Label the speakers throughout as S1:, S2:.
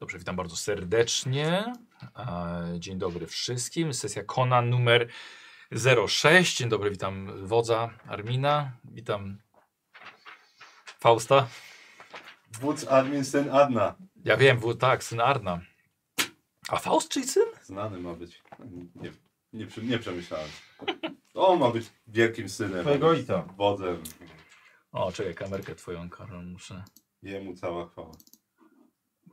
S1: Dobrze, witam bardzo serdecznie. E, Dzień dobry wszystkim. Sesja Kona numer 06. Dzień dobry, witam wodza Armina. Witam Fausta.
S2: Wódz admin syn Adna.
S1: Ja wiem, był tak, syn Arna. A Faust czyli syn?
S2: Znany ma być. Nie, nie, przy- nie przemyślałem. On ma być wielkim synem.
S3: Twojego
S2: ma być
S3: ojca.
S2: Wodzem.
S1: O, czekaj, kamerkę twoją, Karol, muszę
S2: Jemu cała chwała.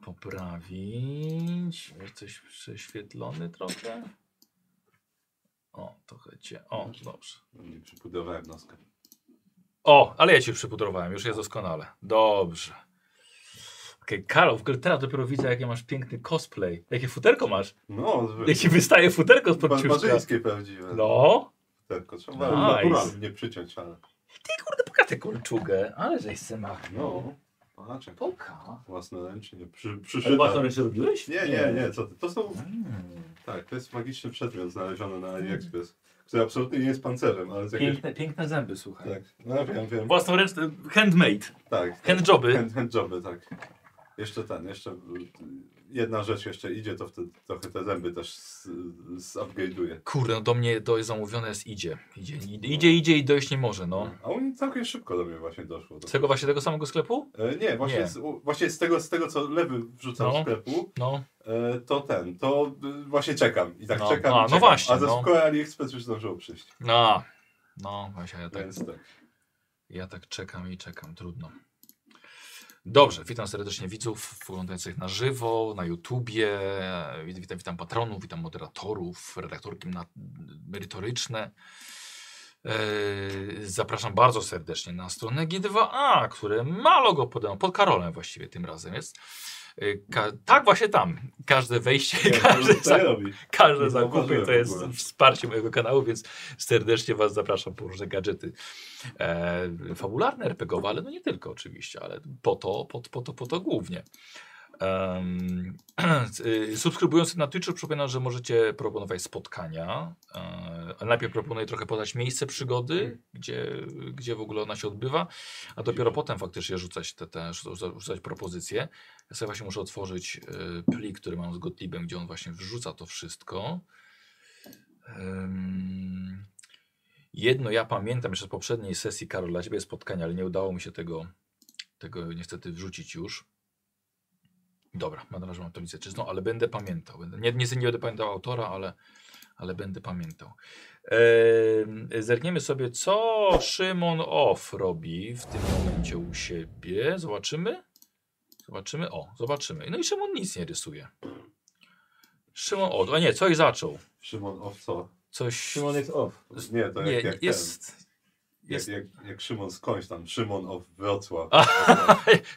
S1: poprawić. Jesteś prześwietlony trochę. O, trochę cię. O, dobrze.
S2: Nie przybudowałem noska.
S1: O, ale ja cię przypudrowałem, już jest doskonale. Dobrze. Okej, Karol, w ogóle teraz dopiero widzę, jakie masz piękny cosplay. Jakie futerko masz?
S2: No, wy-
S1: Jak ci wystaje futerko z
S2: pan
S1: podciuszka.
S2: Marzyńskie prawdziwe. No.
S1: No.
S2: Tylko trzeba
S1: Nice.
S2: naturalnie nie przyciąć, ale.
S1: Ty kurde, pokaż tę kolczugę. Ale żeś se machnął.
S2: No, paczek.
S1: Poka.
S2: Własnoręcznie. Przy,
S3: Ale
S2: przyszyta.
S3: własną ręce robiłeś?
S2: Nie, nie, nie, co ty? To są.
S1: Mm.
S2: Tak, to jest magiczny przedmiot znaleziony na AliExpress. Który absolutnie nie jest pancerzem, ale z jakiegoś.
S1: Piękne, piękne zęby, słuchaj.
S2: Tak, no wiem, wiem.
S1: Własnoręczne, handmade.
S2: Tak. tak.
S1: Handjoby.
S2: Hand, handjoby, tak. Jeszcze ten, jeszcze y, jedna rzecz jeszcze idzie, to wtedy trochę te zęby też z- zupgrade'uje.
S1: Kurde, no do mnie to jest zamówione, jest idzie. Idzie, idzie, idzie, idzie i dojść nie może, no.
S2: A u mnie całkiem szybko do mnie właśnie doszło. Do...
S1: Z tego właśnie tego samego sklepu?
S2: E, nie, właśnie,
S1: Nie.
S2: Z, u- właśnie z, tego, z tego, co lewy wrzucał
S1: No.
S2: z sklepu,
S1: No.
S2: e, to ten, to y, właśnie czekam. I tak
S1: No.
S2: czekam,
S1: A,
S2: i
S1: no
S2: czekam.
S1: właśnie,
S2: A ze
S1: no.
S2: Skoe AliExpress już zdążyło przyjść.
S1: No. No, właśnie ja tak.
S2: Więc tak.
S1: Ja tak czekam i czekam, trudno. Dobrze, witam serdecznie widzów oglądających na żywo, na YouTubie. Wit- Witam, witam patronów, witam moderatorów, redaktorki na, merytoryczne. Eee, Zapraszam bardzo serdecznie na stronę G2A, które ma logo podane pod Karolem właściwie tym razem jest. Eee, Ka- tak, właśnie tam. Każde wejście,
S2: Ja,
S1: każde,
S2: to
S1: za-
S2: nie robi.
S1: Każde
S2: Nie
S1: zakupy
S2: zauważyłem
S1: to
S2: w
S1: jest
S2: ogóle.
S1: wsparcie mojego kanału, więc serdecznie Was zapraszam po różne gadżety e, fabularne, RPGowe, ale no nie tylko oczywiście, ale po to, po, po to, po to głównie. Em, y, subskrybując na Twitchu przypominam, że możecie proponować spotkania. E, a najpierw proponuję trochę podać miejsce
S2: Hmm.
S1: przygody, gdzie, gdzie w ogóle ona się odbywa, a dopiero potem faktycznie rzucać te, te rzuca- rzucać propozycje. Ja sobie właśnie muszę otworzyć e, plik, który mam z Gotlibem, gdzie on właśnie wrzuca to wszystko. Em, jedno ja pamiętam jeszcze z poprzedniej sesji, Karol, dla Ciebie spotkania, ale nie udało mi się tego, tego niestety wrzucić już. Dobra, mam na razie mam to listę czystą, ale będę pamiętał. Będę, nie, nie, nie będę pamiętał autora, ale, ale będę pamiętał. Em, zerkniemy sobie, co Szymon Off robi w tym momencie u siebie. Zobaczymy. Zobaczymy. O, zobaczymy. No i Szymon nic nie rysuje. Szymon, o, a nie, coś zaczął.
S2: Szymon Owco.
S1: Coś.
S3: Szymon jest off.
S2: Nie, to jak,
S1: nie,
S2: tak jak
S1: jest. jest
S2: ten. Jak, jak, jak Szymon skądś tam. Szymon of Wrocław.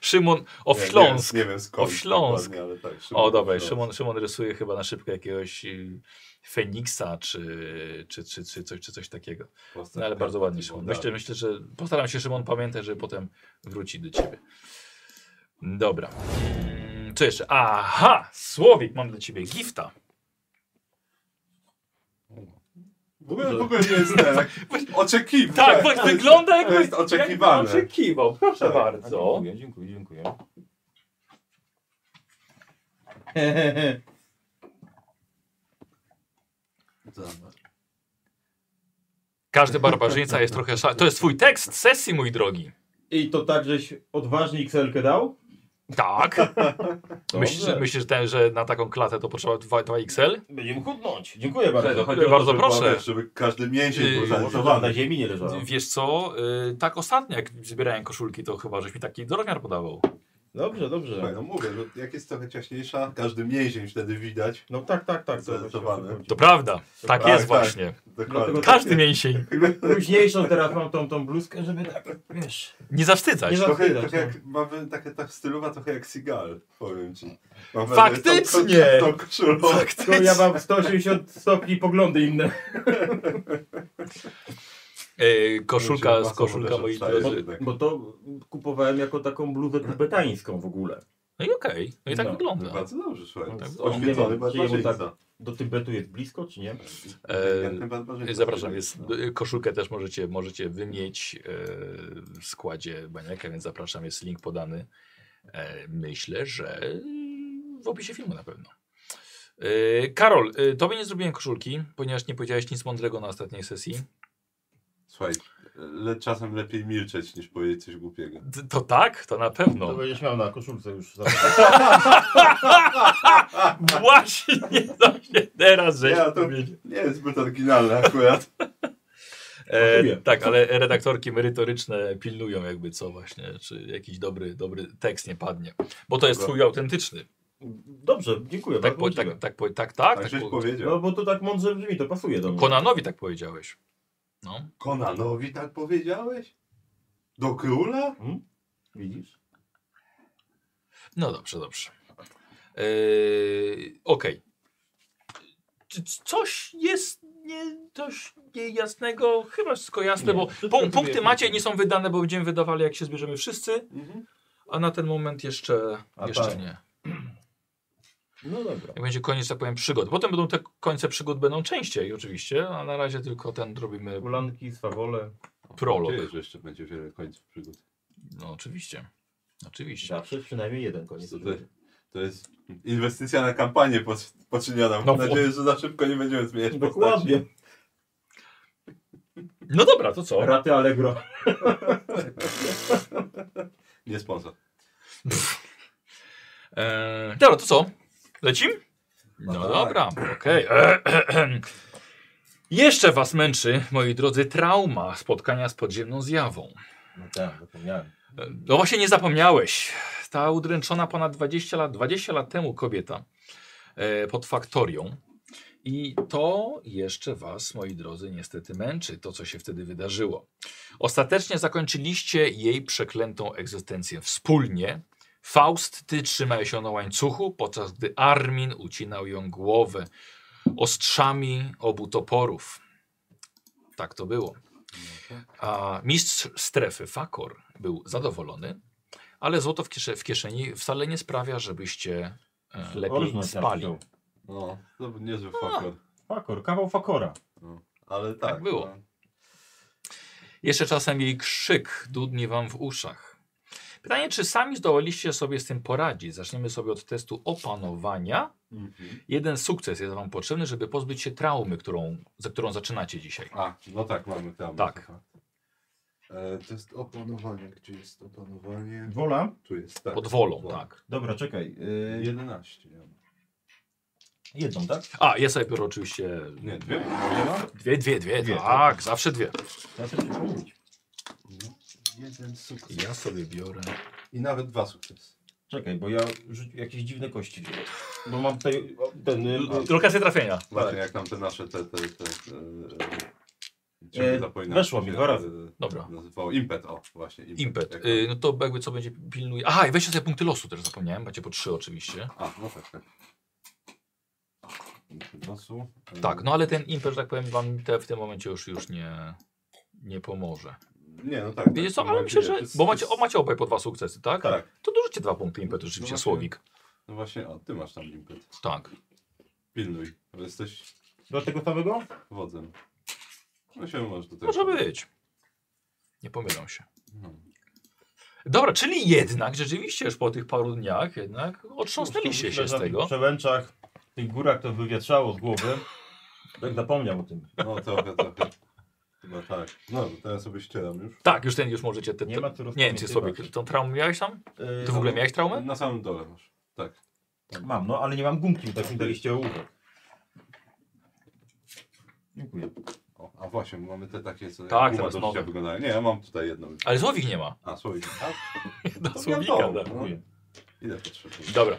S1: Szymon Off
S2: Nie,
S1: Śląsk.
S2: Nie, wiem- nie wiem skąd.
S1: O, Śląsk.
S2: dokładnie, ale tak, Szymon
S1: O, dobra,
S2: Śląsk.
S1: Szymon, Szymon rysuje chyba na szybko jakiegoś y, Feniksa czy, czy, czy, czy, coś, czy coś takiego. No, ale bardzo ładnie, Szymon.
S2: tak.
S1: Myślę, myślę, że postaram się, Szymon, pamiętać, żeby potem wrócić do ciebie. Dobra. Mm, Co jeszcze? Aha! Słowik, mam dla ciebie gifta.
S2: W ogóle, w ogóle nie jest tak. Oczekiwany.
S1: Tak, tak
S2: to jest-
S1: wygląda jakby,
S2: To jest oczekiwane.
S1: jakby oczekiwał. Proszę
S2: Tak.
S3: A,
S1: bardzo.
S3: Dziękuję, dziękuję, dziękuję.
S2: Tak.
S1: Każdy barbarzyńca jest trochę szal... To jest twój tekst sesji, mój drogi.
S3: I to tak, żeś odważnie XL-kę dał?
S1: Tak. Myślisz, że,
S3: Dobrze.
S1: myślisz ten, że na taką klatę to potrzeba 2, 2XL?
S3: Będziemy chudnąć. Dziękuję bardzo.
S1: no, Chodzi o to,
S2: Bardzo
S1: żeby była,
S2: proszę.
S1: wiesz,
S2: Żeby każdy
S1: Yy,
S2: mięsień był
S1: może
S3: Może tam na
S2: zaanotowany.
S3: ziemi nie
S4: No.
S3: leżało.
S1: Wiesz co, y, tak ostatnio jak zbierałem koszulki, to chyba żeś mi taki rozmiar podawał.
S3: Dobrze,
S2: Słuchaj,
S3: dobrze.
S2: No mówię, że jak jest trochę ciaśniejsza, każdy mięsień wtedy widać.
S3: No tak, tak, tak. to właśnie o
S2: Zaanotowany.
S3: to chodzi.
S1: To prawda, tak
S2: Tak,
S1: jest
S2: tak.
S1: właśnie.
S2: Dokładnie.
S3: Dlatego-
S1: Każdy mięsień.
S3: Luźniejszą teraz mam tą, tą bluzkę, żeby tak, wiesz...
S1: Nie zawstydzać.
S3: Nie za-
S2: Trochę,
S3: widać,
S2: trochę
S3: no.
S2: jak, mamy takie, ta stylowa trochę jak Sigal, powiem ci. Mam
S1: Faktycznie!
S2: wrażenie, Tą, tą, tą koszulą.
S3: To
S1: Faktycznie.
S3: ja mam 180 stopni poglądy inne.
S1: E, koszulka,
S2: Musimy
S1: koszulka
S2: masą
S1: moi
S2: uderzać,
S1: drodzy.
S2: tak.
S3: Bo, bo to kupowałem jako taką bluzę tybetańską w ogóle.
S1: No i okej, no i tak
S3: No,
S1: wygląda.
S2: Bardzo dobrze, słuchaj.
S3: Tak.
S2: Oświecony
S3: Nie wiem, tak- czy jemu
S2: barbarzyńca.
S3: tak- Do Tybetu jest blisko, czy nie?
S2: Inteligentny barbarzyńca.
S1: E, Zapraszam, jest,
S2: No.
S1: y, koszulkę też możecie, możecie wymieć e, w składzie Baniaka, więc zapraszam, jest link podany. E, Myślę, że w opisie filmu na pewno. Yy, Karol, yy, tobie nie zrobiłem koszulki, ponieważ nie powiedziałeś nic mądrego na ostatniej sesji.
S2: Słuchaj, le, czasem lepiej milczeć niż powiedzieć coś głupiego.
S1: D- to tak, to na
S3: No.
S1: pewno.
S4: To będziesz miał na koszulce już. za-
S1: Właśnie to się teraz żeś
S2: Ja to-
S1: powiedział.
S2: Nie jest zbyt oryginalne akurat.
S1: E,
S3: Dziękuję.
S1: tak, ale redaktorki merytoryczne pilnują jakby co właśnie, czy jakiś dobry, dobry tekst nie padnie. Bo to jest
S2: Dobra.
S1: twój autentyczny.
S3: Dobrze, dziękuję.
S1: Tak, po,
S3: bardzo
S1: tak,
S3: miłe.
S1: tak, po, tak, tak,
S2: Tak
S1: tak.
S2: żeś
S1: po-
S3: No
S2: powiedział.
S3: bo to tak mądrze brzmi, to pasuje do mnie.
S1: Konanowi tak powiedziałeś. No.
S2: Konanowi tak powiedziałeś? Do króla?
S3: Widzisz?
S1: No dobrze, dobrze. Yy, Okej. Czy c- Coś jest nie, coś niejasnego? Chyba wszystko jasne,
S3: Nie,
S1: bo
S3: wszystko
S1: pu-
S3: sobie
S1: punkty
S3: jasne.
S1: macie nie są wydane, bo będziemy wydawali jak się zbierzemy wszyscy, a na ten moment jeszcze,
S4: A
S1: jeszcze
S4: tak.
S1: nie.
S3: No dobra.
S1: Jak będzie koniec, tak powiem, przygód. Potem będą te końce przygód będą częściej oczywiście, a na razie tylko ten robimy
S3: Ulanki, swawole.
S1: prolog.
S2: Czuję, że jeszcze będzie wiele końców przygód.
S1: No oczywiście. Oczywiście.
S3: Zawsze przynajmniej jeden koniec.
S2: Co to jest? To jest inwestycja na kampanię pod- poczyniona. Mam
S1: No,
S2: nadzieję, że za szybko nie będziemy zmieniać
S3: Dokładnie.
S1: No dobra, to co?
S3: Raty Allegro.
S2: postaci. Nie sponsor.
S1: Eee, dobra, to co? Lecim? No,
S2: No tak.
S1: dobra, okej. Jeszcze was męczy, moi drodzy, trauma spotkania z podziemną zjawą.
S4: No tak, zapomniałem.
S1: E, No właśnie nie zapomniałeś. Ta udręczona ponad 20 lat, 20 lat temu kobieta e, pod faktorią. I to jeszcze was, moi drodzy, niestety męczy, to co się wtedy wydarzyło. Ostatecznie zakończyliście jej przeklętą egzystencję wspólnie. Faust, ty trzymałeś ją na łańcuchu, podczas gdy Armin ucinał ją głowę ostrzami obu toporów. Tak to było. A mistrz strefy Fakor był zadowolony, ale złoto w, kisze w kieszeni wcale nie sprawia, żebyście e, lepiej
S4: Orznąć
S1: spali.
S4: napisał.
S2: No, to był niezły faktor.
S4: Fakor, kawał fakora.
S2: No. Ale tak.
S1: Tak było.
S2: No.
S1: Jeszcze czasem jej krzyk dudni wam w uszach. Pytanie, czy sami zdołaliście sobie z tym poradzić? Zaczniemy sobie od testu opanowania.
S2: Mhm.
S1: Jeden sukces jest wam potrzebny, żeby pozbyć się traumy, którą, za którą zaczynacie dzisiaj.
S2: A, no tak, mamy tam.
S1: Tak.
S2: E, to jest opanowanie. Gdzie jest opanowanie?
S4: Wola?
S2: Tu jest, tak.
S1: Pod wolą, tak.
S4: Dobra, czekaj.
S3: y,
S4: Yy,
S2: 11. ja mam.
S4: jedną, tak?
S1: A, ja sobie biorę oczywiście no,
S2: Nie, dwie?
S4: Wola?
S1: dwie, dwie, dwie,
S4: Dwie,
S1: tak, zawsze dwie.
S4: Ja sobie przypomnieć.
S2: No. Jeden sukces.
S1: Ja sobie biorę...
S2: I nawet dwa sukcesy.
S4: Czekaj, bo ja rzuć jakieś dziwne kości. Bo mam tutaj o, ten... y,
S1: L- Lokację trafienia.
S2: Właśnie jak tam te nasze te... te, te, te
S4: E, weszło mi dwa razy.
S1: Dobra.
S2: Nazywało impet, o właśnie. Impet.
S1: Impet.
S2: Jak-
S1: Y, no to jakby co będzie pilnuje... Aha, i weźcie sobie punkty losu też zapomniałem, macie po trzy oczywiście.
S2: A, no tak, tak.
S4: losu.
S2: E,
S1: Tak, no ale ten impet, że tak powiem, wam te w tym momencie już, już nie, nie pomoże.
S2: Nie, no tak.
S1: Wiecie
S2: tak,
S1: co, ale
S2: mam
S1: myślę, że...
S2: nadzieję. To jest-
S1: Bo
S2: to
S1: macie,
S2: jest-
S1: o, macie obaj po dwa sukcesy, tak?
S2: Tak.
S1: To dorzućcie dwa punkty impetu, rzeczywiście,
S2: właśnie.
S1: Słowik.
S2: No właśnie, o, ty masz tam impet.
S1: Tak.
S2: Pilnuj, bo jesteś
S4: Do tego samego?
S2: wodzem. No się masz do tego.
S1: Może być. Nie pomylą się.
S2: No.
S1: Dobra, czyli jednak, rzeczywiście już po tych paru dniach, jednak otrząsnęliście No, się z
S4: Leżałem W
S1: tego.
S4: przełęczach, w tych górach to wywietrzało z głowy. Tak zapomniał o tym.
S2: No trochę, trochę. Chyba tak. No, to ja sobie ścieram już.
S1: Tak, już ten, już możecie... Te, te,
S4: Nie ma tu
S1: nie wiem, czy sobie tą traumę miałeś tam?
S4: Yy,
S1: Ty w ogóle miałeś traumę?
S2: Na samym dole masz. Tak.
S4: Mam, no ale nie mam gumki, tak mi daliście ołówek. Dziękuję.
S2: O, a właśnie, mamy te takie, co
S1: Tak,
S2: jak guma
S1: teraz
S2: do
S1: nowe.
S2: życia wyglądają. Nie, ja mam tutaj jedną. już.
S1: Ale Słowik nie ma.
S2: A, słoik. Tak?
S1: Do
S2: To
S1: Słowika,
S2: wiadomo. no.
S1: da.
S4: Dziękuję.
S2: Ile potrzebuję?
S1: Dobra.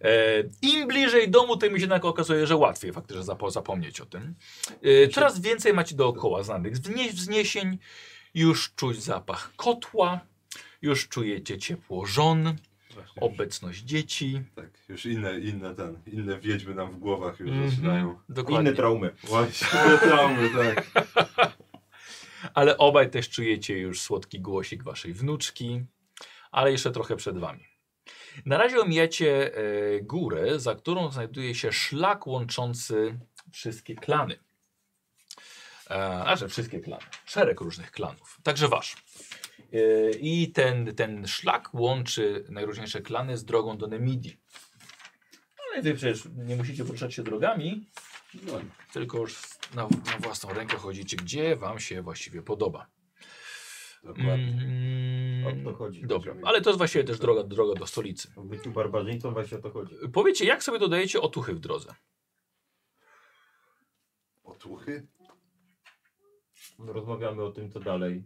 S1: E, Im bliżej domu, tym się jednak okazuje, że łatwiej faktycznie zapo zapomnieć o tym. E, coraz więcej macie dookoła znanych wznie wzniesień. Już czuć zapach kotła. Już czujecie ciepło żon,
S2: Właśnie już-
S1: obecność dzieci.
S2: Tak, już inne, inne ten, inne wiedźmy nam w głowach już
S1: Mhm.
S2: zaczynają.
S1: Dokładnie.
S4: Inne traumy.
S2: Właśnie, traumy, tak.
S1: Ale obaj też czujecie już słodki głosik waszej wnuczki, ale jeszcze trochę przed wami. Na razie omijacie e, górę, za którą znajduje się szlak łączący wszystkie klany. E, a że wszystkie klany, szereg różnych klanów, także wasz. E, I ten, ten szlak łączy najróżniejsze klany z drogą do Nemidii. No i wy przecież nie musicie poruszać się drogami,
S2: No,
S1: tylko już na, na własną rękę chodzicie, gdzie wam się właściwie podoba.
S2: dokładnie.
S1: Mm,
S4: O to chodzi.
S1: Dobra, ale to jest właściwie też droga, droga do stolicy.
S4: W byciu barbarzyńcą właśnie o to chodzi.
S1: Powiecie, jak sobie dodajecie otuchy w drodze?
S2: Otuchy?
S4: Rozmawiamy o tym, co dalej.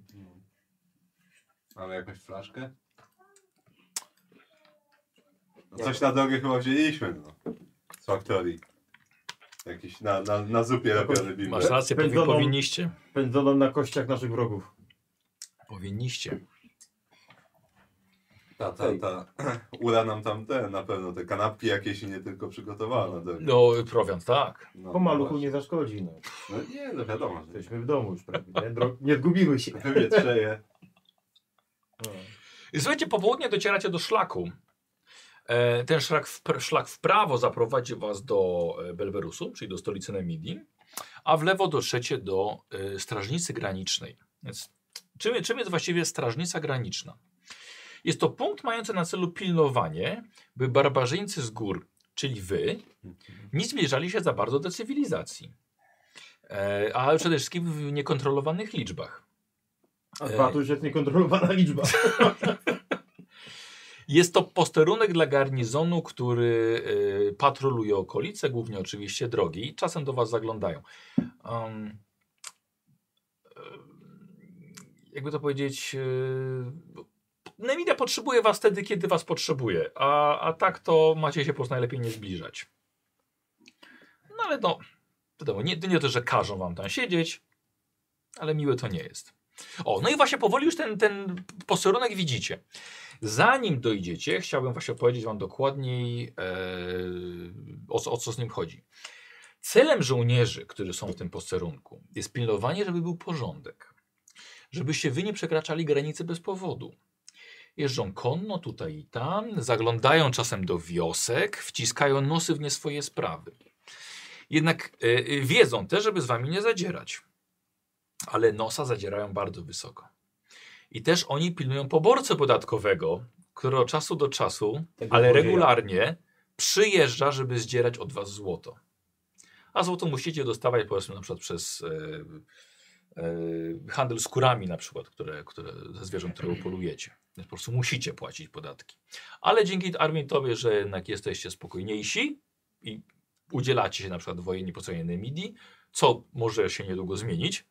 S2: Mamy jakąś flaszkę? No coś na drogę chyba wzięliśmy, no. Z faktorii. Jakiś na, na, na zupie lepiony bimber.
S1: No Masz rację, powi-
S4: Pędzoną-
S1: powinniście.
S4: Pędzoną na kościach naszych wrogów.
S1: Powinniście.
S2: Ta, ta, ta. Ura nam tam te, na pewno te kanapki jakieś i nie tylko przygotowała na drogę.
S1: No, prowiant, tak.
S2: No,
S4: Po maluchu
S2: właśnie.
S4: nie zaszkodzi. No.
S2: No nie, no wiadomo, że
S4: Jesteśmy w domu już prawie. Nie, Dro- nie zgubimy się.
S2: wywietrzeje.
S4: No.
S1: Słuchajcie, popołudnie docieracie do szlaku. E, ten szlak w, pr- szlak w prawo zaprowadzi was do e, Belberusu, czyli do stolicy Nemidii, a w lewo dotrzecie do e, Strażnicy Granicznej. Więc czym, czym jest właściwie Strażnica Graniczna? Jest to punkt mający na celu pilnowanie, by barbarzyńcy z gór, czyli wy, nie zbliżali się za bardzo do cywilizacji. E, a przede wszystkim w niekontrolowanych liczbach. E-
S4: A dwa, to już jest niekontrolowana liczba.
S1: Jest to posterunek dla garnizonu, który y, patroluje okolice, głównie oczywiście drogi. Czasem do Was zaglądają. Um, e, jakby to powiedzieć, yy, Nemida potrzebuje Was wtedy, kiedy Was potrzebuje, a, a tak to macie się po prostu najlepiej nie zbliżać. No ale no, wiadomo, nie, nie to, że każą Wam tam siedzieć, ale miłe to nie jest. O, no i właśnie powoli już ten, ten posterunek widzicie. Zanim dojdziecie, chciałbym właśnie powiedzieć Wam dokładniej, e, o, co- o co z nim chodzi. Celem żołnierzy, którzy są w tym posterunku, jest pilnowanie, żeby był porządek. Żebyście Wy nie przekraczali granicy bez powodu. Jeżdżą konno tutaj i tam, zaglądają czasem do wiosek, wciskają nosy w nie swoje sprawy. Jednak e, e, wiedzą też, żeby z Wami nie zadzierać. Ale nosa zadzierają bardzo wysoko. I też oni pilnują poborcy podatkowego, który od czasu do czasu,
S4: Tego
S1: ale
S4: złodzieja.
S1: regularnie przyjeżdża, żeby zdzierać od was złoto. A złoto musicie dostawać powiedzmy na przykład przez e, e, handel skórami na przykład, które, które ze zwierząt, które upolujecie. Więc po prostu musicie płacić podatki. Ale dzięki Armintowie, że jednak jesteście spokojniejsi i udzielacie się na przykład wojennie pocojennej Nemidii, co może się niedługo zmienić,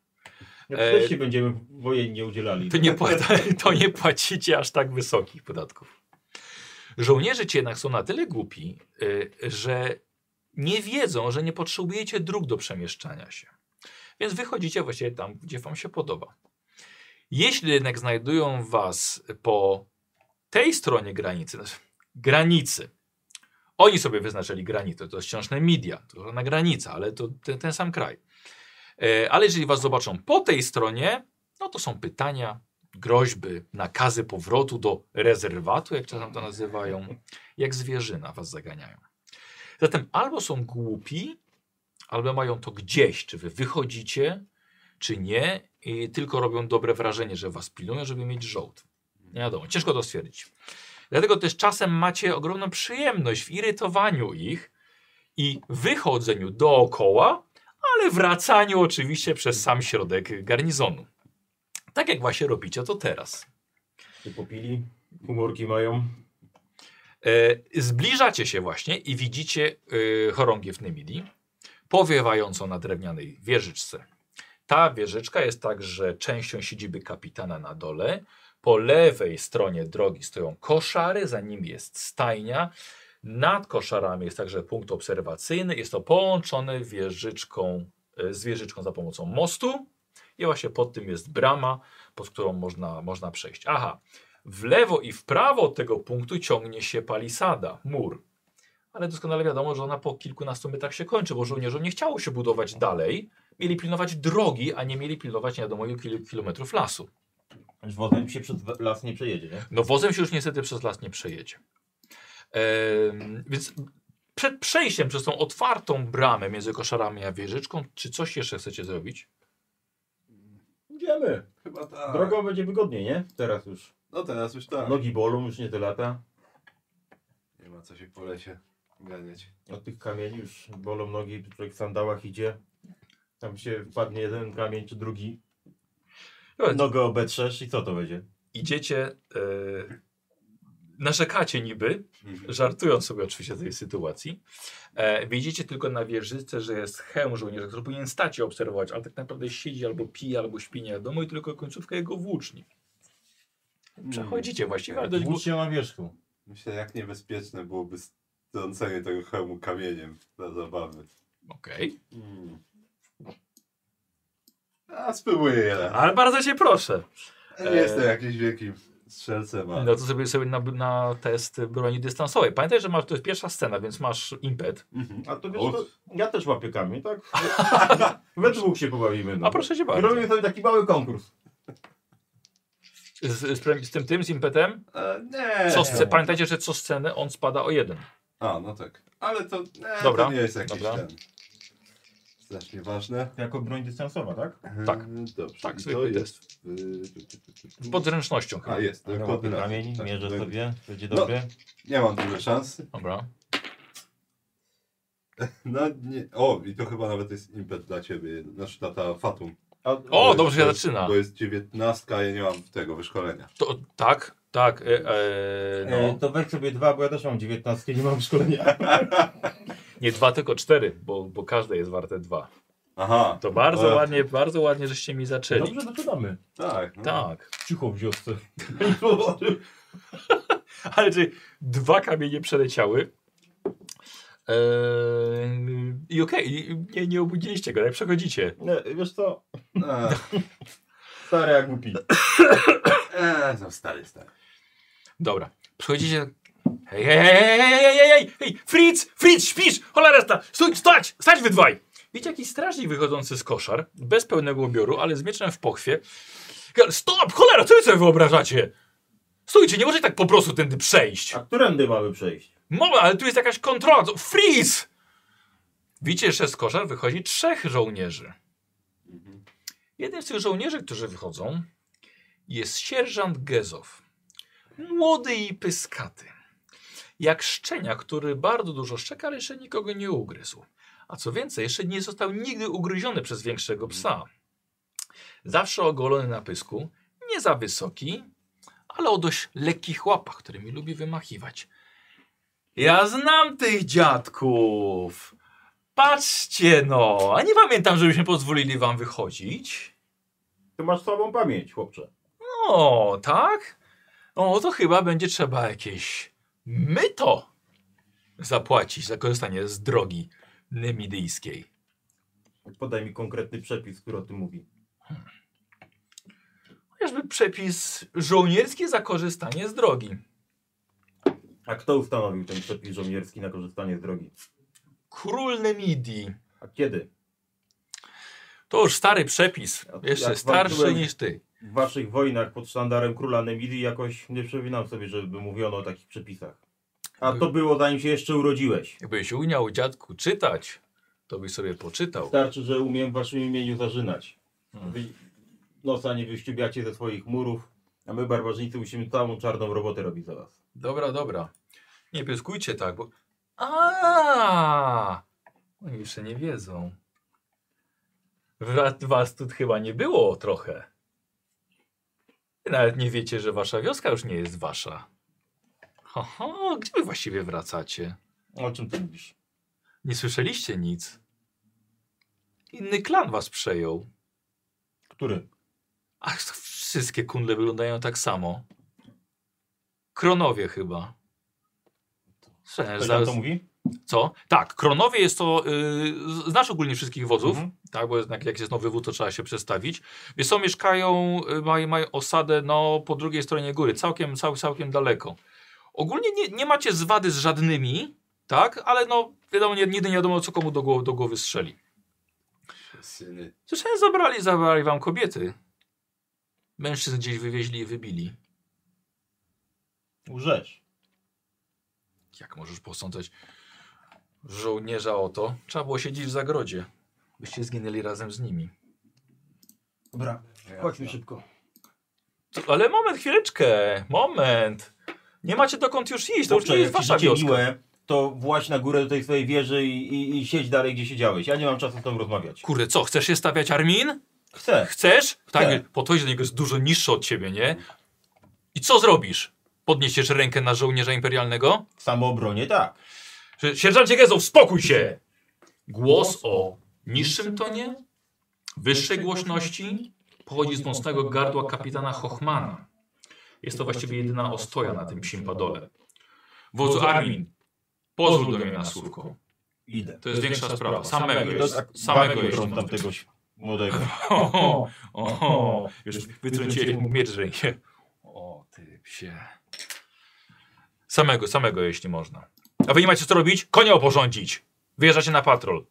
S4: Jak
S1: E,
S4: wcześniej będziemy wojennie udzielali.
S1: to nie, pła- to nie płacicie aż tak wysokich podatków. Żołnierze ci jednak są na tyle głupi, y, że nie wiedzą, że nie potrzebujecie dróg do przemieszczania się. Więc wychodzicie właściwie tam, gdzie wam się podoba. Jeśli jednak znajdują was po tej stronie granicy, znaczy granicy, oni sobie wyznaczyli granicę, to jest ściążne media, to żadna granica, ale to ten, ten sam kraj. E, Ale jeżeli was zobaczą po tej stronie, no to są pytania, groźby, nakazy powrotu do rezerwatu, jak czasem to nazywają, jak zwierzyna was zaganiają. Zatem albo są głupi, albo mają to gdzieś, czy wy wychodzicie, czy nie, i tylko robią dobre wrażenie, że was pilnują, żeby mieć żołd. Nie wiadomo, ciężko to stwierdzić. Dlatego też czasem macie ogromną przyjemność w irytowaniu ich i wychodzeniu dookoła, ale wracaniu oczywiście przez sam środek garnizonu. Tak jak właśnie robicie to teraz.
S4: Czy popili? Humorki mają.
S1: E, zbliżacie się właśnie i widzicie e, chorągiew Nemidii powiewającą na drewnianej wieżyczce. Ta wieżyczka jest także częścią siedziby kapitana na dole. Po lewej stronie drogi stoją koszary, za nimi jest stajnia. Nad koszarami jest także punkt obserwacyjny. Jest to połączone wieżyczką, e, z wieżyczką za pomocą mostu. I właśnie pod tym jest brama, pod którą można, można przejść. Aha, w lewo i w prawo od tego punktu ciągnie się palisada, mur. Ale doskonale wiadomo, że ona po kilkunastu metrach się kończy, bo żołnierzom nie chciało się budować dalej. Mieli pilnować drogi, a nie mieli pilnować nie wiadomo ilu kil- kilometrów lasu.
S4: Już wozem się przez las nie przejedzie, nie?
S1: No wozem się już niestety przez las nie przejedzie. Em, więc przed przejściem przez tą otwartą bramę między koszarami a wieżyczką, czy coś jeszcze chcecie zrobić?
S4: Idziemy.
S2: Chyba tak.
S4: Drogą będzie wygodniej, nie? Teraz już.
S2: No teraz już tak.
S4: Nogi bolą, już nie te lata.
S2: Nie ma co się po lesie ganiać.
S4: Od
S3: Od tych kamieni już bolą nogi, człowiek w sandałach idzie. Tam się wpadnie jeden kamień czy drugi.
S1: Dobra,
S3: Nogę obetrzesz i co to będzie?
S1: Idziecie, e, narzekacie niby,
S2: Mhm.
S1: żartując sobie oczywiście z tej sytuacji. E, widzicie tylko na wieżyce, że jest hełm żołnierza, który powinien stać i obserwować, ale tak naprawdę siedzi albo pije, albo śpi nie wiadomo i tylko końcówka jego włóczni. Przechodzicie
S2: Hmm.
S1: właściwie, ale dość
S4: Włócz się na wierzchu.
S2: Myślę, jak niebezpieczne byłoby strącenie tego hełmu kamieniem dla zabawy.
S1: Okej.
S2: Mm. A spróbuję je.
S1: Ale bardzo cię proszę. E.
S2: Nie jestem jakimś wielkim strzelcem, ale...
S1: No to sobie sobie na, na test broni dystansowej. Pamiętaj, że masz, to jest pierwsza scena, więc masz impet.
S2: Mhm.
S3: A to wiesz,
S2: O.
S3: to ja też łapię kamień, tak? We dwóch się pobawimy. No.
S1: A proszę cię
S3: I
S1: bardzo.
S3: robimy sobie taki mały konkurs.
S1: Z, z, prem- z tym tym, z impetem,
S2: E, nie.
S1: co sce, pamiętajcie, że co scenę on spada o jeden.
S2: A, no tak. Ale to, nie,
S1: Dobra,
S2: to nie jest jakiś
S1: dobra.
S2: ten... Znacznie ważne.
S4: To jako broń dystansowa, tak?
S1: Tak.
S2: E, Dobrze.
S1: Tak,
S2: I to
S1: zwykły
S2: jest...
S1: test.
S2: y,
S1: Z podręcznością chyba.
S2: A, jest.
S4: Łapię
S2: Dokładny raz.
S4: kamień,
S2: Tak,
S4: mierzę
S2: tak.
S4: sobie, będzie
S2: No.
S4: dobre.
S2: Nie mam dużo szans.
S1: Dobra.
S2: No nie. O, i to chyba nawet jest impet dla ciebie. Znaczy dla ta Fatum.
S3: A,
S1: O,
S2: Bo
S1: dobrze się
S2: jest-
S1: zaczyna.
S2: Bo jest dziewiętnastka, ja nie mam tego wyszkolenia.
S1: To, tak, tak. E, e,
S4: E,
S1: no.
S4: to weź sobie dwa, bo ja też mam 19, nie mam szkolenia.
S1: Nie dwa, tylko cztery, bo, bo każde jest warte dwa.
S2: Aha,
S1: To bardzo
S2: E.
S1: ładnie, bardzo ładnie, żeście mi zaczęli.
S4: Dobrze, zaczynamy.
S2: tak. No.
S1: Tak.
S4: Cicho w wiosce.
S1: Ale czy dwa kamienie przeleciały? E, I okej, i nie, nie obudziliście go, jak przechodzicie.
S4: Nie, wiesz co,
S2: E,
S4: stary jak głupi.
S2: e, no stary, stary.
S1: Dobra, przychodzicie. Hej, hej, hej, hej, hej, hej, hej, hej, hej, Fritz, Fritz, śpisz, cholera sta, stój, stać, stać wy dwaj. Widzicie jakiś strażnik wychodzący z koszar, bez pełnego ubioru, ale z mieczem w pochwie. Ga- Stop, cholera, co wy sobie wyobrażacie? Stójcie, nie możecie tak po prostu tędy przejść.
S3: a którędy mamy przejść?
S1: Moment, ale tu jest jakaś kontrola, co- Fritz! Widzicie, że z koszar wychodzi trzech żołnierzy. Jednym z tych żołnierzy, którzy wychodzą, jest sierżant Gezow. Młody i pyskaty. Jak szczenia, który bardzo dużo szczeka, ale jeszcze nikogo nie ugryzł. A co więcej, jeszcze nie został nigdy ugryziony przez większego psa. Zawsze ogolony na pysku, nie za wysoki, ale o dość lekkich łapach, którymi lubi wymachiwać. Ja znam tych dziadków. Patrzcie no, a nie pamiętam, żebyśmy pozwolili wam wychodzić.
S3: Ty masz słabą pamięć, chłopcze.
S1: O, tak? O, to chyba będzie trzeba jakieś myto zapłacić za korzystanie z drogi nemidyjskiej.
S3: Podaj mi konkretny przepis, który o tym mówi.
S1: Chociażby przepis żołnierski za korzystanie z drogi.
S3: A kto ustanowił ten przepis żołnierski na korzystanie z drogi?
S1: Król Nemidii.
S3: A kiedy?
S1: To już stary przepis,
S3: Ja-
S1: jeszcze
S3: ja
S1: starszy
S3: walczyłem-
S1: niż ty.
S3: W waszych wojnach pod sztandarem króla Nemidii jakoś nie przypominam sobie, żeby mówiono o takich przepisach. A to było zanim się jeszcze urodziłeś.
S1: Jakbyś umiał dziadku czytać, to byś sobie poczytał.
S3: Wystarczy, że umiem w waszym imieniu zażynać.
S4: Hmm.
S1: Mhm.
S3: Wy nosa nie wyściubiacie ze swoich murów, a my barbarzyńcy musimy całą czarną robotę robić za was.
S1: Dobra, dobra. Nie pyskujcie tak, bo. A! Oni jeszcze nie wiedzą. Was, was tu chyba nie było trochę. Wy nawet nie wiecie, że wasza wioska już nie jest wasza. Oho, gdzie wy właściwie wracacie?
S4: O czym ty mówisz?
S1: Nie słyszeliście nic. Inny klan was przejął.
S4: Który?
S1: Ach, wszystkie kundle wyglądają tak samo. Kronowie chyba. Słyszałem,
S4: Ktoś
S1: że
S4: nam
S1: za-
S4: to mówi?
S1: co? Tak, Kronowie jest to. Yy, znasz ogólnie wszystkich wodzów,
S4: Mhm.
S1: tak? Bo jednak jak jest nowy wód, to trzeba się przestawić. Wiesz co, mieszkają, y, mają, mają osadę no, po drugiej stronie góry, całkiem, cał, całkiem daleko. Ogólnie nie, nie macie zwady z żadnymi, tak? Ale no, wiadomo, nie, nigdy nie wiadomo, co komu do głowy, do głowy strzeli.
S2: Syny.
S1: Słyszałem, zabrali, zabrali wam kobiety. Mężczyzn gdzieś wywieźli i wybili.
S4: Łżesz.
S1: Jak możesz posądzać żołnierza o to? Trzeba było siedzieć w zagrodzie, byście zginęli razem z nimi.
S4: Dobra, chodźmy szybko.
S1: To- Ale moment, chwileczkę, moment. Nie macie dokąd już iść, to już nie jest wasza wioska.
S4: miłe,
S3: to właź na górę do tej swojej wieży i, i, i siedź dalej, gdzie siedziałeś. Ja nie mam czasu z tobą rozmawiać.
S1: Kurde, co, chcesz się stawiać Armin?
S3: Chcę.
S1: Chcesz?
S3: Chcę.
S1: Tak, podchodzi do niego, jest dużo niższy od ciebie, nie? I co zrobisz? Podniesiesz rękę na żołnierza imperialnego?
S3: W samoobronie, tak.
S1: Że- Sierżancie Gezow, spokój się! Głos o niższym tonie, wyższej głośności pochodzi z mocnego gardła kapitana Hochmana. Jest to właściwie jedyna ostoja na tym psim padole. Wodzu Armin, pozwól do mnie na słówko.
S3: Idę.
S1: To jest większa sprawa. Samego jest.
S3: tak,
S1: Samego
S3: bardzo
S1: jest.
S3: trąd tam tegoś młodego.
S1: Oho,
S5: No,
S1: oho, już wytrąciłeś mu miecz z ręki. O ty psie. Samego, samego jeśli można. A wy nie macie co robić? Konia oporządzić. Wyjeżdżacie na patrol.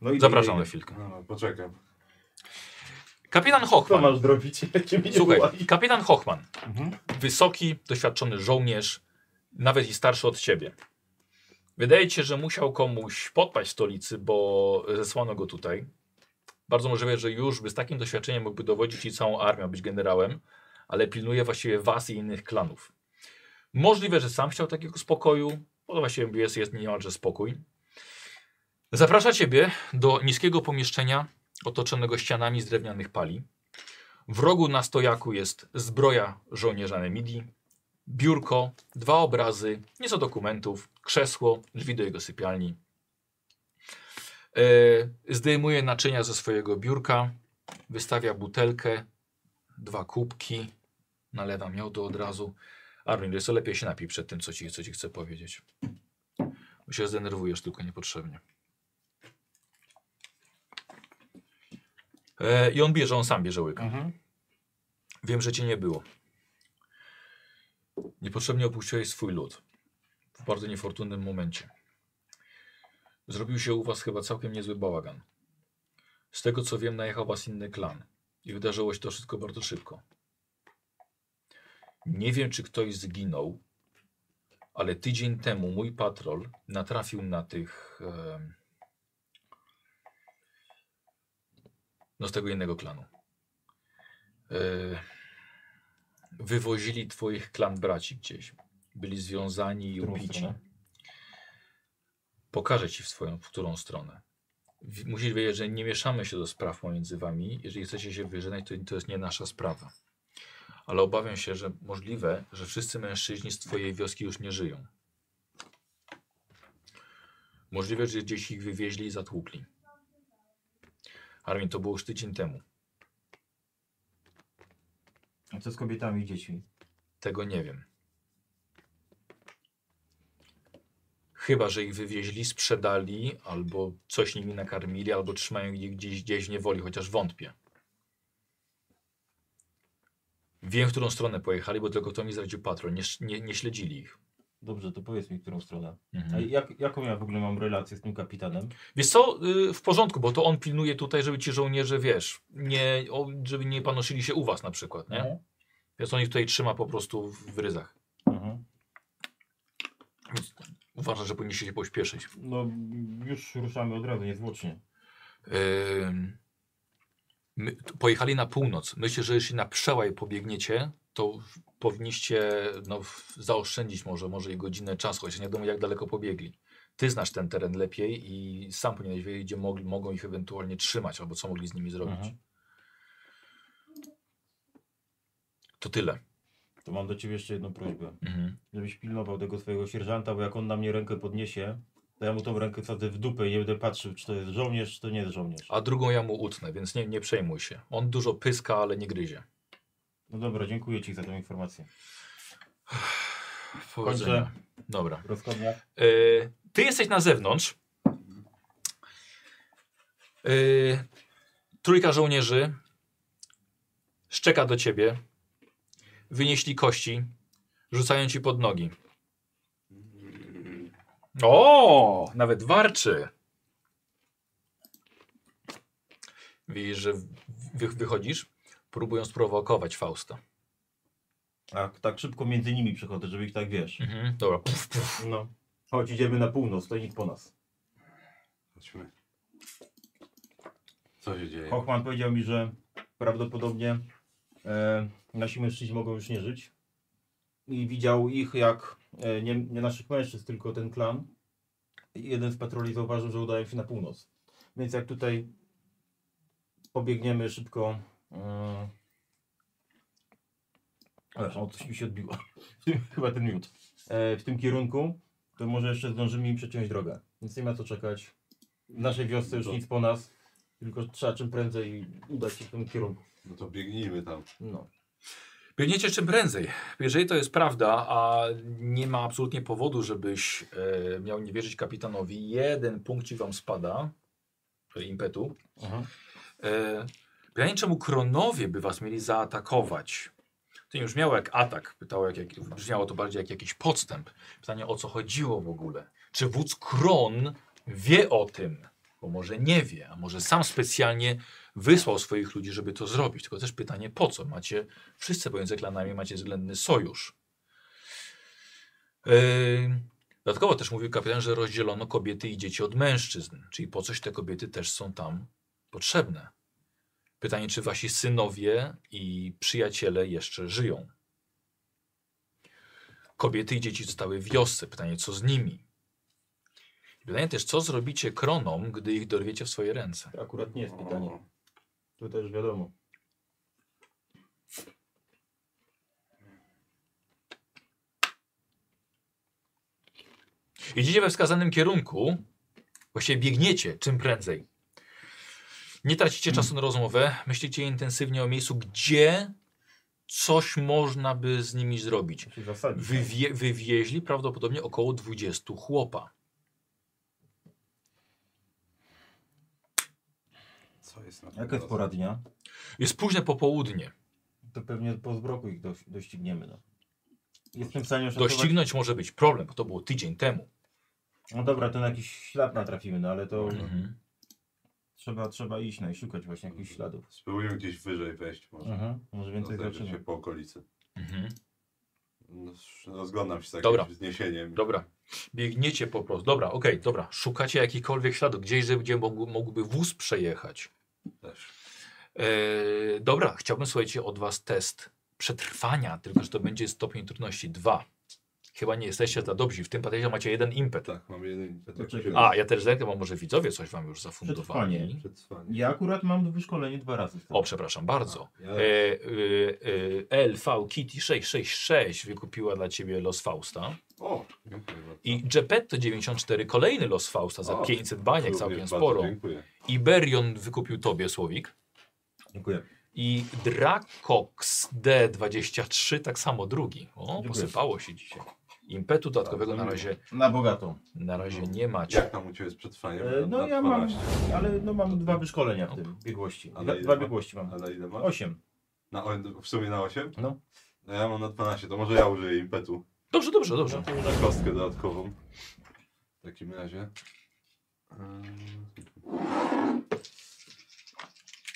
S3: No idę,
S1: Zapraszam
S3: idę,
S1: na
S3: idę.
S1: chwilkę.
S2: No, poczekam.
S1: Kapitan
S4: Co
S1: Hochman.
S4: masz zrobić, jak ciebie nie
S1: Słuchaj,
S4: woła?
S1: kapitan Hochman. Wysoki, doświadczony żołnierz, nawet i starszy od ciebie. Wydaje ci się, że musiał komuś podpaść w stolicy, bo zesłano go tutaj. Bardzo możliwe, że już by z takim doświadczeniem mógłby dowodzić i całą armią, być generałem, ale pilnuje właściwie was i innych klanów. Możliwe, że sam chciał takiego spokoju, bo właściwie jest, jest niemalże spokój. Zaprasza ciebie do niskiego pomieszczenia otoczonego ścianami z drewnianych pali. W rogu na stojaku jest zbroja żołnierza Nemidii, biurko, dwa obrazy, nieco dokumentów, krzesło, drzwi do jego sypialni. E, zdejmuje naczynia ze swojego biurka, wystawia butelkę, dwa kubki, nalewa miodu od razu. Armin, wiesz co, lepiej się napij przed tym, co ci, co ci chcę powiedzieć. Bo się zdenerwujesz tylko niepotrzebnie. E, I on bierze, on sam bierze łyka. Wiem, że cię nie było. Niepotrzebnie opuściłeś swój lud. W bardzo niefortunnym momencie. Zrobił się u was chyba całkiem niezły bałagan. Z tego co wiem, najechał was inny klan. I wydarzyło się to wszystko bardzo szybko. Nie wiem, czy ktoś zginął, ale tydzień temu mój patrol natrafił na tych. em, no z tego innego klanu. E, wywozili twoich klan braci gdzieś. Byli związani i
S4: Którą
S1: ubici.
S4: stronę?
S1: Pokażę ci w swoją, w którą stronę. W- Musisz wiedzieć, że nie mieszamy się do spraw pomiędzy wami. Jeżeli chcecie się wyżynać, to, to jest nie nasza sprawa. Ale obawiam się, że możliwe, że wszyscy mężczyźni z twojej wioski już nie żyją. Możliwe, że gdzieś ich wywieźli i zatłukli. Armin, to było już tydzień temu.
S3: A co z kobietami i dziećmi?
S1: Tego nie wiem. Chyba, że ich wywieźli, sprzedali, albo coś nimi nakarmili, albo trzymają ich gdzieś, gdzieś w niewoli, chociaż wątpię. Wiem, w którą stronę pojechali, bo tylko to mi zdradził patrol. Nie, sz- nie, nie śledzili ich.
S4: Dobrze, to powiedz mi, którą stronę.
S3: A
S1: Mhm.
S3: jak, jaką ja w ogóle mam relację z tym kapitanem?
S1: Wiesz co, y, w porządku, bo to on pilnuje tutaj, żeby ci żołnierze, wiesz, nie, o, żeby nie panoszyli się u was na przykład, nie?
S4: Mhm.
S1: Więc on ich tutaj trzyma po prostu w w ryzach.
S4: Mhm.
S1: Uważam, że powinniście się pośpieszyć.
S3: No już ruszamy od razu, niezwłocznie.
S1: Ym, My, t- pojechali na północ. Myślę, że jeśli na przełaj pobiegniecie, to w- powinniście no, w- zaoszczędzić może, może i godzinę czasu, chociaż nie wiadomo jak daleko pobiegli. Ty znasz ten teren lepiej i sam powinieneś wiedzieć, gdzie mogli, mogą ich ewentualnie trzymać albo co mogli z nimi zrobić.
S4: Mhm.
S1: To tyle.
S3: To mam do ciebie jeszcze jedną prośbę.
S1: Mhm.
S3: żebyś pilnował tego swojego sierżanta, bo jak on na mnie rękę podniesie, to ja mu tą rękę wsadzę w dupę i nie będę patrzył, czy to jest żołnierz, czy to nie jest żołnierz.
S1: A drugą ja mu utnę, więc nie, nie przejmuj się. On dużo pyska, ale nie gryzie.
S3: No dobra, dziękuję ci za tę informację.
S1: Powodzenia. Dobra.
S3: Rozkładnia.
S1: E, ty jesteś na zewnątrz. E, trójka żołnierzy szczeka do ciebie. Wynieśli kości, rzucają ci pod nogi. O, nawet warczy. Widzisz, że wy, wychodzisz, próbują sprowokować Fausta.
S3: A tak szybko między nimi przechodzę, żeby ich tak wiesz.
S1: Mhm. Dobra,
S3: No. Chodź, idziemy na północ, to nic po nas.
S2: Chodźmy. Co się dzieje?
S3: Hochman powiedział mi, że prawdopodobnie e, nasi mężczyźni mogą już nie żyć.
S4: i widział ich jak, e, nie, nie naszych mężczyzn, tylko ten klan. I jeden z patroli zauważył, że udają się na północ. Więc jak tutaj pobiegniemy szybko... e, Przepraszam, o, coś mi się odbiło. W tym, chyba ten miód. E, w tym kierunku, to może jeszcze zdążymy im przeciąć drogę. Więc nie ma co czekać. W naszej wiosce już
S2: To-
S4: nic po nas. Tylko trzeba czym prędzej udać się w tym kierunku.
S2: No to biegnijmy tam.
S4: No.
S1: Biegniecie czym prędzej. Jeżeli to jest prawda, a nie ma absolutnie powodu, żebyś e, miał nie wierzyć kapitanowi, jeden punkt ci wam spada e, impetu.
S4: Aha.
S1: E, pytanie, czemu kronowie by was mieli zaatakować? To nie brzmiało jak atak, pytało jak, jak, brzmiało to bardziej jak jakiś podstęp. Pytanie, o co chodziło w ogóle? Czy wódz Kron wie o tym? Bo może nie wie, a może sam specjalnie wysłał swoich ludzi, żeby to zrobić. Tylko też pytanie, po co? Macie, wszyscy pomiędzy klanami macie względny sojusz. E, dodatkowo też mówił kapitan, że rozdzielono kobiety i dzieci od mężczyzn. Czyli po coś te kobiety też są tam potrzebne. Pytanie, czy wasi synowie i przyjaciele jeszcze żyją? Kobiety i dzieci zostały w wiosce. Pytanie, co z nimi? I Pytanie też, co zrobicie kronom, gdy ich dorwiecie w swoje ręce?
S4: To Akurat nie jest pytanie. To też wiadomo.
S1: Jedziecie we wskazanym kierunku, właściwie biegniecie czym prędzej. Nie tracicie czasu na rozmowę, myślicie intensywnie o miejscu, gdzie coś można by z nimi zrobić.
S4: Musi zasadzić.
S1: Wywie, wywieźli prawdopodobnie około 20 chłopa.
S2: Co jest na
S6: Jaka jest pora dnia?
S1: Jest późne popołudnie.
S4: To pewnie po zbroku ich doś- dościgniemy. No. Jestem w stanie oszacować...
S1: Doścignąć może być problem, bo to było tydzień temu.
S4: No dobra, to na jakiś ślad natrafimy, no ale to
S1: Mhm.
S4: trzeba, trzeba iść no, i szukać właśnie jakichś śladów.
S2: Spróbujmy gdzieś wyżej wejść może.
S4: Mhm. Może więcej
S2: Rozejrzeć się
S4: zobaczymy.
S2: po okolicy.
S1: Mhm.
S2: No, Rozglądam się z
S1: Dobra.
S2: jakimś wzniesieniem.
S1: Dobra. Biegniecie po prostu. Dobra, okej, dobra. Szukacie jakichkolwiek śladów, gdzieś, gdzie mógł, mógłby wóz przejechać.
S2: Też.
S1: Eee, dobra, chciałbym, słuchajcie, od was test przetrwania, tylko że to będzie stopień trudności 2. Chyba nie jesteście za dobrzy. W tym patriocie macie jeden impet.
S2: Tak, mam jeden. tak
S4: Poczekaj.
S2: się-
S1: A, ja też zerknę, bo może widzowie coś wam już zafundowali.
S4: Przetrwanie.
S2: Przetrwanie.
S4: Ja akurat mam wyszkolenie dwa razy.
S1: O, przepraszam bardzo.
S2: Ja,
S1: E, e, e, LV Kitty 666 wykupiła dla ciebie los Fausta.
S2: o, dziękuję bardzo.
S1: I Geppetto 94 kolejny los Fausta za
S2: O,
S1: 500 baniek,
S2: Również
S1: całkiem
S2: bardzo
S1: sporo.
S2: Dziękuję.
S1: Iberion wykupił tobie słowik.
S6: Dziękuję.
S1: I Dracox D23 tak samo drugi. O,
S6: Dziękuję.
S1: posypało się dzisiaj. Impetu dodatkowego
S2: Bardzo
S1: na
S2: miło. No.
S1: razie,
S4: Na bogatą.
S1: na razie nie macie.
S2: Jak tam u Ciebie jest przetrwanie?
S4: E,
S2: Na-
S4: no
S2: na
S4: ja mam,
S2: 12.
S4: ale no, mam dwa wyszkolenia w tym, biegłości.
S2: Ale
S4: Dwa,
S2: ile
S4: dwa
S2: ma?
S4: biegłości mam.
S2: A na ile masz?
S4: Osiem.
S2: Na, o- w sumie na 8?
S4: No.
S2: No ja mam na 12, to może ja użyję impetu.
S1: Dobrze, dobrze,
S4: No
S1: dobrze.
S4: to już
S2: Na kostkę dodatkową. W takim razie. Eee, Ym.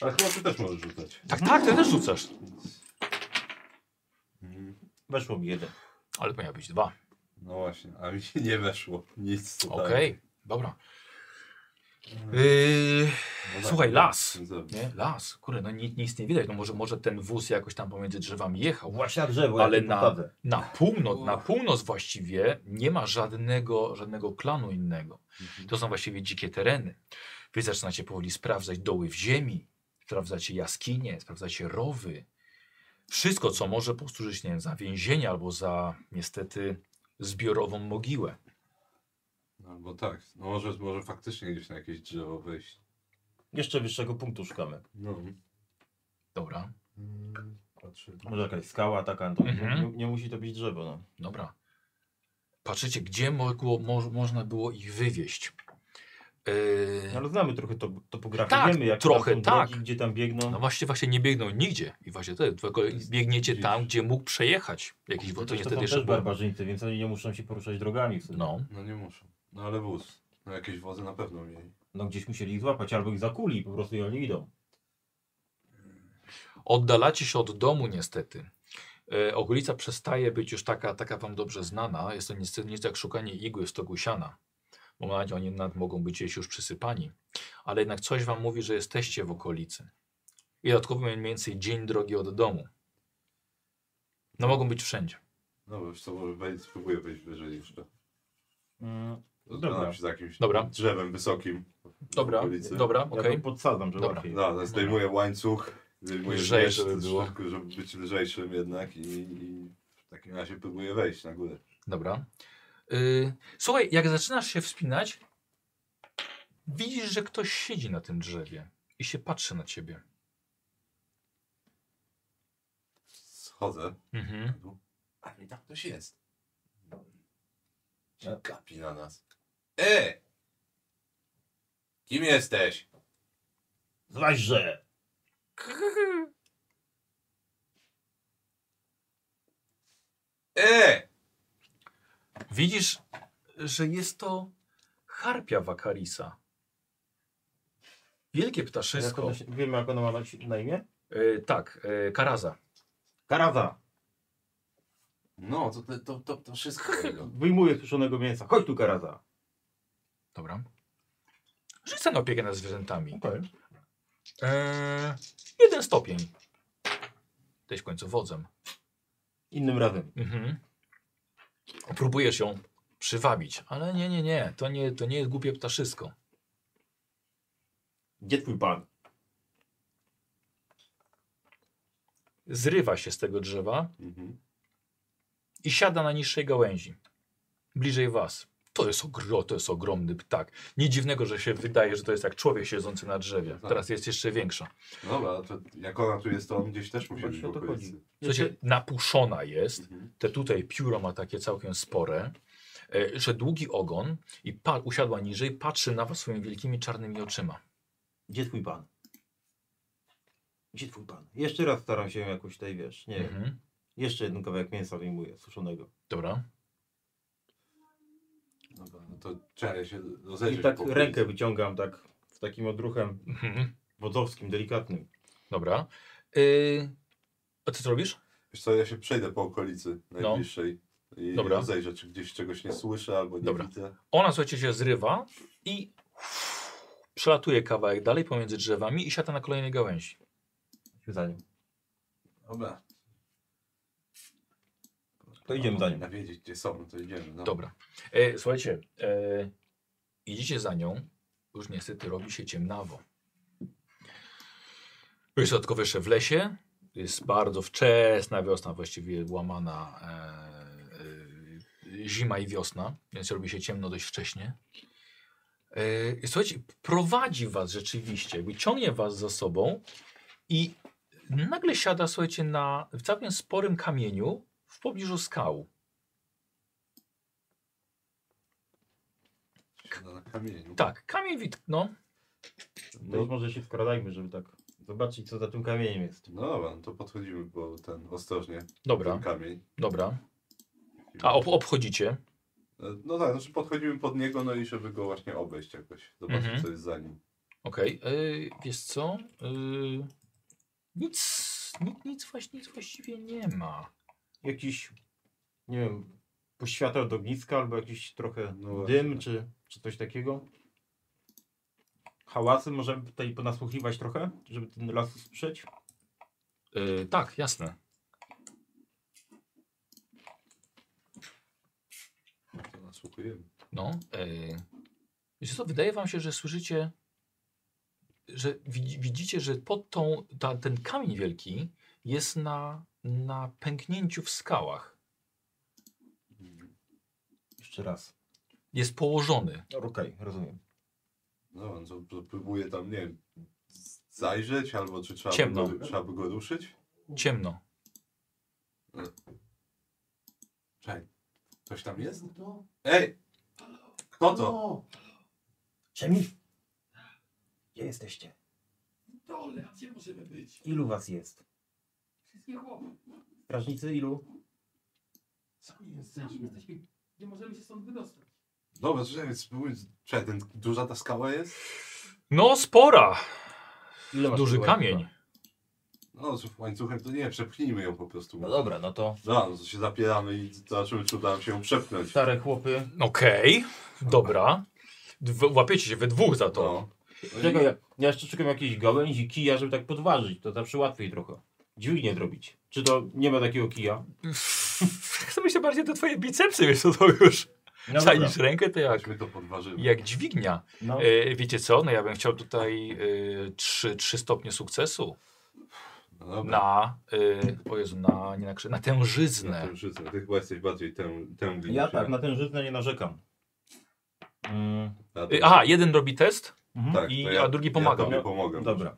S2: Ale chyba Ty też możesz rzucać.
S1: Tak, tak, ty też rzucasz.
S2: Więc... Mm,
S4: weszło mi jeden.
S1: Ale powinna być dwa.
S2: No właśnie, a mi się nie weszło. Nic tutaj. Eee,
S1: Okej, dobra. Yy,
S2: No tak,
S1: słuchaj, las.
S2: więc dobrze.
S1: nie? Las, kurde, no nic, nic nie widać. No może, może ten wóz jakoś tam pomiędzy drzewami jechał.
S4: Właśnie na drzewo,
S1: Ale
S4: ale
S1: na-
S4: na...
S1: Na północ, na północ właściwie nie ma żadnego, żadnego klanu innego.
S2: Mhm.
S1: To są właściwie dzikie tereny. Wy zaczynacie powoli sprawdzać doły w ziemi, sprawdzacie jaskinie, sprawdzacie rowy. Wszystko, co może posłużyć nie wiem, za więzienie albo za niestety zbiorową mogiłę.
S2: Albo tak, no może, może faktycznie gdzieś na jakieś drzewo wyjść.
S4: Jeszcze wyższego punktu szukamy.
S2: No.
S1: Dobra,
S2: Mm, Patrzę.
S4: Może jakaś skała taka, to
S1: Mhm.
S4: nie, nie musi to być drzewo. No.
S1: dobra. Patrzycie, gdzie mogło, mo, można było ich wywieźć. Yy,
S4: No, Ale znamy trochę to, topografię,
S1: Tak,
S4: wiemy jak
S1: trochę
S4: tam są drogi,
S1: tak.
S4: gdzie tam biegną.
S1: No właśnie, właśnie nie biegną nigdzie. I właśnie to, tylko biegniecie tam, gdzie mógł przejechać jakiś wóz. To
S4: Przecież to są
S1: niestety
S4: też
S1: jeszcze było.
S4: barbarzyńcy, więc oni nie muszą się poruszać drogami w sumie.
S1: No,
S2: No nie muszą. No ale wóz. No jakieś wozy na pewno mieli.
S4: No gdzieś musieli ich złapać, albo ich zakuli po prostu i oni idą.
S1: Oddalacie się od domu niestety. E, okolica przestaje być już taka, taka wam dobrze znana. Jest to niestety nic jak szukanie igły w stogu siana. Bo na razie oni nad mogą być gdzieś już przysypani. Ale jednak coś wam mówi, że jesteście w okolicy. I dodatkowo mniej więcej dzień drogi od domu. No mogą być wszędzie.
S2: No bo już co, może wejść, spróbuję wejść wyżej jeszcze.
S4: Mm,
S2: Zgadzam
S4: Dobra.
S2: się za jakimś
S1: Dobra.
S2: drzewem wysokim. w
S1: Dobra,
S2: okolicy.
S1: dobra,
S4: Ja
S1: okej.
S4: to podsadzam, że
S1: Dobra.
S4: łatwiej.
S2: No, ale zdejmuję łańcuch. Zdejmuję
S1: Lżej,
S2: wiesz,
S1: żeby było.
S2: żeby być lżejszym jednak i, i w takim razie próbuję wejść na górę.
S1: Dobra. Y, słuchaj, jak zaczynasz się wspinać, widzisz, że ktoś siedzi na tym drzewie i się patrzy na ciebie.
S2: Schodzę.
S1: Mhm.
S2: Ale tam ktoś jest.
S7: Ja-
S1: Tak.
S2: Kapi na nas. E! Kim jesteś?
S7: Zraźże!
S2: E!
S1: Widzisz, że jest to harpia wakarisa. Wielkie
S4: Jak
S1: ptaszysko.
S4: ona się, wiemy, jak ona ma na, si- na imię?
S1: Y, tak, y, karaza.
S4: Karaza!
S2: No, to, to, to, to wszystko. tego.
S4: Wyjmuję suszonego mięsa. Chodź tu, Karaza!
S1: Dobra. Rzucę na opiekę nad zwierzętami.
S4: Okej.
S1: Eee, jeden stopień. Jesteś w końcu wodzem.
S4: Innym razem.
S1: Mhm. Próbujesz ją przywabić, ale nie, nie, nie. To nie, to nie jest głupie ptaszysko.
S4: Gdzie twój pan?
S1: Zrywa się z tego drzewa
S2: Mhm.
S1: i siada na niższej gałęzi. Bliżej was. To jest, ogro, to jest ogromny ptak. Nie dziwnego, że się wydaje, że to jest jak człowiek siedzący na drzewie.
S2: Tak.
S1: Teraz jest jeszcze większa.
S2: Dobra, to jak ona tu jest, to on gdzieś też musi być
S4: Właśnie
S2: w
S4: o to
S2: okolicy.
S4: chodzi.
S1: W sensie napuszona jest.
S2: Mhm.
S1: Te tutaj pióro ma takie całkiem spore, e, że długi ogon i pa- usiadła niżej, patrzy na was swoimi wielkimi czarnymi oczyma.
S4: Gdzie twój pan? Gdzie twój pan? Jeszcze raz staram się jakoś tutaj, wiesz, nie wiem.
S1: Mhm.
S4: Jeszcze jeden kawałek mięsa wyjmuję, suszonego.
S1: Dobra.
S2: Dobra, no to trzeba ja się
S4: I
S2: rozejrzeć.
S4: tak
S2: po okolicy.
S4: rękę wyciągam, tak, z takim odruchem
S1: Mhm.
S4: wodzowskim, delikatnym.
S1: Dobra. Y, a co ty robisz?
S2: Wiesz co, ja się przejdę po okolicy najbliższej i
S1: No. Dobra.
S2: rozejrzę, czy gdzieś czegoś nie słyszę albo nie
S1: Dobra.
S2: widzę.
S1: Ona, słuchajcie, się zrywa i przelatuje kawałek dalej pomiędzy drzewami i siada na kolejnej gałęzi.
S4: Chodźmy za nim.
S2: Dobra.
S4: To idziemy za nim.
S2: Nawiedzieć, No, gdzie są, to idziemy. No.
S1: Dobra. E, słuchajcie, e, idziecie za nią, już niestety robi się ciemnawo. Jest dodatkowo jeszcze w lesie, jest bardzo wczesna wiosna, właściwie łamana e, e, zima i wiosna, więc robi się ciemno dość wcześnie. E, i słuchajcie, prowadzi was rzeczywiście, jakby ciągnie was za sobą i nagle siada, słuchajcie, na w całkiem sporym kamieniu w pobliżu skał.
S2: Siada na kamieniu.
S1: Tak, kamień wit, no,
S4: To już może się skradajmy, żeby tak zobaczyć, co za tym kamieniem jest.
S2: No dobra, no to podchodzimy, bo ten ostrożnie,
S1: Dobra,
S2: ten kamień.
S1: dobra. A ob obchodzicie?
S2: No tak, znaczy podchodzimy pod niego, no i żeby go właśnie obejść jakoś, zobaczyć
S1: Mhm.
S2: co jest za nim.
S1: Okej, yy, wiesz co? Yy, nic, nic, nic, właś- nic właściwie nie ma.
S4: Jakiś, nie wiem, poświateł do ogniska albo jakiś trochę
S2: No właśnie.
S4: dym czy, czy coś takiego. Hałasy możemy tutaj ponasłuchiwać trochę, żeby ten las usłyszeć.
S1: Yy, tak, jasne.
S2: No to nasłuchujemy.
S1: No, yy, wiesz co, wydaje wam się, że słyszycie, że widzi- widzicie, że pod tą, ta, ten kamień wielki jest na, na pęknięciu w skałach.
S4: Jeszcze raz.
S1: Jest położony.
S4: Okej, rozumiem.
S2: No dobra, no to, to próbuję tam, nie wiem, z- zajrzeć albo czy trzeba,
S1: Ciemno.
S2: By go, trzeba by go ruszyć.
S1: Ciemno.
S2: Czekaj, ktoś tam jest?
S5: no.
S2: Ej! Kto No to?
S4: Czemi? Gdzie jesteście?
S5: Dole, a gdzie możemy być?
S4: Ilu was jest?
S5: Wszystkie chłopy.
S4: Strażnicy ilu?
S5: Sami jesteśmy. Nie możemy się stąd wydostać.
S2: Dobra, czekaj, spróbuj. Czekaj, ten, duża ta skała jest?
S1: No, spora!
S4: Ile masz
S1: Duży
S4: tego
S1: kamień.
S4: łańcucha?
S2: No, z łańcuchem to nie, przepchnijmy ją po prostu.
S7: No dobra, no to
S2: Dobra, no to się zapieramy i zobaczymy, czy uda nam się ją przepchnąć.
S4: Stare chłopy.
S1: Okej, dobra. Dw- łapiecie się we dwóch za to.
S2: No.
S4: Czekaj, ja, ja jeszcze czekam jakiejś gałęzi, kija, żeby tak podważyć. No. To zawsze łatwiej trochę. Dźwignię zrobić. Czy to nie ma takiego kija?
S1: Chcę być troszkę bardziej te twoje bicepsy, wiesz co to już.
S4: No dobra.
S1: Czaisz rękę, to jak,
S2: Jakby to podważymy.
S1: jak dźwignia.
S4: No.
S1: E, wiecie co, no ja bym chciał tutaj e, trzy trzy stopnie sukcesu
S2: No dobra.
S1: na, e, o Jezu, na, nie na, krzy- na
S2: Na
S1: tężyznę.
S4: No
S2: tężyznę. Ty chyba jesteś bardziej tę, tę linię,
S4: Ja
S2: czy
S4: tak,
S2: nie?
S4: na tę żyznę nie narzekam. Mm,
S2: Na tę-
S1: E, aha, jeden robi test,
S3: Mhm.
S2: tak, to
S1: i-
S2: ja,
S1: a drugi pomaga.
S2: Ja tobie pomogę.
S4: dobra.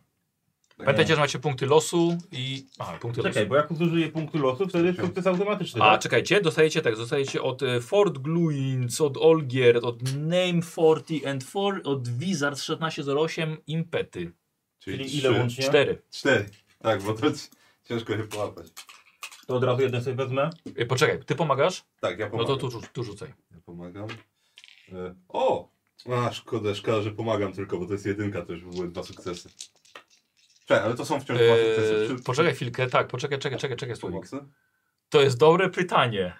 S1: pamiętajcie, że macie punkty losu i... Aha, punkty
S3: Czekaj,
S1: losu.
S3: bo jak zużyję punkty losu, wtedy jest sukces automatyczny.
S1: A,
S3: tak?
S1: czekajcie, dostajecie tak, dostajecie od e, Fort Gluins, od Olgierd, od Name 40 and 4, od Wizard 1608, Impety.
S3: Czyli
S2: trzy,
S3: ile łącznie?
S1: Cztery.
S2: Cztery. Tak, bo to c- ciężko się połapać.
S3: To od razu jeden sobie wezmę.
S1: E, Poczekaj, ty pomagasz?
S2: Tak, ja
S1: No
S2: pomagam.
S1: to tu, rzu- tu rzucaj.
S2: Ja pomagam. E, o! A, szkoda, szkoda, że pomagam tylko, bo to jest jedynka, to już by były dwa sukcesy. Czekaj, ale to są wciąż dwa sukcesy.
S1: Eee,
S2: Czy-
S1: poczekaj chwilkę, tak, poczekaj, czekaj, czekaj, czekaj, Słowik.
S2: Pomocy?
S1: To jest dobre pytanie.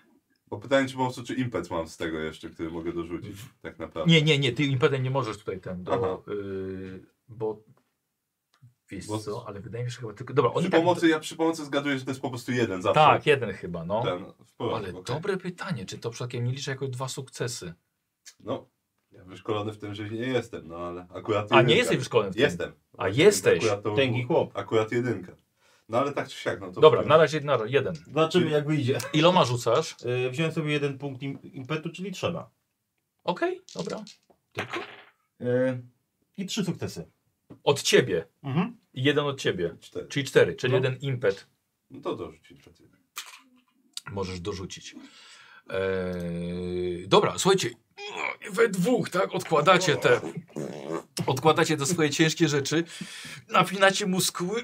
S2: Bo pytanie, czy po prostu, czy impet mam z tego jeszcze, który mogę dorzucić, tak naprawdę.
S1: Nie, nie, nie, ty impetem nie możesz tutaj ten,
S2: Aha.
S1: do, yy, bo wiesz
S2: Bo-
S1: co, ale wydaje mi się że chyba tylko, dobra,
S2: Przy
S1: oni tak,
S2: pomocy, ja przy pomocy zgaduję, że to jest po prostu jeden zawsze.
S1: tak, jeden chyba, no.
S2: Ten, w porządku,
S1: Ale
S2: okej.
S1: dobre pytanie, czy to przypadkiem nie liczy jako dwa sukcesy?
S2: No, ja wyszkolony w tym, że nie jestem, no ale akurat
S1: A nie
S2: jedynka.
S1: jesteś wyszkolony w tym?
S2: Jestem.
S1: A jesteś.
S2: Akurat, to,
S3: Tęgi chłop.
S2: akurat jedynka. No ale tak czy siak, no to...
S1: Dobra, na razie, na razie, jeden.
S3: Zobaczymy jak wyjdzie.
S1: Iloma rzucasz?
S3: Yy, wziąłem sobie jeden punkt im- impetu, czyli trzeba.
S1: Okej, dobra. Tylko?
S3: Yy, I trzy sukcesy.
S1: Od ciebie.
S3: Mhm.
S1: I Jeden od ciebie.
S2: Cztery.
S1: Czyli cztery, czyli
S3: No.
S1: jeden impet.
S2: No to dorzucić przed jedynką.
S1: możesz dorzucić. Eee, dobra, słuchajcie, we dwóch, tak, odkładacie te, odkładacie te swoje ciężkie rzeczy, napinacie muskuły.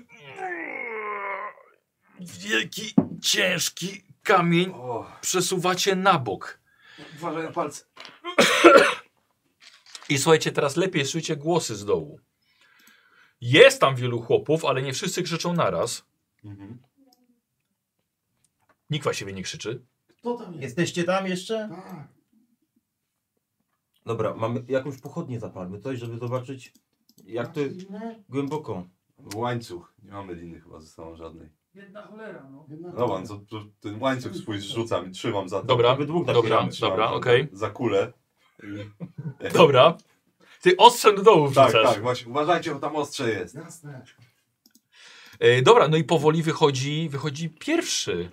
S1: Wielki, ciężki kamień
S2: O,
S1: przesuwacie na bok.
S2: uważaj na palce.
S1: I słuchajcie, teraz lepiej słyszycie głosy z dołu. Jest tam wielu chłopów, ale nie wszyscy krzyczą naraz.
S2: Mhm.
S1: Nikt właściwie nie krzyczy.
S8: Kto tam jest?
S4: Jesteście tam jeszcze?
S8: Tak.
S3: Dobra, mamy jakąś pochodnię zapalmy, coś, żeby zobaczyć jak to jest
S8: Inne?
S3: głęboko.
S2: Łańcuch. Nie mamy liny chyba ze sobą żadnej.
S8: Jedna cholera, no.
S2: No łańcuch, to- ten łańcuch swój rzucam i trzymam za to.
S1: Dobra,
S3: Jakby dwóch
S1: dobra,
S3: napieramy,
S2: Trzymam
S1: dobra,
S2: za-
S1: okej.
S2: Za kulę.
S1: Dobra. Ty ostrzem do dołu
S2: Tak,
S1: wrzucasz.
S2: tak, właśnie. Uważajcie, bo tam ostrze jest.
S8: Jasne.
S1: E, dobra, no i powoli wychodzi, wychodzi pierwszy.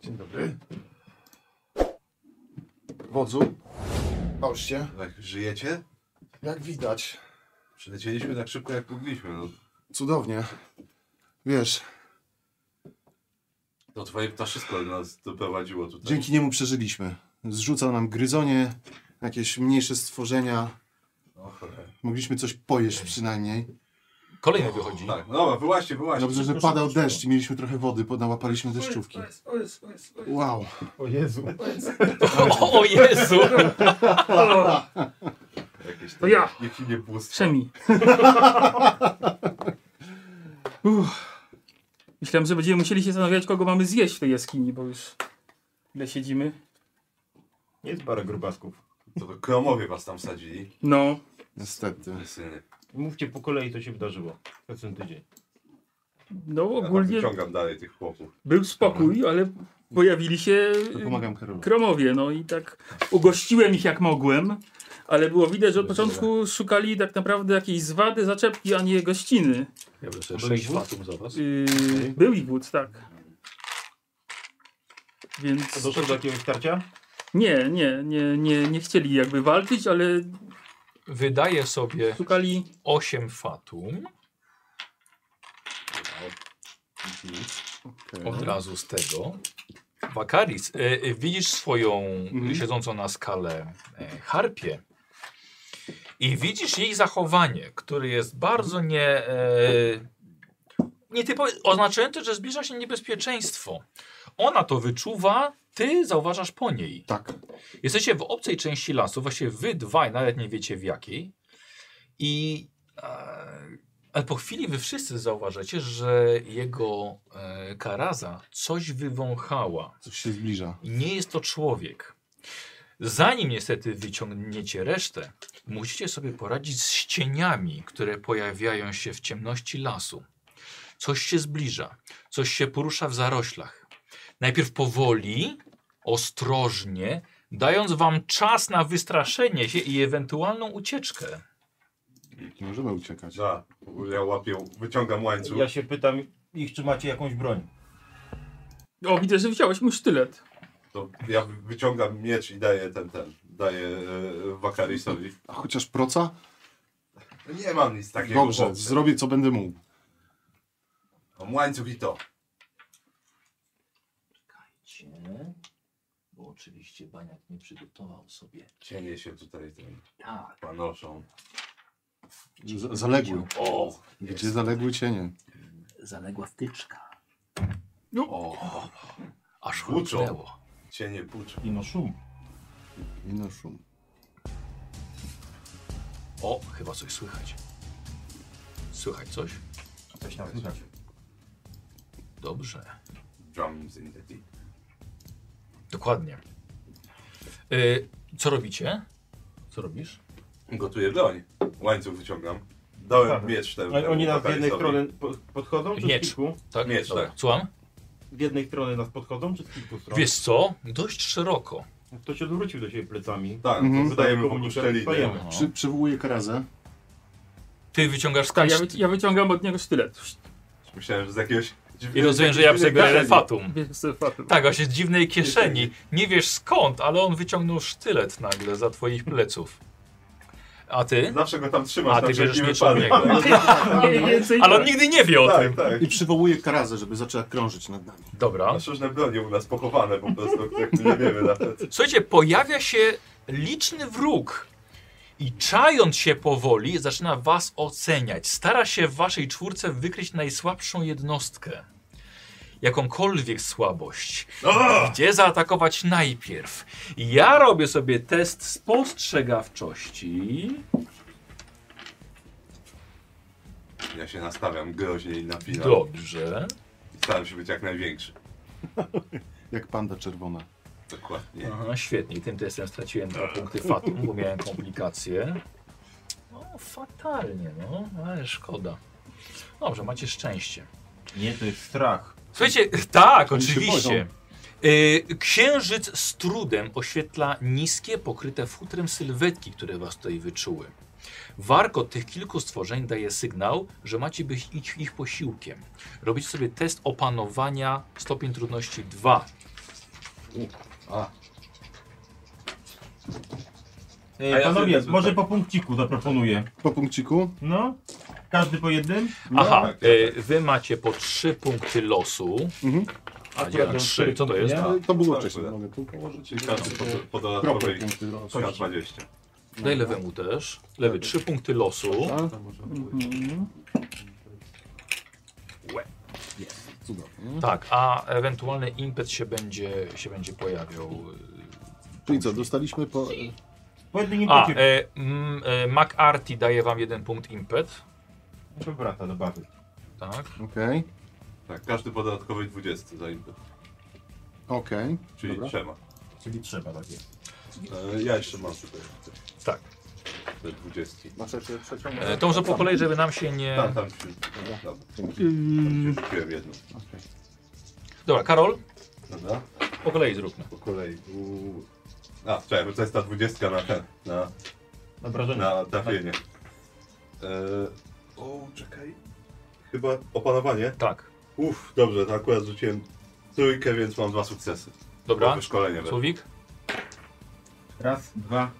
S9: Dzień dobry. Wodzu, bałż się.
S2: Tak, żyjecie?
S9: Jak widać,
S2: Przylecieliśmy tak szybko, jak mogliśmy. No,
S9: cudownie. Wiesz,
S2: to twoje ptaszysko nas doprowadziło tutaj.
S9: dzięki niemu przeżyliśmy. Zrzucał nam gryzonie, jakieś mniejsze stworzenia.
S2: O, cholera.
S9: Mogliśmy coś pojeść przynajmniej.
S1: Kolejny wychodzi.
S2: tak, no dobra, wyłaźcie, wyłaźcie.
S9: Dobrze, że padał deszcz i mieliśmy trochę wody, bo nałapaliśmy deszczówki. Wow.
S3: O Jezu.
S2: tak.
S1: O, o Jezu!
S2: Jakieś
S8: To ja.
S2: Niech im nie pustwo.
S8: Przemi. Myślałem, że będziemy musieli się zastanawiać, kogo mamy zjeść w tej jaskini, bo już ile siedzimy.
S3: Jest parę grubasków.
S2: To, to kromowie was tam sadzili.
S8: No,
S9: Niestety.
S2: Syny.
S3: Mówcie po kolei, co się wydarzyło przez ten tydzień.
S8: no
S2: Ja tam
S8: ogólnie
S2: wyciągam dalej tych chłopów.
S8: był spokój, ale pojawili się
S9: To pomagam Karolu.
S8: Kromowie, no i tak ugościłem ich jak mogłem, ale było widać, że od początku szukali tak naprawdę jakiejś zwady, zaczepki, a nie gościny.
S1: Ja bym sobie sześć fatum za was.
S8: Yy, Był ich głód, tak. Więc
S3: Doszło do jakiegoś starcia?
S8: nie, nie, nie, nie, nie chcieli jakby walczyć, ale
S1: Wydaje sobie
S8: szukali
S1: osiem fatum. Od razu z tego. Wakaris, e, e, widzisz swoją e, siedzącą na skale e, harpie i widzisz jej zachowanie, które jest bardzo nie... E, nietypowe, oznaczające, że zbliża się niebezpieczeństwo. Ona to wyczuwa, ty zauważasz po niej.
S9: Tak.
S1: Jesteście w obcej części lasu, właściwie wy dwaj, nawet nie wiecie w jakiej. I e, ale po chwili wy wszyscy zauważycie, że jego e, karaza coś wywąchała.
S9: Coś się zbliża.
S1: Nie jest to człowiek. Zanim niestety wyciągniecie resztę, musicie sobie poradzić z cieniami, które pojawiają się w ciemności lasu. Coś się zbliża, coś się porusza w zaroślach. Najpierw powoli, ostrożnie, dając wam czas na wystraszenie się i ewentualną ucieczkę.
S9: Nie możemy uciekać.
S2: Da, w ogóle ja łapię, wyciągam łańcuch.
S4: Ja się pytam ich, czy macie jakąś broń.
S8: O, widzę, że wziąłeś mu sztylet.
S2: To ja wyciągam miecz i daję ten, ten. Daję e, Wakarisowi.
S9: A chociaż proca?
S2: No Nie mam nic takiego.
S9: Dobrze,
S2: chłopcze.
S9: zrobię co będę mógł.
S2: Mam łańcuch i to.
S1: Czekajcie, bo oczywiście Baniak nie przygotował sobie.
S2: Cienie się tutaj tym
S1: Tak.
S2: panoszą.
S9: Z- Zaległy.
S1: O,
S9: Gdzie zaległy cienie?
S1: zaległa wtyczka.
S8: No.
S1: O, aż
S2: Huczą.
S1: chłodnęło.
S2: Cienie puczą.
S4: I no szum.
S9: Ino szum.
S1: O, chyba coś słychać. Słychać coś?
S4: Coś tam słychać.
S1: Dobrze.
S2: Drums in the deep.
S1: Dokładnie. Y, co robicie? Co robisz?
S2: Gotuję broń. Łańcuch wyciągam. Dałem
S3: Tak.
S2: miecz temu.
S3: A Oni nas z
S2: Wakarisowi.
S3: jednej strony po- podchodzą, czy
S1: Miecz.
S3: z kilku?
S1: Tak?
S2: Miecz,
S1: Dobra,
S2: tak. No.
S1: Słucham?
S3: Z jednej strony nas podchodzą, czy z kilku stron?
S1: Wiesz co? Dość szeroko.
S3: To się odwrócił do siebie plecami.
S2: Tak,
S9: Mhm.
S2: to wydajemy po prostu
S3: Komunikat
S2: szczelinę.
S1: No.
S3: stajemy.
S9: Przy, przywołuję Karazę.
S1: Ty wyciągasz
S8: Tak,
S1: skacz
S8: ja, wy, ja wyciągam od niego sztylet.
S2: Myślałem, że z jakiegoś...
S1: i rozumiem, że ja przegrałem
S8: Tak,
S1: fatum.
S8: Wiesz, sobie patrzę.
S1: Tak, właśnie z dziwnej kieszeni. Nie wiesz skąd, ale on wyciągnął sztylet nagle za twoich pleców. A ty?
S2: Zawsze go tam trzymasz
S1: A ty
S2: na
S1: bierzesz
S2: wszelki
S1: miecz od
S2: wypadek.
S1: niego.
S8: Mniej więcej
S1: Ale on
S8: tak.
S1: nigdy nie wie o
S2: Tak,
S1: tym.
S2: tak.
S9: I przywołuję Karazę, żeby zaczęła krążyć nad nami.
S1: Dobra.
S2: Nasze różne bronie u nas pochowane po prostu, których my nie wiemy nawet.
S1: Słuchajcie, pojawia się liczny wróg i czając się powoli zaczyna was oceniać. Stara się w waszej czwórce wykryć najsłabszą jednostkę. Jakąkolwiek słabość. Gdzie zaatakować najpierw? Ja robię sobie test spostrzegawczości.
S2: Ja się nastawiam groźnie i napinam.
S1: Dobrze.
S2: Staram się być jak największy.
S9: Jak panda czerwona. No,
S2: Dokładnie.
S1: Aha, świetnie. I tym testem straciłem dwa punkty fatum, bo miałem komplikacje. No, fatalnie, no, ale szkoda. Dobrze, macie szczęście.
S4: Nie, to jest strach.
S1: Słuchajcie, tak,
S9: Oni się
S1: oczywiście. Y, Księżyc z trudem oświetla niskie, pokryte futrem sylwetki, które was tutaj wyczuły. Warkot tych kilku stworzeń daje sygnał, że macie być ich, ich posiłkiem. Robić sobie test opanowania stopień trudności 2.
S4: E,
S2: A ja
S4: panowie,
S2: sobie-
S1: tak.
S4: może po punkciku zaproponuję.
S9: Po punkciku?
S4: No, każdy po jednym.
S1: Aha,
S2: tak, tak,
S1: y, wy macie po 3 punkty losu.
S9: Mhm.
S1: A gdzie
S4: mam
S1: 3? Co to jest?
S4: nie?
S1: A,
S9: Ale To było
S2: Tak,
S9: wcześniej. no.
S2: tak.
S9: Mogę tu położyć.
S2: Czyli każdy po, po
S9: Kropel
S2: dodatkowej
S9: punkty.
S2: na 20.
S1: Daj No lewemu też. Lewy 3 punkty losu.
S9: A?
S8: Mhm.
S2: Mhm.
S9: Cudownie.
S1: Tak, a ewentualny impet się będzie, się będzie pojawiał. y,
S9: Czyli co, dostaliśmy po...
S4: Po jednym
S1: A,
S4: impecie.
S1: e, m, e, McArty daje wam jeden punkt impet.
S4: Proszę brata do bawy.
S1: Tak.
S9: Okej,
S2: Tak, każdy po dodatkowej 20 za impet.
S9: okej.
S2: Czyli
S9: Dobra.
S2: trzema.
S4: Czyli trzeba takie.
S2: E, ja jeszcze mam tutaj
S1: tak.
S2: te 20.
S9: Macie trzecią?
S1: E, to może po kolei, żeby nam się nie.
S2: Tam, tam, się- tam, tam,
S8: Ym,
S2: się rzuciłem jedną.
S1: Dobra, Karol,
S2: Dobra,
S1: po kolei zróbmy.
S2: po kolei. U... A, czekaj, bo to jest ta 20 na ten, na,
S4: Na wrażenie.
S2: na trafienie. E, o, czekaj. Chyba opanowanie.
S1: Tak.
S2: Uff, dobrze, to akurat rzuciłem trójkę, więc mam dwa sukcesy.
S1: Dobra.
S2: Wyszkolenie.
S1: Słowik?
S4: Raz, dwa,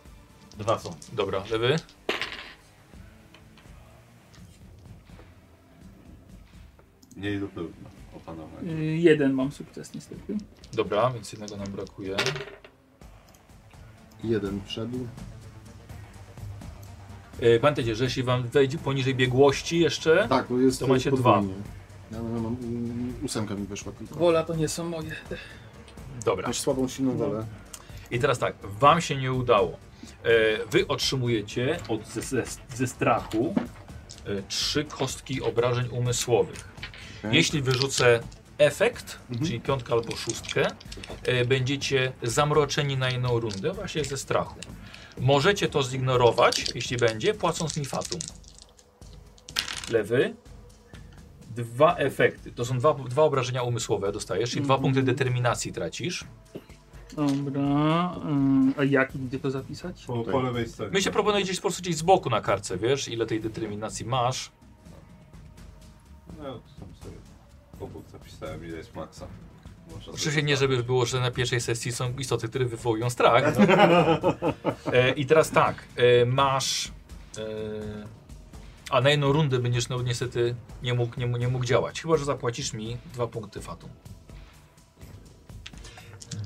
S4: dwa są.
S1: Dobra, lewy.
S2: Nie lub równo. Opanowanie.
S8: y, jeden mam sukces niestety.
S1: Dobra, więc jednego nam brakuje.
S9: Jeden wszedł.
S1: E, pamiętajcie, że jeśli wam wejdzie poniżej biegłości jeszcze.
S9: Tak, no jest
S1: To macie
S9: podwójnie. Ja no, mam, mm, ósemka mi wyszła tylko.
S8: Wola to nie są moje.
S1: Dobra.
S9: Masz słabą, silną wolę.
S1: I teraz tak, wam się nie udało. E, wy otrzymujecie od, ze, ze, ze strachu e, trzy kostki obrażeń umysłowych.
S9: Okej.
S1: Jeśli wyrzucę efekt, czyli piątkę albo szóstkę, e, będziecie zamroczeni na jedną rundę właśnie ze strachu. Możecie to zignorować, jeśli będzie, płacąc mi fatum. Lewy. dwa efekty. To są dwa, dwa obrażenia umysłowe dostajesz i dwa punkty determinacji tracisz.
S8: Dobra. ym, A jak i gdzie to zapisać?
S2: Po, po lewej stronie.
S1: My się proponuję gdzieś po prostu gdzieś z boku na kartce, wiesz, ile tej determinacji masz.
S2: No, to tam sobie obok zapisałem, ile jest maksa. tak. Można
S1: Oczywiście
S2: sobie-
S1: nie, żeby było, że na pierwszej sesji są istoty, które wywołują strach. E, I teraz tak, e, masz. E, a na jedną rundę będziesz no, niestety nie mógł, nie, mógł- nie mógł działać. Chyba, że zapłacisz mi dwa punkty fatum.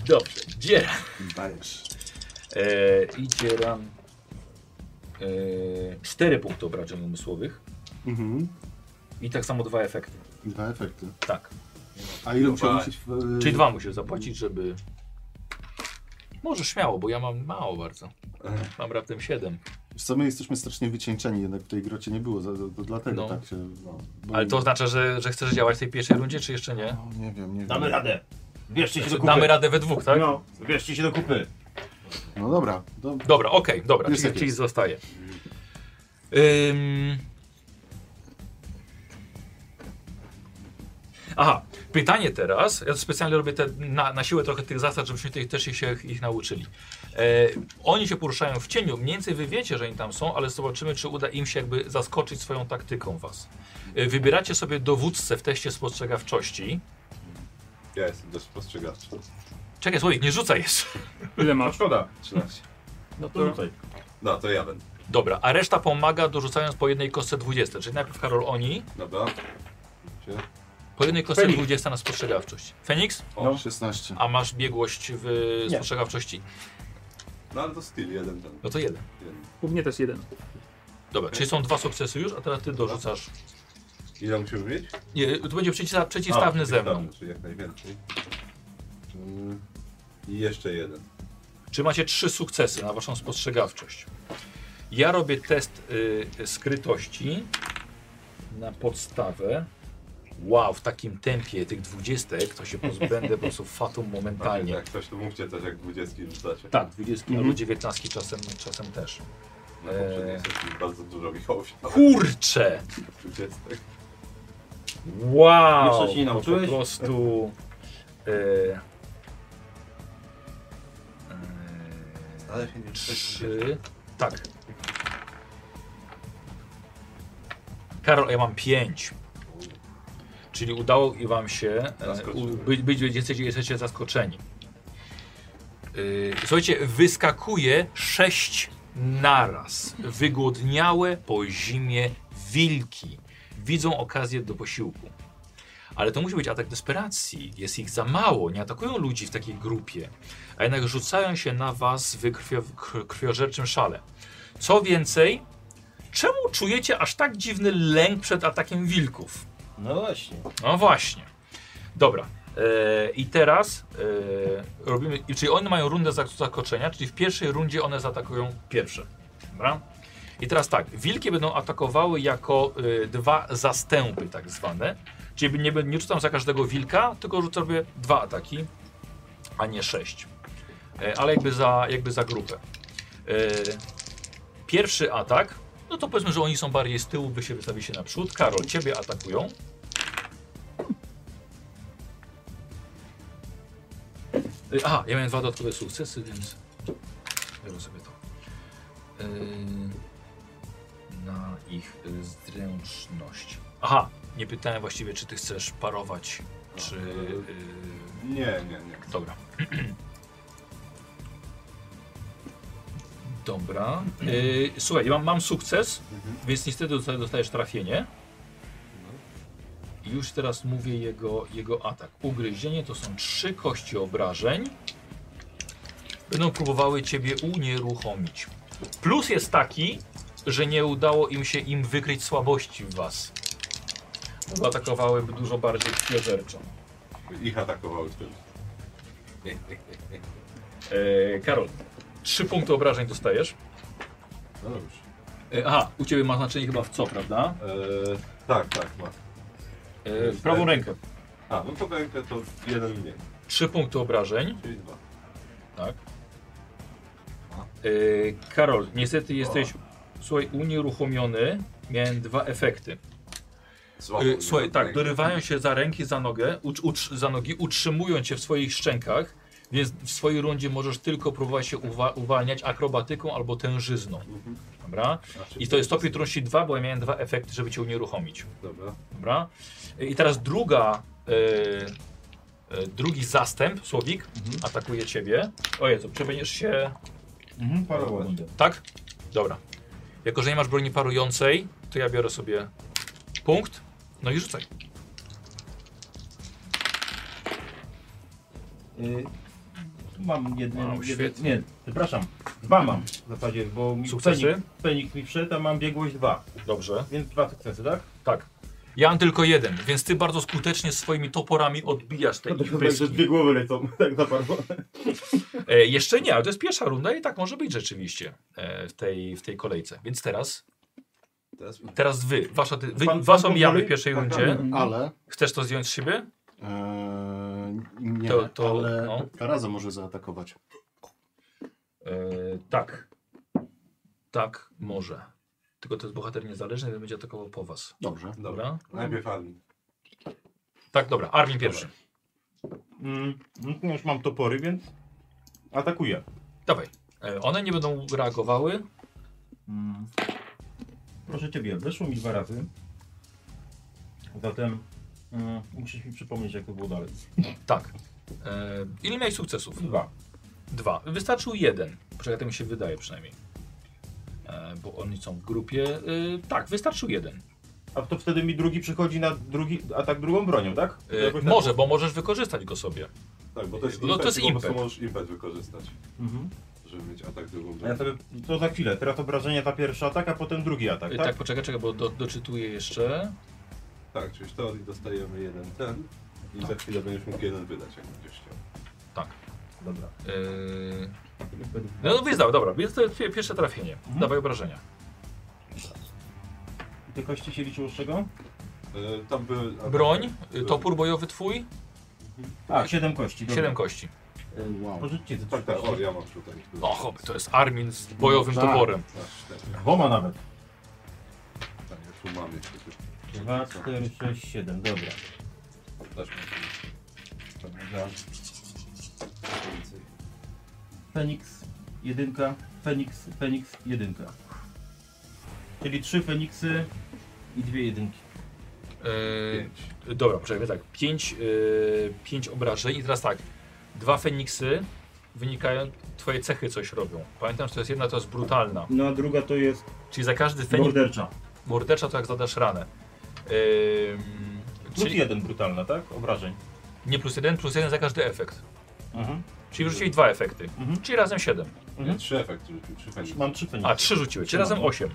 S1: Dobrze, dzieran.
S9: Dajesz.
S1: E, I dzieran. E, cztery punkty obrażeń umysłowych.
S9: Mhm.
S1: I tak samo dwa efekty.
S9: Dwa efekty.
S1: Tak.
S9: A ile musiał
S2: Dwa.
S9: musieć w...
S1: Czyli dwa musisz zapłacić, żeby. Może śmiało, bo ja mam mało bardzo. Mam raptem siedem.
S9: Wiesz co, my jesteśmy strasznie wycieńczeni, jednak w tej grocie nie było, za, to dlatego
S1: No.
S9: tak się... No, bo-
S1: Ale to oznacza, że, że chcesz działać w tej pierwszej rundzie, czy jeszcze nie?
S9: No, nie wiem, nie wiem.
S4: Damy radę. Bierzcie się do kupy.
S1: Znaczy, Damy radę we dwóch, tak?
S4: No, bierzcie się do kupy.
S9: No dobra, do...
S1: Dobra, okej, dobra,
S9: Jest
S1: czyli,
S9: tak
S1: czyli zostaje. Ym... Aha, pytanie teraz. Ja specjalnie robię te, na, na siłę trochę tych zasad, żebyśmy tych, też się ich nauczyli. E, oni się poruszają w cieniu. Mniej więcej wy wiecie, że oni tam są, ale zobaczymy, czy uda im się jakby zaskoczyć swoją taktyką was. E, wybieracie sobie dowódcę w teście spostrzegawczości.
S2: Ja jestem dość spostrzegawczy.
S1: Czekaj, słowik, nie rzucaj jeszcze.
S8: Ile masz?
S4: Szkoda.
S2: 13.
S1: No
S4: To rzucaj.
S2: No, to ja będę.
S1: Dobra, a reszta pomaga dorzucając po jednej kostce 20. Czyli najpierw Karol oni,
S2: Dobra. Gdzie?
S1: po jednej kostce
S8: Feniks.
S1: 20 na spostrzegawczość. Feniks,
S2: O,
S4: No.
S9: 16.
S1: a masz biegłość w e, spostrzegawczości?
S2: No ale to skill, jeden ten.
S1: No to jeden.
S2: Jeden.
S8: U mnie też jeden.
S1: Dobra, czyli są dwa sukcesy już, a teraz ty dorzucasz.
S2: Ile musimy mieć?
S1: Nie, to będzie przeciwsta- przeciwstawny
S2: A,
S1: ze mną.
S2: przeciwstawny, Czyli jak najwięcej. Mm, I jeszcze jeden.
S1: Czy macie trzy sukcesy na waszą spostrzegawczość? Ja robię test y, skrytości na podstawę. Wow, w takim tempie tych dwudziestek to się pozbędę po prostu fatum momentalnie.
S2: Jak ktoś to mówcie też jak dwudziestki rzucacie.
S1: Tak, 20 albo 19 czasem, czasem też.
S2: Na poprzedniej
S1: Eee.
S2: sesji bardzo dużo Michał się
S1: Kurcze!
S2: dwudziestek.
S1: Wow!
S4: Jeszcze się nie nauczyłeś?
S1: Po prostu... E, e,
S2: Ale się nie
S1: e, trzy... Tak. Karol, a ja mam pięć. Czyli udało i wam się e,
S2: Zaskoczyłem.
S1: u- być, być jesteście, jesteście zaskoczeni. E, słuchajcie, wyskakuje sześć naraz. Wygłodniałe po zimie wilki. Widzą okazję do posiłku. Ale to musi być atak desperacji. Jest ich za mało. Nie atakują ludzi w takiej grupie. A jednak rzucają się na was w krwio, kr- krwiożerczym szale. Co więcej, czemu czujecie aż tak dziwny lęk przed atakiem wilków?
S4: No właśnie.
S1: No właśnie. Dobra. E, I teraz e, robimy. i- Czyli one mają rundę zak- zakoczenia, czyli w pierwszej rundzie one zaatakują pierwsze. Dobra? I teraz tak, wilki będą atakowały jako e, dwa zastępy, tak zwane. Czyli nie, bę- nie rzucam za każdego wilka, tylko rzucę sobie dwa ataki, a nie sześć. E, ale jakby za, jakby za grupę. E, pierwszy atak, no to powiedzmy, że oni są bardziej z tyłu, by się wystawili się naprzód. Karol, ciebie atakują. Y, Aha, ja miałem dwa dodatkowe sukcesy, więc biorę sobie to. Y, Na ich y, zręczność. Aha, nie pytałem właściwie, czy ty chcesz parować, czy... y,
S2: Nie, nie, nie.
S1: Dobra. Dobra. Yy, słuchaj, ja mam, mam sukces, więc niestety dosta- dostajesz trafienie. I Już teraz mówię jego, jego atak. Ugryzienie to są trzy kości obrażeń. Będą próbowały ciebie unieruchomić. Plus jest taki, że nie udało im się im wykryć słabości w was. Bo atakowałyby dużo bardziej krwiożerczo.
S2: Ich atakowały wtedy.
S1: E, Karol, trzy punkty obrażeń dostajesz.
S2: No dobrze.
S1: E, aha, u ciebie ma znaczenie chyba w co, prawda?
S2: Eee, tak, tak, ma.
S1: E, w prawą rękę.
S2: A, no to rękę to jeden mniej,
S1: Trzy punkty obrażeń.
S2: czyli dwa.
S1: Tak. E, Karol, niestety jesteś, słuchaj, unieruchomiony. Miałem dwa efekty.
S2: Złapał
S1: Y,
S2: mnie
S1: Słuchaj,
S2: od
S1: tak,
S2: ręki.
S1: dorywają się za ręki, za nogę, ucz, utrz, za nogi, utrzymują cię w swoich szczękach, więc w swojej rundzie możesz tylko próbować się uwa uwalniać akrobatyką albo tężyzną. Dobra? I to jest stopień trudności 2, bo ja miałem dwa efekty, żeby cię unieruchomić.
S2: Dobra.
S1: Dobra? I teraz druga, e, e, drugi zastęp, Słowik, atakuje ciebie. O Jezu, przebędziesz się...
S4: Mhm, parowanie.
S1: Tak? Dobra. Jako, że nie masz broni parującej, to ja biorę sobie punkt. No i rzucaj.
S4: Y, mam jeden,
S1: Wow,
S4: jeden
S1: świetnie.
S4: nie, przepraszam, dwa mam w zasadzie, bo mi
S1: Sukcesy?
S4: Fenik, Fenik mi wszedł, a mam biegłość dwa,
S1: Dobrze.
S4: więc dwa sukcesy, tak?
S1: Tak. Ja mam tylko jeden, więc ty bardzo skutecznie swoimi toporami odbijasz
S4: No
S1: te ich pyski.
S4: głowy lecą, tak za parowanie.
S1: E, jeszcze nie, ale to jest pierwsza runda i tak może być rzeczywiście e, w, tej, w tej kolejce. Więc teraz,
S2: Teraz mi-
S1: teraz wy, wasza, ty, wy,
S4: Pan-
S1: was
S4: pan
S1: omijamy w
S4: powoli?
S1: pierwszej
S2: Tak,
S1: rundzie.
S9: Ale.
S1: Chcesz to zdjąć z siebie?
S9: Eee, nie,
S1: To- to-
S9: ale
S1: no.
S9: Karaza może zaatakować.
S1: E, tak. Tak, może. Tylko to jest bohater niezależny, więc będzie atakował po was.
S9: Dobrze.
S2: Dobra.
S1: Dobra?
S2: Najpierw Armin.
S1: Tak, dobra. Armin pierwszy.
S4: Mm, no to już mam topory, więc atakuję.
S1: Dawaj. E, one nie będą reagowały.
S4: Mm. Proszę Ciebie, weszło mi dwa razy, zatem mm, musisz mi przypomnieć jak to było dalej.
S1: Tak. E, ile miałeś sukcesów?
S4: Dwa.
S1: Dwa. Wystarczył jeden. Poczekaj, to mi się wydaje przynajmniej. E, bo oni są w grupie. E, tak, wystarczył jeden.
S4: A to wtedy mi drugi przychodzi na drugi atak drugą bronią, tak? To
S1: E,
S4: jakoś tak-
S1: może, bo możesz wykorzystać go sobie.
S2: Tak, bo to jest
S1: No to
S2: impet,
S1: jest
S2: i po prostu
S1: impet.
S2: możesz impet wykorzystać,
S4: Mhm.
S2: żeby mieć atak drugą
S4: A Ja sobie, to za chwilę, teraz obrażenia ta pierwsza atak, a potem drugi atak,
S1: E,
S4: tak?
S1: tak, poczekaj, czekaj, bo do, doczytuję jeszcze.
S2: Tak, czyli w teorii dostajemy jeden ten i za chwilę będziesz mógł jeden wydać, jak będziesz chciał.
S4: Dobra.
S1: E, no, no wyznał, dobra, więc to jest pie- pierwsze trafienie.
S4: Mhm.
S1: Dawaj obrażenia.
S4: I Te kości się liczyło z czego?
S2: E, Tam były... a-
S1: Broń,
S4: Y,
S1: e, topór bojowy twój,
S4: A, siedem kości. dobra.
S1: Tak. siedem kości.
S9: Eee, wow.
S4: Porzućcie te
S2: Tak, tak, o, ja mam tutaj.
S1: O, hop, to jest Armin z bojowym
S9: No tak.
S1: toporem.
S2: Aż cztery.
S4: Dwoma nawet.
S2: Tak, już mam jeszcze.
S4: Dwa, cztery, sześć, siedem, dobra.
S2: Też mam.
S4: Dobra. Feniks, jedynka, Feniks, Feniks, jedynka. Czyli trzy Feniksy i dwie jedynki.
S1: E,
S2: Pięć.
S1: Dobra, poczekaj, tak. Pięć, yy, pięć obrażeń i teraz tak. Dwa Feniksy wynikają, twoje cechy coś robią. Pamiętam, że to jest jedna, to jest brutalna.
S4: No a druga to jest
S1: Czyli za każdy Feniks
S4: mordercza.
S1: mordecza to jak zadasz ranę. Ym,
S4: Plus
S1: czyli
S4: jeden brutalna, tak? Obrażeń.
S1: nie plus jeden, plus jeden za każdy efekt.
S4: Mhm.
S1: Czyli wrzucili dwa efekty,
S4: Mhm.
S1: czyli razem siedem.
S2: Nie, Trzy efekty, rzucił, trzy fajne.
S4: Tak, Mam trzy no Feniksy.
S1: A, trzy rzuciły, czyli razem osiem.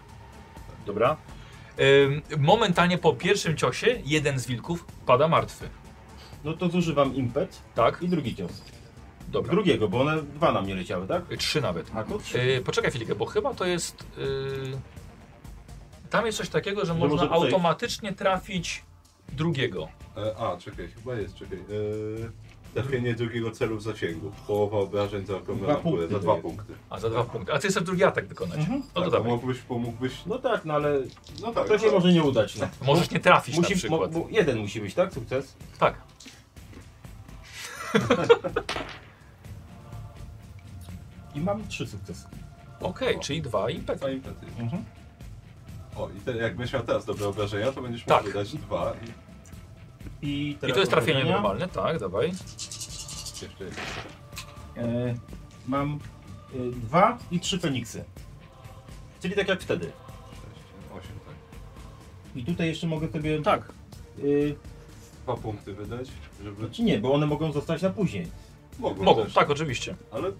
S1: Dobra. Ym, momentalnie po pierwszym ciosie jeden z wilków pada martwy.
S4: No to zużywam impet
S1: Tak?
S4: i drugi cios.
S1: Dobra.
S4: Drugiego, bo one dwa na mnie leciały, tak?
S1: Y, Trzy nawet.
S4: A to trzy.
S1: Yy, poczekaj chwilkę, bo chyba to jest. Yy, tam jest coś takiego, że można
S4: może przejść.
S1: automatycznie trafić drugiego.
S2: E, A, czekaj, chyba jest, czekaj. E, Trafienie drugiego celu w zasięgu. Połowa obrażeń za
S4: Dwa
S2: okrągloną pulę,
S4: punkty
S2: za
S4: to
S2: dwa
S4: jest.
S2: punkty.
S1: A za dwa punkty. A ty chcesz drugi atak wykonać.
S4: Mhm.
S1: No to
S2: tak,
S1: dawaj.
S2: Mógłbyś, pomógłbyś...
S4: No tak, no ale
S2: No tak.
S4: to się
S2: tak.
S4: może nie udać. No.
S1: Możesz nie trafić
S4: Musi,
S1: na przykład.
S4: mo- bo jeden musi być, tak? Sukces.
S1: Tak.
S4: I mam trzy sukcesy.
S1: Okej, czyli dwa impety.
S2: Dwa impety.
S4: Mhm.
S2: O, i te, jak będziesz miał teraz dobre obrażenia, to będziesz
S1: Tak.
S2: mógł wydać dwa i
S4: I,
S1: I
S4: teraz
S1: to jest trafienie
S4: obrażenia.
S1: normalne, tak, dawaj.
S2: jeszcze jeden.
S4: E, mam e, dwa i trzy Feniksy. Czyli tak jak wtedy.
S2: Sześć, osiem, tak.
S4: I tutaj jeszcze mogę sobie...
S8: Tak.
S4: Y,
S2: Dwa punkty wydać, żeby...
S4: znaczy nie, bo one mogą zostać na później.
S2: Mogą,
S1: Mogą,
S2: też,
S1: tak, oczywiście.
S2: Ale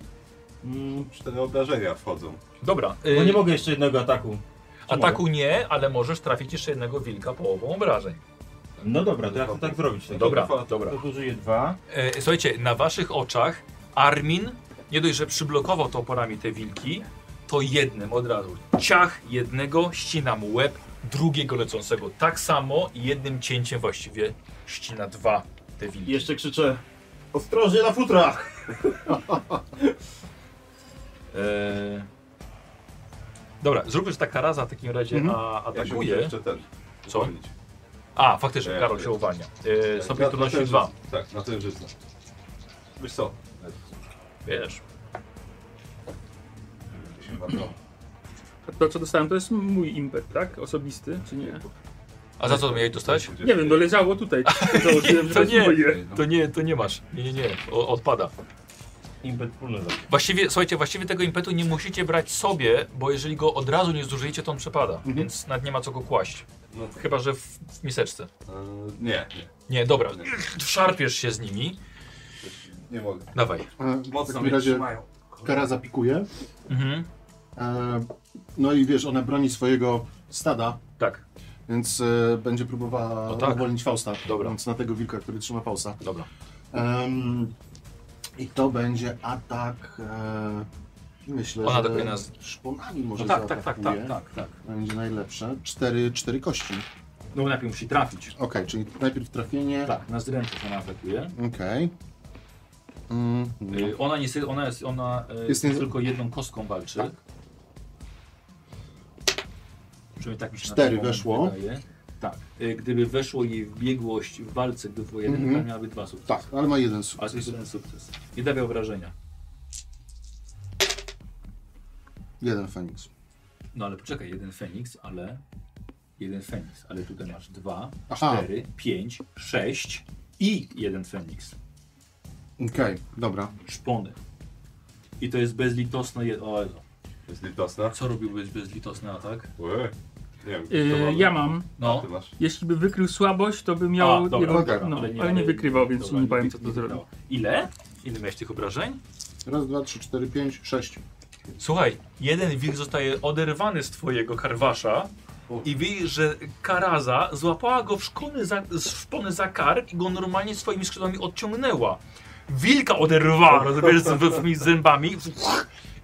S4: Mm,
S2: cztery obrażenia wchodzą.
S1: Dobra.
S4: bo
S1: y,
S4: nie mogę jeszcze jednego ataku. Czy
S1: ataku nie, ale możesz trafić jeszcze jednego wilka połową obrażeń.
S4: mogę? No dobra, to ja chcę tak zrobić. Tak.
S1: Dobra,
S2: trwa-
S1: dobra.
S4: To zużyję dwa.
S1: E, słuchajcie, na waszych oczach Armin nie dość, że przyblokował toporami te wilki, to jednym od razu ciach jednego ścina mu łeb, drugiego lecącego tak samo i jednym cięciem właściwie ścina dwa te wilki.
S4: Jeszcze krzyczę Ostrożnie na futrach!
S1: E... Dobra, zróbmy, że ta karaza w takim razie
S9: Mhm.
S1: a,
S2: Ja się
S1: atakuje.
S2: muszę jeszcze ten...
S1: Co?
S2: uwolnić.
S1: A, faktycznie,
S2: E,
S1: Karol się uwalnia. E, sobie
S2: Na- na
S1: trudności
S2: tężyznę.
S1: dwa.
S2: Tak, na tężyznę. Wiesz co?
S1: Wiesz.
S8: To, co dostałem, to jest mój impet, tak? Osobisty, czy nie?
S1: A za co miałeś dostać?
S8: Nie wiem, no leżało tutaj. Założyłem,
S1: To
S8: że to jest
S1: nie.
S8: moje.
S1: To nie, to nie masz. Nie, nie, nie. O, odpada.
S4: Impet wspólny zawsze.
S1: Właściwie, słuchajcie, właściwie tego impetu nie musicie brać sobie, bo jeżeli go od razu nie zużyjecie, to on przepada. Więc nawet nie ma co go kłaść.
S2: No.
S1: Chyba, że w, w miseczce.
S2: E, Nie, nie.
S1: Nie, dobra.
S2: Nie.
S1: Szarpiesz się z nimi.
S2: Nie mogę.
S1: Dawaj.
S9: E, w
S2: Mocno
S9: takim
S2: mnie
S9: razie
S2: trzymają.
S9: kara zapikuje.
S1: Mhm.
S9: E, no i wiesz, ona broni swojego stada,
S1: Tak,
S9: więc e, będzie próbowała
S1: No tak.
S9: uwolnić Fausta.
S1: Dobra.
S9: Więc na tego wilka, który trzyma Fausta.
S1: dobra.
S9: Em, I to będzie atak. E, myślę,
S1: Ona
S9: że
S1: atakuje nas.
S9: szponami może
S1: No tak, tak, tak,
S9: zaatakuje.
S1: tak,
S4: Tak, tak.
S9: Będzie najlepsze. Cztery, cztery kości.
S4: No bo najpierw musi trafić.
S9: Okej, czyli najpierw trafienie.
S4: Tak, na zręczność ona atakuje.
S9: Okej. Mm,
S1: Y, Ona niestety, ona jest, ona y,
S9: Jest nie- Tak.
S1: tylko jedną kostką walczy. Przynajmniej tak mi się na ten
S9: Cztery
S1: moment
S9: weszło.
S1: wydaje. Tak. Y, Gdyby weszło jej w biegłość w walce, gdy było jeden, to miałaby dwa sukcesy.
S9: tak, ale ma jeden
S1: Ale to
S9: sukces.
S1: jest jeden sukces. Nie dawia obrażenia.
S9: Jeden Feniks.
S1: No ale poczekaj, jeden Feniks, ale... Jeden Feniks, ale tutaj masz dwa,
S9: Aha.
S1: cztery, pięć, sześć i jeden Feniks.
S9: Okej, dobra.
S1: Szpony. I to jest bezlitosne... Je... O, Jezu.
S2: Jest litosna.
S1: co robiłbyś bezlitosny atak?
S2: Łe. Nie wiem. to
S8: Yy,
S2: mamy.
S8: ja mam.
S1: No.
S9: Tak.
S2: Ty masz.
S8: Jeśli by wykrył słabość, to by miał.
S1: A, dobra,
S8: jego,
S9: dobra,
S8: no, ale, nie,
S1: ale-
S8: wykrywał, więc
S1: dobra,
S8: nie powiem, co
S1: wy-
S8: to zrobił.
S1: wykrywało. Ile? Ile miałeś tych obrażeń?
S9: Raz, dwa, trzy, cztery, pięć, sześć.
S1: Słuchaj, jeden wilk zostaje oderwany z twojego karwasza i widzisz, że karaza złapała go w szpony za, z szpony za kark i go normalnie swoimi skrzydłami odciągnęła. Wilka oderwała rozumiesz, z z- z zębami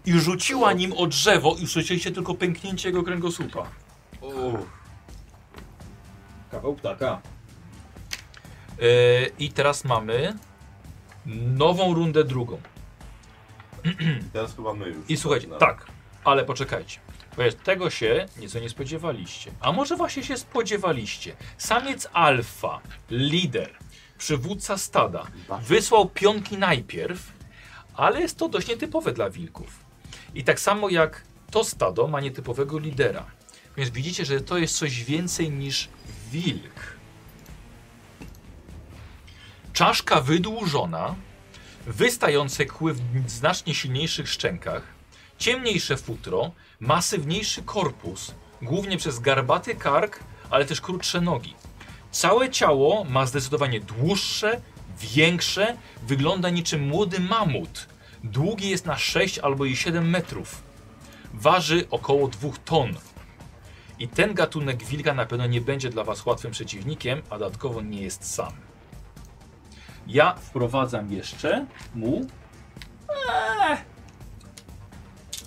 S1: i rzuciła nim o drzewo i usłyszeliście tylko pęknięcie jego kręgosłupa.
S4: Kawał ptaka.
S1: E, I teraz mamy nową rundę drugą.
S2: Teraz chyba my już.
S1: I słuchajcie,
S2: No.
S1: tak, ale poczekajcie. Bo jest- tego się nieco nie spodziewaliście. A może właśnie się spodziewaliście. Samiec alfa, lider, przywódca stada, wysłał pionki najpierw, ale jest to dość nietypowe dla wilków. I tak samo jak to stado ma nietypowego lidera. Więc widzicie, że to jest coś więcej niż wilk. Czaszka wydłużona, wystające kły w znacznie silniejszych szczękach, ciemniejsze futro, masywniejszy korpus, głównie przez garbaty kark, ale też krótsze nogi. Całe ciało ma zdecydowanie dłuższe, większe, wygląda niczym młody mamut. Długi jest na 6 albo i 7 metrów. Waży około 2 ton. I ten gatunek wilka na pewno nie będzie dla Was łatwym przeciwnikiem, a dodatkowo nie jest sam. Ja wprowadzam jeszcze mu eee,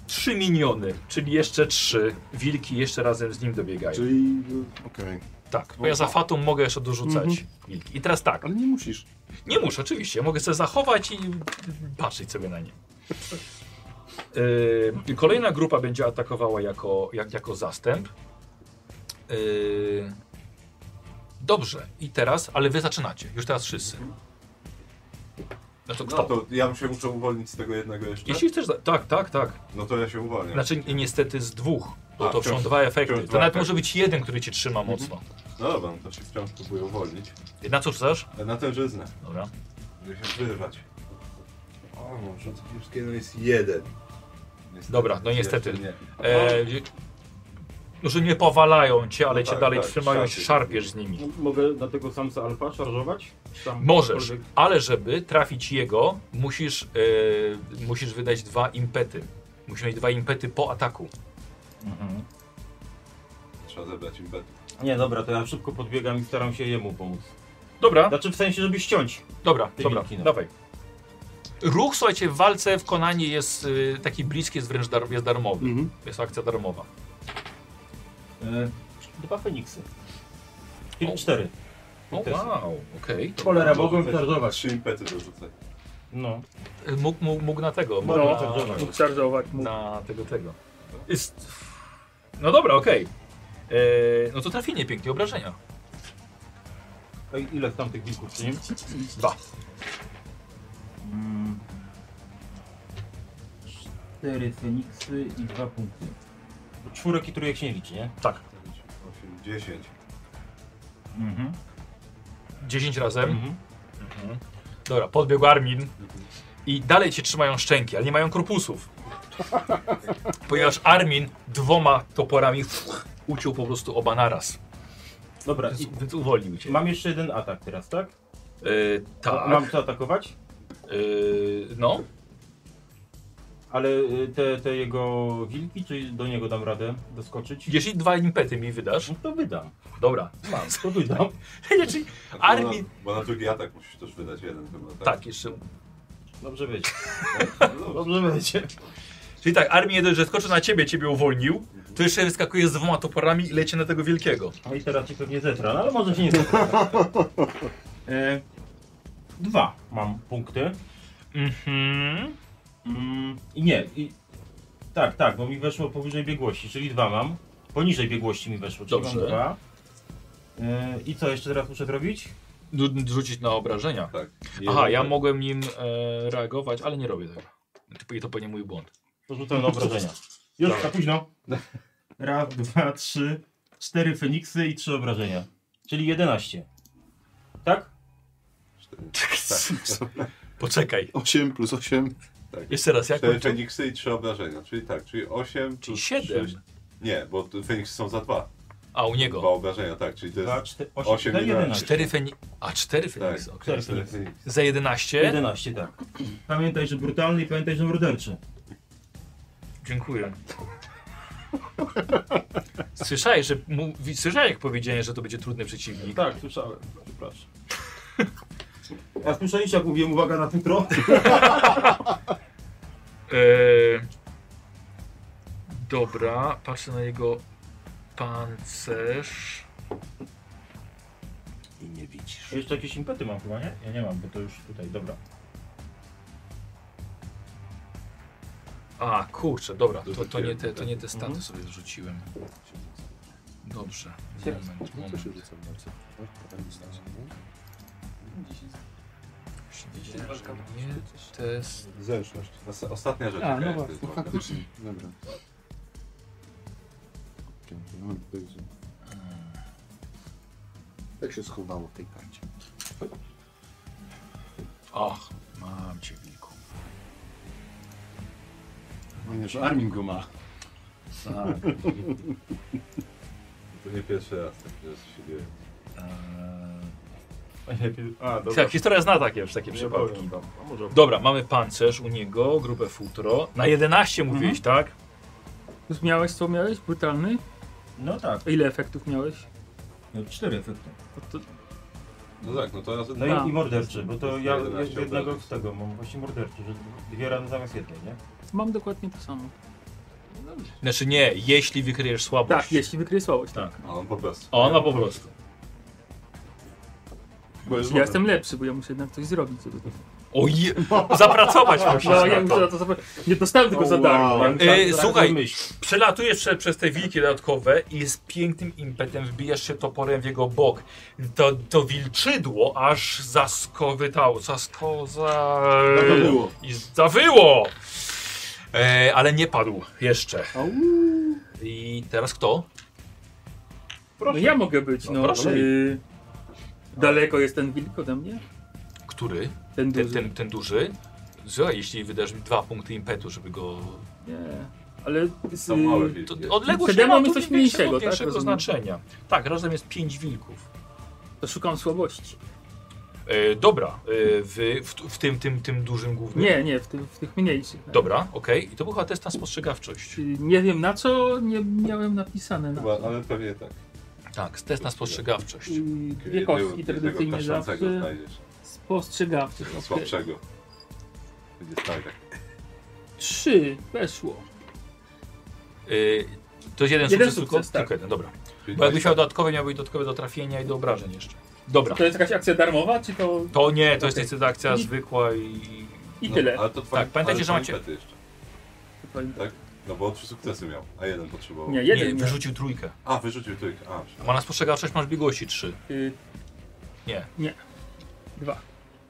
S1: trzy miniony, czyli jeszcze trzy wilki jeszcze razem z nim dobiegają.
S9: Czyli. y, Okej.
S1: Tak, bo ja za fatą mogę jeszcze dorzucać wilki. I teraz tak,
S9: Ale nie musisz.
S1: nie muszę oczywiście, mogę sobie zachować i patrzeć sobie na nie. Yy, kolejna grupa będzie atakowała jako, jak, jako zastęp. Yy, dobrze, i teraz, ale wy zaczynacie, już teraz wszyscy. No to kto?
S2: No to ja się muszę uwolnić z tego jednego jeszcze.
S1: Jeśli chcesz. za- Tak, tak, tak.
S2: No to ja się uwalniam.
S1: Znaczy ni- niestety z dwóch. Bo
S2: A,
S1: to są
S2: wciąż-
S1: dwa efekty.
S2: wciąż
S1: To
S2: dwa
S1: nawet
S2: efekty.
S1: może być jeden, który cię trzyma mocno.
S2: No dobra, no to się wciąż próbuję uwolnić. E,
S1: Na co chcesz?
S2: Na tężyznę.
S1: Dobra.
S2: Żeby się wyrwać. O, może to kiepskiego jest jeden. Niestety,
S1: Dobra, no niestety.
S2: jeszcze Nie.
S1: E, no, że nie powalają cię, ale
S2: No
S1: cię
S2: tak,
S1: dalej
S2: tak,
S1: trzymają, się
S2: szarpie.
S1: szarpiesz z nimi.
S3: No, Mogę na tego samca alfa szarżować? Tam
S1: Możesz,
S3: cokolwiek-
S1: ale żeby trafić jego, musisz, e, musisz wydać dwa impety. Musisz mieć dwa impety po ataku.
S2: Trzeba zebrać im bet.
S3: Mhm. Nie, dobra, to ja szybko podbiegam i staram się jemu pomóc.
S1: Dobra,
S3: Znaczy w sensie, żeby ściąć.
S1: dobra,
S3: Ty
S1: dobra,
S3: wilki, no.
S1: dawaj. Ruch, słuchajcie, w walce w Konanie jest y, taki bliski, jest wręcz dar, jest darmowy.
S9: Mhm.
S1: Jest akcja darmowa.
S4: E,
S3: Dwa Feniksy. Czyli cztery.
S1: O,
S3: Też.
S1: wow, okej.
S3: Cholera, mogłem szarżować.
S2: Trzy impety dorzucaj.
S3: No.
S1: E, Mógł, mógł, mógł na tego, mógł na,
S8: No, mógł szarżować, mógł.
S1: na tego, tego. Jest... No dobra, okej. E, No to trafienie, pięknie, obrażenia.
S4: A ile tam tych wilków czy nie?
S1: Dwa.
S10: Mm. Cztery Feniksy i dwa punkty.
S4: Bo Czwórek i trójek się nie liczy, nie?
S1: Tak.
S2: 8, 10.
S10: Mhm.
S1: 10 razem. Dobra, podbiegł Armin i dalej cię trzymają szczęki, ale nie mają korpusów. Ponieważ Armin dwoma toporami uciął po prostu oba naraz.
S4: Dobra,
S1: Więc,
S4: i
S1: więc uwolnił cię.
S4: mam jeszcze jeden atak teraz, tak?
S1: Yy, tak.
S4: Mam co atakować,
S1: Yy, no.
S4: ale y, te, te jego wilki, czy do niego dam radę doskoczyć?
S1: Jeżeli dwa impety mi wydasz,
S4: No to wydam,
S1: dobra.
S4: mam, to wydam.
S1: Jeżeli Armin...
S2: Bo na, bo na drugi atak musisz też wydać jeden chyba, tak?
S1: Tak, jeszcze.
S4: Dobrze wiedzieć.
S2: No dobrze.
S4: Dobrze będzie.
S1: Czyli tak, Armin nie dość, że skoczy na ciebie, ciebie uwolnił, to jeszcze wyskakuje z dwoma toporami i leci na tego wielkiego.
S4: No i teraz ci pewnie zetra, no ale może się nie zetra. E, dwa mam punkty.
S1: Mhm.
S4: Mm, I nie, i, tak, tak, bo mi weszło powyżej biegłości, czyli dwa mam. Poniżej biegłości mi weszło, czyli
S1: Dobrze.
S4: mam dwa. E, I co jeszcze teraz muszę zrobić?
S1: Du- Rzucić na obrażenia.
S2: Tak.
S1: Aha, ja mogłem nim e, reagować, ale nie robię tego. Typu- I to pewnie mój błąd.
S4: To rzucę na obrażenia. Już, za późno. Raz, dwa, trzy, cztery Feniksy i trzy obrażenia. Czyli 11. Tak?
S1: Poczekaj.
S9: 8 plus 8.
S1: Jeszcze raz,
S8: Tak
S1: jak?
S2: 4 Feniksy i 3 obrażenia, czyli tak, czyli 8
S1: Czyli
S2: plus
S1: siedem.
S2: 6. Nie, bo tu Feniksy są za dwa.
S1: A u
S2: Dwa
S1: niego.
S2: obrażenia, tak, czyli to
S4: Dwa,
S2: jest...
S4: cztery,
S2: osiem,
S4: osiem, daj
S2: jedenaście.
S4: 11.
S1: Cztery Feni... A, cztery
S2: Tak,
S1: Feniksy, okej.
S2: cztery Feniksy.
S1: Za 11?
S4: 11, tak. Pamiętaj, że brutalny i pamiętaj, że morderczy.
S1: Dziękuję. Słyszałeś, że mu... Słyszałeś, jak powiedziałem, że to będzie trudny przeciwnik.
S4: Tak, słyszałem. Przepraszam. A słyszeliście, jak mówiłem, uwaga na futro?
S1: Eee, dobra, patrzę na jego pancerz.
S4: Jeszcze jakieś impety mam chyba, nie? Ja nie mam, bo to już tutaj, dobra.
S1: A, kurczę, dobra, to, to, nie,
S2: Dorzuciłem,
S1: te, to
S2: tak.
S1: nie te staty sobie zrzuciłem. Dobrze, moment, moment. Nie, test.
S2: Zręczność. Os- Ostatnia rzecz.
S8: A,
S2: jaka
S8: no
S2: jest,
S8: właśnie.
S2: to jest walka.
S9: Faktycznie, dobra. Pięknie, no, to jest- Jak Eee. Tak się schowało w tej karcie?
S1: Ach, mam cię, wilku.
S9: Nie, że Armin go ma.
S1: Tak.
S2: To nie pierwszy raz, tak, że się dzieje.
S1: Eee,
S4: A, dobra.
S1: tak, historia zna takie, już takie przypadki.
S4: A może...
S1: Dobra, mamy pancerz u niego, grupę futro. Na 11 mówiłeś, tak?
S8: Już miałeś co miałeś? Brutalny?
S4: No tak,
S8: A Ile efektów miałeś?
S4: no, cztery efekty.
S8: To, to,
S2: No tak, no to raz...
S4: No
S8: A.
S4: i, i morderczy, bo to ja
S2: 11
S4: jednego
S2: obrażeń.
S4: z tego mam właśnie morderczy, że dwie rany zamiast jednej, nie?
S8: mam dokładnie to samo.
S1: Znaczy nie, jeśli wykryjesz słabość.
S8: Tak, jeśli wykryję słabość.
S4: Tak.
S2: A on po prostu.
S1: O, no po prostu.
S9: Bo jest
S8: Ja jestem lepszy, bo ja muszę jednak coś zrobić. żeby to-
S1: Oje, zapracować musisz
S8: No, ja
S1: na
S8: muszę
S1: to.
S8: na to tak, sobie... Nie dostałem tylko za darmo.
S4: Mam
S1: E,
S4: czas
S1: słuchaj.
S4: Tak, myśl.
S1: Przelatujesz prze, przez te wilki dodatkowe i z pięknym impetem wbijasz się toporem w jego bok. To, to wilczydło aż zaskowytało, zasko... Za...
S9: Zawyło.
S1: I zawyło! E, ale nie padł jeszcze. I teraz kto?
S8: No ja mogę być,
S1: No,
S8: no.
S1: proszę.
S8: y, Daleko jest ten wilk ode mnie?
S1: Który?
S8: Ten
S1: Ten,
S8: duży.
S1: ten, ten duży? Słuchaj, jeśli wydasz mi dwa punkty impetu, żeby go...
S8: Nie. Ale... Z,
S2: Są małe
S1: To
S2: wilki.
S1: odległość nie
S8: Wtedy
S1: ma
S8: mamy
S1: tu
S8: coś
S1: nie większego,
S8: mniejszego, tak?
S1: większego
S8: Rozumiem.
S1: znaczenia. Tak, razem jest pięć wilków.
S8: to szukam słabości.
S1: E, dobra, e, w, w, w tym, tym, tym dużym głównym.
S8: Nie, nie, w, tych- w tych mniejszych.
S1: Dobra, okej. I to był chyba test na spostrzegawczość.
S8: Y, Nie wiem na co, nie miałem napisane na
S2: Chyba, ale pewnie tak.
S1: Tak, test na spostrzegawczość. E,
S8: Y, Dwie
S2: Jednego-
S8: kostki
S2: jednego
S8: tradycyjnie
S2: ptaszącego
S8: zawsze.
S2: znajdziesz.
S8: Spostrzegawczy.
S2: Tego
S8: okej.
S2: Słabszego. Będzie stał tak.
S8: Trzy, weszło.
S1: E, to jest jeden,
S8: Jeden
S1: sukces,
S8: sukces,
S1: tylko,
S8: tak.
S1: tylko jeden, dobra.
S2: Czyli
S1: Bo jakbyś miał dodatkowy, miałbyś dodatkowe do trafienia i do obrażeń jeszcze. Dobra.
S8: To jest jakaś akcja darmowa, czy to...
S1: To nie, to jest
S8: Okej.
S1: niestety akcja
S8: I-
S1: zwykła i.
S8: I
S2: no,
S8: tyle.
S2: Ale to twoje,
S1: Tak, pamiętajcie, że
S2: ale twoje
S1: macie-
S2: impety jeszcze.
S8: To-
S2: No bo trzy sukcesy miał, a jeden potrzebował.
S8: Nie,
S1: Tak. Nie,
S8: jeden. Nie,
S1: wyrzucił trójkę.
S2: A, wyrzucił trójkę. A,
S1: Ma na spostrzegawczość masz biegłości trzy.
S8: Y,
S1: Nie.
S8: Dwa.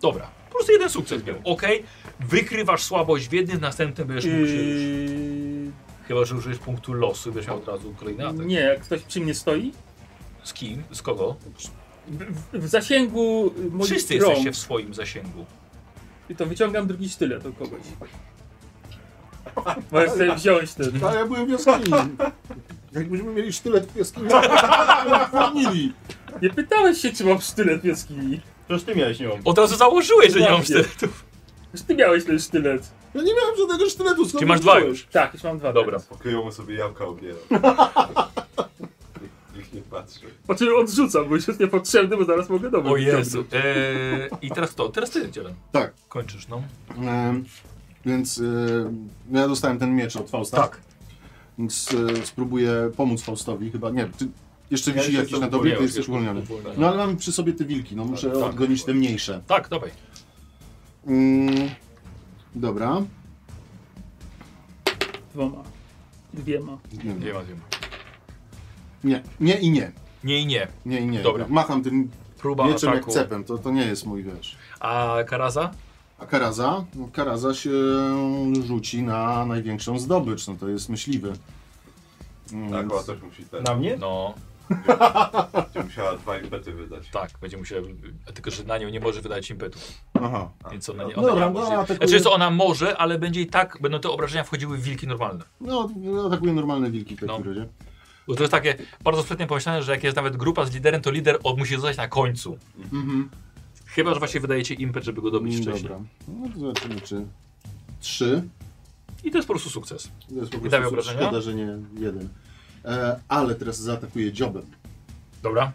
S1: Dobra. Po prostu jeden sukces miał. Okej. Wykrywasz słabość w jednym, następnym będziesz mógł się już...
S8: Yy,
S1: Chyba, że użyjesz punktu losu i będziesz miał od razu kolejny atak.
S8: nie, jak ktoś przy mnie stoi,
S1: Z kim? Z kogo?
S8: w, w zasięgu y, moich
S1: Wszyscy
S8: rąk,
S1: jesteście w swoim zasięgu.
S8: to wyciągam drugi sztylet od kogoś. Możesz sobie wziąć ten.
S9: A ja byłem wioskinią. Jakbyśmy mieli sztylet w jaskini, to zapomnieli.
S8: Nie pytałeś się, czy mam sztylet w jaskini.
S4: Przecież ty miałeś nią.
S1: Od razu założyłeś, że nie mam
S8: Właśnie.
S1: sztyletu.
S8: Już ty miałeś ten sztylet.
S9: Ja nie miałem żadnego sztyletu. skąd
S1: Ty masz dwa
S9: wiedziałeś?
S1: już.
S8: Tak, już mam dwa.
S1: Dobra.
S2: Kryjomu sobie jabłka obieram. Nikt nie patrzy.
S8: Po czym odrzucam, bo już jest niepotrzebny, bo zaraz mogę domu
S1: O Jezu. Eee, I teraz to, teraz ty dzielę.
S9: Tak.
S1: Kończysz, no.
S9: Em, E, Więc em, ja dostałem ten miecz od Fausta.
S1: Tak.
S9: Więc e, spróbuję pomóc Faustowi chyba. Nie, ty jeszcze
S2: Ja
S9: wisi
S2: już
S9: jakiś
S2: jestem
S9: na tobie,
S1: uwolniony.
S9: ty jesteś uwolniony.
S1: Uwolniony.
S9: No ale mam przy sobie te wilki, no muszę
S2: tak.
S9: odgonić te mniejsze.
S1: Tak, dawaj.
S9: Mm, dobra.
S8: Dwoma. Dwiema.
S9: Nie,
S1: Nie
S9: nie.
S1: ma, nie ma.
S9: nie, nie i nie.
S1: Nie i nie.
S9: Nie i nie.
S1: Dobra.
S9: Macham tym
S1: Próba
S9: mieczem jak
S1: ataku.
S9: cepem, to, to nie jest mój wiesz.
S1: A Karaza?
S9: A Karaza? No, Karaza się rzuci na największą zdobycz, no to jest myśliwy. Mm,
S2: Tak, chyba
S9: więc-
S2: też musi ten.
S4: Na mnie?
S1: No,
S2: będzie Musiała dwa impety wydać.
S1: tak, będzie musiała. Tylko, że na nią nie może wydać impetu.
S9: Aha.
S1: Więc ona nie,
S9: No
S1: ona
S9: dobra,
S1: nie
S9: no,
S1: może.
S9: atakuje.
S1: znaczy, co ona może, ale będzie i tak, będą te obrażenia wchodziły w wilki normalne.
S9: No, atakuje normalne wilki w takim
S1: No.
S9: razie.
S1: Bo to jest takie bardzo sprytnie pomyślane, że jak jest nawet grupa z liderem, to lider od, musi zostać na końcu.
S9: Mhm.
S1: Chyba, że właśnie wydajecie impet, żeby go dobić wcześniej.
S9: Dobra. No to zobaczymy czy... Trzy.
S1: I to jest po prostu sukces.
S9: To jest po
S1: Nie damy
S9: prostu
S1: obrażenia?
S9: szkoda, że nie jeden. E, ale teraz zaatakuje dziobem.
S1: Dobra.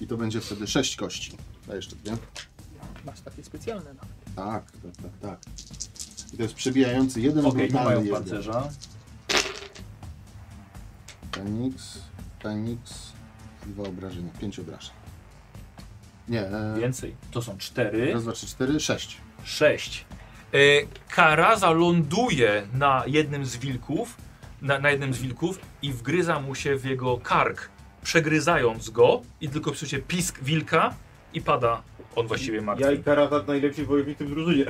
S9: I to będzie wtedy sześć kości. A jeszcze dwie.
S8: Masz takie specjalne. No.
S9: Tak, tak, tak, tak. I to jest przebijający jeden,
S4: Okej, nie
S9: brutalny
S4: mają
S9: jeden.
S4: pancerza.
S9: Feniks, Feniks, dwa obrażenia, pięć obrażeń. Nie, e,
S4: Więcej. To są cztery.
S9: raz, dwa, trzy, cztery, sześć.
S1: 6. E, Karaza ląduje na jednym z wilków, na, na jednym z wilków i wgryza mu się w jego kark, przegryzając go i tylko psuje pisk wilka i pada on właściwie martwy.
S3: Ja i Karatat najlepsi wojownicy w drużynie.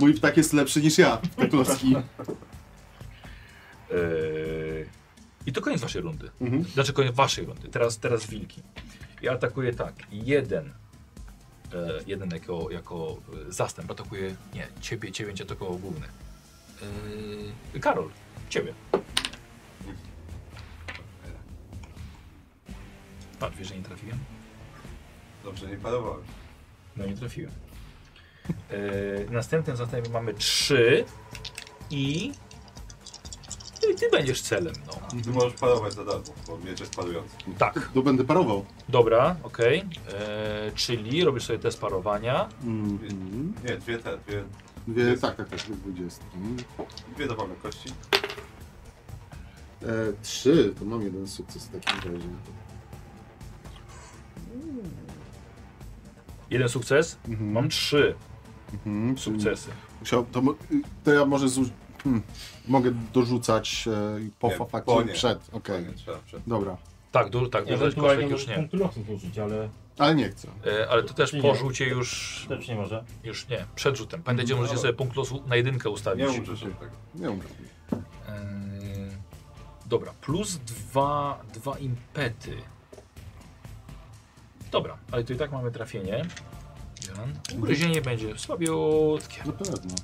S9: Mój ptak jest lepszy niż ja, te klocki.
S1: E, I to koniec waszej rundy.
S9: Mhm.
S1: Znaczy koniec waszej rundy. Teraz, teraz wilki. I atakuje tak. Jeden. E, jeden jako, jako e, zastęp atakuje. Nie, ciebie, ciebie będzie atakował główny. E, Karol, ciebie. Patrz, wiesz, że nie trafiłem?
S2: Dobrze, nie padowałem.
S1: No nie trafiłem. E, następnym zastępem mamy trzy i. Ty, ty będziesz celem, no.
S2: Ty możesz parować za darmo, bo miecz jest parujący.
S1: Tak.
S9: To będę parował.
S1: Dobra, okej. E, Czyli robisz sobie test parowania.
S9: Mhm.
S2: Nie, dwie te, dwie,
S9: Dwie, tak, tak, tak, dwudziestki.
S2: dwie dowolne kości.
S9: E, trzy, to mam jeden sukces w takim razie.
S1: Jeden sukces.
S9: Mhm.
S1: Mam trzy
S9: Mhm, czyli
S1: sukcesy.
S9: Musiał, to, mo- y, to ja może zuż- hmm, mogę dorzucać e, po
S2: Nie,
S9: fa- fakcie
S2: po nie.
S9: przed, okej,
S2: Nie trzeba przed.
S9: dobra,
S1: Tak, dużo, tak, dużo
S4: Ewentualnie
S1: kosztek już
S4: możesz
S1: nie.
S4: punktu losu zużyć, ale
S9: ale nie chcę.
S1: E, ale to też
S4: Nie, nie.
S1: po rzucie już,
S4: też nie może.
S1: już nie, przed rzutem. Pamiętajcie,
S4: Mhm,
S1: możecie
S2: Dobra.
S1: sobie punkt losu na jedynkę ustawić.
S2: Nie umrzesz od tego.
S9: Nie umrę.
S1: Eee, dobra, plus dwa, dwa impety. Dobra, ale to i tak mamy trafienie. Jeden. Ugryzienie będzie słabiutkie.
S9: Na pewno.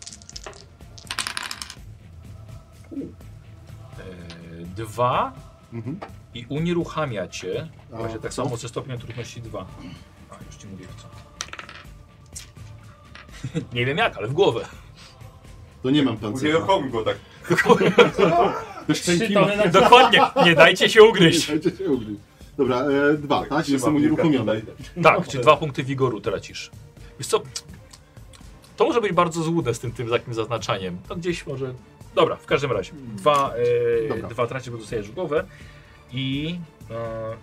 S1: Eee, dwa
S9: Mhm.
S1: i unieruchamia cię.
S9: A
S1: Właśnie tak
S9: co?
S1: samo ze stopniem trudności dwa. A, już ci mówię w co. Nie wiem jak, ale w głowę.
S9: To nie mam pancerza.
S2: Unieruchomił go tak.
S9: Też
S8: Trzy
S9: szczęki
S8: tony na
S1: Dokładnie, nie dajcie się ugryźć.
S9: Dajcie się ugryźć. Dobra, e, dwa, tak?
S2: trzyma
S9: Jestem
S2: wilka
S9: unieruchomiony.
S2: tutaj.
S1: Tak, czyli dwa punkty wigoru tracisz. Wiesz co, to może być bardzo złudne z tym, tym takim zaznaczaniem. To gdzieś może... Dobra, w każdym razie.
S2: Hmm.
S1: Dwa, e,
S9: Dobra.
S1: dwa tracisz, bo dostajesz w głowę i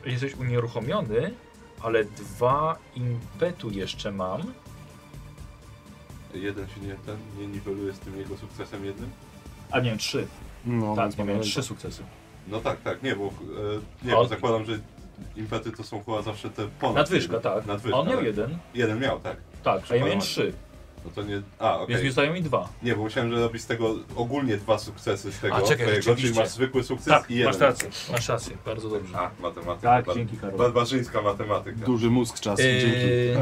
S1: e, jesteś unieruchomiony, ale dwa impetu jeszcze mam.
S2: Jeden się nie ten, nie niweluje z tym jego sukcesem jednym?
S1: A nie, trzy.
S9: No,
S1: Tak,
S9: no,
S1: miałem
S9: no,
S1: trzy sukcesy.
S2: No tak, tak, nie, bo e, nie,
S1: A
S2: bo
S1: on-
S2: zakładam, że Impety to są chyba zawsze te ponad.
S1: Nadwyżka,
S2: jeden.
S1: tak.
S2: Nadwyżka,
S1: On miał
S2: tak.
S1: jeden,
S2: Jeden miał, tak.
S1: tak, a ja miałem trzy,
S2: Przekonałem. No to nie. A, okej.
S1: więc mi zostają mi dwa.
S2: Nie, bo musiałem robić z tego ogólnie dwa sukcesy z tego
S1: A, czekaj,
S2: twojego, czyli
S1: rzeczywiście.
S2: masz zwykły sukces
S1: Tak,
S2: i jeden.
S1: masz rację, masz rację, bardzo dobrze.
S2: A, matematyka.
S8: Tak,
S2: Bar-
S8: dzięki Karol.
S2: Barbarzyńska matematyka.
S9: Duży mózg czas. Dzięki.
S1: Eee,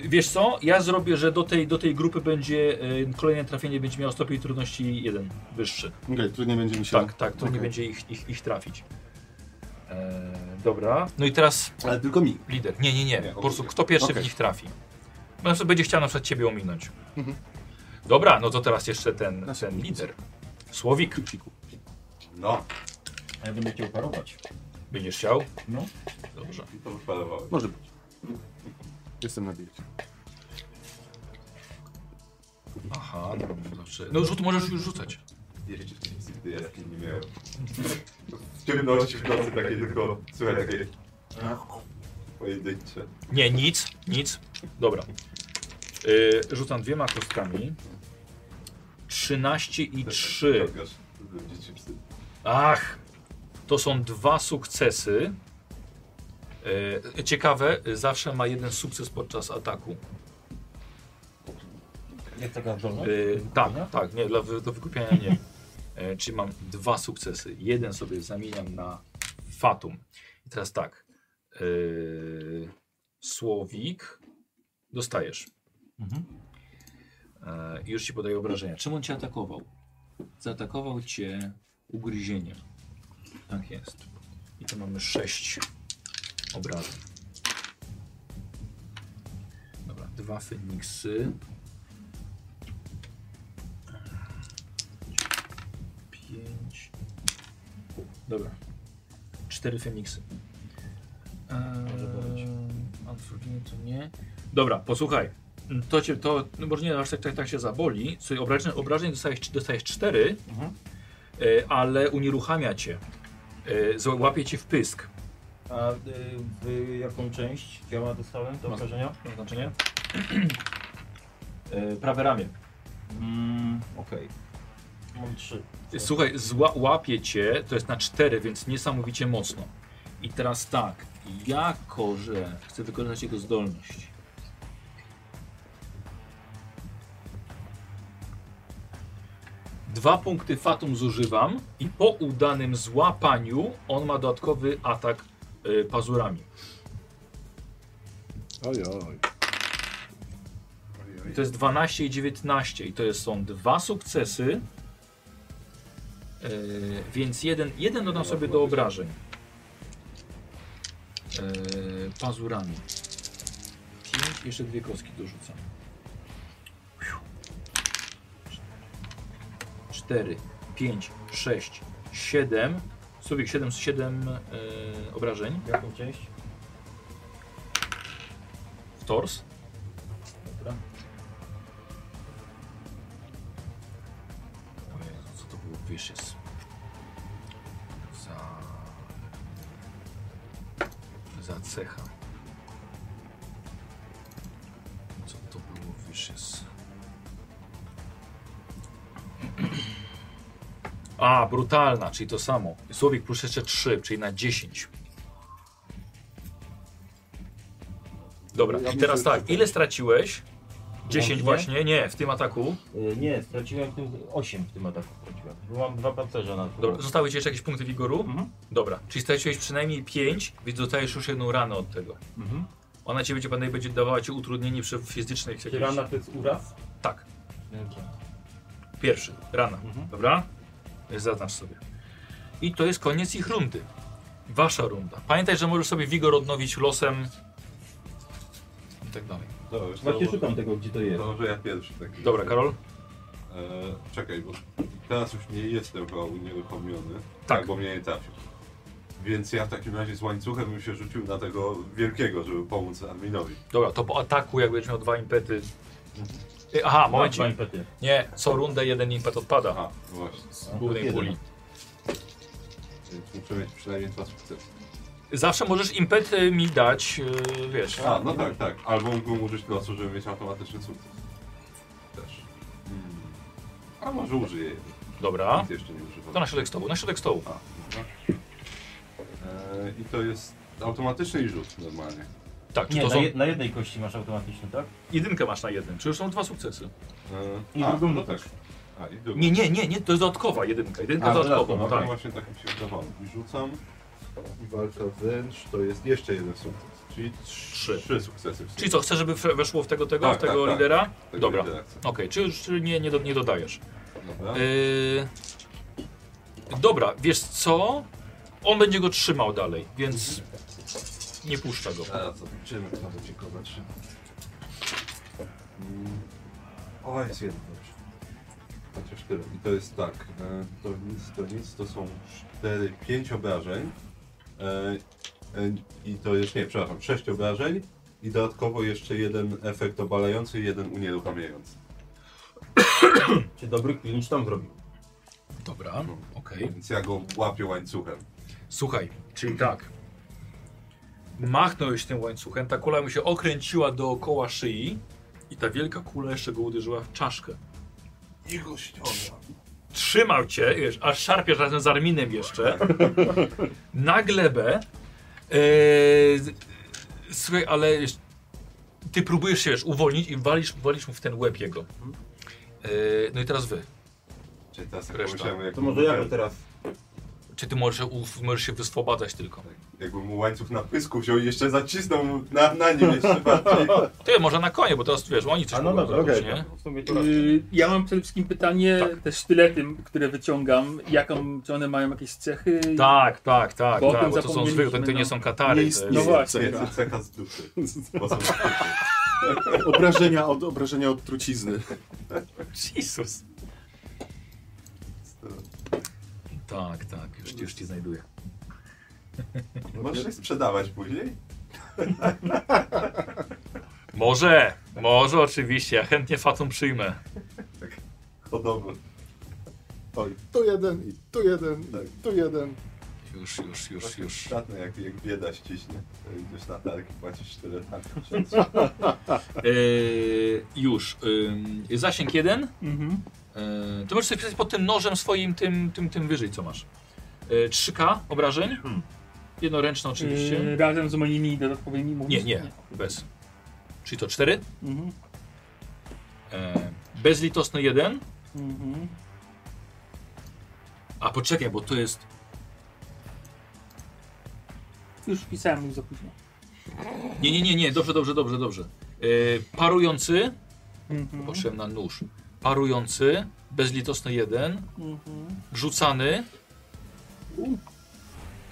S1: y, Wiesz co, ja zrobię, że do tej, do tej grupy będzie, y, kolejne trafienie będzie miało stopień trudności jeden wyższy.
S9: Okej, trudniej będzie mi się.
S1: Tak, tak, to nie
S9: Okej.
S1: będzie ich, ich, ich trafić. E, dobra. No i teraz
S9: Ale tylko mi.
S1: lider. Nie, nie, nie.
S2: Nie,
S1: po prostu
S2: ogólnie.
S1: kto pierwszy
S9: Okej.
S1: w nich trafi. Bo Na przykład będzie chciał na przykład ciebie ominąć.
S9: Mhm.
S1: Dobra, no to teraz jeszcze ten, ten lider. Słowik.
S2: No,
S4: A ja będę chciał parować.
S1: Będziesz chciał?
S4: No.
S1: Dobrze.
S2: to już parowałem.
S9: Może być. Jestem na diecie.
S1: Aha, no, znaczy... no rzut możesz już rzucać.
S2: Jeszcze nic nigdy jaskiń nie miałem. W ciemności w nocy takie tylko słychać takie pojedyncze.
S1: Nie, nic, nic. Dobra. Y, rzucam dwiema kostkami. 13 i 3.
S2: Ciągasz, ludzie ci psy.
S1: Ach, to są dwa sukcesy. E, ciekawe, zawsze ma jeden sukces podczas ataku.
S4: Jak taka żona?
S1: E, tak, tak, nie, dla, wy- do wykupienia nie. E, czyli mam dwa sukcesy. Jeden sobie zamieniam na Fatum. I teraz tak. E, słowik dostajesz. E, już ci podaję obrażenia. Czym on cię atakował? Zaatakował cię ugryzieniem. Tak jest. I to mamy sześć obrażeń. Dobra, dwa Feniksy. Pięć. Dobra. Cztery Feniksy. Eee, Unfortunately to nie. Dobra, posłuchaj. To cię, to, no może nie aż tak, tak, tak się zaboli. Słuchaj, obrażeń, obrażeń dostajesz, dostajesz cztery, e, ale unieruchamia cię. E, złapie cię w pysk.
S3: A y, w jaką część ciała dostałem do
S1: No.
S3: obrażenia?
S1: To znaczenie? E, prawe ramię.
S3: Mm, Okej. Mam trzy.
S1: Słuchaj, zła, łapie cię, to jest na 4, więc niesamowicie mocno. I teraz tak, jako że chcę wykorzystać jego zdolność. Dwa punkty Fatum zużywam i po udanym złapaniu on ma dodatkowy atak y, pazurami.
S9: Ojoj.
S1: I To jest 12 i 19 i to jest, są dwa sukcesy. Yy, więc jeden, jeden dodam sobie do obrażeń. Yy, pazurami. 5, jeszcze dwie kostki dorzucam. 4, 5, 6, 7. Sobie 7 z 7 yy, obrażeń.
S3: Jaką część?
S1: W tors.
S3: Dobra.
S1: O Jezu, co to było? Vicious. Za... Za cecha. Co to było? Vicious. A, brutalna, czyli to samo. Słowik plus jeszcze 3, czyli na 10. Dobra,
S9: Ja
S1: i teraz
S9: muszę-
S1: tak, ile straciłeś? 10
S3: Łącznie?
S1: właśnie? Nie, w tym ataku.
S3: Y, nie, straciłem w tym 8 w tym ataku straciłem. Bo mam dwa pancerze na
S1: Dobra, zostały ci jeszcze jakieś punkty wigoru?
S3: Mhm.
S1: Dobra, czyli straciłeś przynajmniej 5, więc dostajesz już jedną ranę od tego.
S3: Mhm.
S1: Ona ci będzie, pewnie będzie dawała ci utrudnienie przy fizycznych
S3: Czy
S1: jakichś...
S3: rana to jest uraz?
S1: Tak, pierwszy, rana.
S3: Mhm.
S1: Dobra? Zaznacz sobie. I to jest koniec ich rundy. Wasza runda. Pamiętaj, że możesz sobie wigor odnowić losem i tak dalej.
S2: To już
S4: Właśnie
S2: to-
S4: szukam tego, gdzie to
S2: To
S4: jest.
S2: może no, ja pierwszy taki.
S1: Dobra, Karol?
S2: Eee, czekaj, bo teraz już nie jestem chyba unieruchomiony. Tak. bo mnie nie trafił. Więc ja w takim razie z łańcuchem bym się rzucił na tego wielkiego, żeby pomóc Arminowi.
S1: Dobra, to po ataku, jak będziesz miał dwa impety... Y, Aha,
S3: Dwa
S1: momencik.
S3: impety.
S1: Nie, co rundę jeden impet odpada
S2: Aha, no właśnie.
S1: z głównej puli.
S2: Więc muszę mieć przynajmniej dwa sukcesy.
S1: Zawsze możesz impet y, mi dać, y, wiesz.
S2: A, no tak, tak. Albo mógłbym użyć losu, żeby mieć automatyczny sukces. Też. Hmm. A może użyję.
S1: Dobra.
S2: Nic jeszcze nie używam.
S1: To na środek stołu, na środek stołu.
S2: A, dobra. Eee, E, I to jest automatyczny rzut normalnie.
S1: Tak, czy
S4: Nie,
S1: to
S4: na,
S1: są...
S4: je, na jednej kości masz automatyczny, tak?
S1: Jedynkę masz na jednym, czy już są dwa sukcesy?
S2: E,
S4: I
S2: a,
S4: drugą
S2: no
S4: rzucasz.
S2: tak. A, i drugą.
S1: Nie, nie, nie, nie, to jest dodatkowa jedynka, jedynka
S2: A,
S1: dodatkowa,
S2: no
S1: tak.
S2: właśnie tak mi się wydawało. I rzucam. I walka wręcz to jest jeszcze jeden sukces. Czyli trzy,
S1: Trzy.
S2: trzy sukcesy. w sumie.
S1: Czyli co, chcesz, żeby w- weszło w tego, tego,
S2: Tak,
S1: w tego
S2: tak, tak.
S1: lidera?
S2: Tego
S1: Dobra, okej,
S2: lidera chcę.
S1: czy już czy nie, nie, do, nie dodajesz.
S2: Dobra.
S1: Yy... Dobra, wiesz co? On będzie go trzymał dalej, więc nie puszczę go.
S2: Zaraz zobaczymy, kto będzie kogo trzymał. Mm. O, jest jeden dobrze. Chociaż tyle. I to jest tak. e, To nic, to nic. To są 4, 5 obrażeń. E, e, I to jest, nie, przepraszam, 6 obrażeń. I dodatkowo jeszcze jeden efekt obalający i jeden unieruchamiający.
S3: Czy dobry klinicz tam zrobił?
S1: Dobra, okej.
S2: Więc ja go łapię łańcuchem.
S1: Słuchaj, czyli tak. Machnąłeś tym łańcuchem, ta kula mu się okręciła dookoła szyi i ta wielka kula jeszcze go uderzyła w czaszkę.
S2: I go ściągam.
S1: Trzymał cię, wiesz, aż szarpiesz razem z Arminem jeszcze. Na glebę. Eee, z- słuchaj, ale wiesz, ty próbujesz się wiesz, uwolnić i walisz, walisz mu w ten łeb jego. Eee, no i teraz wy.
S2: Czyli teraz
S1: Reszta.
S2: pomyślałem, jak
S3: To może ja go teraz.
S1: Czy ty możesz, uf- możesz się wyswobadzać tylko?
S2: Jakby mu łańcuch na pysku wziął i jeszcze zacisnął mu na, na nim jeszcze bardziej.
S3: No
S1: Ty, może na konie, bo teraz wiesz, oni coś
S3: A no
S1: mogą
S3: dobra,
S1: zrobić,
S9: okej.
S1: nie?
S3: W sumie to
S8: Y, Ja mam przede wszystkim pytanie,
S1: Tak.
S8: te sztylety, które wyciągam, jaką, czy one mają jakieś cechy?
S1: Tak, tak, tak.
S8: Bo o
S1: tak
S8: tym
S1: bo to są
S8: zapomnieliśmy,
S1: zwykłe, to, to nie
S8: no.
S1: są katary.
S9: Nie
S1: to jest...
S8: No
S9: istnieje.
S8: właśnie.
S2: Więcej cecha z duszy. Bo są
S9: Obrażenia od, obrażenia od trucizny.
S1: No. Jezus. Tak, tak, już, już ci znajduję.
S2: Możesz je sprzedawać później?
S1: Może, może oczywiście, ja chętnie Fatum przyjmę.
S2: Hodowlę.
S9: Oj, tu jeden, i tu jeden, i tu jeden.
S1: Już, już, już, już.
S2: Szatne, jak, jak bieda ściśnie. To Idziesz na targ i płacisz tyle tak.
S1: Eee, już. Ym, zasięg jeden.
S8: Mhm.
S1: Eee, to możesz sobie pisać pod tym nożem swoim, tym, tym, tym wyżej, co masz. Eee, 3K obrażeń. Jednoręczne
S8: Y,
S1: oczywiście.
S8: Razem z moimi dodatkowymi mówisz?
S1: Nie, Yy, nie, bez. Czyli to 4.
S8: Mhm.
S1: Eee, bezlitosny jeden.
S8: Mhm.
S1: A poczekaj, bo to jest
S8: Już pisałem już za późno.
S1: Nie, nie, nie, nie, dobrze, dobrze, dobrze, dobrze. Yy, parujący,
S8: Mhm.
S1: poszedłem na nóż. Parujący, bezlitosny jeden,
S8: Mhm.
S1: rzucany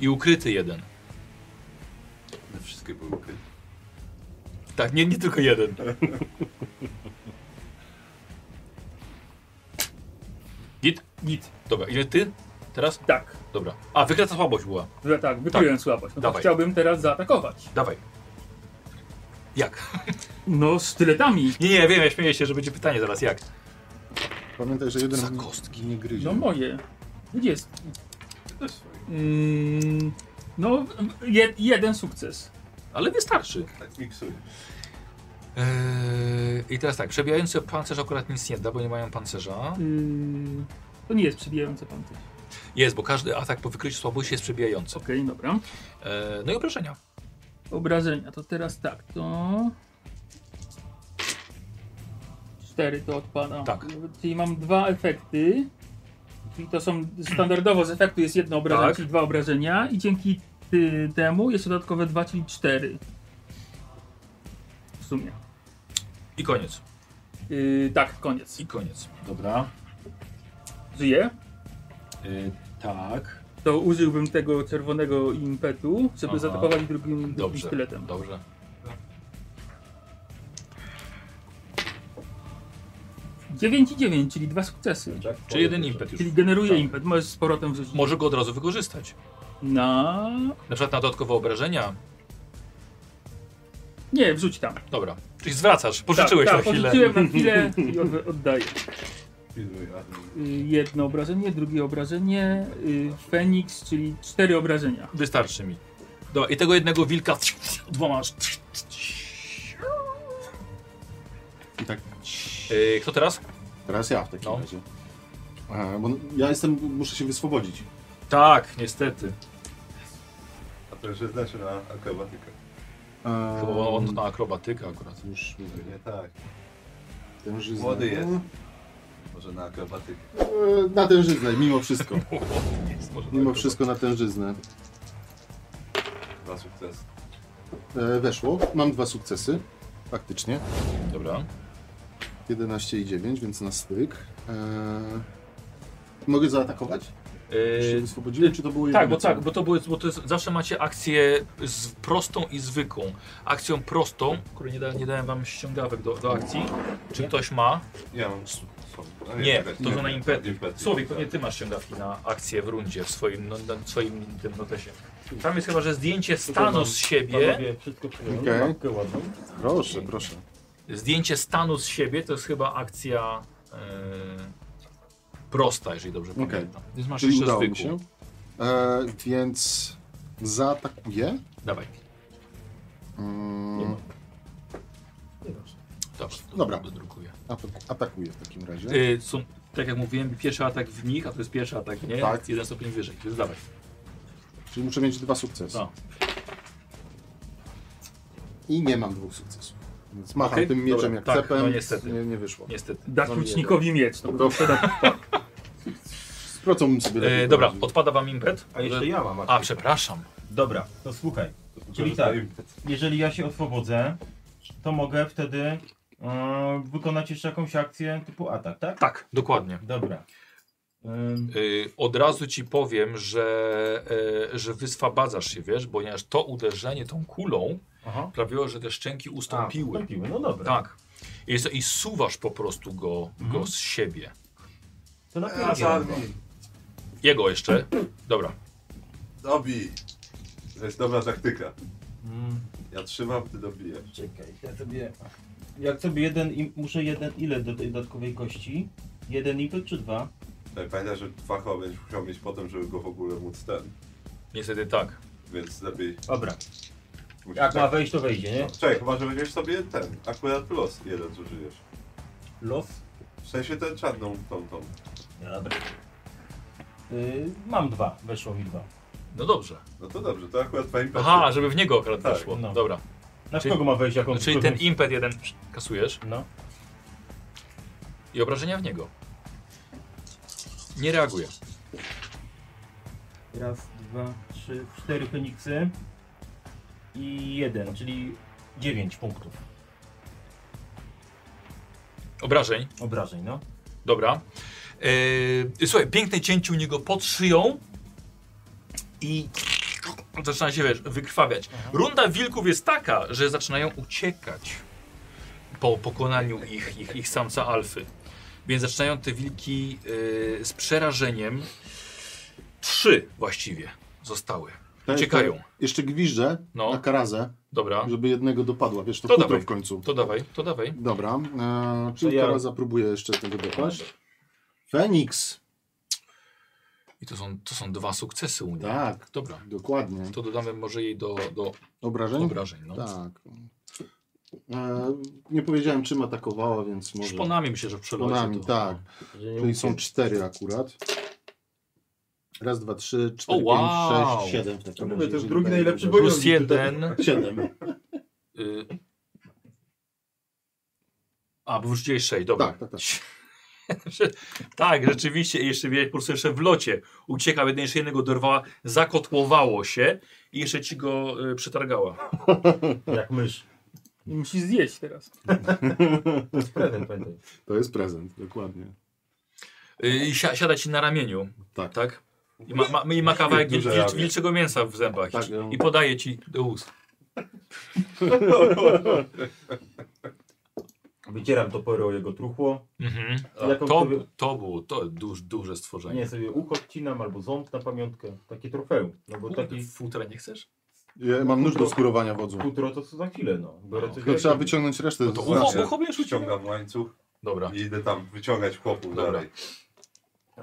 S1: i ukryty jeden.
S2: One wszystkie były ukryte.
S1: Tak, nie, nie tylko jeden. Git? Git. Dobra, ile ty? Teraz?
S8: Tak,
S1: Dobra. A, wykrata słabość była.
S8: że tak, wykryłem słabość. No to
S1: Dawaj.
S8: chciałbym teraz zaatakować.
S1: Dawaj. Jak?
S8: No, sztyletami.
S1: Nie, nie, wiem, ja śmieję się, że będzie pytanie zaraz, jak?
S9: Pamiętaj, że jeden
S1: Za kostki.
S9: nie gryzie.
S1: Mm.
S8: No moje. Dwudziest.
S2: Też swoje.
S8: Mm, no, jed, jeden sukces.
S1: Ale wystarczy.
S2: Tak miksuję.
S1: Eee, I teraz tak, przebijający pancerz akurat nic nie da, bo nie mają pancerza.
S8: Mm, to nie jest przebijający pancerz.
S1: Jest, bo każdy atak po wykryciu słabości jest przebijający.
S8: Okej, dobra.
S1: Eee, no i obrażenia.
S8: Obrażenia, to teraz tak, to... Cztery to odpada.
S1: Tak.
S8: Czyli mam dwa efekty. Czyli to są standardowo z efektu jest jedno obrażenie,
S1: Tak.
S8: czyli dwa obrażenia. I dzięki ty, temu jest dodatkowe dwa, czyli cztery. W sumie.
S1: I koniec.
S8: Yy, tak, koniec.
S1: I koniec.
S9: Dobra.
S8: Żyje.
S1: Yy,
S9: tak.
S8: To użyłbym tego czerwonego impetu, żeby
S1: Aha.
S8: zaatakowali drugim, drugim
S1: Dobrze.
S8: sztyletem.
S1: Dobrze.
S8: Dziewięć i dziewięć, czyli dwa sukcesy.
S1: Czyli jeden impet już.
S8: Czyli generuje impet, możesz z powrotem wrzucić.
S1: Tak. Może go od razu wykorzystać.
S8: Na...
S1: Na przykład na dodatkowe obrażenia.
S8: Nie, wrzuć tam.
S1: Dobra. Czyli zwracasz, pożyczyłeś
S8: tak,
S1: na chwilę.
S8: Pożyczyłem na chwilę i od, oddaję.
S2: Pilnuj Adam.
S8: Y, Jedno obrażenie, drugie obrażenie, y, Feniks, czyli cztery obrażenia.
S1: Wystarczy mi. Dobra, i tego jednego wilka dwoma.
S9: I tak.
S1: Eee, kto teraz?
S9: Teraz ja w takim
S1: No.
S9: razie. E, bo ja jestem, muszę się wyswobodzić.
S1: Tak, niestety.
S2: A to Także znaczy na akrobatykę.
S1: Chyba on na akrobatykę akurat.
S9: E, Już mówię.
S2: Nie tak,
S9: Tężyzna.
S2: Młody jest. może na akrobatykę.
S9: E, Na tężyznę, mimo wszystko.
S1: Jest, może
S9: Mimo
S1: tak,
S9: wszystko na tężyznę.
S2: Dwa sukcesy.
S9: E, Weszło. Mam dwa sukcesy. Faktycznie.
S1: Dobra.
S9: 11 i 9, więc na styk. E, Mogę zaatakować? Czy
S1: Yy,
S9: się wyswobodziłem, czy to było
S1: tak,
S9: jedyne,
S1: bo
S9: co-
S1: tak, bo to, były, bo to jest, zawsze macie akcję z prostą i zwykłą. Akcją prostą, której nie, da, nie dałem wam ściągawek do, do akcji. Czy ktoś ma?
S2: Ja mam. A
S1: Nie,
S2: tak,
S1: to są na impety.
S2: Impety.
S1: Słowik, pewnie ty masz ściągawki na akcję w rundzie w swoim, no, na swoim tym notesie. Tam jest chyba, że zdjęcie stanu z siebie.
S4: Panowie, wszystko przyjąłem.
S9: Okej.
S4: Mapkę ładną.
S9: Proszę, proszę.
S1: Zdjęcie stanu z siebie to jest chyba akcja e, prosta, jeżeli dobrze
S9: Okej.
S1: pamiętam. Więc masz
S9: Czyli
S1: jeszcze
S9: udało mi
S1: zwykłą.
S9: się. E, Więc zaatakuję.
S1: Dawaj.
S9: Mm,
S1: Dobrze, to
S9: Dobra.
S1: dodrukuję.
S9: atak- Atakuję w takim razie.
S1: Y, są, tak jak mówiłem, pierwszy atak w nich, a to jest pierwszy atak w nie,
S9: Tak.
S1: tak. jeden stopień wyżej, więc dawaj.
S9: Czyli muszę mieć dwa sukcesy.
S1: No.
S9: I nie mam dwóch sukcesów. Więc macham
S1: Okej,
S9: tym mieczem
S1: dobra,
S9: jak
S1: tak,
S9: cepem.
S1: no niestety.
S9: Nie, nie wyszło.
S1: Niestety.
S8: Dać łucznikowi miecz. No,
S9: To Strocą sobie
S1: Y,
S9: lepiej
S1: Tak. dobra,
S9: poradzi.
S1: odpada wam impet.
S4: A jeszcze
S1: Że-
S4: ja mam
S1: A,
S4: akcję.
S1: przepraszam.
S4: Dobra, to słuchaj. Czyli
S2: Że na
S4: tak.
S2: impet.
S4: Jeżeli ja się oswobodzę, to mogę wtedy e, wykonać jeszcze jakąś akcję typu atak, tak?
S1: Tak, dokładnie.
S4: Dobra. Ym,
S1: Y, od razu ci powiem, że, y, że wyswabadzasz się, wiesz, ponieważ to uderzenie tą kulą
S4: aha.
S1: sprawiło, że te szczęki
S4: A,
S1: ustąpiły.
S4: Piły, no dobra.
S1: tak. I, jest, I suwasz po prostu go, go
S4: Mhm.
S1: z siebie.
S4: To na
S2: A,
S4: pewno.
S1: Mm.
S2: zabij.
S1: Jego jeszcze. Dobra.
S2: Dobij. To jest dobra taktyka.
S4: Mm,
S2: Ja trzymam, ty dobijasz.
S4: Czekaj, ja sobie... Jak sobie jeden, im- muszę jeden, ile do tej dodatkowej kości? Jeden impet czy dwa?
S2: Tak, pamiętaj, że dwa chyba będziesz musiał mieć potem, żeby go w ogóle móc ten.
S1: Niestety tak.
S2: Więc lepiej...
S4: Dobra.
S2: musisz
S4: Jak ma
S2: tak-
S4: wejść, to wejdzie, nie?
S2: Czekaj, chyba, że będziesz sobie ten, akurat los jeden zużyjesz.
S4: Los.
S2: W sensie ten czarną tą, tą.
S4: Dobra. Y, mam dwa, weszło mi dwa.
S1: No dobrze.
S2: No to dobrze, to akurat twoim
S1: Aha, żeby w niego akurat
S2: Tak,
S1: weszło.
S4: no.
S1: Dobra.
S4: Na
S1: Czyli-
S4: kogo ma wejść, jak on...
S1: Czyli ten impet jeden kasujesz
S4: No.
S1: i obrażenia w niego. Nie reaguje.
S4: Raz, dwa, trzy, cztery Feniksy i jeden, czyli dziewięć punktów
S1: Obrażeń,
S4: obrażeń, no.
S1: dobra. Yy, słuchaj, piękne cięcie u niego pod szyją i zaczyna się wiesz, wykrwawiać. Runda wilków jest taka, że zaczynają uciekać po pokonaniu ich, ich, ich samca alfy. Więc zaczynają te wilki yy, z przerażeniem. Trzy właściwie zostały.
S9: Ja jeszcze-
S1: Uciekają.
S9: Tak, Jeszcze gwiżdżę
S1: No.
S9: na karazę,
S1: Dobra,
S9: żeby jednego dopadła. Wiesz, to,
S1: To
S9: to
S1: dawaj.
S9: w końcu.
S1: to dawaj, to dawaj.
S9: Dobra, e, czyli
S4: To ja-
S9: karaza próbuje jeszcze tego dopaść. Feniks.
S1: I to są, to są dwa sukcesy u niej.
S9: Tak,
S1: Dobra.
S9: dokładnie.
S1: To dodamy może jej do, do
S9: Obrażeń?
S1: obrażeń. No.
S9: Tak. E, nie powiedziałem czym atakowała, więc może...
S1: Szponami myślę, że w przelocie.
S9: Szponami,
S1: to-
S9: tak.
S4: Że nie
S9: Czyli
S4: uciekł.
S9: są cztery akurat. Raz, dwa, trzy,
S1: O,
S9: cztery, pięć,
S1: wow.
S9: sześć, siedem w takim
S11: Mówię,
S9: razie.
S11: to jest
S9: jeżeli
S11: drugi
S9: daje
S11: najlepszy
S9: obrażenia.
S1: Plus jeden.
S9: Tak, Siedem.
S1: Y... A, bo wrzuciłeś sześć, dobra.
S9: Tak, tak, tak.
S1: tak, rzeczywiście. I jeszcze miałeś po prostu jeszcze w locie. Uciekał, jeden jeszcze jednego dorwała, zakotłowało się i jeszcze ci go y, przetargała.
S4: Jak mysz.
S8: I musi zjeść teraz.
S4: Prezent pamiętaj.
S9: To jest prezent, dokładnie.
S1: Y, I si siada ci na ramieniu,
S9: Tak.
S1: tak? I ma, ma, i ma kawałek wil,
S2: Duże
S1: wil,
S2: ramię.
S1: wilczego mięsa w zębach
S9: Tak,
S1: i,
S9: ja-
S1: i podaje ci do ust.
S4: Wycieram toporem o jego truchło.
S1: Mhm.
S4: Jaką
S1: To,
S4: sobie-
S1: to było to duż, duże
S4: A
S1: stworzenie.
S4: nie, sobie ucho odcinam albo ząb na pamiątkę. Takie trofeum. No bo
S1: Kurde,
S4: taki
S1: futra nie chcesz?
S9: Ja
S11: No
S9: mam nóż do skurowania wodzu.
S4: futro to co za chwilę, no. Biorę coś
S9: Tylko trzeba wyciągnąć resztę.
S1: No To
S9: z znaczy. naczyń.
S1: ucho, ucho będziesz uciągał.
S2: Przyciągam znaczy, łańcuch
S1: Dobra.
S2: i idę tam wyciągać chłopów
S1: Dobra.
S2: dalej.
S4: Co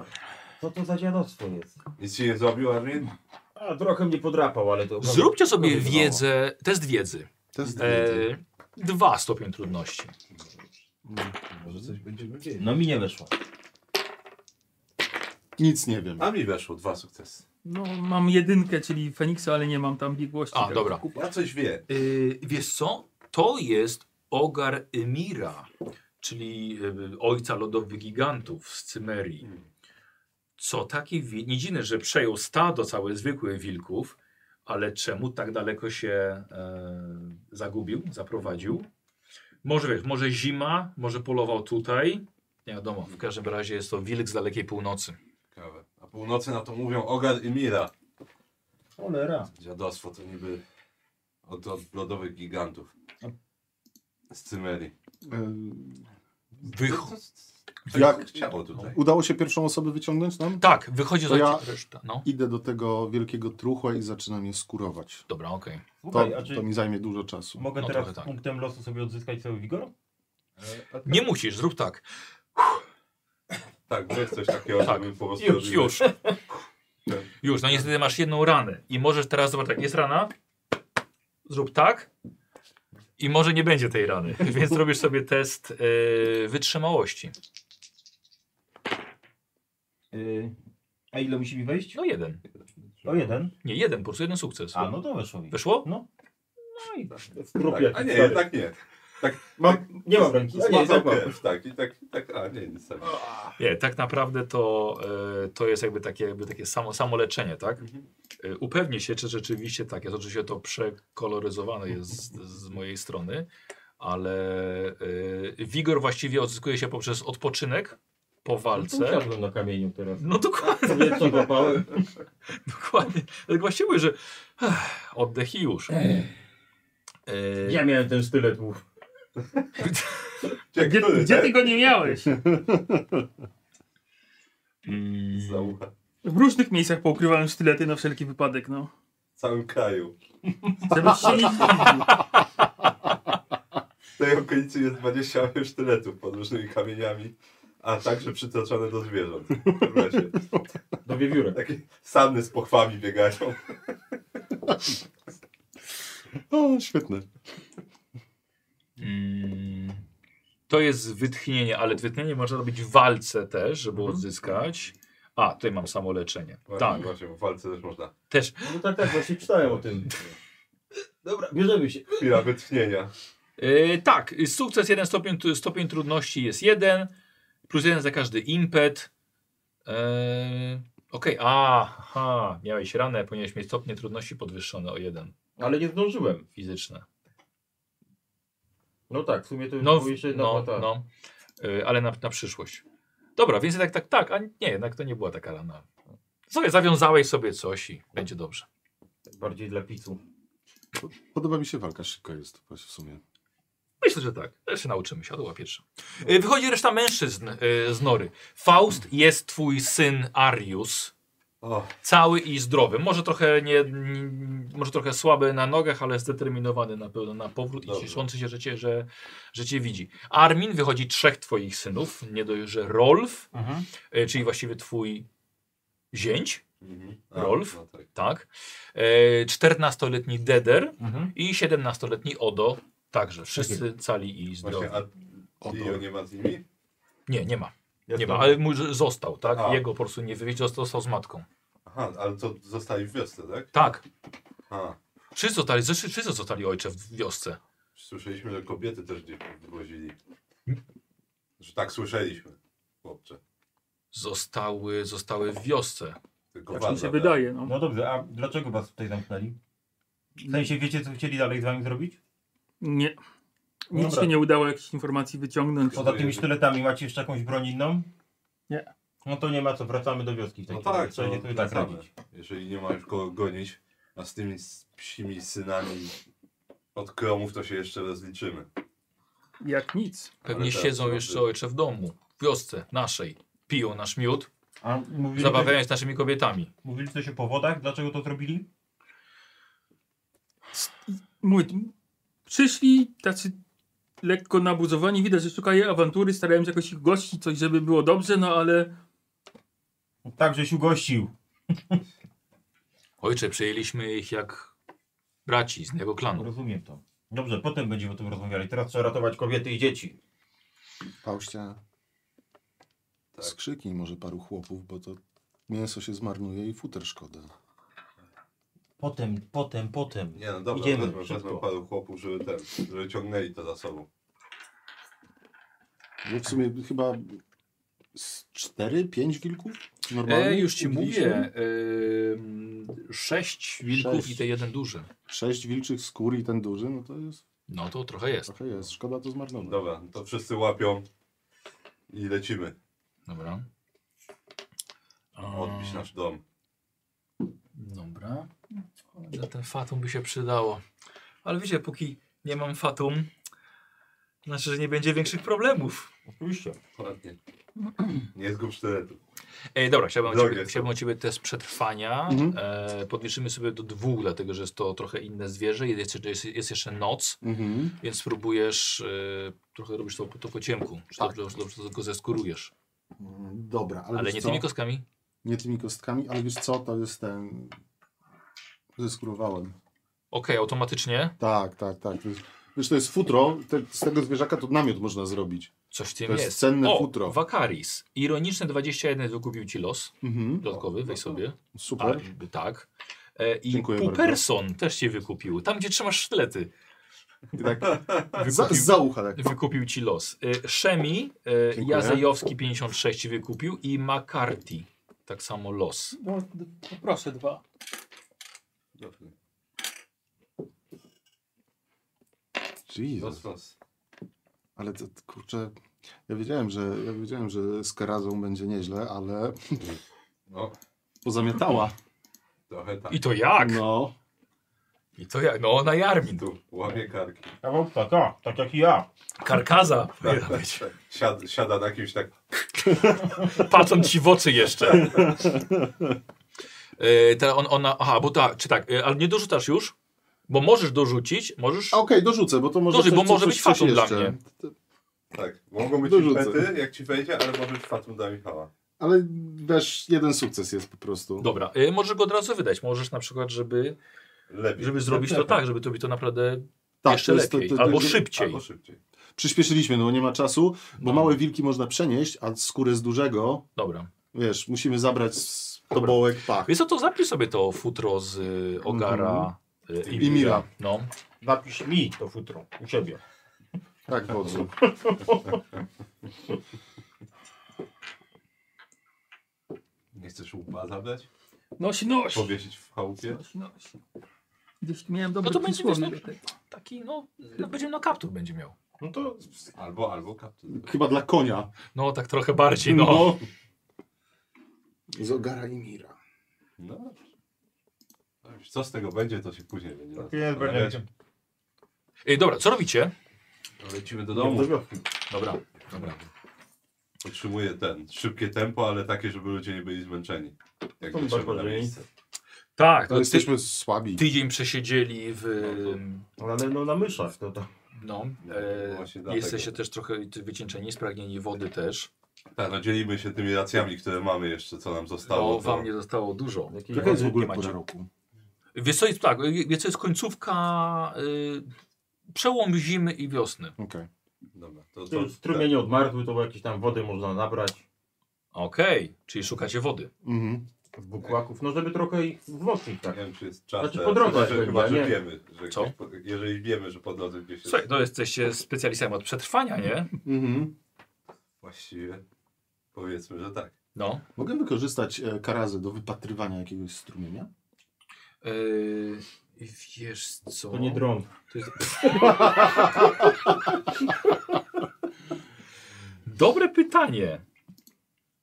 S4: No to za dziadostwo jest?
S2: Nic ci nie zrobił, Armin?
S4: A, trochę mnie podrapał, ale to... No,
S1: Zróbcie sobie
S4: Dobra.
S1: wiedzę, test wiedzy.
S9: To jest
S1: E, dwa stopień trudności.
S2: Może coś będziemy wiedzieć.
S4: No mi nie weszło.
S9: Nic nie wiem.
S2: A mi weszło dwa sukcesy.
S8: No, mam jedynkę, czyli Feniksa, ale nie mam tam biegłości.
S1: A, dobra.
S2: Ja coś wie.
S1: Yy, wiesz co? To jest ogar Emira, czyli yy, ojca lodowych gigantów z Cymerii. Co taki wi- nie dziwne, że przejął stado całe zwykłych wilków, ale czemu tak daleko się e, zagubił, zaprowadził? Może wiesz, może zima, może polował tutaj. Nie wiadomo, w każdym razie jest to wilk z dalekiej północy.
S2: Ciekawe. A północy na to mówią Ogar i Mira.
S3: Cholera.
S2: Dziadostwo to niby od, od lodowych gigantów. Z Cymerii.
S9: E,
S1: Wycho-
S9: Jak-
S2: chciało Tak tutaj?
S9: Udało się pierwszą osobę wyciągnąć nam?
S1: tak, wychodzi
S9: To
S1: za
S9: ja-
S1: reszta. No,
S9: Idę do tego wielkiego truchła i zaczynam je skurować.
S1: dobra, okej.
S9: To,
S3: Słuchaj, a czy
S9: to mi zajmie dużo czasu.
S3: mogę
S1: No,
S3: teraz
S1: trochę tak.
S3: punktem losu sobie odzyskać cały wigor?
S1: Nie musisz, zrób tak.
S2: Tak, jest coś takiego,
S1: Tak.
S2: żeby po prostu...
S1: Już, już. Już, no niestety masz jedną ranę i możesz teraz, zobacz, jak jest rana, zrób tak i może nie będzie tej rany, więc robisz sobie test e, wytrzymałości.
S3: Yy, a ile musi mi wejść?
S1: No jeden.
S3: O jeden.
S1: Nie, jeden, po prostu jeden sukces.
S3: A no to weszło mi.
S1: Wyszło?
S3: No.
S1: No i
S3: W
S2: Tak,
S3: kropie.
S2: a nie, jednak nie. No,
S3: Mam, nie mam ręki. A nie,
S2: Zmazał
S3: tak mam.
S2: krew, tak, i tak, i tak, a nie, nic tam.
S1: nie, tak naprawdę to, e, to jest jakby takie, jakby takie samo, samoleczenie, tak?
S3: Mhm.
S1: E, upewnij się, czy rzeczywiście tak jest. Oczywiście to przekoloryzowane jest z, z mojej strony, ale e, wigor właściwie odzyskuje się poprzez odpoczynek po walce.
S3: No to usiadłem na kamieniu teraz.
S1: No dokładnie,
S3: Sobie co złapałem.
S1: dokładnie. Tak właśnie mówię, że ech, oddech i już.
S4: Y,
S1: E,
S3: Ja miałem ten sztylet łów.
S2: Gdzie,
S8: Gdzie,
S2: który,
S8: gdzie
S2: tak?
S8: ty go nie miałeś?
S1: mm,
S2: Za ucha.
S8: W różnych miejscach poukrywałem sztylety na wszelki wypadek, no.
S2: W całym kraju.
S8: Żebyś się nie zdziwił.
S2: W tej okolicy jest 20 sztyletów pod różnymi kamieniami, a także przytoczone do zwierząt. W lesie.
S3: Do wiewiórek.
S2: Takie samy z pochwami biegają.
S9: O, świetne.
S1: mm, to jest wytchnienie, ale wytchnienie można robić w walce też, żeby
S3: Mhm.
S1: odzyskać. A, tutaj mam samoleczenie. Tak,
S2: Właśnie, Właśnie, bo w walce też można.
S1: też.
S3: No tak, tak, właśnie czytałem o tym. Dobra, bierzemy się.
S2: Chwila wytchnienia.
S1: E, tak, y, sukces jeden stopień, tu- stopień trudności jest jeden, plus jeden za każdy impet. E, Okej, aha, miałeś ranę, ponieważ mieć stopnie trudności podwyższone o jeden,
S3: Ale nie zdążyłem.
S1: fizyczne.
S3: No tak, w sumie to już
S1: No,
S3: było jeszcze jedna
S4: tak,
S1: no,
S3: płata.
S1: no. Y, ale na, na przyszłość. Dobra, więc tak, tak, tak, a nie, jednak to nie była taka rana. Sobie zawiązałeś sobie coś i będzie dobrze.
S3: Bardziej dla picu.
S9: Podoba mi się walka, szybka jest właśnie w sumie.
S1: Myślę, że tak. Jeszcze nauczymy się, to była pierwsza. Y, Wychodzi reszta mężczyzn y, z Nory. Faust jest twój syn Arius.
S2: O,
S1: Cały i zdrowy. Może trochę, nie, n- może trochę słaby na nogach, ale zdeterminowany na pewno na powrót
S2: Dobrze.
S1: i cieszący się, że cię, że, że cię widzi. Armin wychodzi trzech twoich synów. Nie dość, że Rolf, y, czyli właściwie twój zięć.
S2: mhm.
S1: Rolf?
S2: No, tak.
S1: tak. E, 14-letni Deder
S2: Mhm.
S1: i 17-letni Odo. Także wszyscy cali i zdrowi.
S2: Właśnie, a Dio nie ma z nimi?
S1: Nie, nie ma.
S3: Ja
S1: Nie ma,
S3: znam.
S1: ale mój z- został, tak?
S2: A.
S1: Jego po prostu nie wywieźć, został, został z matką.
S2: Aha, ale to zostali w wiosce, tak?
S1: Tak.
S2: A,
S1: Wszyscy zostali, zresztą wszyscy zostali ojcze w wiosce.
S2: słyszeliśmy, że kobiety też gdzieś wywozili. Że tak słyszeliśmy, chłopcze.
S1: Zostały, zostały w wiosce.
S2: Tylko
S8: Tak mi
S2: walka,
S8: się
S2: tak?
S8: wydaje, no.
S3: No dobrze, a dlaczego was tutaj zamknęli? W sensie wiecie, co chcieli dalej z wami zrobić?
S8: Nie. Nic
S3: Dobra.
S8: się nie udało jakichś informacji wyciągnąć.
S3: Poza tymi sztyletami macie jeszcze jakąś broń inną?
S8: Nie.
S3: No to nie ma co, wracamy do wioski w tej
S2: No
S3: chwili.
S2: tak,
S3: Trzeba
S2: to
S3: się sobie tak
S2: wracamy.
S3: radzić.
S2: Jeżeli nie ma już kogo gonić, a z tymi s- psimi synami od kromów to się jeszcze rozliczymy.
S8: Jak nic.
S1: Pewnie
S2: Ale tak,
S1: siedzą
S2: no,
S1: jeszcze
S2: ty-
S1: ojcze w domu, w wiosce naszej. Piją nasz miód,
S3: A mówili,
S1: zabawiają się z naszymi kobietami.
S3: mówili coś o powodach, dlaczego to zrobili?
S8: Mój, przyszli tacy lekko nabuzowani, widać, że szukają awantury, starałem się jakoś ich gościć, coś, żeby było dobrze, no ale
S3: Tak, żeś ugościł.
S1: Ojcze, przyjęliśmy ich jak braci z innego klanu.
S3: Rozumiem to. Dobrze, potem będziemy o tym rozmawiali. Teraz trzeba ratować kobiety i dzieci.
S9: Fauścia.
S2: Tak.
S1: Tak.
S9: Skrzyknij może paru chłopów, bo to Mięso się zmarnuje i futer szkoda.
S3: Potem, potem, potem.
S2: Nie no dobra,
S3: Idziemy,
S2: wezmę, wezmę
S3: szybko.
S2: paru chłopów, żeby ten, żeby ciągnęli to za sobą.
S9: Bo No w sumie chyba z 4-5 wilków? Normalnie?
S1: E, już ci
S9: Mówiliśmy?
S1: mówię. ym, sześć wilków
S9: Sześć.
S1: i ten jeden duży.
S9: Sześć wilczych skór i ten duży, no to jest,
S1: No to trochę jest.
S9: trochę jest. Szkoda to zmarnować.
S2: Dobra, to wszyscy łapią i lecimy
S1: Dobra. A,
S2: odbić nasz dom.
S1: Dobra. Za ten fatum by się przydało. Ale wiecie, póki nie mam fatum, znaczy, że nie będzie większych problemów.
S3: Oczywiście.
S2: Ładnie. Nie zgub sztyletu.
S1: Ej, dobra, chciałbym, od
S2: Drogie
S1: ciebie,
S2: są.
S1: chciałbym od ciebie test przetrwania.
S9: Mhm.
S1: E, podliczymy sobie do dwóch, dlatego że jest to trochę inne zwierzę. i Jest, jest, jest jeszcze noc,
S9: Mhm.
S1: więc spróbujesz e, trochę robić to, to po ciemku. Czy
S9: Tak.
S1: dobrze, dobrze to go zeskurujesz.
S9: Mm, Dobra, ale,
S1: Ale,
S9: wiesz
S1: nie
S9: co?
S1: tymi kostkami.
S9: nie tymi kostkami, ale wiesz co, to jest ten... Zeskurowałem.
S1: Okej, automatycznie.
S9: Tak, tak, tak. To jest- Wiesz, to jest futro, te, z tego zwierzaka to namiot można zrobić.
S1: Coś w tym
S9: To jest
S1: jest.
S9: cenne
S1: o,
S9: futro.
S1: Wakaris. Ironiczne 21 wykupił ci los.
S9: Mhm.
S1: Dodatkowy, weź sobie.
S9: Super.
S1: A, tak. E, I
S9: Dziękuję
S1: Puperson też cię wykupił. Tam, gdzie trzymasz sztylety.
S9: tak Za,
S1: Wykupił,
S9: za ucha tak.
S1: wykupił ci los. E, Szemi, e,
S9: Dziękuję.
S1: Jazejowski 56 ci wykupił i McCarthy. Tak samo los.
S8: No, d- proszę dwa.
S2: Dobrze.
S9: Jesus.
S2: Los, los.
S9: Ale to, to, kurczę, ja wiedziałem, że, ja wiedziałem, że z Karazą będzie nieźle, ale
S2: No,
S9: pozamiatała.
S2: trochę tak.
S1: I to jak?
S9: No.
S1: I to jak? No, na
S2: I
S1: Jarmin.
S2: tu łamie karki.
S4: Ja mam taka, tak jak i ja.
S1: Karkaza.
S2: Tak, tak, tak. Siad, siada na kimś tak.
S1: Patrząc ci w oczy jeszcze. E, ta, on, ona, aha, bo tak, czy tak, e, ale nie dorzucasz już? Bo możesz dorzucić, możesz...
S9: A Okej, dorzucę, bo to może
S1: Dobrze,
S9: coś,
S1: bo
S9: coś,
S1: może
S9: coś,
S1: być
S9: coś
S1: fatum dla
S9: jeszcze.
S1: mnie.
S2: Tak, mogą być
S9: Dorzucę.
S2: pety, jak ci wejdzie, ale może być fatum dla Michała.
S9: Ale wiesz, jeden sukces jest po prostu.
S1: Dobra, e, możesz go od razu wydać. Możesz na przykład, żeby,
S2: Lepiej.
S1: żeby zrobić to tak, żeby to robić to naprawdę
S9: Tak,
S1: jeszcze
S9: to jest- to-
S1: lepiej.
S9: to- to-
S1: albo
S9: to-
S1: szybciej.
S2: Albo szybciej.
S9: Przyspieszyliśmy, no bo nie ma czasu, bo
S1: No.
S9: małe wilki można przenieść, a skórę z dużego,
S1: Dobra.
S9: wiesz, musimy zabrać z tak. tobołek pach.
S1: Więc to zapisz sobie to futro z y, Ogara y,
S9: I Mira.
S1: No.
S4: Napisz mi to futro u siebie.
S9: Tak, wodzu.
S2: Nie chcesz łupa zabrać?
S8: Nosi, nosi.
S2: Powiesić w chałupie?
S8: Nosi, nosi. Gdzieś miałem dobre
S1: No to będzie wiesz,
S8: przysłowie
S1: no,
S8: do tego.
S1: taki, no, no będzie na kaptur będzie miał.
S4: No to
S2: Albo, albo kaptur.
S9: Chyba dla konia.
S1: No tak trochę bardziej, no.
S9: Z ogara i mira.
S2: No. dobrze. No już Co z tego będzie, to się później będzie.
S4: tak jest, będzie.
S1: Y, dobra, co robicie?
S2: Lecimy do domu.
S1: Dobra, dobra.
S2: Utrzymuje ten szybkie tempo, ale takie, żeby ludzie nie byli zmęczeni. Jak
S4: To
S2: dotrzemy
S4: chyba
S2: na
S4: lepiej.
S2: miejsce.
S1: Tak,
S9: No,
S1: to ty,
S9: jesteśmy słabi.
S1: tydzień przesiedzieli w...
S4: Ale no na myszach to tak.
S1: No,
S2: No, właśnie
S1: e,
S2: dlatego.
S1: jesteście też trochę ty- wycieńczeni, spragnieni wody też.
S2: Tak, no dzielimy się tymi racjami, które mamy jeszcze, co nam zostało.
S1: No,
S2: to-
S1: wam nie zostało dużo.
S4: Jakiej
S9: Jaka jest w ogóle
S1: Nie macie.
S9: pora roku?
S1: Wiesz co jest, tak, wiesz co jest końcówka, y, przełom zimy i wiosny.
S9: Okej.
S2: Dobra, to, to,
S4: Ty już strumienie odmarzły, to jakieś tam wody można nabrać
S1: Okej, czyli szukacie wody.
S9: Mhm.
S4: z bukłaków, no żeby trochę ich wzmocnić
S2: Nie
S4: tak.
S2: wiem, czy jest czas.
S4: Znaczy,
S2: teraz,
S4: po drodze
S2: chyba, że,
S4: będzie,
S2: chyba, że
S4: nie?
S2: wiemy. Że
S1: Co?
S2: gdzieś Po, jeżeli wiemy, że po drodze gdzieś jest.
S1: Słuchaj, no jesteście specjalistami od przetrwania, nie?
S9: Mhm.
S2: Właściwie powiedzmy, że tak.
S1: No.
S9: Mogę wykorzystać e, karazy do wypatrywania jakiegoś strumienia?
S1: Yy, wiesz co?
S4: To nie drąg.
S1: To jest- Dobre pytanie.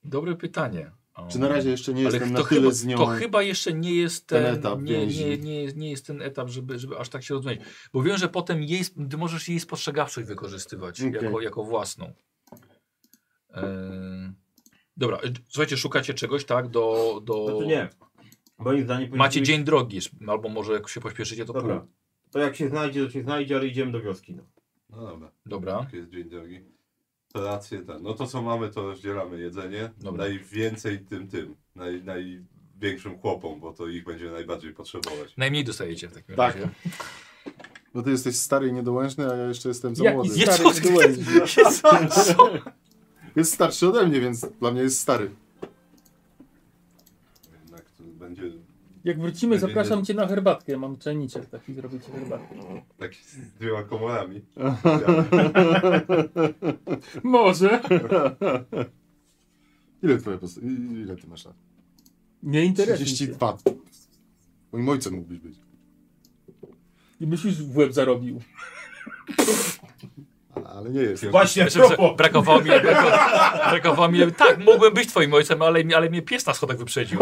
S1: Dobre pytanie. O.
S9: Czy na razie jeszcze nie
S1: Ale
S9: jestem na
S1: to
S9: tyle
S1: chyba,
S9: z nią?
S1: to chyba jeszcze nie jest ten,
S9: ten etap
S1: nie,
S9: więzi.
S1: nie, nie, nie jest ten etap, żeby, żeby aż tak się rozumieć. Bo wiem, że potem jej, sp- ty możesz jej spostrzegawczość wykorzystywać
S9: Okej.
S1: jako, jako własną. Ehm, dobra, e, słuchajcie, szukacie czegoś, tak? Do, do...
S4: Znaczy nie. Moim zdaniem powinniśmy
S1: Macie
S4: iść-
S1: dzień drogi, albo może jak się pośpieszycie, to
S4: Dobra.
S1: pół.
S4: To jak się znajdzie, to się znajdzie, ale idziemy do wioski. No.
S2: No dobra,
S1: Dobra.
S2: tak jest dzień drogi. To rację ten. No to co mamy, to rozdzielamy jedzenie.
S1: Dobra.
S2: Najwięcej tym tym. Naj, największym chłopom, bo to ich będziemy najbardziej potrzebować.
S1: Najmniej dostajecie w takim
S9: Tak.
S1: razie.
S9: Bo ty jesteś stary i niedołężny, a ja jeszcze jestem za
S8: Jaki
S9: młody.
S8: stary?
S1: Jezus,
S8: Starek
S1: Jezus, Jezus.
S9: Jest starszy ode mnie, więc dla mnie jest stary.
S2: jednak to będzie
S8: Jak wrócimy,
S2: Będzie
S8: zapraszam cię na herbatkę. Mam czajniczek taki, zrobię ci herbatkę.
S2: tak z dwiema komorami.
S8: Może.
S9: Ile twoja posta- i- Ile ty masz lat?
S8: Nie interesuje się.
S9: 32. Moim ojcem mógłbyś być.
S8: I byś już w łeb zarobił.
S9: A- Ale nie jest.
S4: Właśnie,
S1: Znaczy, że
S4: propos.
S1: brakowało mi, brako, brakowało mi, tak, mógłbym być twoim ojcem, ale, mi- ale mnie pies na schodach wyprzedził.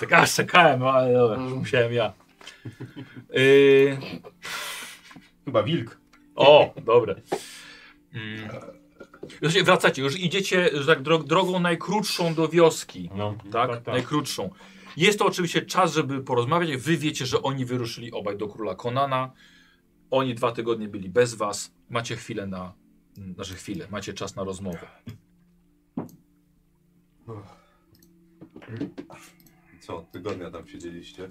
S1: Tak aż czekałem, no, ale dobra, musiałem ja. Yy,
S4: Chyba wilk.
S1: o, dobra. Mm. Znaczy, wracacie, już idziecie że tak drog, drogą najkrótszą do wioski.
S4: No.
S1: tak?
S4: Tak, tak.
S1: Najkrótszą. Jest to oczywiście czas, żeby porozmawiać. Wy wiecie, że oni wyruszyli obaj do króla Konana. Oni dwa tygodnie byli bez was. Macie chwilę na. Znaczy chwilę, macie czas na rozmowę.
S2: Co, tygodnia tam siedzieliście?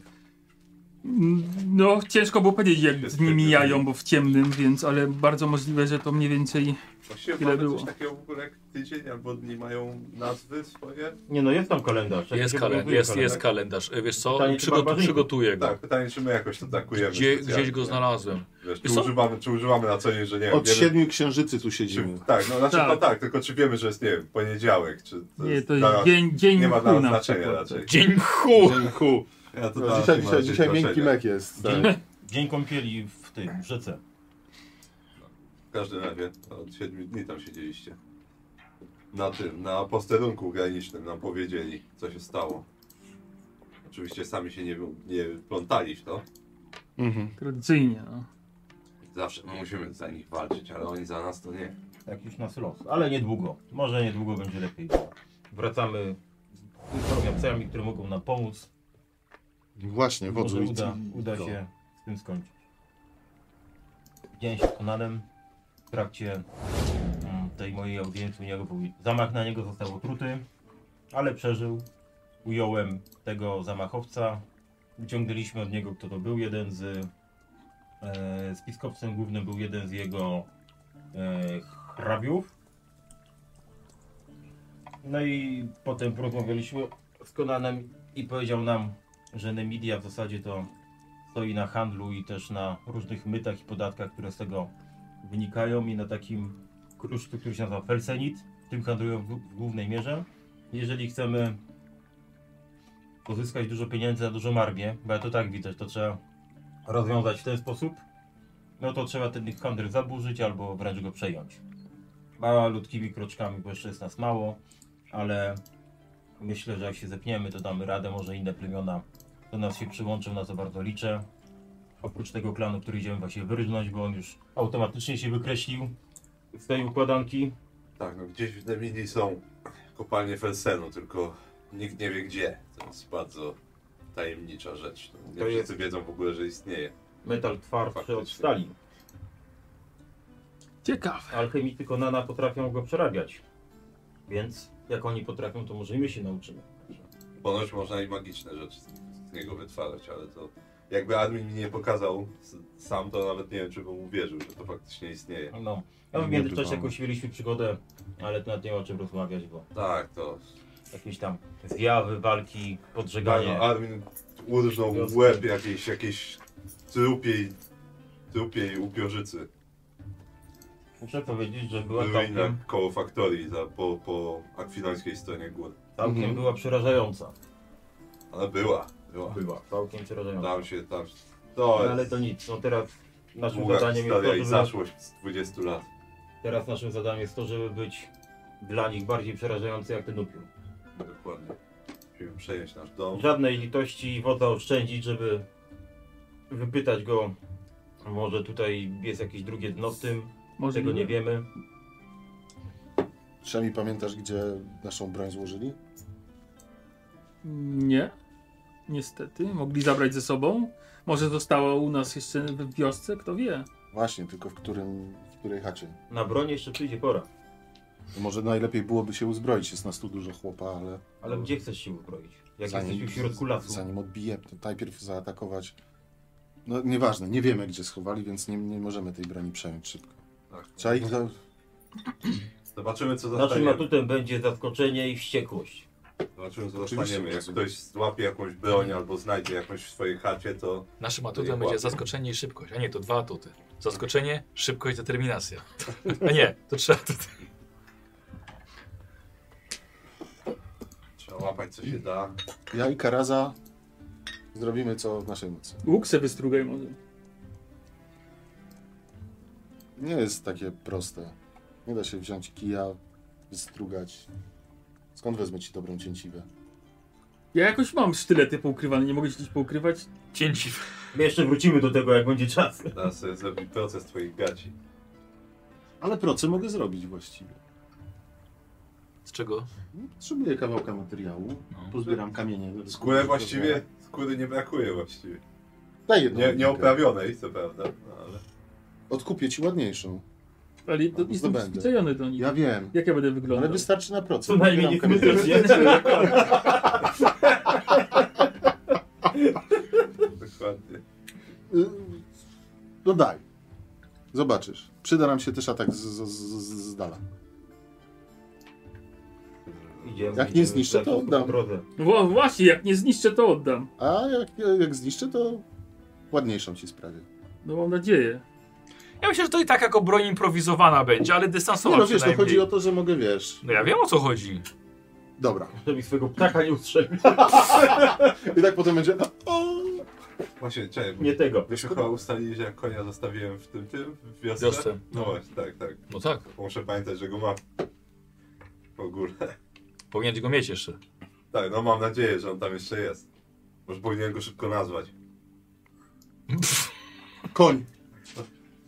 S8: Mm, No, ciężko było powiedzieć, jak z nimi jają, bo w ciemnym, więc, ale bardzo możliwe, że to mniej więcej.
S2: Właściwie
S8: Ile
S2: mamy
S8: było?
S2: coś takiego w ogóle jak tydzień albo dni mają nazwy swoje?
S3: Nie no, jest tam kalendarz.
S4: tak,
S1: Jest, kalen jest, jest kalendarz. E, Wiesz co?
S3: Pytanie, czy
S1: Przygotu
S3: barbarzyńcy?
S1: przygotuję go.
S2: Tak, pytanie czy my jakoś to takujemy
S1: Gdzie,
S2: specjalnie,
S1: gdzieś go
S2: nie?
S1: znalazłem.
S2: Wiesz,
S1: Wiesz
S2: czy,
S1: co?
S2: używamy, czy używamy na co dzień, że nie
S9: Od
S2: wiem, wiemy,
S9: siedmiu księżycy tu siedzimy.
S2: czy, tak, no znaczy tak.
S8: Tak.
S2: no tak, tylko czy wiemy, że jest, nie wiem, poniedziałek, czy to
S8: Nie,
S2: jest
S8: to
S2: dla
S8: jest
S2: nas-
S8: dzień, dzień
S2: nie ma
S8: mchu
S2: dla
S8: na
S2: nas znaczenia
S8: przykład.
S2: raczej.
S1: Dzień chu!
S9: Dzięku.
S2: Ja to dla
S9: No,
S2: nas
S9: dzisiaj
S2: nie ma
S9: dzisiaj,
S2: raczej
S9: dzisiaj
S2: znaczenia.
S9: miękki mek jest. Tak.
S4: Dzień kąpieli w tym, w rzece.
S2: W każdym razie no, od siedmiu dni tam siedzieliście. Na tym, na posterunku granicznym nam powiedzieli, co się stało. Oczywiście sami się nie, nie plątali w to.
S9: Mhm.
S8: Tradycyjnie. No.
S2: Zawsze my musimy za nich walczyć, ale oni za nas to nie.
S4: Jakiś nas los. Ale niedługo. Może niedługo będzie lepiej. Wracamy z informacjami, które mogą nam pomóc.
S9: Właśnie, wodzu.
S4: Może
S9: i-
S4: uda, uda
S9: to.
S4: się z tym skończyć. Widziałem się z Konanem w trakcie mm, tej mojej audiencji u niego był zamach na niego został otruty, ale przeżył. Ująłem tego zamachowca. Wyciągnęliśmy od niego, kto to był. Jeden z e, spiskowcem głównym był jeden z jego e, hrabiów. No i potem porozmawialiśmy z Konanem i powiedział nam, że Nemidia w zasadzie to stoi na handlu i też na różnych mytach i podatkach, które z tego wynikają i na takim kruszcu, który się nazywa Felsenit, tym handlują w, w głównej mierze. Jeżeli chcemy pozyskać dużo pieniędzy na dużą armię, bo ja to tak widzę, że to trzeba rozwiązać w ten sposób, no to trzeba ten ich handel zaburzyć albo wręcz go przejąć. Malutkimi kroczkami, bo jeszcze jest nas mało, ale myślę, że jak się zepniemy, to damy radę, może inne plemiona do nas się przyłączą, na co bardzo liczę. Oprócz tego klanu, który idziemy właśnie wyrżnąć, bo on już automatycznie się wykreślił z tej układanki.
S2: Tak, no gdzieś w Nemidii są kopalnie Felsenu, tylko nikt nie wie gdzie. To jest bardzo tajemnicza rzecz. No, Nie
S4: To jest-
S2: wszyscy wiedzą w ogóle, że istnieje.
S4: Metal twardszy od
S2: Faktycznie.
S4: stali.
S8: Ciekawe.
S4: Alchemicy Konana potrafią go przerabiać. Więc jak oni potrafią, to może i my się nauczymy.
S2: Ponoć można i magiczne rzeczy z- z niego wytwarzać, ale to jakby admin mi nie pokazał s- sam, to nawet nie wiem, czy bym uwierzył, że to faktycznie istnieje.
S4: No, no w
S9: Nie
S4: międzyczasie
S9: bywamy.
S4: jakąś mieliśmy przygodę, ale to nawet nie ma o czym rozmawiać, bo
S2: Tak, to.
S4: jakieś tam zjawy, walki, podżeganie.
S2: No, admin urżnął w
S4: Wioski.
S2: łeb jakiejś, jakiejś trupiej, trupiej upiorzycy.
S4: Muszę powiedzieć, że była
S2: Ruina
S4: całkiem,
S2: koło faktorii za, po, po akwinańskiej stronie gór.
S4: całkiem
S9: Mhm.
S4: była przerażająca.
S2: Ale była, była.
S4: Była, całkiem przerażająca.
S2: Tam się, tam. To
S4: No,
S2: jest
S4: ale to nic, no teraz naszym
S2: długa
S4: zadaniem jest to,
S2: historia i
S4: żeby,
S2: zaszłość z 20 lat.
S4: teraz naszym zadaniem jest to, żeby być dla nich bardziej przerażający jak ten upiór. No,
S2: Dokładnie. Musimy przejąć nasz dom.
S4: Żadnej litości i wodza oszczędzić, żeby wypytać go, może tutaj jest jakieś drugie dno w tym,
S8: Może
S4: tego nie wiemy.
S9: Szemi, pamiętasz, gdzie naszą broń złożyli?
S8: Nie. Niestety. Mogli zabrać ze sobą. Może została u nas jeszcze w wiosce, kto wie.
S9: Właśnie, tylko w, którym, w której chacie.
S4: Na broń jeszcze przyjdzie pora,
S9: Może najlepiej byłoby się uzbroić, jest nas tu dużo chłopa, ale
S4: ale gdzie chcesz się uzbroić? Jak jesteś w środku lasu?
S9: Zanim odbije, to najpierw zaatakować. No nieważne, nie wiemy gdzie schowali, więc nie, nie możemy tej broni przejąć szybko.
S2: Tak.
S9: Trzeba ich za...
S2: Zobaczymy, co
S4: Naszym
S2: zostaniemy.
S4: atutem będzie zaskoczenie i wściekłość.
S2: Zobaczymy, co
S9: Oczywiście,
S2: dostaniemy. Jak
S9: oczywiście.
S2: ktoś złapie jakąś broń albo znajdzie jakąś w swojej chacie, to
S1: Naszym
S2: Nie
S1: atutem
S2: łapie.
S1: będzie zaskoczenie i szybkość. A nie, to dwa atuty. Zaskoczenie, szybkość, determinacja. A nie, to trzy atuty.
S2: trzeba łapać co się da.
S9: Ja i Karaza zrobimy co w naszej mocy.
S8: Łuk se wystrugaj może.
S9: Nie jest takie proste. Nie da się wziąć kija, wystrugać. Skąd wezmę ci dobrą cięciwę?
S8: Ja jakoś mam sztylety poukrywane, nie mogę się gdzieś poukrywać.
S1: Cięci.
S4: My jeszcze wrócimy do tego, jak będzie czas.
S2: Teraz sobie zrobi proces twoich gaci.
S9: Ale proce mogę zrobić właściwie.
S1: Z czego?
S9: No, Potrzebuję kawałka materiału,
S1: No.
S9: pozbieram kamienie.
S2: Skórę właściwie, skóry nie brakuje właściwie.
S9: Daj jedną.
S2: Nie,
S9: rękę.
S2: nieoprawionej, co prawda, no, ale
S9: Odkupię ci ładniejszą.
S8: Ale to
S9: No,
S8: jestem
S9: zdobędę.
S8: przyzwyczajony do nich.
S9: Ja wiem.
S8: Jak ja będę
S9: Ale
S8: wyglądał?
S9: wystarczy na proces.
S4: Co najmniej
S9: Odbieram
S4: nie
S9: kamienie.
S4: komentuję.
S2: dokładnie.
S9: Y, No daj. Zobaczysz. Przyda nam się też atak z, z, z, z dala.
S4: Idziemy,
S9: Jak nie
S4: idziemy
S9: zniszczę, to
S4: po
S9: oddam.
S4: drodze.
S8: Wo- No właśnie, jak nie zniszczę, to oddam.
S9: A jak, jak zniszczę, to ładniejszą ci sprawię.
S8: No mam nadzieję.
S1: Ja myślę, że to i tak jako broń improwizowana będzie, ale
S9: Nie
S1: dystansowa
S9: no wiesz, to
S1: przynajmniej.
S9: chodzi o to, że mogę, wiesz...
S1: No ja wiem o co chodzi.
S9: Dobra.
S4: Żeby swojego ptaka nie ustrzelił.
S9: I tak potem będzie... O!
S2: Właśnie, czekaj, bo
S4: Nie tego.
S2: Myśmy chyba ustalili, że jak konia zostawiłem w tym, tym, w wiosce.
S1: Wiosce,
S2: No,
S1: no.
S2: właśnie, tak, tak.
S1: No tak,
S2: Muszę pamiętać, że go mam po górę.
S1: powinien go mieć jeszcze.
S2: Tak, no mam nadzieję, że on tam jeszcze jest. Może powinienem go szybko nazwać.
S9: Koń.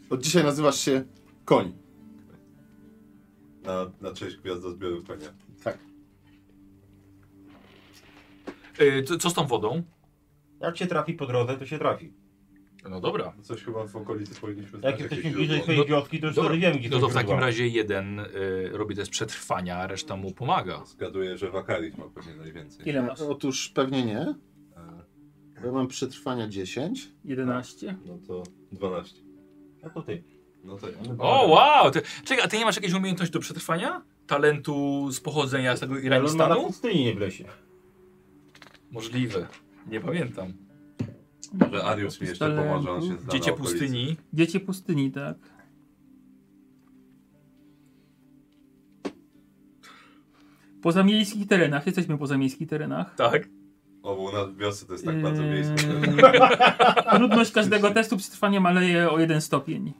S9: Od dzisiaj nazywasz się koń.
S2: Na, na część gwiazdozbioru konia.
S1: Yy, co- co z tą wodą?
S4: Jak się trafi po drodze, to się trafi.
S1: No dobra.
S2: Coś chyba w okolicy powinniśmy
S4: Jak
S1: Znaczy,
S2: znaleźć
S4: jesteśmy
S2: jakieś
S4: bliżej
S2: źródło.
S4: swojej wioski, to już
S1: Dobra.
S4: wtedy wiemy, gdzie
S1: No to
S4: są
S1: w takim
S4: źródła.
S1: razie jeden y, robi test przetrwania, a reszta mu pomaga.
S2: Zgaduję, że Wakaris ma pewnie najwięcej.
S8: Ile masz?
S9: Otóż pewnie nie.
S2: E,
S9: bo Ja mam przetrwania 10.
S8: 11?
S2: No to 12.
S4: No to ty.
S2: No to ja.
S1: O, wow! Ty, czekaj, a ty nie masz jakiejś umiejętności do przetrwania? Talentu z pochodzenia z tego
S4: Ale on ma no, na
S1: Iranistanu?
S4: pustyni, nie w lesie.
S1: Możliwe. Nie pamiętam.
S2: Że Arius mi jeszcze
S8: Talentu.
S2: pomoże, on się zna
S1: Dziecię
S2: na okolicy.
S1: pustyni.
S8: Dziecię pustyni, tak. Poza miejskich terenach, jesteśmy poza miejskich terenach.
S1: Tak.
S2: O, bo u nas w wiosce to jest tak bardzo miejsce. że-
S8: Eee, Trudność każdego testu przetrwania maleje o jeden stopień.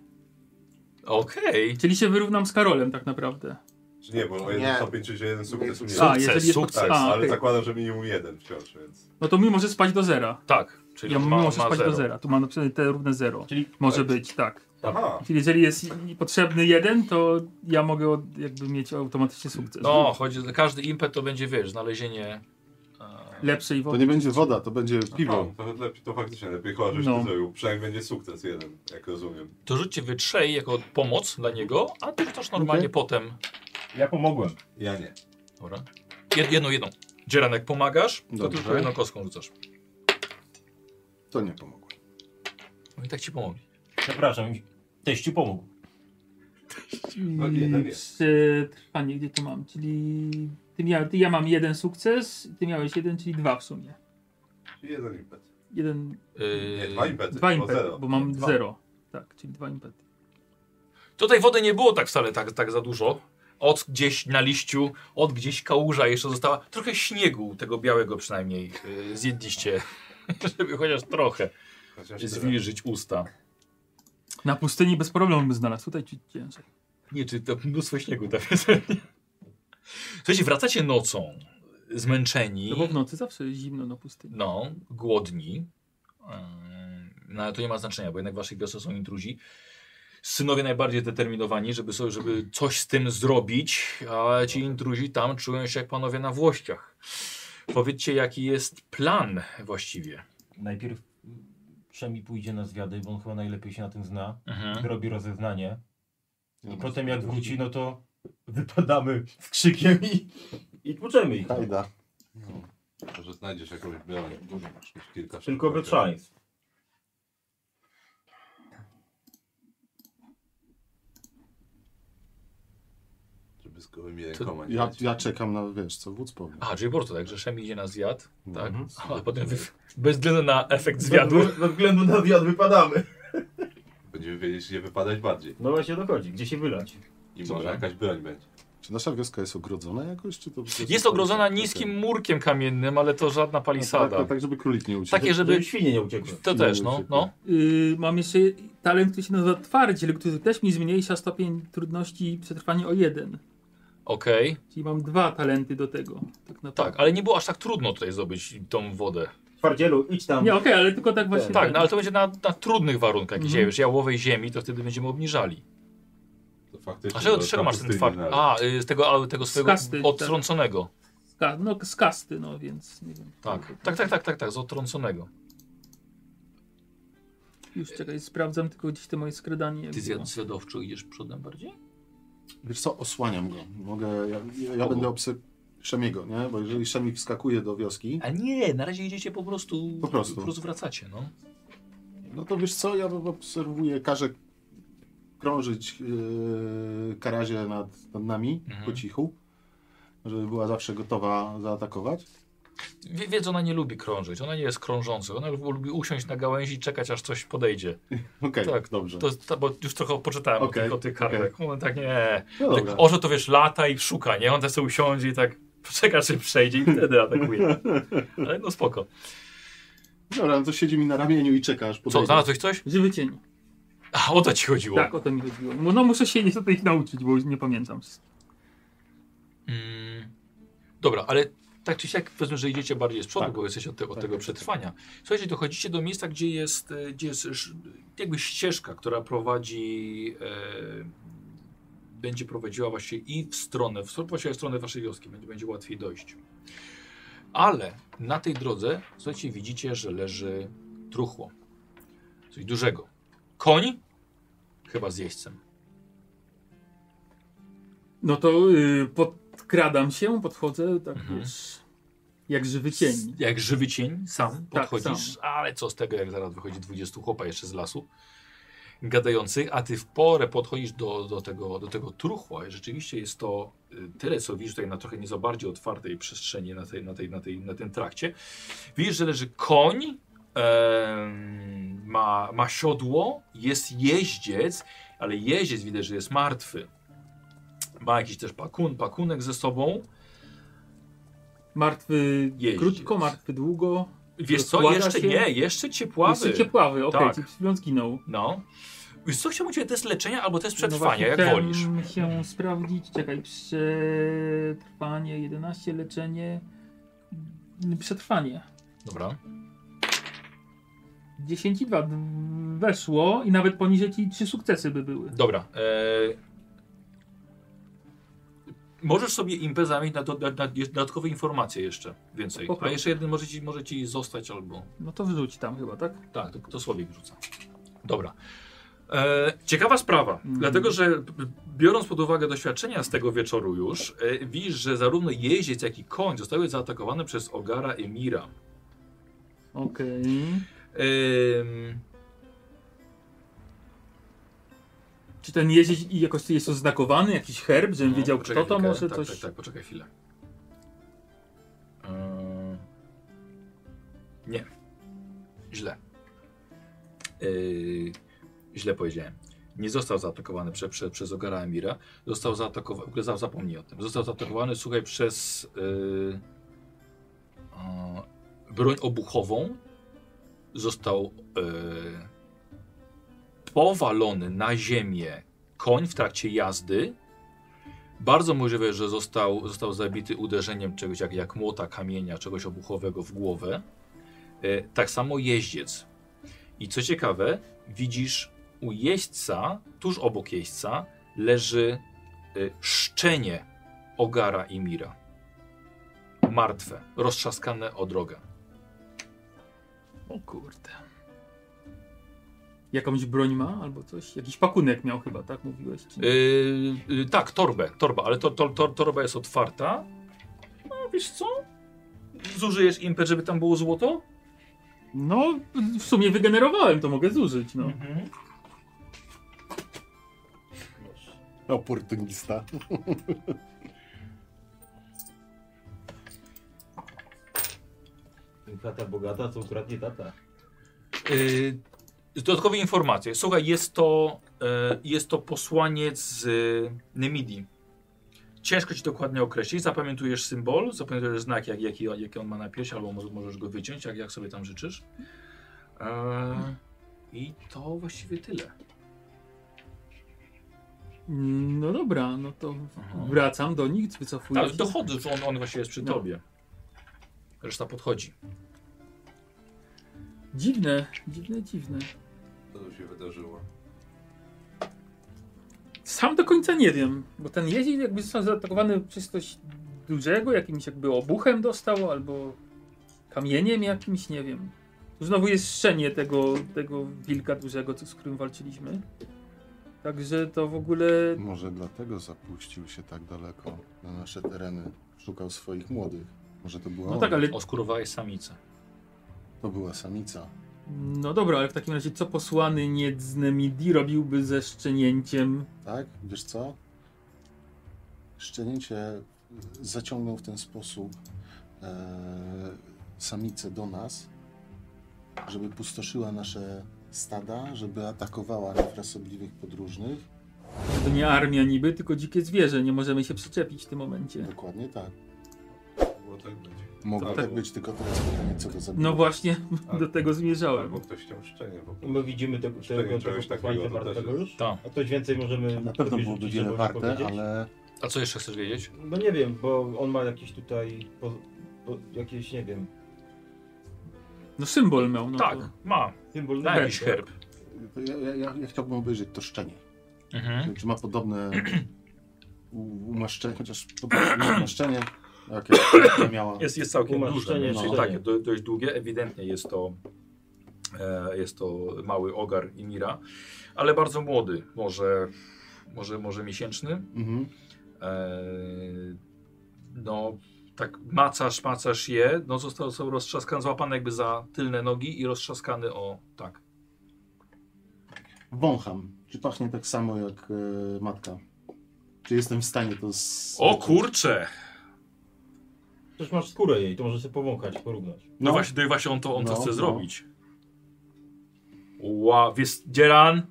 S1: Okej.
S8: Czyli się wyrównam z Karolem tak naprawdę.
S2: Czy nie, bo o jeden
S9: Nie.
S2: stopień czy jeden sukces mniej.
S8: A,
S1: Sukces,
S8: jeżeli jest
S1: sukces,
S2: Tak,
S8: a,
S2: ale
S8: okej.
S2: zakładam, że minimum jeden wciąż, więc...
S8: No to mi może spać do zera.
S1: Tak. Czyli
S8: Ja
S1: ma,
S8: ma, może
S1: ma
S8: spać
S1: zero.
S8: do zera. Tu mam napisane te równe zero.
S4: Czyli
S8: Może być, tak.
S2: Aha,
S8: Czyli jeżeli jest i- i potrzebny jeden, to ja mogę od- jakby mieć automatycznie sukces.
S1: No, chodzi, że każdy impet to będzie, wiesz, znalezienie... e,
S8: Lepszej
S9: To
S8: wody.
S9: nie będzie woda, to będzie piwo.
S2: no, to, lepiej, to faktycznie lepiej chyba, żeś
S8: No.
S2: to zrobił. Przynajmniej będzie sukces jeden, jak rozumiem.
S1: To rzućcie wy trzej jako pomoc dla niego, a ty rzucasz normalnie
S9: Okej.
S1: potem.
S4: ja pomogłem.
S2: Ja nie.
S1: Dobra. Jed, jedną, jedną. Dzieran, jak pomagasz, to
S9: Dobrze.
S1: tylko jedną kostką rzucasz.
S9: To nie pomogło.
S1: No i tak ci pomogli.
S4: Przepraszam, teściu pomógł.
S2: No, jeden
S8: I
S2: jest.
S8: Przetrwanie, e, gdzie to mam? Czyli ty, mia, ty ja mam jeden sukces, ty miałeś jeden, czyli dwa w sumie.
S2: I Jeden impet.
S8: Jeden,
S1: Yy,
S2: Nie, dwa impety,
S8: dwa
S2: bo
S8: impety,
S2: zero.
S8: bo mam
S2: Dwa.
S8: zero. Tak, czyli dwa impety.
S1: Tutaj wody nie było tak wcale tak, tak za dużo. Od gdzieś na liściu, od gdzieś kałuża jeszcze została. Trochę śniegu, tego białego przynajmniej, yy, zjedliście, żeby chociaż trochę
S2: Chociaż tyle.
S1: zwilżyć usta.
S8: Na pustyni bez problemu bym znalazł, tutaj ci ciężej.
S1: Nie, czy to mnóstwo śniegu tam jest. Słuchajcie, wracacie nocą, zmęczeni.
S8: No bo w nocy zawsze jest zimno na pustyni.
S1: No, głodni. Ym, No ale to nie ma znaczenia, bo jednak w waszych wiosce są intruzi. Synowie najbardziej zdeterminowani, żeby, sobie, żeby coś z tym zrobić, a ci intruzi tam czują się jak panowie na włościach. Powiedzcie, jaki jest plan właściwie.
S4: Najpierw mm, Przemi pójdzie na zwiady, bo on chyba najlepiej się na tym zna.
S1: Mhm.
S4: Robi rozeznanie.
S9: Ja
S4: I
S1: Hmm.
S9: mam
S4: potem jak
S9: sukces.
S4: wróci, no to wypadamy z krzykiem i, Tak. i tłuczemy ich.
S9: Hajda.
S2: No. Może znajdziesz jakąś broń. Dużo masz. Już Kilka
S4: Tylko
S2: sztuk.
S4: wytrzaństw.
S2: Żeby błyskowymi rękoma. nie
S9: Ja,
S2: leci.
S9: ja czekam na, wiesz, co wódz powie.
S1: A, czyli po prostu tak, że Szemi idzie na zjad, tak?
S9: Mhm.
S1: A potem wy- bez względu na efekt zjadu.
S3: Ze względu na wiatr wypadamy.
S2: Będziemy wiedzieć, gdzie wypadać bardziej.
S4: No właśnie o to chodzi, gdzie się wylać.
S2: I może jakaś broń będzie.
S9: Czy nasza wioska jest ogrodzona jakoś? Czy to po prostu-
S1: Jest ogrodzona niskim murkiem kamiennym, ale to żadna
S9: No, tak,
S1: palisada.
S9: tak, tak, żeby królik nie uciekł.
S1: Takie, żeby...
S4: Żeby świnie nie uciekły.
S1: To też, no, no.
S8: Yy, mam jeszcze talent, który się nazywa twardziel, który też mi zmniejsza stopień trudności przetrwania o jeden.
S1: Okej.
S8: Czyli mam dwa talenty do tego. Tak, naprawdę.
S1: Tak, ale nie było aż tak trudno tutaj zdobyć tą wodę.
S4: Twardzielu, idź tam.
S8: Nie, okej, ale tylko tak właśnie.
S1: Tak, no ale to będzie na, na trudnych warunkach. Gdzie
S8: Mhm.
S1: już jałowej ziemi, to wtedy będziemy obniżali.
S2: To faktycznie.
S1: A czego,
S2: to
S1: czego masz ten
S2: pustyni
S1: twar?
S2: nawet.
S1: A, y, z tego, a, tego swojego
S8: kasty, tak.
S1: odtrąconego.
S8: Ska- no, z kasty, no więc nie wiem.
S1: Tak. tak, tak, tak, tak, tak, z odtrąconego.
S8: Już czekaj, sprawdzam tylko gdzieś te moje skradanie. jak
S1: Ty
S8: było.
S1: zjadowczo idziesz przodem bardziej?
S9: Wiesz co, osłaniam go. Mogę, ja, ja, ja będę obsy Szemiego, nie? Bo jeżeli Szemi wskakuje do wioski,
S1: A nie, na razie idziecie po prostu.
S9: Po prostu.
S1: Po prostu wracacie, no.
S9: no to wiesz co, ja obserwuję, każę krążyć yy, karazie nad, nad nami
S1: Mhm.
S9: po cichu, żeby była zawsze gotowa zaatakować.
S1: Wie- Wiedz, ona nie lubi krążyć, ona nie jest krążąca. Ona lubi usiąść na gałęzi i czekać, aż coś podejdzie.
S9: Okej,
S1: Tak,
S9: tak, dobrze.
S1: To, to, bo już trochę poczytałem o
S9: Okej,
S1: tych, o tych
S9: okej.
S1: kartach. On tak nie.
S9: No
S1: Tak,
S9: dobra.
S1: orze to wiesz, lata i szuka, nie? On też sobie usiądzie i tak czeka, czy przejdzie i wtedy atakuje. Ale no spoko.
S9: Dobra, no to siedzi mi na ramieniu i czeka, aż
S1: Co,
S9: podejdzie.
S1: znalazłeś coś?
S8: Żywy cień.
S1: A, o to ci chodziło.
S8: Tak, o to mi chodziło. No, No muszę się niestety ich nauczyć, bo już nie pamiętam.
S1: Mm, dobra, ale tak czy siak powiedzmy, że idziecie bardziej z przodu, bo jesteście od, te, od tego przetrwania. Słuchajcie, dochodzicie do miejsca, gdzie jest, e, gdzie jest sz- jakby ścieżka, która prowadzi, e, będzie prowadziła właśnie i w stronę, w, stronę- właściwie w stronę waszej wioski, będzie, będzie łatwiej dojść. Ale na tej drodze, słuchajcie, widzicie, że leży truchło. Coś dużego. Koń? Chyba z jeźdźcem.
S8: No to yy, podkradam się, podchodzę, tak
S1: Mhm.
S8: wiesz, jak żywy cień. Tak,
S1: Jak żywy cień, sam podchodzisz,
S8: sam.
S1: ale co z tego, jak zaraz wychodzi 20 chłopa jeszcze z lasu gadających, a ty w porę podchodzisz do, do, tego, do tego truchła i rzeczywiście jest to y, tyle, co widzisz tutaj na trochę nie za bardziej otwartej przestrzeni na, tej, na, tej, na, tej, na tym trakcie. Widzisz, że leży koń, em, ma, ma siodło, jest jeździec, ale jeździec widać, że jest martwy. Ma jakiś też pakun, pakunek ze sobą.
S8: Martwy
S1: Jeździec.
S8: krótko, martwy długo.
S1: Wiesz co,
S8: Rozkłada
S1: jeszcze
S8: się?
S1: nie, jeszcze ciepławy.
S8: Jeszcze ciepławy, okej,
S1: Tak.
S8: okay, czyli on zginął.
S1: No. Wiesz co, chciałbym cię test leczenia albo test
S8: No właśnie,
S1: przetrwania, jak
S8: chciałem
S1: wolisz.
S8: się sprawdzić, czekaj, przetrwanie, 11, leczenie, mm, przetrwanie.
S1: Dobra.
S8: 10 i 2 weszło i nawet poniżej ci 3 sukcesy by były.
S1: Dobra. Eee... Możesz sobie impę zamienić na, do, na, na je- dodatkowe informacje jeszcze więcej.
S8: Spoko.
S1: A jeszcze jeden może ci, może ci zostać albo...
S8: No to wrzuć tam chyba, tak?
S1: Tak, to, to Słowik rzuca. Dobra. E, ciekawa sprawa,
S8: Mhm.
S1: dlatego że b- b- biorąc pod uwagę doświadczenia z tego wieczoru już, e, widzisz, że zarówno jeździec, jak i koń zostały zaatakowane przez Ogara Emira.
S8: Okej.
S1: Ym,
S8: Czy ten jeździec i jakoś jest oznakowany, jakiś herb, żebym
S1: no,
S8: wiedział kto
S1: poczekaj
S8: to
S1: chwilkę.
S8: może
S1: tak,
S8: coś?
S1: Tak, tak, poczekaj chwilę. Ym, nie. Źle. Yy, źle powiedziałem. Nie został zaatakowany prze, prze, przez Ogara Emira. Został zaatakowany. W ogóle za- zapomnij o tym. Został zaatakowany, słuchaj, przez yy, o, broń obuchową. Został yy, powalony na ziemię koń w trakcie jazdy. Bardzo możliwe, że został, został zabity uderzeniem czegoś jak, jak młota, kamienia, czegoś obuchowego w głowę. E, tak samo jeździec. I co ciekawe, widzisz u jeźdźca, tuż obok jeźdźca, leży e, szczenie Ogara i Mira. Martwe, roztrzaskane o drogę.
S8: O kurde. Jakąś broń ma albo coś? Jakiś pakunek miał chyba, tak mówiłeś? Czy... nie?
S1: Yy, yy, tak, torbę, torba, ale to, to, to, torba jest otwarta. No, wiesz co? Zużyjesz impet, żeby tam było złoto?
S8: No, w sumie wygenerowałem, to mogę zużyć, no.
S9: Oportunista.
S3: Tata bogata, co ukradnie tata.
S1: Yy, dodatkowe informacje. Słuchaj, jest to, e, jest to posłaniec z y, Nemidii. Ciężko ci dokładnie określić. Zapamiętujesz symbol, zapamiętujesz znak, jak, jaki, jaki on ma na piersi, albo może, możesz go wyciąć, jak, jak sobie tam życzysz. E, I to właściwie tyle.
S8: Mm, No dobra, no to wracam do nich, wycofuję
S1: Tak,
S8: się.
S1: dochodzisz, on, on właściwie jest przy
S8: No.
S1: tobie. Reszta podchodzi.
S8: Dziwne, dziwne, dziwne.
S2: Co tu się wydarzyło?
S8: Sam do końca nie wiem, bo ten jeździec jakby został zaatakowany przez coś dużego, jakimś jakby obuchem dostał, albo kamieniem jakimś, nie wiem. Tu znowu jest szczenie tego, tego wilka dużego, co, z którym walczyliśmy. Także to w ogóle...
S9: Może dlatego zapuścił się tak daleko na nasze tereny. Szukał swoich młodych. Może to była
S8: No
S9: ona.
S8: tak, ale...
S1: Oskurowałeś samicę.
S9: To była samica.
S8: No dobra, ale w takim razie co posłany Niedznemidi robiłby ze szczenięciem?
S9: Tak? Wiesz co? Szczenięcie zaciągnął w ten sposób e, samicę do nas, żeby pustoszyła nasze stada, żeby atakowała refresobliwych podróżnych.
S8: To nie armia niby, tylko dzikie zwierzę. Nie możemy się przyczepić w tym momencie.
S9: Dokładnie tak.
S2: Było tak być.
S9: Mogło
S2: Tak.
S9: tak być, tylko teraz pytanie, co to za
S8: No właśnie, do tego zmierzałem.
S2: Albo ktoś chciał szczenie w ogóle.
S3: No My widzimy tego,
S2: Szczenie,
S3: tego, tego
S2: czegoś
S3: posłańca
S2: takiego, to też
S3: wartego
S2: jest.
S3: już?
S1: Tak.
S3: A coś więcej możemy...
S9: Na pewno
S3: sobie
S9: byłoby
S3: rzucić,
S9: wiele
S3: żeby
S9: warte,
S3: powiedzieć?
S9: ale
S1: A co jeszcze chcesz wiedzieć?
S3: No nie wiem, bo on ma jakieś tutaj... Po, po, jakieś, nie wiem...
S8: No symbol miał, no
S1: tak,
S8: To...
S1: ma.
S3: Symbol...
S1: Ma jakiś
S3: Tak.
S1: herb.
S9: to ja, ja- ja, ja chciałbym obejrzeć to szczenie.
S1: Mhm.
S9: Czy ma podobne u- umaszczenie, chociaż podobne umaszczenie, jakie ona miała.
S1: Jest, jest całkiem duże.
S3: Umarszczenie,
S1: no.
S9: czyli
S1: Takie
S3: nie.
S1: do, dość długie. Ewidentnie jest to, e, jest to mały ogar Imira, ale bardzo młody, może, może, może miesięczny.
S9: Mhm.
S1: E, no, tak macasz, macasz je. No, został, został roztrzaskany, złapany jakby za tylne nogi i roztrzaskany o tak.
S9: Wącham. Czy pachnie tak samo jak e, matka? Czy jestem w stanie to z...
S1: O kurcze!
S3: No, Przecież masz skórę jej, to może sobie powąchać, porównać.
S1: No, właśnie, no i właśnie on to, on to
S9: No,
S1: chce
S9: no.
S1: zrobić. Ła, wiesz, Dzieran,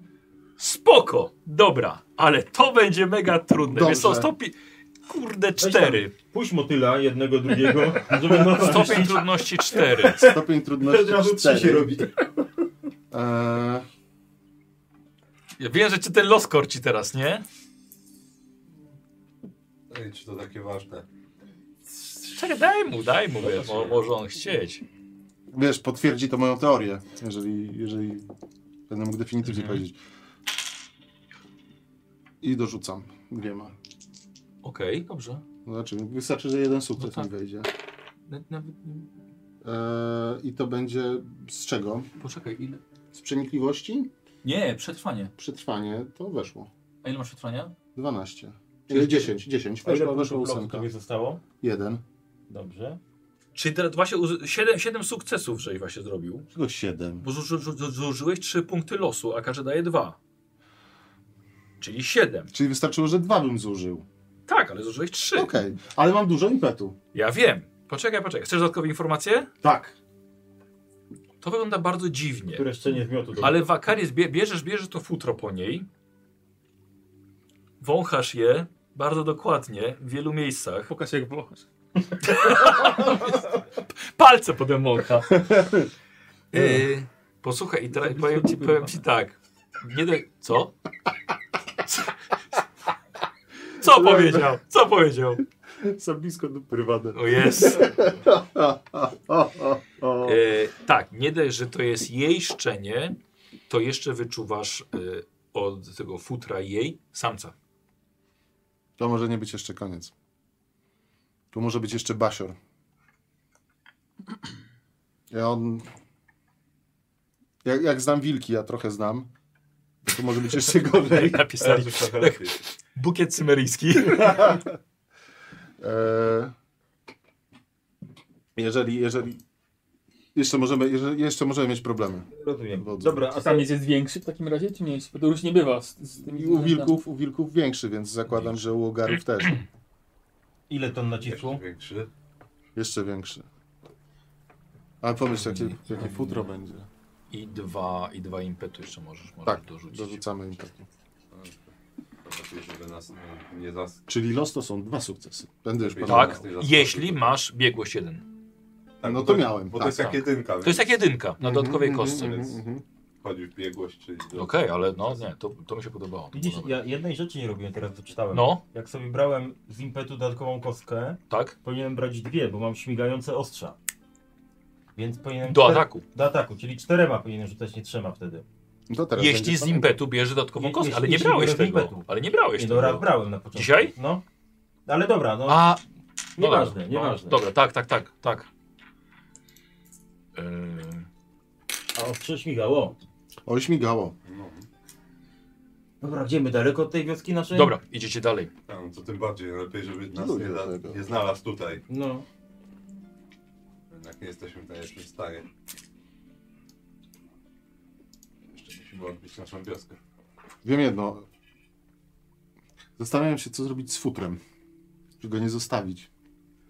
S1: spoko, dobra, ale to będzie mega trudne. Wiesz co,
S9: Dobrze.
S1: stopi... Kurde, cztery.
S3: Puść motyla jednego, drugiego,
S1: No,
S3: żeby na
S1: Stopień trudności cztery.
S9: Stopień trudności
S3: Teraz trzy się
S9: 4.
S3: robi.
S9: E,
S1: Ja wiem, że cię ten los korci teraz, nie?
S2: Ej, No czy to takie ważne?
S1: Czekaj, daj mu, daj mu, wiesz, mo, może on chcieć.
S9: wiesz, potwierdzi to moją teorię, jeżeli, jeżeli będę mógł definitywnie
S1: Mhm.
S9: powiedzieć. I dorzucam dwiema.
S1: Okej, dobrze.
S9: Znaczy, wystarczy, że jeden sukces
S1: No
S9: mi wejdzie.
S1: Nawet, nawet,
S9: E, I to będzie z czego?
S1: poczekaj, ile?
S9: Z przenikliwości?
S1: Nie, przetrwanie.
S9: Przetrwanie to weszło.
S1: A ile masz przetrwania?
S9: 12. Czyli 10, 10.
S4: A ile
S9: Weszła,
S4: punktów
S9: weszła
S4: losu
S9: ósemka.
S4: tobie zostało?
S9: Jeden.
S4: Dobrze.
S1: Czyli teraz właśnie uz- siedem, siedem sukcesów, żeś właśnie zrobił.
S9: Tylko 7.
S1: Bo zuży- zu- zużyłeś 3 punkty losu, a każdy daje 2. Czyli 7.
S9: Czyli wystarczyło, że dwa bym zużył.
S1: Tak, ale zużyłeś 3.
S9: Okej, ale mam dużo impetu.
S1: Ja wiem. Poczekaj, poczekaj. Chcesz dodatkowe informacje?
S9: Tak.
S1: To wygląda bardzo dziwnie.
S3: Które szczenie zmiotu. do-
S1: Ale Wakaris, bie- bierzesz, bierzesz to futro po niej. Wąchasz je bardzo dokładnie w wielu miejscach.
S8: Pokaż jak włochasz.
S1: Palce potem wącha. Yy, posłuchaj, i teraz powiem ci, powiem ci tak. Nie de- Co? Co powiedział? Co powiedział?
S9: Za blisko do prywatne.
S1: O jest.
S9: O, o, o.
S1: E, tak, nie dość, że to jest jej szczenie, to jeszcze wyczuwasz e, od tego futra jej samca.
S9: To może nie być jeszcze koniec. Tu może być jeszcze Basior. Ja on... Jak, jak znam wilki, ja trochę znam, to może być jeszcze gorzej.
S1: Napisali
S2: Teraz już trochę lepiej.
S1: E, bukiet cymeryjski.
S9: E, jeżeli, jeżeli Jeszcze możemy, jeże- jeszcze możemy mieć problemy.
S3: Rozumiem.
S9: Dobrze.
S3: Dobra, a
S8: A
S3: tam
S8: samiec jest większy w takim razie, czy mniejszy? Bo to różnie bywa z, z tymi
S9: I u wilków, u wilków większy, więc zakładam, że u ogarów też.
S4: Ile ton
S2: Jeszcze
S4: nacisku?
S2: większy.
S9: Jeszcze większy. Ale pomyśl, jakie, jakie futro będzie.
S1: I dwa, i dwa impetu jeszcze możesz, możesz
S9: Tak,
S1: dorzucić.
S9: dorzucamy im takie.
S2: Lepiej, żeby nas nie, nie zas...
S9: Czyli los to są dwa sukcesy. Będę już
S2: Tak.
S9: panował.
S1: Tak, jeśli masz biegłość jeden.
S2: Tak,
S9: No
S2: bo
S9: to miałem,
S2: Bo
S9: tak,
S2: to jest
S1: tak.
S2: jak jedynka,
S1: To jest jak jedynka na dodatkowej
S9: Mhm,
S1: kostce.
S9: mhm,
S2: więc-
S9: mhm.
S2: Chodzi w biegłość, czyli... do-
S1: Okej, ale no nie, to, to mi się podobało. To
S4: Widzisz,
S1: było dobre.
S4: ja jednej rzeczy nie robiłem, teraz wyczytałem.
S1: No,
S4: Jak sobie brałem z impetu dodatkową kostkę,
S1: tak?
S4: powinienem brać dwie, bo mam śmigające ostrza. Więc powinienem...
S1: Do
S4: czter-
S1: ataku.
S4: Do ataku, czyli czterema powinienem rzucać, nie trzema wtedy.
S9: No to teraz
S1: Jeśli
S9: będzie
S1: z
S9: fajnie.
S1: impetu bierze dodatkową
S4: Je-
S1: kostkę,
S4: jeśli-
S1: ale nie
S4: jeśli
S1: brałeś
S4: biorę z
S1: tego.
S4: impetu.
S1: Ale nie no, brałeś
S4: Nie,
S1: tego.
S4: dobra, brałem na początku.
S1: Dzisiaj?
S4: No. Ale dobra, no.
S1: A, no dobra,
S4: nieważne, nieważne.
S1: Dobra, tak, tak, tak, tak. Yy,
S4: A ostrze śmigało.
S9: Oj, śmigało.
S2: No,
S4: Dobra, gdzie my daleko od tej wioski naszej?
S1: dobra, idziecie dalej.
S2: tak, no to tym bardziej, lepiej, żeby nas
S9: Lubię
S2: nie, za-
S9: tego.
S2: nie znalazł tutaj.
S4: No.
S2: Jednak nie jesteśmy w najlepszym stanie. Jeszcze musimy odbić naszą wioskę.
S9: Wiem jedno. Zastanawiam się, co zrobić z futrem. Czy go nie zostawić.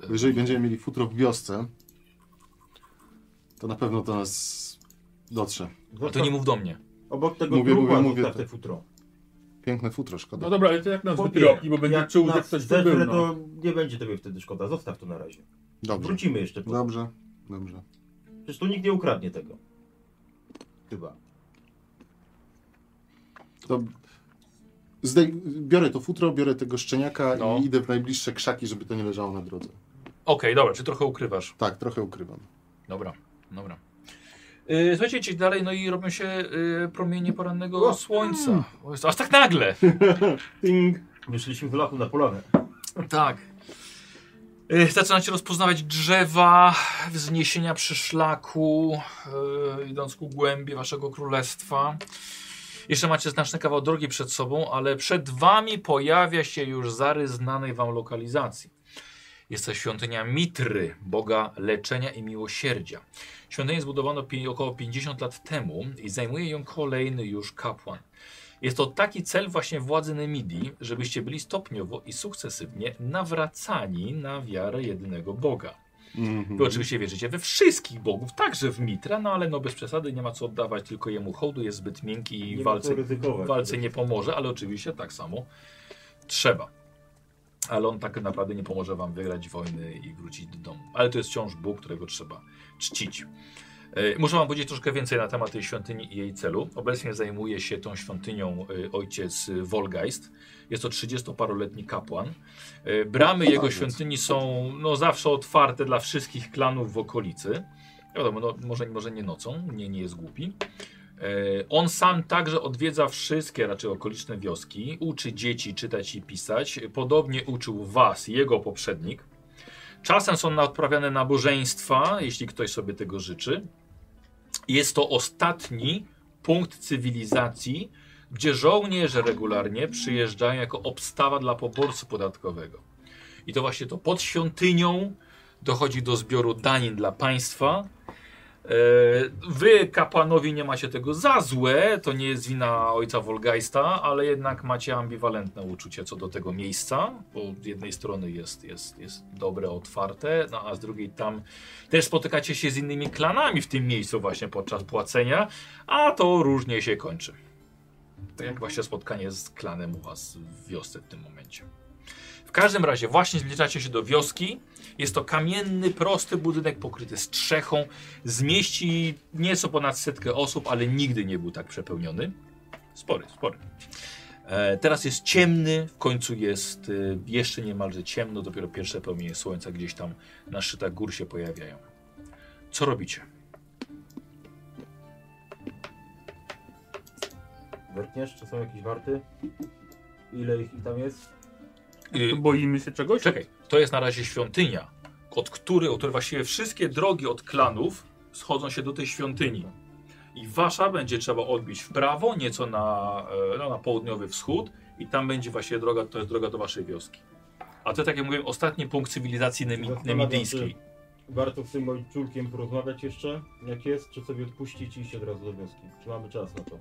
S9: Bo jeżeli będziemy mieli futro w wiosce, to na pewno do nas dotrze.
S1: A to nie mów do mnie.
S4: Obok tego
S9: Mówię,
S4: mówię,
S9: mówię,
S4: trupa
S9: mówię,
S4: zostaw
S9: to-
S4: te futro.
S9: Piękne futro,
S8: No
S9: szkoda.
S8: dobra, ale to jak nas
S4: Chłopie,
S8: wyrobi, bo będzie
S4: jak
S8: czuł, że
S4: nas
S8: ktoś tu
S4: zetrę,
S8: był. No.
S4: to nie będzie tobie wtedy szkoda. Zostaw to na razie.
S9: Dobrze,
S4: Wrócimy jeszcze. Po...
S9: dobrze, dobrze.
S4: Przecież tu nikt nie ukradnie tego. Chyba.
S9: To zdej... Biorę to futro, biorę tego szczeniaka
S1: No.
S9: i idę w najbliższe krzaki, żeby to nie leżało na drodze.
S1: Okej, dobra, czy trochę ukrywasz?
S9: Tak, trochę ukrywam.
S1: Dobra, dobra. Yy, słuchajcie, idziecie dalej, no i robią się yy, promienie porannego słońca. O, jest- Aż tak nagle!
S9: Ding.
S4: Wyszliśmy w lachu na polanę.
S1: Tak. Yy, Zaczynacie rozpoznawać drzewa, wzniesienia przy szlaku, yy, idąc ku głębi waszego królestwa. Jeszcze macie znaczny kawał drogi przed sobą, ale przed wami pojawia się już zarys znanej wam lokalizacji. Jest to świątynia Mitry, boga leczenia i miłosierdzia. Świątynię zbudowano pi- około 50 lat temu i zajmuje ją kolejny już kapłan. Jest to taki cel właśnie władzy Nemidii, żebyście byli stopniowo i sukcesywnie nawracani na wiarę jedynego Boga.
S9: Mhm.
S1: Wy oczywiście wierzycie we wszystkich bogów, także w Mitra, no ale no bez przesady nie ma co oddawać tylko jemu hołdu, jest zbyt miękki i
S4: Nie
S1: w
S4: ma co
S1: walce, w
S4: ryzykować.
S1: walce nie pomoże, ale oczywiście tak samo trzeba. Ale on tak naprawdę nie pomoże wam wygrać wojny i wrócić do domu. Ale to jest wciąż Bóg, którego trzeba czcić. E, Muszę wam powiedzieć troszkę więcej na temat tej świątyni i jej celu. Obecnie zajmuje się tą świątynią e, ojciec e, Wolgeist. Jest to 30-paroletni kapłan. E, Bramy jego świątyni są no, zawsze otwarte dla wszystkich klanów w okolicy. Wiadomo, no, może, może nie nocą, nie, nie jest głupi. E, On sam także odwiedza wszystkie raczej okoliczne wioski, uczy dzieci czytać i pisać. Podobnie uczył was, jego poprzednik. Czasem są na- odprawiane nabożeństwa, jeśli ktoś sobie tego życzy. Jest to ostatni punkt cywilizacji, gdzie żołnierze regularnie przyjeżdżają jako obstawa dla poborcy podatkowego. I to właśnie to pod świątynią dochodzi do zbioru danin dla państwa. E, Wy, kapłanowie, nie macie tego za złe, to nie jest wina ojca Wolgeista, ale jednak macie ambiwalentne uczucie co do tego miejsca, bo z jednej strony jest, jest, jest dobre, otwarte, no a z drugiej tam też spotykacie się z innymi klanami w tym miejscu właśnie podczas płacenia, a to różnie się kończy. Tak jak właśnie spotkanie z klanem u was w wiosce w tym momencie. W każdym razie właśnie zliczacie się do wioski. Jest to kamienny, prosty budynek pokryty strzechą. Zmieści nieco ponad setkę osób, ale nigdy nie był tak przepełniony. Spory, spory. E, teraz jest ciemny, w końcu jest e, jeszcze niemalże ciemno, dopiero pierwsze promienie słońca gdzieś tam na szczytach gór się pojawiają. Co robicie?
S4: Wyrkniesz, czy są jakieś warty? Ile ich tam jest?
S1: Y,
S8: To boimy się czegoś?
S1: Czekaj, to jest na razie świątynia, od której, od której właściwie wszystkie drogi od klanów schodzą się do tej świątyni. I wasza będzie trzeba odbić w prawo, nieco na, e, no, na południowy wschód i tam będzie właśnie droga, to jest droga do waszej wioski. A to tak jak mówiłem, ostatni punkt cywilizacji nemi-
S4: Zastanawiam
S1: nemidyjskiej.
S4: warto z tym ojczulkiem porozmawiać jeszcze, jak jest, czy sobie odpuścić i iść od razu do wioski? Czy mamy czas na to?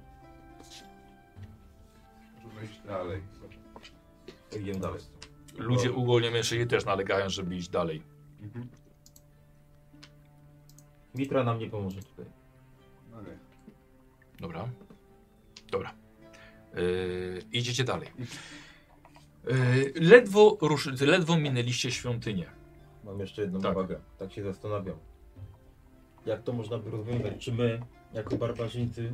S2: Żeby iść dalej.
S4: To Idziemy dalej.
S1: Ludzie ogólnie mężczyźni też nalegają, żeby iść dalej.
S4: Mitra nam nie pomoże tutaj.
S2: No nie.
S1: Dobra. Dobra. Yy, idziecie dalej. Yy, ledwo, ruszy, ledwo minęliście świątynię.
S4: Mam jeszcze jedną
S1: Tak.
S4: uwagę. Tak się zastanawiam. Jak to można by rozwiązać? Czy my, jako barbarzyńcy,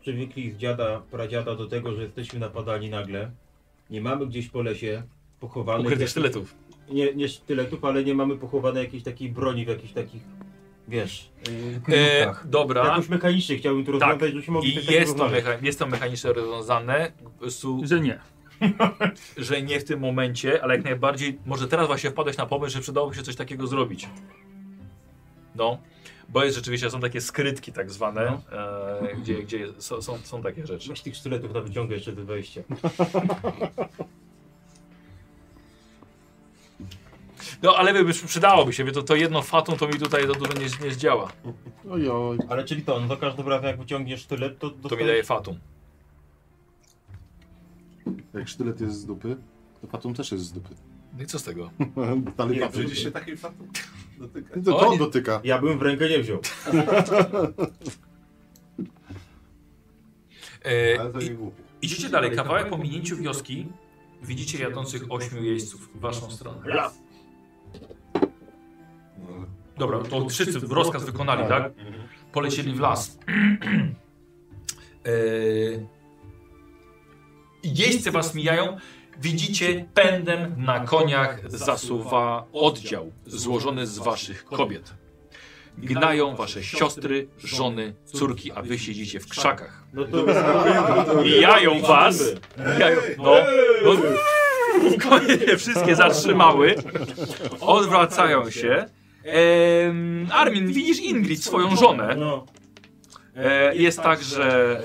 S4: przywykli z dziada, pradziada do tego, że jesteśmy napadani nagle? Nie mamy gdzieś po lesie pochowanych...
S1: Ukrytych sztyletów.
S4: Nie, nie sztyletów, ale nie mamy pochowanej jakiejś takiej broni w jakichś takich, wiesz...
S1: Yy,
S12: kryjówkach.
S1: dobra.
S4: Jakoś mechanicznie chciałbym to
S1: Tak.
S4: rozwiązać, żebyśmy mogli coś
S1: I
S4: takiego
S1: jest to,
S4: rozmawiać.
S1: mecha- jest to mechanicznie rozwiązane, po prostu,
S8: Że nie.
S1: że nie w tym momencie, ale jak najbardziej, może teraz właśnie wpadłeś na pomysł, że przydałoby się coś takiego zrobić. No, bo jest rzeczywiście, są takie skrytki tak zwane, e, gdzie, gdzie jest- są, są, są takie rzeczy.
S4: Masz tych sztyletów na wyciągę jeszcze do wejścia.
S1: No ale by, by- przydałoby się, wie, to, to jedno fatą to mi tutaj za dużo nie, nie zdziała.
S9: Ojoj.
S12: Ale czyli to, no to każdym razem jak wyciągniesz sztylet, to
S1: To mi
S12: dostajesz...
S1: daje fatum.
S9: Jak sztylet jest z dupy, to patum też jest z dupy.
S1: No i co z tego?
S9: Dalej
S2: Nie,
S9: patum.
S2: będziesz się takim fatum dotykać.
S9: To, to
S1: O, nie.
S9: on dotyka.
S4: Ja bym w rękę nie wziął.
S1: E,
S2: Ale to
S1: i,
S2: nie głupie.
S1: idziecie dalej, kawałek po minięciu wioski widzicie jadących ośmiu jeźdźców w waszą stronę.
S2: No,
S1: Dobra, to wszyscy rozkaz wykonali, tak? Polecieli w las. E, jeźdźcy was mijają, widzicie pędem na koniach zasuwa oddział złożony z waszych kobiet. Gnają wasze siostry, żony, córki, a wy siedzicie w krzakach.
S4: No to... to-
S1: Mijają was. Mijają, no, no, konie wszystkie zatrzymały. Odwracają się. Em, Armin, widzisz Ingrid, swoją żonę.
S4: No,
S1: E, jest także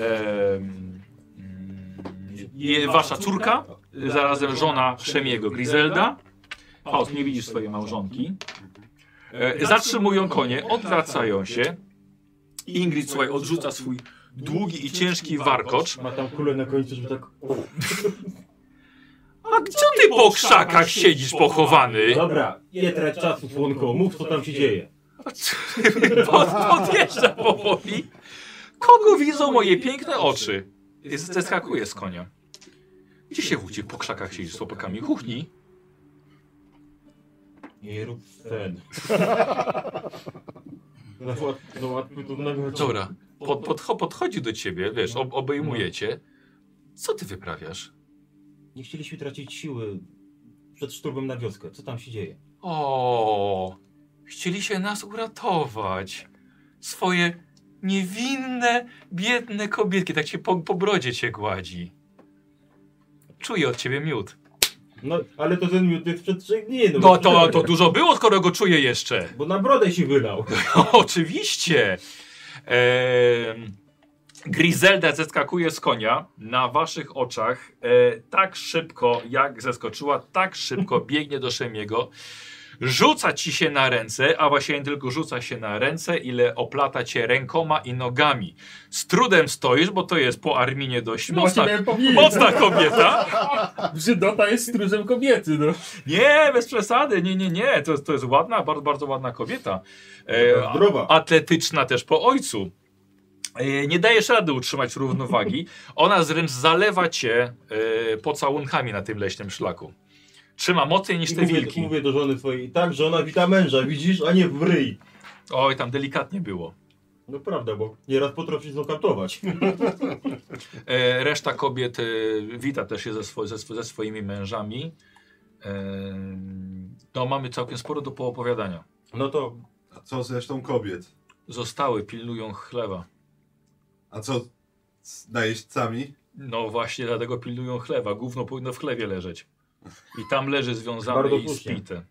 S1: em, mm, je, wasza córka, zarazem żona Szemiego, Griselda. Paus, nie widzisz swojej małżonki. E, zatrzymują konie, odwracają się. Ingrid, słuchaj, odrzuca swój długi i ciężki warkocz.
S4: ma tam kulę na końcu, żeby tak...
S1: A gdzie ty po krzakach siedzisz pochowany?
S4: Dobra, nie trać czasu, słonko, mów co tam się dzieje.
S1: Pod, podjeżdża powoli. Kogo widzą moje piękne oczy? Jest- Zeskakuje z konia. Gdzie się wódzi? Po krzakach siedzisz z łopakami kuchni.
S4: Nie rób ten. No łatwo, no łatwo to nagle...
S1: Dobra, pod, podcho- podchodzi do ciebie, wiesz, ob, obejmuje cię. Co ty wyprawiasz?
S4: Nie chcieliśmy tracić siły przed szturmem na wioskę. Co tam się dzieje?
S1: O, chcieli się nas uratować. Swoje niewinne, biedne kobietki, tak cię po, po brodzie cię gładzi. Czuję od ciebie miód.
S4: No, ale to ten miód jest przed trzech dni.
S1: No to, to dużo było, skoro go czuję jeszcze. No,
S4: Bo na brodę się wylał.
S1: Oczywiście. Em, Griselda zeskakuje z konia na waszych oczach e, tak szybko, jak zeskoczyła, tak szybko biegnie do Szemiego. Rzuca ci się na ręce, a właśnie nie tylko rzuca się na ręce, ile oplata cię rękoma i nogami. Z trudem stoisz, bo to jest po Arminie dość
S8: No właśnie
S1: mocna,
S8: miałem powiedzieć,
S1: mocna kobieta.
S8: Żydota jest stróżem kobiety, no.
S1: Nie, bez przesady, nie, nie, nie. To, jest- to jest ładna, bardzo, bardzo ładna kobieta. E, a-
S4: Zdrowa.
S1: atletyczna też po ojcu. E, Nie dajesz rady utrzymać równowagi. Ona wręcz zalewa cię e, pocałunkami na tym leśnym szlaku. Trzyma mocniej niż
S4: I
S1: te
S4: mówię,
S1: wilki.
S4: mówię do żony twojej, tak, żona wita męża, widzisz, a nie w ryj.
S1: Oj, tam delikatnie było.
S4: No prawda, bo nieraz potrafi zokatować.
S1: E, Reszta kobiet e, wita też się ze, swo, ze, swo, ze swoimi mężami. E, No, mamy całkiem sporo do poopowiadania.
S4: No to
S2: A co z resztą kobiet?
S1: Zostały, pilnują chleba.
S2: A co z najeźdźcami?
S1: No właśnie, dlatego pilnują chlewa. Gówno powinno w chlewie leżeć. I tam leży związane
S4: Bardzo
S1: i
S4: słusznie.
S1: spite.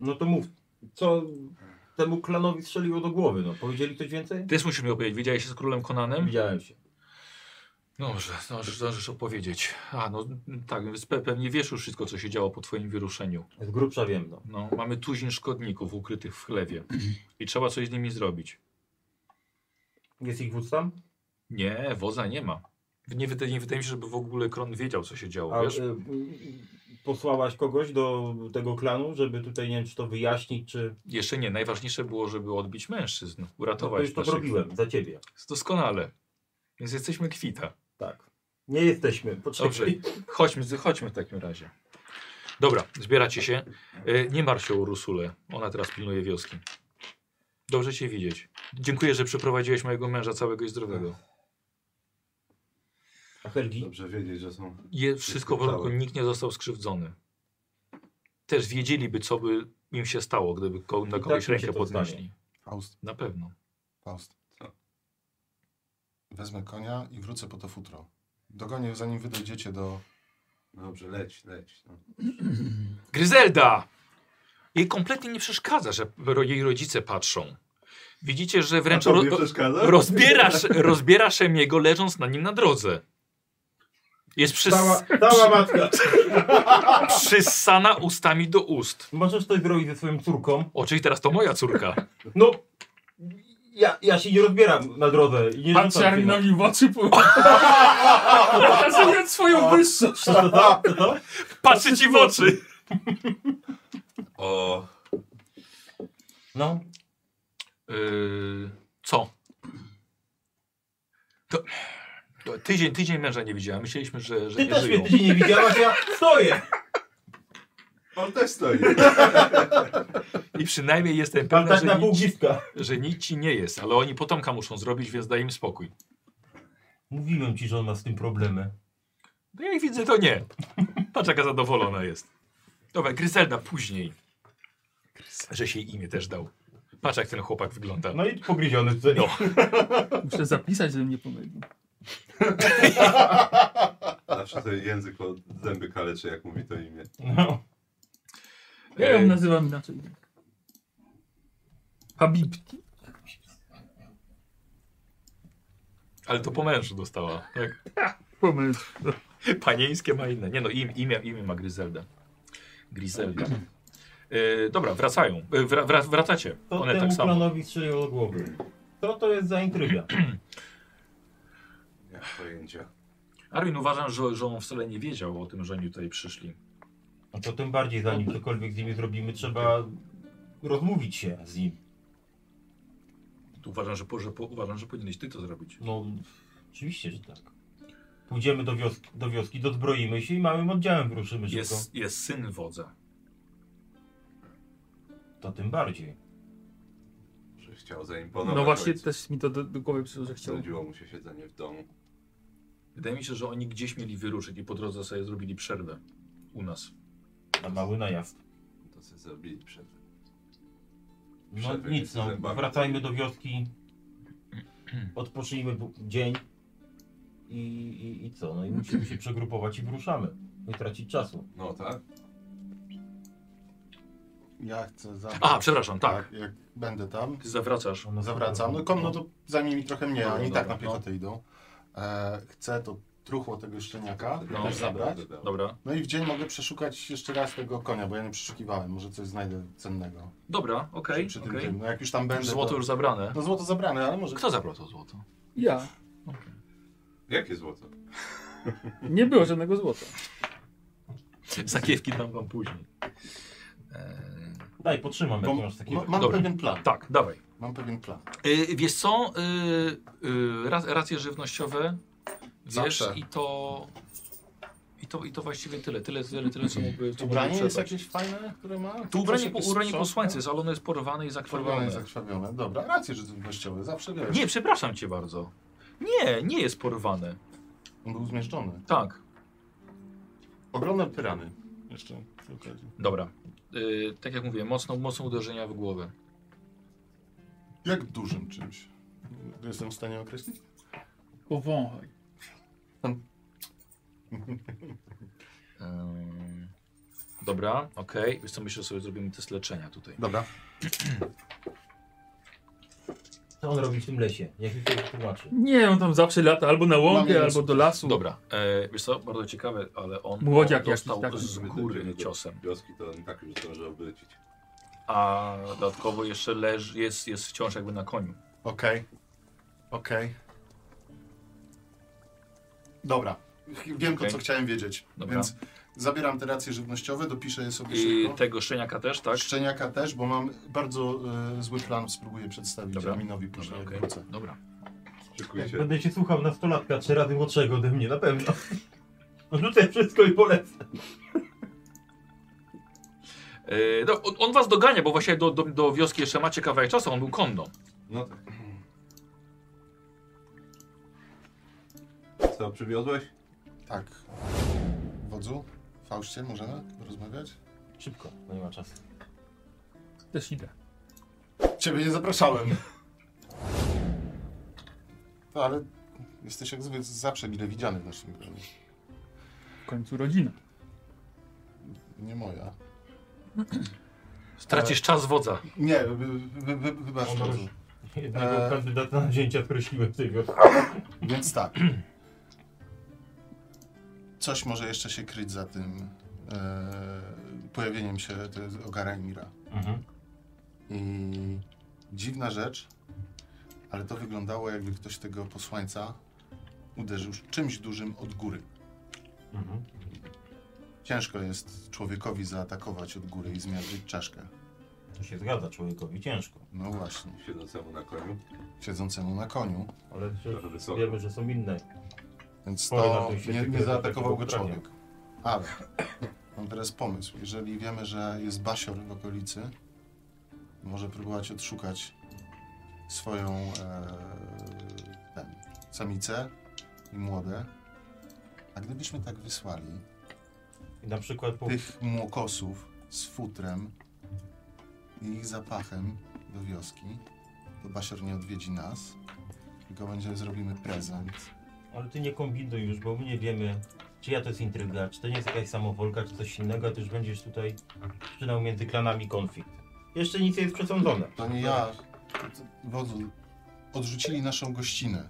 S4: No to mów, co temu klanowi strzeliło do głowy, no? Powiedzieli coś więcej?
S1: Ty musimy opowiedzieć, widziałeś się z królem Konanem?
S4: Widziałem się.
S1: Dobrze, zdążysz, zdążysz opowiedzieć. A, no tak, więc pe- pewnie wiesz już wszystko, co się działo po twoim wyruszeniu.
S4: Z grubsza wiem, no.
S1: No, mamy tuzin szkodników ukrytych w chlewie i trzeba coś z nimi zrobić.
S4: Jest ich wódz tam?
S1: Nie, woza nie ma. Nie, wyda- nie wydaje mi się, żeby w ogóle Kron wiedział, co się działo,
S4: A,
S1: wiesz?
S4: y, y, posłałaś kogoś do tego klanu, żeby tutaj, nie wiem, czy to wyjaśnić, czy...
S1: Jeszcze nie, najważniejsze było, żeby odbić mężczyzn,
S4: No, to
S1: uratować
S4: już to
S1: naszych-
S4: zrobiłem, za ciebie.
S1: Doskonale. Więc jesteśmy kwita.
S4: Tak. Nie jesteśmy,
S1: Dobrze,
S4: poczekaj.
S1: chodźmy, chodźmy w takim razie. Dobra, zbieracie się. E, Nie martw się o Rusule, ona teraz pilnuje wioski. Dobrze cię widzieć. Dziękuję, że przyprowadziłeś mojego męża całego i zdrowego.
S4: A Helgi?
S2: Dobrze wiedzieć, że są.
S1: Je, wszystko w porządku, nikt nie został skrzywdzony. Też wiedzieliby, co by im się stało, gdyby ko na
S4: I
S1: kogoś
S4: tak im się
S1: rękę
S4: to
S1: podnieśli.
S4: stanie.
S9: Faust,
S1: Na pewno.
S9: Faust.
S2: Co?
S9: Wezmę konia i wrócę po to futro. Dogonię, zanim wy dojdziecie do...
S2: Dobrze, leć, leć. No.
S1: Gryzelda! Jej kompletnie nie przeszkadza, że ro- jej rodzice patrzą. Widzicie, że wręcz ro
S2: przeszkadza?
S1: rozbierasz, rozbierasz jego leżąc na nim na drodze. Jest przys
S4: Cała, cała matka!
S1: przysana ustami do ust.
S4: Możesz coś zrobić ze swoją córką?
S1: Oczywiście teraz to moja córka.
S4: No, ja, ja się nie rozbieram na drodze i nie
S8: Pan
S4: rzucam się, no.
S8: Czarnowi w oczy po- pokazując swoją wyższość.
S4: Co to, co to, to?
S1: Patrzy ci w oczy.
S2: O,
S4: No,
S1: Yy, co? To, to tydzień, tydzień męża nie widziałem. Myśleliśmy, że, że
S4: ty
S1: nie
S4: też mnie
S1: żyją.
S4: tydzień nie widziałaś, ja stoję!
S2: on też stoi.
S1: I przynajmniej jestem
S4: Ale
S1: pewna,
S4: tak
S1: że
S4: na pół
S1: nic,
S4: gifka.
S1: że nic ci nie jest. Ale oni potomka muszą zrobić, więc daj im spokój.
S4: Mówiłem ci, że on ma z tym problemy.
S1: No jak widzę, to nie. Patrz, jaka zadowolona jest. Dobra, Gryzelda później. Że się jej imię też dał. Patrz, jak ten chłopak wygląda.
S4: No i pogryziony tutaj.
S1: No.
S8: Muszę zapisać, żebym nie pomylił.
S2: Zawsze ten język od zęby kaleczy, jak mówi to imię.
S4: No.
S8: Ja ją
S1: Ej.
S8: nazywam inaczej. Habibki.
S1: Ale to po mężu dostała. Tak?
S8: Pomysł.
S1: Panieńskie ma inne. Nie no, im, imię, imię ma Gryzelda. Gryzelda. E, dobra, wracają. E, wra, wra, wracacie.
S4: To
S1: One
S4: temu
S1: tak samo.
S4: planowi strzelił do głowy. Co to jest za intryga?
S2: Nie mam pojęcia.
S1: Armin, uważam, że, że on wcale nie wiedział o tym, że oni tutaj przyszli.
S4: No to tym bardziej, zanim cokolwiek z nimi zrobimy, trzeba rozmówić się z nim.
S1: Tu Uważam, że, po, że, po, uważam, że powinieneś ty to zrobić.
S4: No, oczywiście, że tak. Pójdziemy do wioski, do wioski dozbroimy się i małym oddziałem wyruszymy szybko.
S1: Jest, jest syn wodza.
S4: To tym bardziej.
S2: Że chciał zaimponować.
S8: No właśnie
S2: ojcu.
S8: też mi to do, do głowy przyszło, że chciał.
S2: Znudziło mu się siedzenie w domu.
S1: Wydaje mi się, że oni gdzieś mieli wyruszyć i po drodze sobie zrobili przerwę u nas.
S4: Na mały najazd.
S2: To sobie zrobili przed.
S4: No
S2: Przerwy
S4: nic, no.
S2: między zębami.
S4: Wracajmy do wioski. Odpocznijmy bu- dzień. I, i, I co? No i musimy się przegrupować i wyruszamy. Nie tracić czasu.
S2: No tak.
S9: Ja chcę zabrać...
S1: A, przepraszam, tak.
S9: Jak będę tam,
S1: Ty zawracasz.
S4: No, no,
S9: zawracam. No kom, no to zajmie mi trochę mniej, a
S1: No
S4: Dobra,
S9: oni i tak na
S4: dobra,
S9: piechotę idą. E, chcę to truchło tego szczeniaka
S1: No.
S9: też zabrać.
S1: Dobra.
S9: No i w dzień mogę przeszukać jeszcze raz tego konia, bo ja nie przeszukiwałem. Może coś znajdę cennego
S1: Dobra, okej,
S9: przy tym
S1: okej.
S9: tym. No jak już tam będę,
S1: Złoto
S9: to...
S1: już zabrane.
S9: No złoto zabrane, ale może...
S1: Kto zabrał to złoto?
S8: Ja.
S2: Jakie złoto?
S8: Nie było żadnego złota.
S1: Zakiewki dam wam później. Eee,
S4: No, Daj, potrzymam,
S9: Bo,
S4: jak masz takie...
S9: ma, mam
S1: Dobra.
S9: pewien plan.
S1: tak, dawaj.
S9: Mam pewien plan.
S1: Yy, wiesz co? Yy, yy, ra- racje żywnościowe. Wiesz
S9: Zawsze.
S1: i to... I to, I to właściwie tyle, tyle, tyle, tyle co mógłby co
S9: Ubranie
S1: mógłby
S9: jest
S1: przebrać.
S9: jakieś fajne, które ma?
S1: Tu Mhm. ubranie,
S9: Coś
S1: po,
S9: jakieś
S1: ubranie
S9: sprzątne?
S1: posłańca jest, ale ono jest porwane i
S9: Porwane i
S1: zakrwawione.
S9: zakrwawione. Dobra, rację, że żywnościowe, zawsze wiesz.
S1: Nie, przepraszam cię bardzo. Nie, nie jest porwane.
S9: On był zmieszczony.
S1: Tak.
S9: Ogromne pyrany. Jeszcze przy okazji.
S1: Dobra. Yy, tak jak mówię, mocno, mocno uderzenia w głowę.
S9: Jak dużym czymś? Jestem w stanie określić?
S8: Powąchaj.
S1: Ym, Y, Dobra, okej. Wiesz co, myślę, że sobie zrobimy test leczenia tutaj.
S9: Dobra.
S4: Co on robi w tym lesie? Jak mi to tłumaczy?
S8: Nie, on tam zawsze lata albo na
S9: Mamy
S8: łąkę,
S9: już-
S8: albo do lasu.
S1: Dobra, e, wiesz co, bardzo ciekawe, ale on
S8: Młodziak
S1: on dostał
S8: jakiś taki.
S1: z góry ciosem.
S2: Wioski to on tak już zdążył wrócić.
S1: A dodatkowo jeszcze leży, jest, jest wciąż jakby na koniu.
S9: Okej. Okej. Dobra. Wiem
S1: Okej.
S9: to, co chciałem wiedzieć.
S1: Dobra.
S9: Więc zabieram te racje żywnościowe, dopiszę je sobie
S1: I
S9: szybko.
S1: tego szczeniaka też, tak?
S9: Szczeniaka też, bo mam bardzo e, zły plan, spróbuję przedstawić
S1: Dobra.
S9: Aminowi później,
S1: Dobra,
S9: jak
S1: okej.
S9: wrócę.
S1: Dobra.
S2: Szykuj się.
S4: Będę się słuchał nastolatka, trzy rady młodszego ode mnie, na pewno. Rzucę wszystko i polecę.
S1: E, no, on, on was dogania, bo właśnie do, do, do wioski jeszcze macie kawałek czasu, on był konno.
S2: No tak. Co, przywiozłeś?
S9: Tak. Wodzu, Faustie, możemy rozmawiać?
S4: Szybko, bo No nie ma czasu.
S8: Też idę.
S9: Ciebie nie zapraszałem. No ale jesteś jak zwykle zawsze mile widziany w naszym gronie.
S8: W końcu rodzina.
S9: Nie moja.
S1: Stracisz czas wodza.
S9: Nie, wy- wy- wy- wybacz.
S4: Ono-
S9: Wodzu.
S4: Jednego
S9: Eee.
S4: kandydata na wzięcia skreśliłem tego.
S9: Więc tak. Coś może jeszcze się kryć za tym e, pojawieniem się te- Ogara i Mira.
S4: Mhm.
S9: I dziwna rzecz, ale to wyglądało jakby ktoś tego posłańca uderzył czymś dużym od góry.
S4: Mhm.
S9: Ciężko jest człowiekowi zaatakować od góry i zmiażdżyć czaszkę.
S4: To się zgadza człowiekowi, ciężko.
S9: No właśnie,
S2: Siedzącemu na koniu.
S9: siedzącemu na koniu,
S4: Ale
S2: Trochę wysoko.
S4: wiemy, że są inne.
S9: więc
S4: Chory na
S9: to
S4: tym świecie,
S9: nie, nie
S4: który
S9: zaatakował go
S4: takiego ubrania.
S9: człowiek. Ale mam teraz pomysł. Jeżeli wiemy, że jest basior w okolicy, może próbować odszukać swoją e, ten, samicę i młode. A gdybyśmy tak wysłali
S4: I na przykład po...
S9: tych młokosów z futrem i ich zapachem do wioski, to basior nie odwiedzi nas, tylko będzie zrobimy prezent.
S4: Ale ty nie kombinuj już, bo my nie wiemy, czyja to jest intryga, czy to nie jest jakaś samowolka, czy coś innego, a ty już będziesz tutaj przynał między klanami konflikt. Jeszcze nic nie jest przesądzone.
S9: To nie ja. Wodzu, odrzucili naszą gościnę.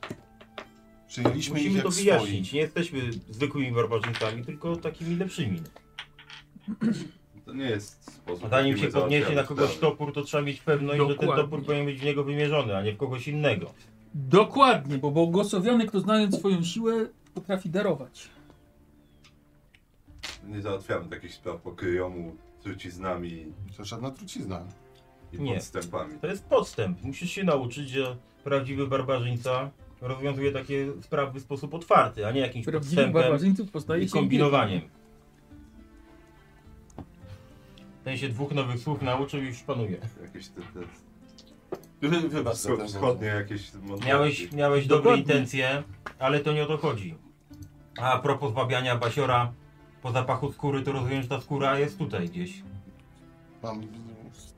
S9: Przyjęliśmy ich
S4: Musimy
S9: jak
S4: to
S9: swoich.
S4: wyjaśnić. Nie jesteśmy zwykłymi barbarzyńcami, tylko takimi lepszymi.
S9: No
S2: To nie jest sposób.
S9: tak,
S4: A zanim
S2: jaki
S4: się
S2: my
S4: podniesie na
S2: załatwiamy
S4: kogoś
S2: sprawy.
S4: topór, to trzeba mieć pewność, że
S8: Dokładnie.
S4: ten topór powinien być w niego wymierzony, a nie w kogoś innego.
S8: Dokładnie, bo błogosławiony, kto znając swoją siłę, potrafi darować.
S2: Nie załatwiamy takich spraw po kryjomu, truciznami
S9: To żadna trucizna.
S2: i
S4: Nie.
S2: podstępami.
S4: To jest podstęp. Musisz się nauczyć, że prawdziwy barbarzyńca rozwiązuje takie sprawy w sposób otwarty, a nie jakimś
S8: Prawdziwych
S4: podstępem
S8: barbarzyńców poznaje
S4: i
S8: się
S4: kombinowaniem. Ten się dwóch nowych słów nauczył i już panuje.
S2: Jakieś te, te
S9: Wy, wybacz za ten
S2: wschodnie jakieś mądrości.
S4: Miałeś, miałeć dobre
S8: Dokładnie.
S4: intencje, ale to nie o to chodzi. A propos zbawiania Basiora po zapachu skóry, to rozumiem, że ta skóra jest tutaj gdzieś.
S9: Mam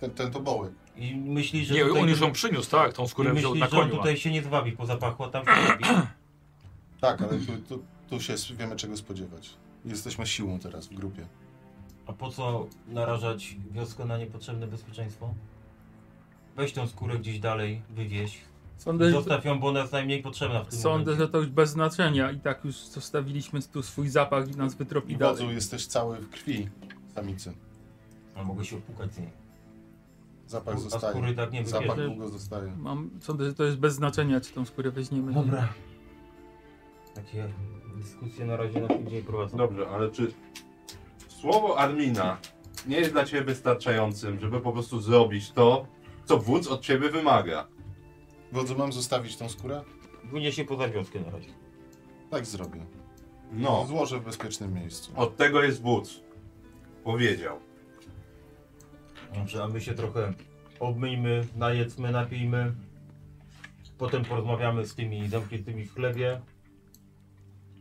S9: ten, ten to boły.
S4: I myśli, że
S1: Nie,
S4: tutaj,
S1: on już ją przyniósł, tak, tą
S4: i
S1: skórę wziął
S4: myśli,
S1: na
S4: że on
S1: koniu.
S4: tutaj się nie zwabi po zapachu, a tam się zwabi.
S9: Tak, ale tu, tu, tu się s- wiemy czego spodziewać. Jesteśmy siłą teraz w grupie.
S4: A po co narażać wioskę na niepotrzebne bezpieczeństwo? Weź tą skórę gdzieś dalej, wywieź.
S8: Sądzę, że-
S4: Zostaw ją, bo ona jest najmniej potrzebna w tym
S8: Sądzę, że
S4: momencie.
S8: to już bez znaczenia i tak już zostawiliśmy tu swój zapach i nas wytropi
S9: I
S8: dalej.
S9: wodzu jesteś cały w krwi samicy.
S4: A mogę się opukać z niej.
S9: Zapach
S4: A skóry
S9: zostaje.
S4: tak nie
S9: Zapach
S4: wybierze.
S9: długo zostaje.
S8: Mam, sądzę, że to jest bez znaczenia, czy tą skórę weźmiemy. nie.
S4: Dobra. Takie dyskusje na razie na później prowadzą.
S2: Dobrze, ale czy słowo Armina nie jest dla ciebie wystarczającym, żeby po prostu zrobić to, co wódz od ciebie wymaga?
S9: Wodzu, mam zostawić tą skórę?
S4: Wynie się poza wioskę na razie.
S9: Tak zrobię.
S2: No,
S9: Złożę w bezpiecznym miejscu.
S2: od tego jest wódz. Powiedział.
S4: Dobrze, a my się trochę obmyjmy, najedzmy, napijmy. Potem porozmawiamy z tymi zamkniętymi w chlebie.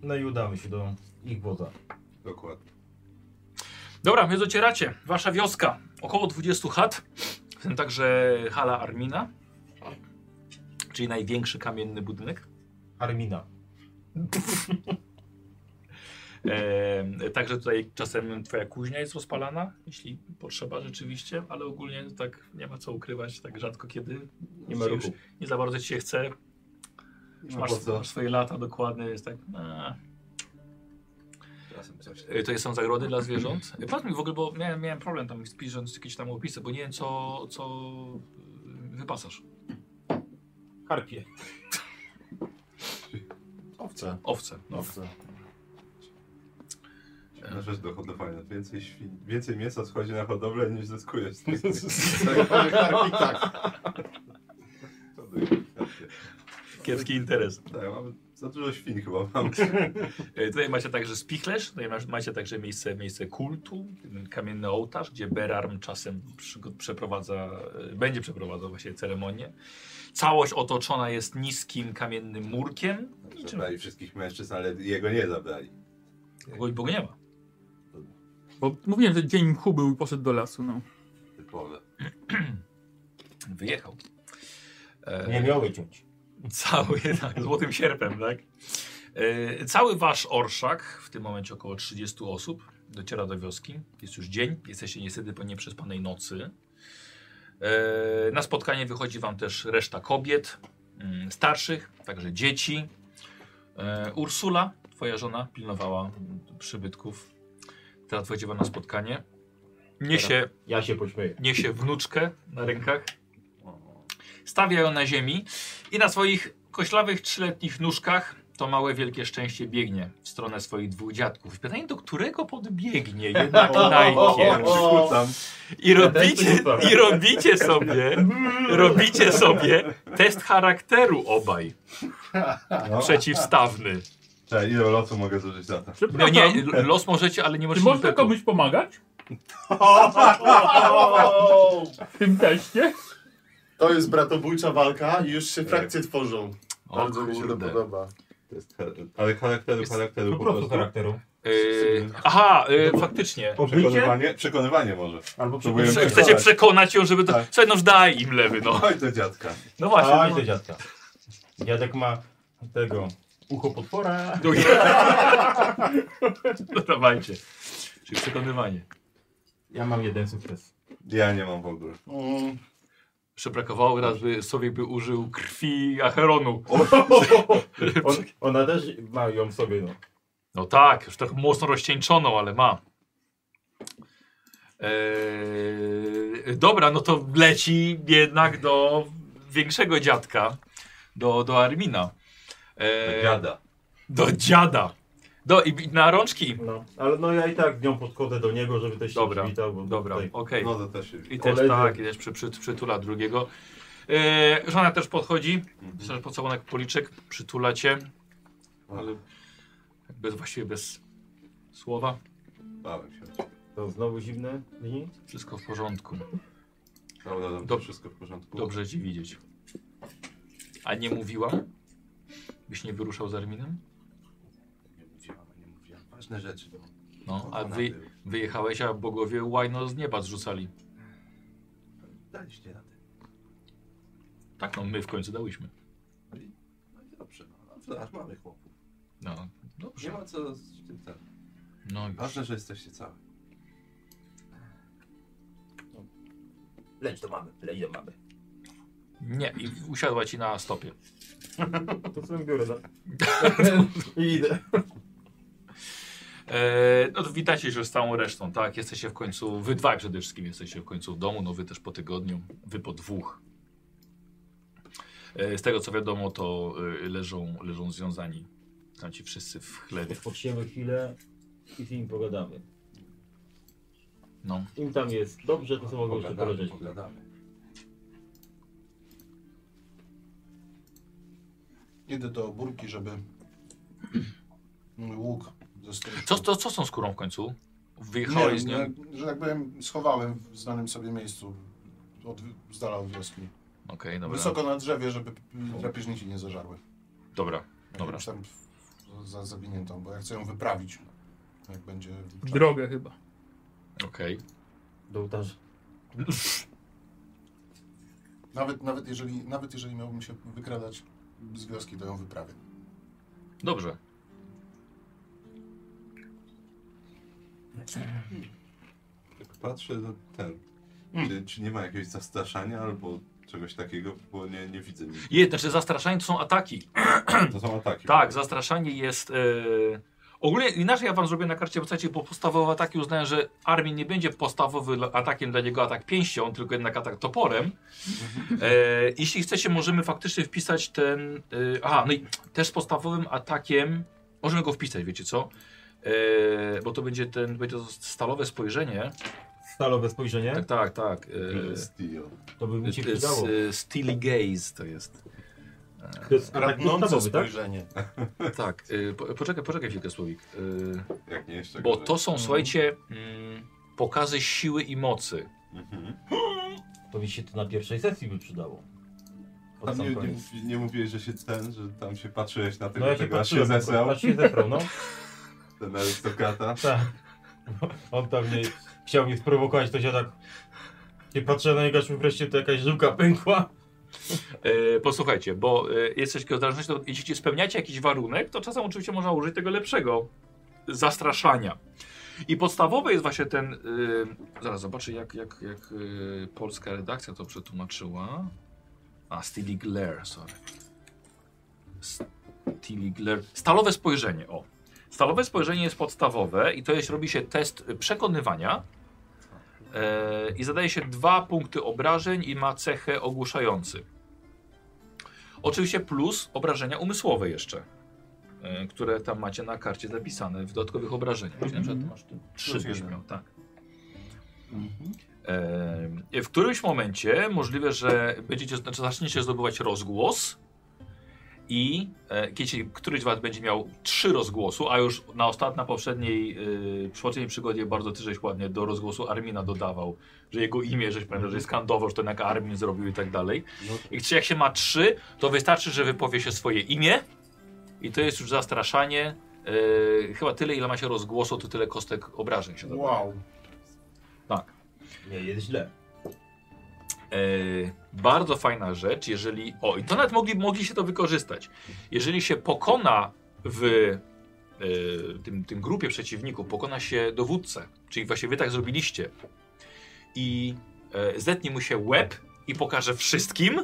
S4: No i udamy się do ich wodza.
S2: Dokładnie.
S1: Dobra, więc docieracie. Wasza wioska. Około 20 chat, w tym także hala Armina, czyli największy kamienny budynek.
S4: Armina.
S1: E, także tutaj czasem twoja kuźnia jest rozpalana, jeśli potrzeba rzeczywiście, ale ogólnie tak nie ma co ukrywać, tak rzadko kiedy.
S3: Nie ma
S1: Już
S3: ruchu.
S1: Nie za bardzo ci się chce. Już
S2: No
S1: masz,
S2: po co?
S1: masz swoje lata dokładnie, jest tak. A.
S2: Czasem coś.
S1: E, To są zagrody dla zwierząt. E, Powiedz mi w ogóle, bo miałem, miałem problem tam pisząc jakieś tam opisy, bo nie wiem co, co y, wypasasz.
S3: Harpie.
S9: Owce.
S1: Owce. No.
S9: Owce.
S2: Na rzecz do hodowania. Więcej, świn, więcej mięsa schodzi na hodowlę niż zyskujesz. z tego.
S9: Tak, panie Harpik, tak.
S2: To dość karpie.
S1: Kiepski interes.
S2: Tak, mamy za dużo świn chyba mam.
S1: E, Tutaj macie także spichlerz, tutaj masz, macie także miejsce, miejsce kultu, ten kamienny ołtarz, gdzie Berarm czasem przygo- przeprowadza, e, będzie przeprowadzał właśnie ceremonię. Całość otoczona jest niskim kamiennym murkiem, niczym,
S2: Zabrali wszystkich mężczyzn, ale jego nie zabrali.
S1: bo bo go nie ma.
S8: Bo mówiłem, że dzień mchu był i poszedł do lasu, no.
S2: Typowe.
S1: Wyjechał. E,
S4: Nie miał wyciąć.
S1: Cały, tak, złotym sierpem, tak? E, Cały wasz orszak, w tym momencie około 30 osób, dociera do wioski. Jest już dzień, jesteście niestety po nieprzespanej nocy. E, Na spotkanie wychodzi wam też reszta kobiet, mm, starszych, także dzieci. E, Ursula, twoja żona, pilnowała mm, przybytków. Teraz wejdzie wam na spotkanie. Niesie
S4: Ja się pośmieję.
S1: niesie wnuczkę na rękach, stawia ją na ziemi i na swoich koślawych trzyletnich nóżkach to małe wielkie szczęście biegnie w stronę swoich dwóch dziadków. Pytanie, do którego podbiegnie jednak najpierw?
S2: Przykucam.
S1: I robicie, i robicie sobie, robicie sobie test charakteru obaj,
S2: No.
S1: przeciwstawny.
S2: Cześć, No, ile losu mogę zużyć za to?
S1: No
S8: Przepraszam,
S1: nie, los możecie, ale nie
S8: czy
S1: możecie
S8: można
S1: impetu.
S8: komuś pomagać? W tym teście?
S9: To jest bratobójcza walka i już się frakcje tworzą.
S1: O
S9: E. Bardzo mi się to
S1: kurde.
S9: podoba.
S2: To jest char- ale charakteru, charakteru
S4: Po prostu charakteru.
S1: Yy, aha, yy, faktycznie.
S2: Przekonywanie? Przekonywanie może.
S3: Albo
S2: Próbuję
S3: przekonać-
S1: Prze- Chcecie przekonać ją, żeby to...
S2: Tak.
S1: Słuchaj, no daj im lewy, no.
S2: Chodź do dziadka.
S1: No właśnie.
S4: Aj
S1: no.
S4: do dziadka. Dziadek ma tego ucho potwora.
S1: No, no dawajcie. Czyli przekonywanie.
S4: Ja mam jeden sukces.
S2: Ja nie mam w ogóle.
S9: Mm,
S1: Przebrakowało raz, by Sowiek by użył krwi Acheronu.
S4: On, ona też ma ją w sobie, no.
S1: No tak, już tak mocno rozcieńczoną, ale ma. Eee, dobra, no to leci jednak do większego dziadka, do, do Armina. Eee,
S2: Dziada.
S1: Do dziada. Do, i, i na rączki.
S4: no. Ale no ja i tak nią podchodzę do niego, żeby też się
S1: Dobra,
S4: przywitał. Bo
S1: Dobra, okej.
S4: tutaj-
S2: No to też się
S1: I też
S4: Koledzy.
S1: tak, i też przy, przy, przytula drugiego. Yy, żona też podchodzi, mhm. pod sobą jak policzek, przytula cię,
S2: No,
S1: ale bez, właściwie bez słowa,
S2: Bałem się.
S4: To znowu zimne dni.
S1: wszystko w porządku.
S2: Dobra, dobra,
S1: Dob-
S2: wszystko w porządku.
S1: Dobrze ci widzieć. A nie mówiłam? Byś nie wyruszał z Arminem?
S2: Nie mówiłam, nie mówiłam. Ważne rzeczy. no.
S1: No, a
S2: Ona
S1: wy,
S2: była.
S1: wyjechałeś, a bogowie łajno z nieba zrzucali.
S2: Daliście radę.
S1: Tak, no my w końcu dałyśmy.
S2: No i dobrze, no. Dobrze, aż mamy chłopów.
S1: No,
S2: Nie
S1: dobrze.
S2: ma co z tym tak.
S1: No już.
S2: Ważne, że jesteście cały.
S3: Leć do mamy, leć do mamy.
S1: Nie, i usiadła ci na stopie.
S4: To sobie biorę. no. Da. I idę.
S1: E, no to witacie się z całą resztą, tak? Jesteście w końcu, wy dwaj przede wszystkim jesteście w końcu w domu, no wy też po tygodniu, wy po dwóch. E, z tego co wiadomo, to e, leżą, leżą związani tam ci wszyscy w chlebie.
S4: Odpoczniemy chwilę i z nim pogadamy.
S1: No,
S4: Im tam jest dobrze, to sobie mogą No, jeszcze
S2: Pogadamy,
S4: poleżeć.
S2: pogadamy.
S9: idę do burki, żeby mój łuk zostawić.
S1: co, to, co są skórą w końcu? Wyjechałeś z nią?
S9: że- że tak powiem, schowałem w znanym sobie miejscu. Od, z dala od wioski.
S1: Okej, dobra.
S9: Wysoko na drzewie, żeby mm, drapieżniki nie zażarły.
S1: Dobra, dobra.
S9: Jakąś tam w- za zawiniętą, bo ja chcę ją wyprawić. Jak będzie.
S8: W drogę chyba.
S1: Okej.
S4: Do ołtarza.
S9: Nawet, nawet, jeżeli, nawet jeżeli miałbym się wykradać z wioski, to ją wyprawię.
S1: Dobrze.
S2: Tak patrzę na ten. Czy, czy nie ma jakiegoś zastraszania albo czegoś takiego, bo nie, nie widzę nic.
S1: Je, znaczy zastraszanie to są ataki.
S2: To są ataki.
S1: Tak, zastraszanie jest... E... Ogólnie inaczej ja wam zrobię na karcie postaci, bo podstawowe ataki uznałem, że armii nie będzie podstawowym dla- atakiem dla niego atak pięścią, tylko jednak atak toporem. E, jeśli chcecie, możemy faktycznie wpisać ten... E, aha, no i też podstawowym atakiem... Możemy go wpisać, wiecie co? E, bo to będzie ten, będzie to stalowe spojrzenie.
S4: Stalowe spojrzenie.
S1: Tak, tak, tak.
S2: Blue
S1: E,
S2: Steel.
S4: To by mi się
S1: To jest,
S4: przydało.
S1: e, Steely Gaze to jest.
S4: To jest atak
S9: Pragnące
S4: podstawowy, tak?
S9: spojrzenie.
S1: Tak, e, po, poczekaj, poczekaj chwilkę Słowik. E,
S2: Jak nie jeszcze.
S1: Bo
S2: gorzej.
S1: to są, słuchajcie, mm, pokazy siły i mocy.
S2: Mhm.
S4: To mi się to na pierwszej sesji by przydało. Pod
S2: Tam nie,
S4: sam
S2: nie,
S4: koniec.
S2: mówi- nie mówiłeś, że się ten, że tam się patrzyłeś na tego,
S4: No ja się
S2: tego aż
S4: patrzyłem,
S2: się zesrał,
S4: aż się zesrał, no.
S2: ten arystokrata.
S4: Tak. On tam mnie, chciał mnie sprowokować, to się tak... Nie patrzę na niego, aż mi wreszcie to jakaś żyłka pękła.
S1: E, posłuchajcie, bo e, jest coś takiego zależności, to jeśli spełniacie jakiś warunek, to czasem oczywiście można użyć tego lepszego zastraszania. I podstawowy jest właśnie ten. e, zaraz zobaczę, jak, jak, jak e, polska redakcja to przetłumaczyła. A, Steely Glare, sorry. Steely Glare. Stalowe spojrzenie, o. Stalowe spojrzenie jest podstawowe i to jest, robi się test przekonywania. E, I zadaje się dwa punkty obrażeń i ma cechę ogłuszający. Oczywiście plus obrażenia umysłowe jeszcze, e, które tam macie na karcie zapisane w dodatkowych obrażeniach. Czyli na przykład masz tu trzy
S9: Plus
S1: byś
S9: jeden.
S1: miał, tak.
S9: Mhm.
S1: E, w którymś momencie możliwe, że będziecie, znaczy zaczniecie zdobywać rozgłos i e, kiedy któryś z was będzie miał trzy rozgłosu, a już na ostatniej, na poprzedniej, e, przy poprzedniej przygodzie bardzo ty żeś ładnie do rozgłosu Armina dodawał, że jego imię, żeś pamiętał, że skandował, że to jednak Armin zrobił i tak dalej. I czy jak się ma trzy, to wystarczy, że wypowie się swoje imię i to jest już zastraszanie. E, chyba tyle, ile ma się rozgłosu, to tyle kostek obrażeń się dodaje.
S9: Wow.
S4: Nie, jest źle.
S1: E, bardzo fajna rzecz, jeżeli. O, i to nawet mogli, mogli się to wykorzystać. Jeżeli się pokona w e, tym, tym grupie przeciwników, pokona się dowódcę, czyli właśnie wy tak zrobiliście, i e, zetnie mu się łeb i pokaże wszystkim,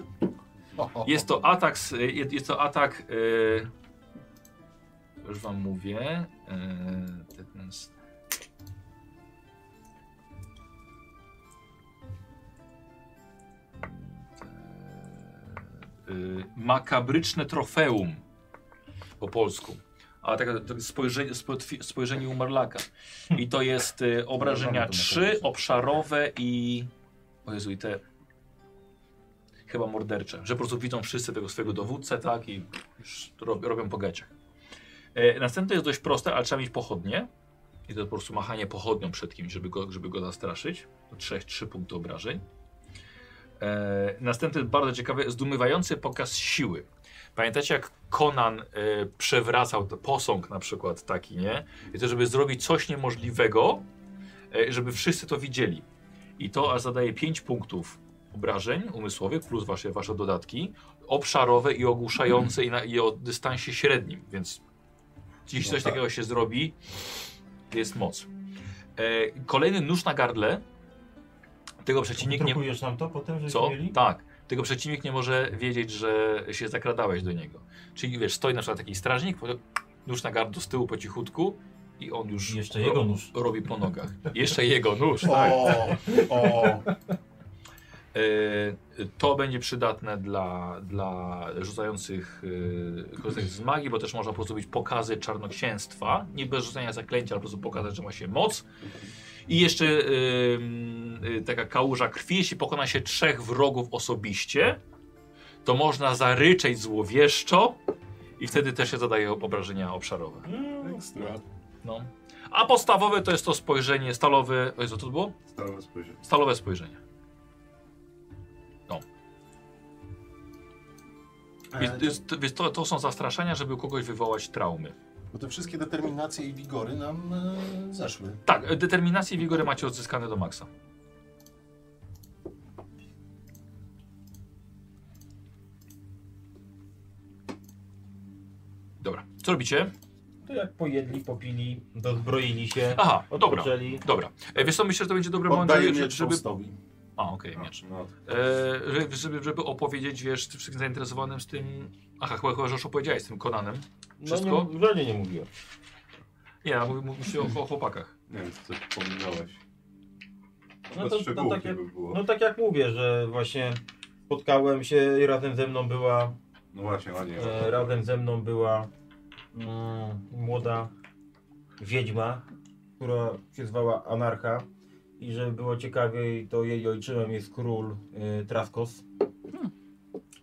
S1: Jest to atak, z, e, jest jest to atak, yy, już wam mówię, e, yy, tetanus. Yy, makabryczne trofeum po polsku. A tak, tak spojrzenie, spo- twi- spojrzenie umarlaka. I to jest y, obrażenia
S4: Mamy to makabryczne.
S1: 3, obszarowe i. O Jezu, i te chyba mordercze, że po prostu widzą wszyscy tego swojego dowódcę, tak, i już rob, robią po gaciach. E, następne jest dość proste, ale trzeba mieć pochodnie i to po prostu machanie pochodnią przed kimś, żeby go, żeby go zastraszyć. To Trzech, trzy punkty obrażeń. E, następny jest bardzo ciekawy, zdumiewający pokaz siły. Pamiętacie, jak Conan e, przewracał t- posąg na przykład taki, nie? I to, żeby zrobić coś niemożliwego, e, żeby wszyscy to widzieli. I to aż zadaje 5 punktów obrażeń umysłowych plus wasze, wasze dodatki obszarowe i ogłuszające i, na, i o dystansie średnim, więc jeśli
S2: No
S1: coś
S2: tak.
S1: takiego się zrobi, jest moc. E, kolejny nóż na gardle. Tego przeciwnik nie...
S4: Drukujesz nam to potem, żebyśmy
S1: Co?
S4: mieli?
S1: Tak. Tego przeciwnik nie może wiedzieć, że się zakradałeś do niego. Czyli wiesz, stoi na przykład taki strażnik, po- nóż na gardło z tyłu po cichutku i on już
S4: I Jeszcze jego nóż.
S1: robi po nogach. Jeszcze jego nóż, tak.
S9: O, o.
S1: E, To będzie przydatne dla, dla rzucających e, korzystających z magii, bo też można po prostu być pokazy czarnoksięstwa. Nie bez rzucania zaklęcia, ale po prostu pokazać, że ma się moc. I jeszcze e, m, e, taka kałuża krwi. Jeśli pokona się trzech wrogów osobiście, to można zaryczeć złowieszczo i wtedy też się zadaje obrażenia obszarowe.
S2: Ekstra.
S1: No. A podstawowe to jest to spojrzenie stalowe. O Jezu, co to było?
S2: Stałe spojrzenie.
S1: Stalowe spojrzenie. Więc,
S9: E,
S1: jest, więc to, to są zastraszenia, żeby u kogoś wywołać traumy.
S9: Bo te wszystkie determinacje i wigory nam e, zeszły.
S1: Tak, determinację i wigory macie odzyskane do maksa. Dobra, co robicie?
S4: To jak pojedli, popili, dozbroili się,
S1: Aha, dobra.
S4: odpoczęli. No,
S1: Dobra. E, wiesz co, myślę, że to będzie dobry moment,
S9: Oddaję
S1: żeby...
S9: miecz
S1: żeby...
S9: Faustowi.
S1: A, okej,
S2: No,
S1: miecz.
S2: no,
S1: E, żeby- żeby, żeby opowiedzieć, wiesz, tym wszystkim zainteresowanym z tym... Aha, chyba, chyba że już opowiedziałeś z tym Konanem.
S4: No
S1: Wszystko?
S4: nie, w razie nie mówiłem.
S1: Nie, ja mówię, mówię się o, o chłopakach.
S2: nie wiem, co wspominałeś.
S4: No
S2: No
S4: to,
S2: to,
S4: to tak, jak,
S2: by było.
S4: no tak jak mówię, że właśnie spotkałem się i razem ze mną była,
S2: No właśnie, a nie.
S4: e, razem ze mną była mm, młoda wiedźma, która się zwała Anarcha. I żeby było ciekawiej, to jej ojczymem jest król y, Traskos.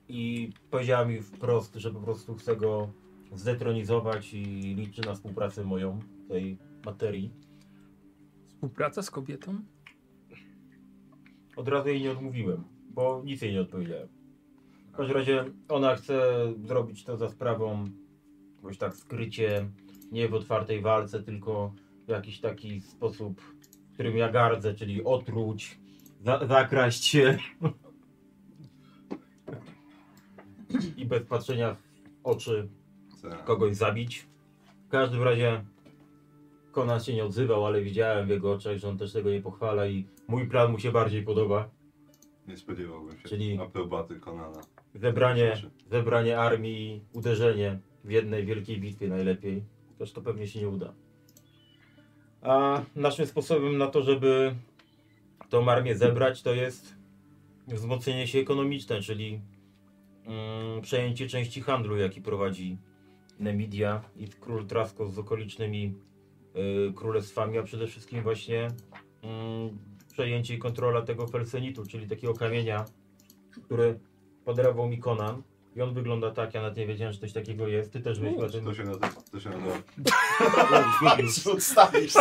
S4: I powiedziała mi wprost, że po prostu chce go zdetronizować i liczy na współpracę moją tej materii.
S8: Współpraca z kobietą?
S4: Od razu jej nie odmówiłem, bo nic jej nie odpowiedziałem. W każdym razie ona chce zrobić to za sprawą, jakoś tak skrycie, nie w otwartej walce, tylko w jakiś taki sposób, którym ja gardzę, czyli otruć, za zakraść się i bez patrzenia w oczy
S2: Tak.
S4: kogoś zabić. W każdym razie Conan się nie odzywał, ale widziałem w jego oczach, że on też tego nie pochwala i mój plan mu się bardziej podoba.
S2: Nie spodziewałbym się
S4: Czyli-
S2: aprobaty Konana.
S4: Zebranie, zebranie armii, uderzenie w jednej wielkiej bitwie najlepiej. Też to pewnie się nie uda. A naszym sposobem na to, żeby tą armię zebrać, to jest wzmocnienie się ekonomiczne, czyli mm, przejęcie części handlu, jaki prowadzi Nemidia i król Traskos z okolicznymi y, królestwami, a przede wszystkim właśnie mm, przejęcie i kontrola tego felsenitu, czyli takiego kamienia, który podarował mi Conan i on wygląda tak, ja nawet nie wiedziałem, że coś takiego jest. Ty też myślisz o tym.
S2: To się nazywa. To się nazywa.
S9: Odstawisz.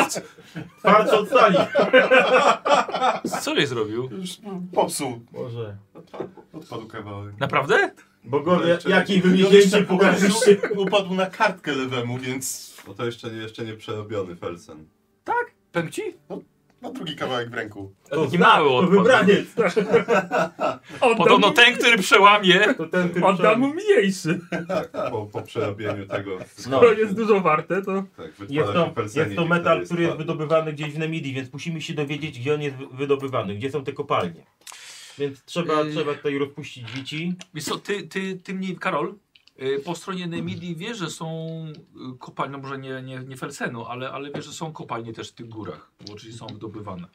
S4: Twarz odstali!
S1: Co żeś zrobił?
S9: Już popsuł.
S4: Boże.
S9: Odpadł kawałek.
S1: Naprawdę?
S4: Bogowie,
S2: Jeszcze-
S4: jaki wy
S9: No
S4: mi
S9: jeszcze
S4: dzięki pokażecie.
S9: Upadł na kartkę lewemu, więc
S2: No to jeszcze, jeszcze nie przerobiony Felsen.
S1: Powiem ci?
S9: ma drugi kawałek w ręku.
S1: To
S4: znak,
S1: mały
S4: to
S1: odpad.
S4: wybraniec.
S8: Oddam,
S1: Podobno
S8: mu,
S1: ten, który przełamie,
S4: To ten ty
S8: oddam mu mniejszy.
S2: Tak, Po, po przerobieniu tego.
S4: No.
S8: To jest dużo warte, to
S2: Tak,
S4: Jest
S2: wytwarza
S4: to,
S2: się Felsenie.
S4: jest to metal, który jest wydobywany gdzieś w Nemidii, więc musimy się dowiedzieć, gdzie on jest wy- wydobywany, gdzie są te kopalnie. Więc trzeba,
S1: Yy.
S4: trzeba tutaj rozpuścić dzieci.
S1: Wiesz co, ty, ty, ty mniej, Karol, y, po stronie Nemidii wiesz, że są y, kopalnie, no może nie, nie, nie Felsenu, ale, ale wiesz, że są kopalnie też w tych górach, bo oczywiście są wydobywane.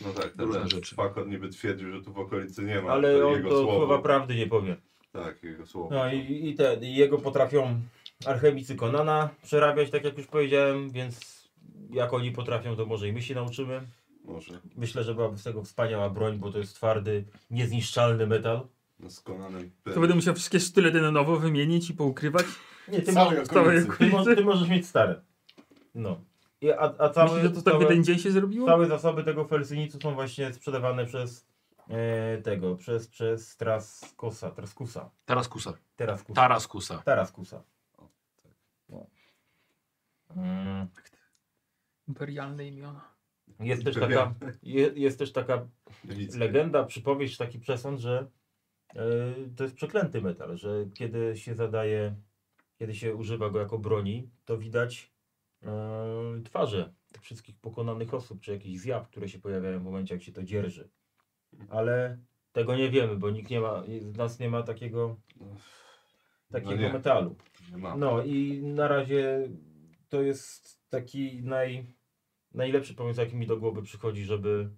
S2: No tak, ten,
S1: różne
S2: ten
S1: rzeczy.
S2: Fakon niby twierdził, że tu w okolicy nie ma.
S4: Ale
S2: to
S4: on
S2: jego
S4: to
S2: słowo.
S4: słowa prawdy nie powie.
S2: Tak, jego słowo.
S4: No i, i ten, i jego potrafią alchemicy Konana przerabiać, tak jak już powiedziałem, więc jak oni potrafią, to może i my się nauczymy.
S2: Może.
S4: Myślę, że byłaby z tego wspaniała broń, bo to jest twardy, niezniszczalny metal.
S2: No z Konanem.
S8: To będę musiał wszystkie sztylety na nowo wymienić i poukrywać.
S4: Nie, ty,
S9: Całej
S8: Całej
S9: okolicy.
S4: ty,
S8: okolicy.
S4: mo- ty możesz mieć stare. No. I, a, a całe,
S8: Myślisz, że to tak w
S4: całe,
S8: jeden dzień się zrobiło?
S4: całe zasoby tego felsynicu są właśnie sprzedawane przez e, tego, przez, przez Traskusa, Traskusa,
S1: Taraskusa.
S8: Tak.
S4: Teraskusa,
S1: Taraskusa.
S4: Taraskusa. No. Mm.
S8: Imperialne imiona.
S4: Jest też taka, je, jest też taka legenda, przypowieść, taki przesąd, że e, to jest przeklęty metal, że kiedy się zadaje, kiedy się używa go jako broni, to widać e, twarze tych wszystkich pokonanych osób, czy jakichś zjaw, które się pojawiają w momencie, jak się to dzierży. Ale tego nie wiemy, bo nikt nie ma, z nas nie ma takiego, takiego
S2: No, nie.
S4: metalu.
S2: Nie ma.
S4: No i na razie to jest taki naj, najlepszy pomysł, jaki mi do głowy przychodzi, żeby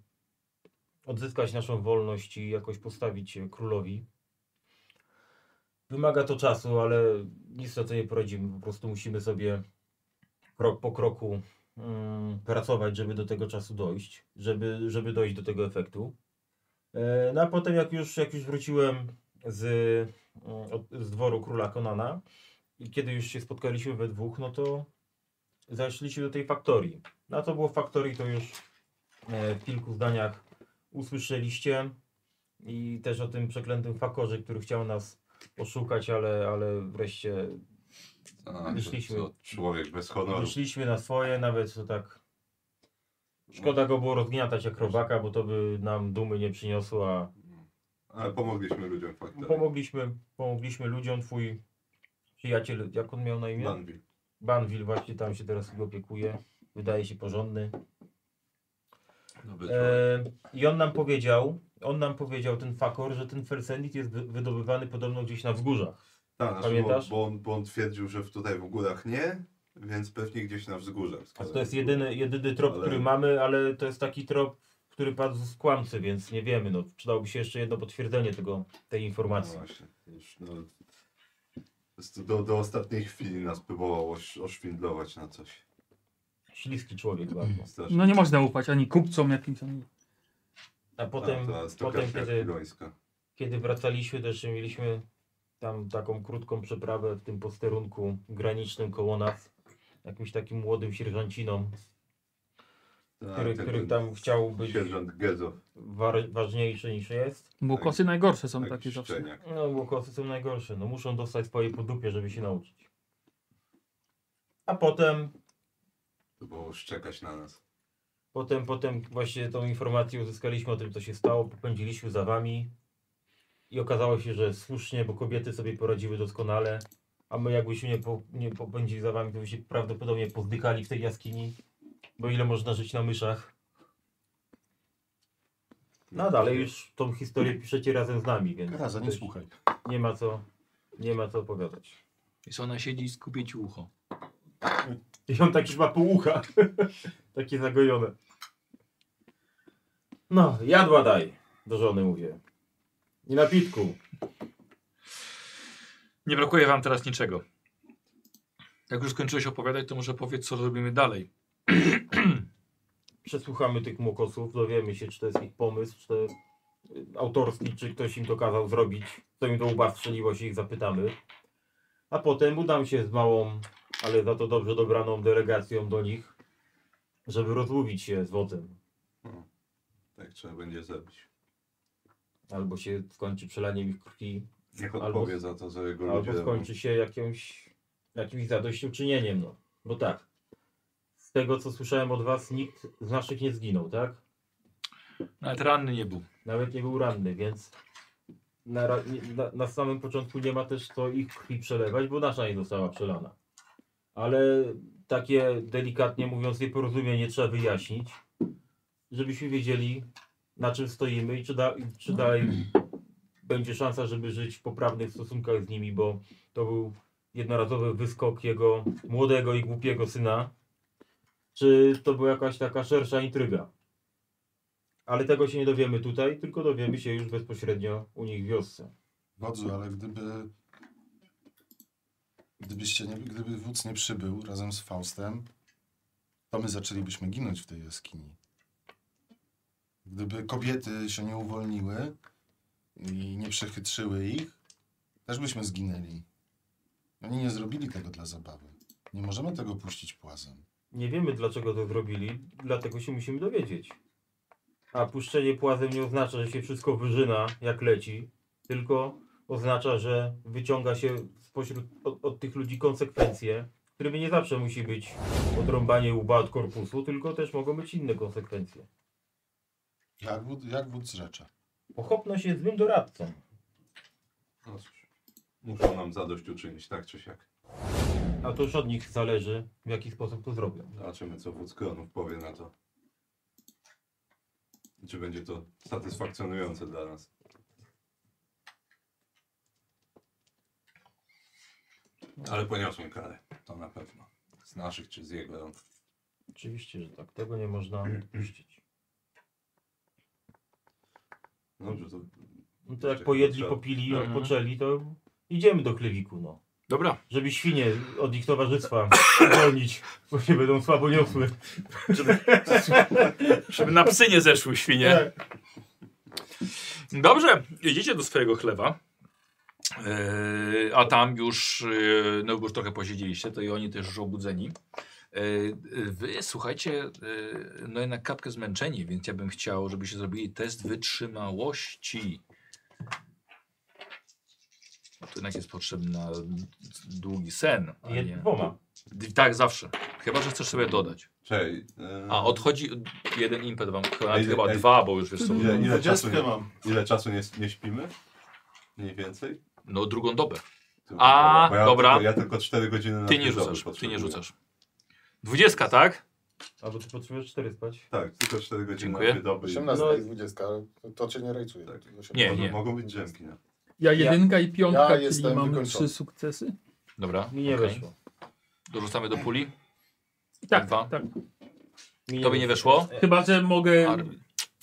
S4: odzyskać naszą wolność i jakoś postawić się królowi. Wymaga to czasu, ale nic na to nie poradzimy. Po prostu musimy sobie krok po kroku mm, pracować, żeby do tego czasu dojść, żeby, żeby dojść do tego efektu. E, No a potem jak już, jak już wróciłem z, mm, od- z dworu króla Konana, i kiedy już się spotkaliśmy we dwóch, no to zeszliśmy do tej faktorii. No a to było w faktorii, to już e, w kilku zdaniach usłyszeliście i też o tym przeklętym fakorze, który chciał nas oszukać, ale, ale wreszcie
S2: Tak,
S4: wyszliśmy.
S2: to Człowiek bez honoru.
S4: wyszliśmy na swoje, nawet to tak szkoda go było rozgniatać jak robaka, bo to by nam dumy nie przyniosło, a
S2: Ale pomogliśmy ludziom faktycznie.
S4: pomogliśmy, pomogliśmy ludziom, twój przyjaciel, jak on miał na imię?
S2: Danville.
S4: Banwil właśnie tam się teraz chyba opiekuje. Wydaje się porządny.
S2: No
S4: E, I on nam powiedział, on nam powiedział, ten fakor, że ten Felsendit jest wy- wydobywany podobno gdzieś na wzgórzach.
S2: Tak, znaczy,
S4: Pamiętasz?
S2: Bo, bo, on, bo on twierdził, że w- tutaj w górach nie, więc pewnie gdzieś na wzgórzach.
S4: A to jest jedyny, jedyny trop,
S2: Ale-
S4: który mamy, ale to jest taki trop, który padł z kłamcy, więc nie wiemy. No, przydałoby się jeszcze jedno potwierdzenie tego, tej
S2: No
S4: informacji.
S2: właśnie. Już, no, po prostu do, do ostatniej chwili nas próbował oś, oszwindlować na coś.
S4: Śliski człowiek bardzo.
S2: Strasznie.
S8: No nie można ufać ani kupcom jakimś, ani...
S4: A potem,
S2: A, ta
S4: potem
S2: stokrotka
S4: kiedy,
S2: Kilońska.
S4: kiedy wracaliśmy, też mieliśmy tam taką krótką przeprawę w tym posterunku granicznym koło nas. Jakimś takim młodym sierżancinom,
S2: Tak,
S4: który,
S2: ten-
S4: który tam chciał być
S2: Sierżant Gezo.
S4: war, ważniejszy niż jest.
S8: Bukosy najgorsze są
S2: taki
S8: takie zawsze.
S2: szczeniak.
S4: No, łokosy są najgorsze. No, muszą dostać swoje po dupie, żeby się nauczyć. A potem,
S2: Próbował szczekać na nas.
S4: potem, potem właśnie tą informację uzyskaliśmy o tym, co się stało. Popędziliśmy za wami. I okazało się, że słusznie, bo kobiety sobie poradziły doskonale. A my jakbyśmy nie, po, nie popędzili za wami, to byśmy prawdopodobnie pozdykali w tej jaskini. Bo ile można żyć na myszach? No a dalej już tą historię piszecie razem z nami, więc
S9: Raza, nie
S4: też
S9: słuchaj.
S4: nie ma co, nie ma co opowiadać.
S1: Więc ona siedzi i skupie ci ucho.
S4: I on taki ma pół ucha. takie zagojone. No, jadła daj. Do żony mówię. I napitku.
S1: Nie brakuje wam teraz niczego. Jak już skończyłeś opowiadać, to może powiedz, co robimy dalej.
S4: Przesłuchamy tych mokosów, dowiemy się, czy to jest ich pomysł, czy to y, autorski, czy ktoś im to kazał zrobić. Co im do łba strzeliło, się ich zapytamy. A potem udam się z małą, ale za to dobrze dobraną delegacją do nich, żeby rozmówić się z wodzem.
S2: Tak trzeba będzie zrobić.
S4: Albo się skończy przelaniem ich krwi
S2: Niech
S4: Albo-
S2: odpowie za to, co jego ludzie no.
S4: Albo
S2: robią.
S4: skończy się jakimś, jakimś zadośćuczynieniem, no. Bo tak, z tego co słyszałem od was, nikt z naszych nie zginął, tak?
S1: Nawet ranny nie był.
S4: Nawet nie był ranny, więc na, ra- nie- na, na samym początku nie ma też co ich krwi przelewać, bo nasza nie została przelana. Ale takie delikatnie mówiąc nieporozumienie trzeba wyjaśnić, żebyśmy wiedzieli na czym stoimy i czy, da, i czy dalej będzie szansa, żeby żyć w poprawnych stosunkach z nimi, bo to był jednorazowy wyskok jego młodego i głupiego syna. Czy to była jakaś taka szersza intryga? Ale tego się nie dowiemy tutaj, tylko dowiemy się już bezpośrednio u nich w wiosce.
S9: Wodzu, ale gdyby... Gdybyście nie, gdyby wódz nie przybył razem z Faustem, to my zaczęlibyśmy ginąć w tej jaskini. Gdyby kobiety się nie uwolniły i nie przechytrzyły ich, też byśmy zginęli. Oni nie zrobili tego dla zabawy. Nie możemy tego puścić płazem.
S4: Nie wiemy dlaczego to zrobili, dlatego się musimy dowiedzieć. A puszczenie płazem nie oznacza, że się wszystko wyrzyna jak leci, tylko oznacza, że wyciąga się spośród od, od tych ludzi konsekwencje, którymi nie zawsze musi być odrąbanie łba od korpusu, tylko też mogą być inne konsekwencje.
S9: Jak wódz, jak wódz rzecze.
S4: Pochopność jest złym doradcą.
S2: No cóż, muszą nam zadośćuczynić, tak czy siak.
S4: A to już od nich zależy, w jaki sposób to zrobią.
S2: Zobaczymy, co wódz Kronów powie na to. I Czy będzie to satysfakcjonujące dla nas. Ale poniosłem karę, to na pewno. Z naszych czy z jego rąk.
S4: Oczywiście, że tak. Tego nie można puścić.
S2: Dobrze, to
S4: No to jak pojedli, popili i
S1: Mhm.
S4: odpoczęli, to idziemy do klewiku, no.
S1: Dobra,
S4: Żeby świnie od ich towarzystwa uwolnić, bo się będą słabo niosły.
S1: żeby na psy nie zeszły świnie. Dobrze, jedziecie do swojego chlewa. Yy, a tam już, yy, no już trochę posiedzieliście, to i oni też już obudzeni. Yy, Wy, słuchajcie, yy, no jednak kapkę zmęczeni, więc ja bym chciał, żebyście zrobili test wytrzymałości. Tu jednak jest potrzebna długi sen. a
S4: Jed-
S1: nie-
S4: Dwoma.
S1: D- Tak, zawsze. Chyba, że chcesz sobie dodać.
S2: Cześć. e,
S1: A, odchodzi jeden impet wam, chyba,
S2: Ej,
S1: chyba
S2: ej.
S1: dwa, bo już wiesz co.
S2: Ile, ile czasu,
S9: Dwudziestkę
S2: nie,
S9: mam.
S2: ile czasu nie, nie śpimy? Mniej więcej?
S1: No drugą dobę.
S2: Tu-
S1: A,
S2: bo ja
S1: dobra.
S2: Tylko, ja tylko 4 godziny na
S1: Ty nie
S2: kryzys
S1: rzucasz, ty nie
S2: potrzebuję.
S1: rzucasz. Dwudziestka, tak?
S3: Albo ty potrzebujesz 4 spać.
S2: Tak, tylko 4 godziny
S1: Dziękuję.
S2: na dwie doby. i-
S9: 18
S3: No
S9: i 20, to cię nie rajcuje.
S2: Tak.
S9: To się
S1: Nie,
S9: podoba.
S2: Mogą-
S1: nie.
S2: Mogą być drzemki. No.
S8: Ja jedynka i
S9: ja
S8: piątka, czyli
S9: jestem
S8: mamy
S9: wykończony.
S8: trzy sukcesy.
S1: Dobra.
S3: Mi nie
S1: okej.
S3: weszło.
S1: Dorzucamy do puli.
S8: I tak,
S1: Dwa.
S8: tak.
S3: Mi
S1: Tobie nie weszło?
S8: Chyba, że mogę...
S1: Ar...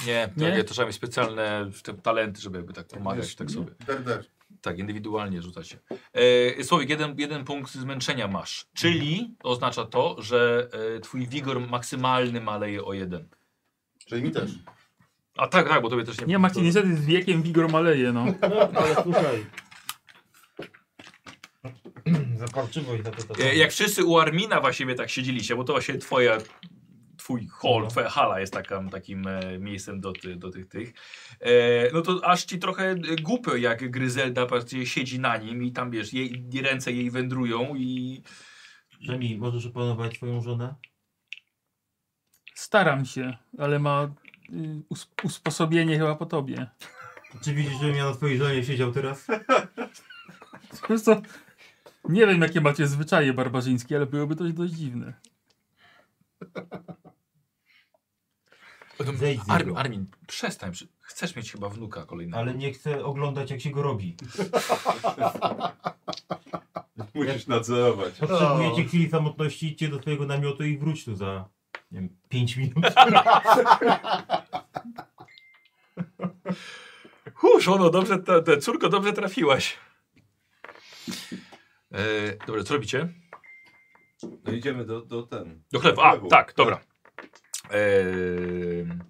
S1: Nie, to,
S8: Nie?
S1: nie, to trzeba mieć specjalne te talenty, żeby jakby tak pomagać
S9: Wiesz,
S1: tak sobie.
S9: Der, der.
S1: Tak, indywidualnie rzucacie. E, Słowik, jeden, jeden punkt zmęczenia masz, czyli oznacza to, że e, twój wigor maksymalny maleje o jeden.
S9: Czyli mi też.
S1: A tak, tak, bo tobie też nie...
S8: Nie, Marcin, niestety z wiekiem wigor maleje, no.
S3: No, ale słuchaj. Zaparczywo i za to, to,
S1: E, jak wszyscy u Armina właściwie tak siedzieliście, bo to właśnie twoja, twój hall, twoja hala jest taką, takim e, miejscem do, ty, do tych tych. E, no to aż ci trochę e, głupio, jak Gryzelda patrzcie, siedzi na nim i tam wiesz, jej, ręce jej wędrują i...
S4: Rzemi, możesz opanować swoją żonę?
S8: Staram się, ale ma y, us usposobienie chyba po tobie.
S4: Czy widzisz, żebym ja na twojej żonie siedział teraz?
S8: Wiesz co? Nie wiem, jakie macie zwyczaje barbarzyńskie, ale byłoby to dość dziwne.
S4: Zejdź z
S1: Armin,
S4: niego.
S1: Armin, przestań, przy- chcesz mieć chyba wnuka kolejnego.
S4: Ale nie chcę oglądać, jak się go robi.
S2: Musisz nadzorować.
S4: Potrzebujecie chwili samotności, idźcie do swojego namiotu i wróć tu za, nie wiem, 5 minut.
S1: Hu, żono, dobrze, ta, ta, córko, dobrze trafiłaś. E, dobra, co robicie?
S2: No idziemy do, do ten.
S1: Do chlewu, a,
S2: Chlewu.
S1: tak, dobra. Ehm,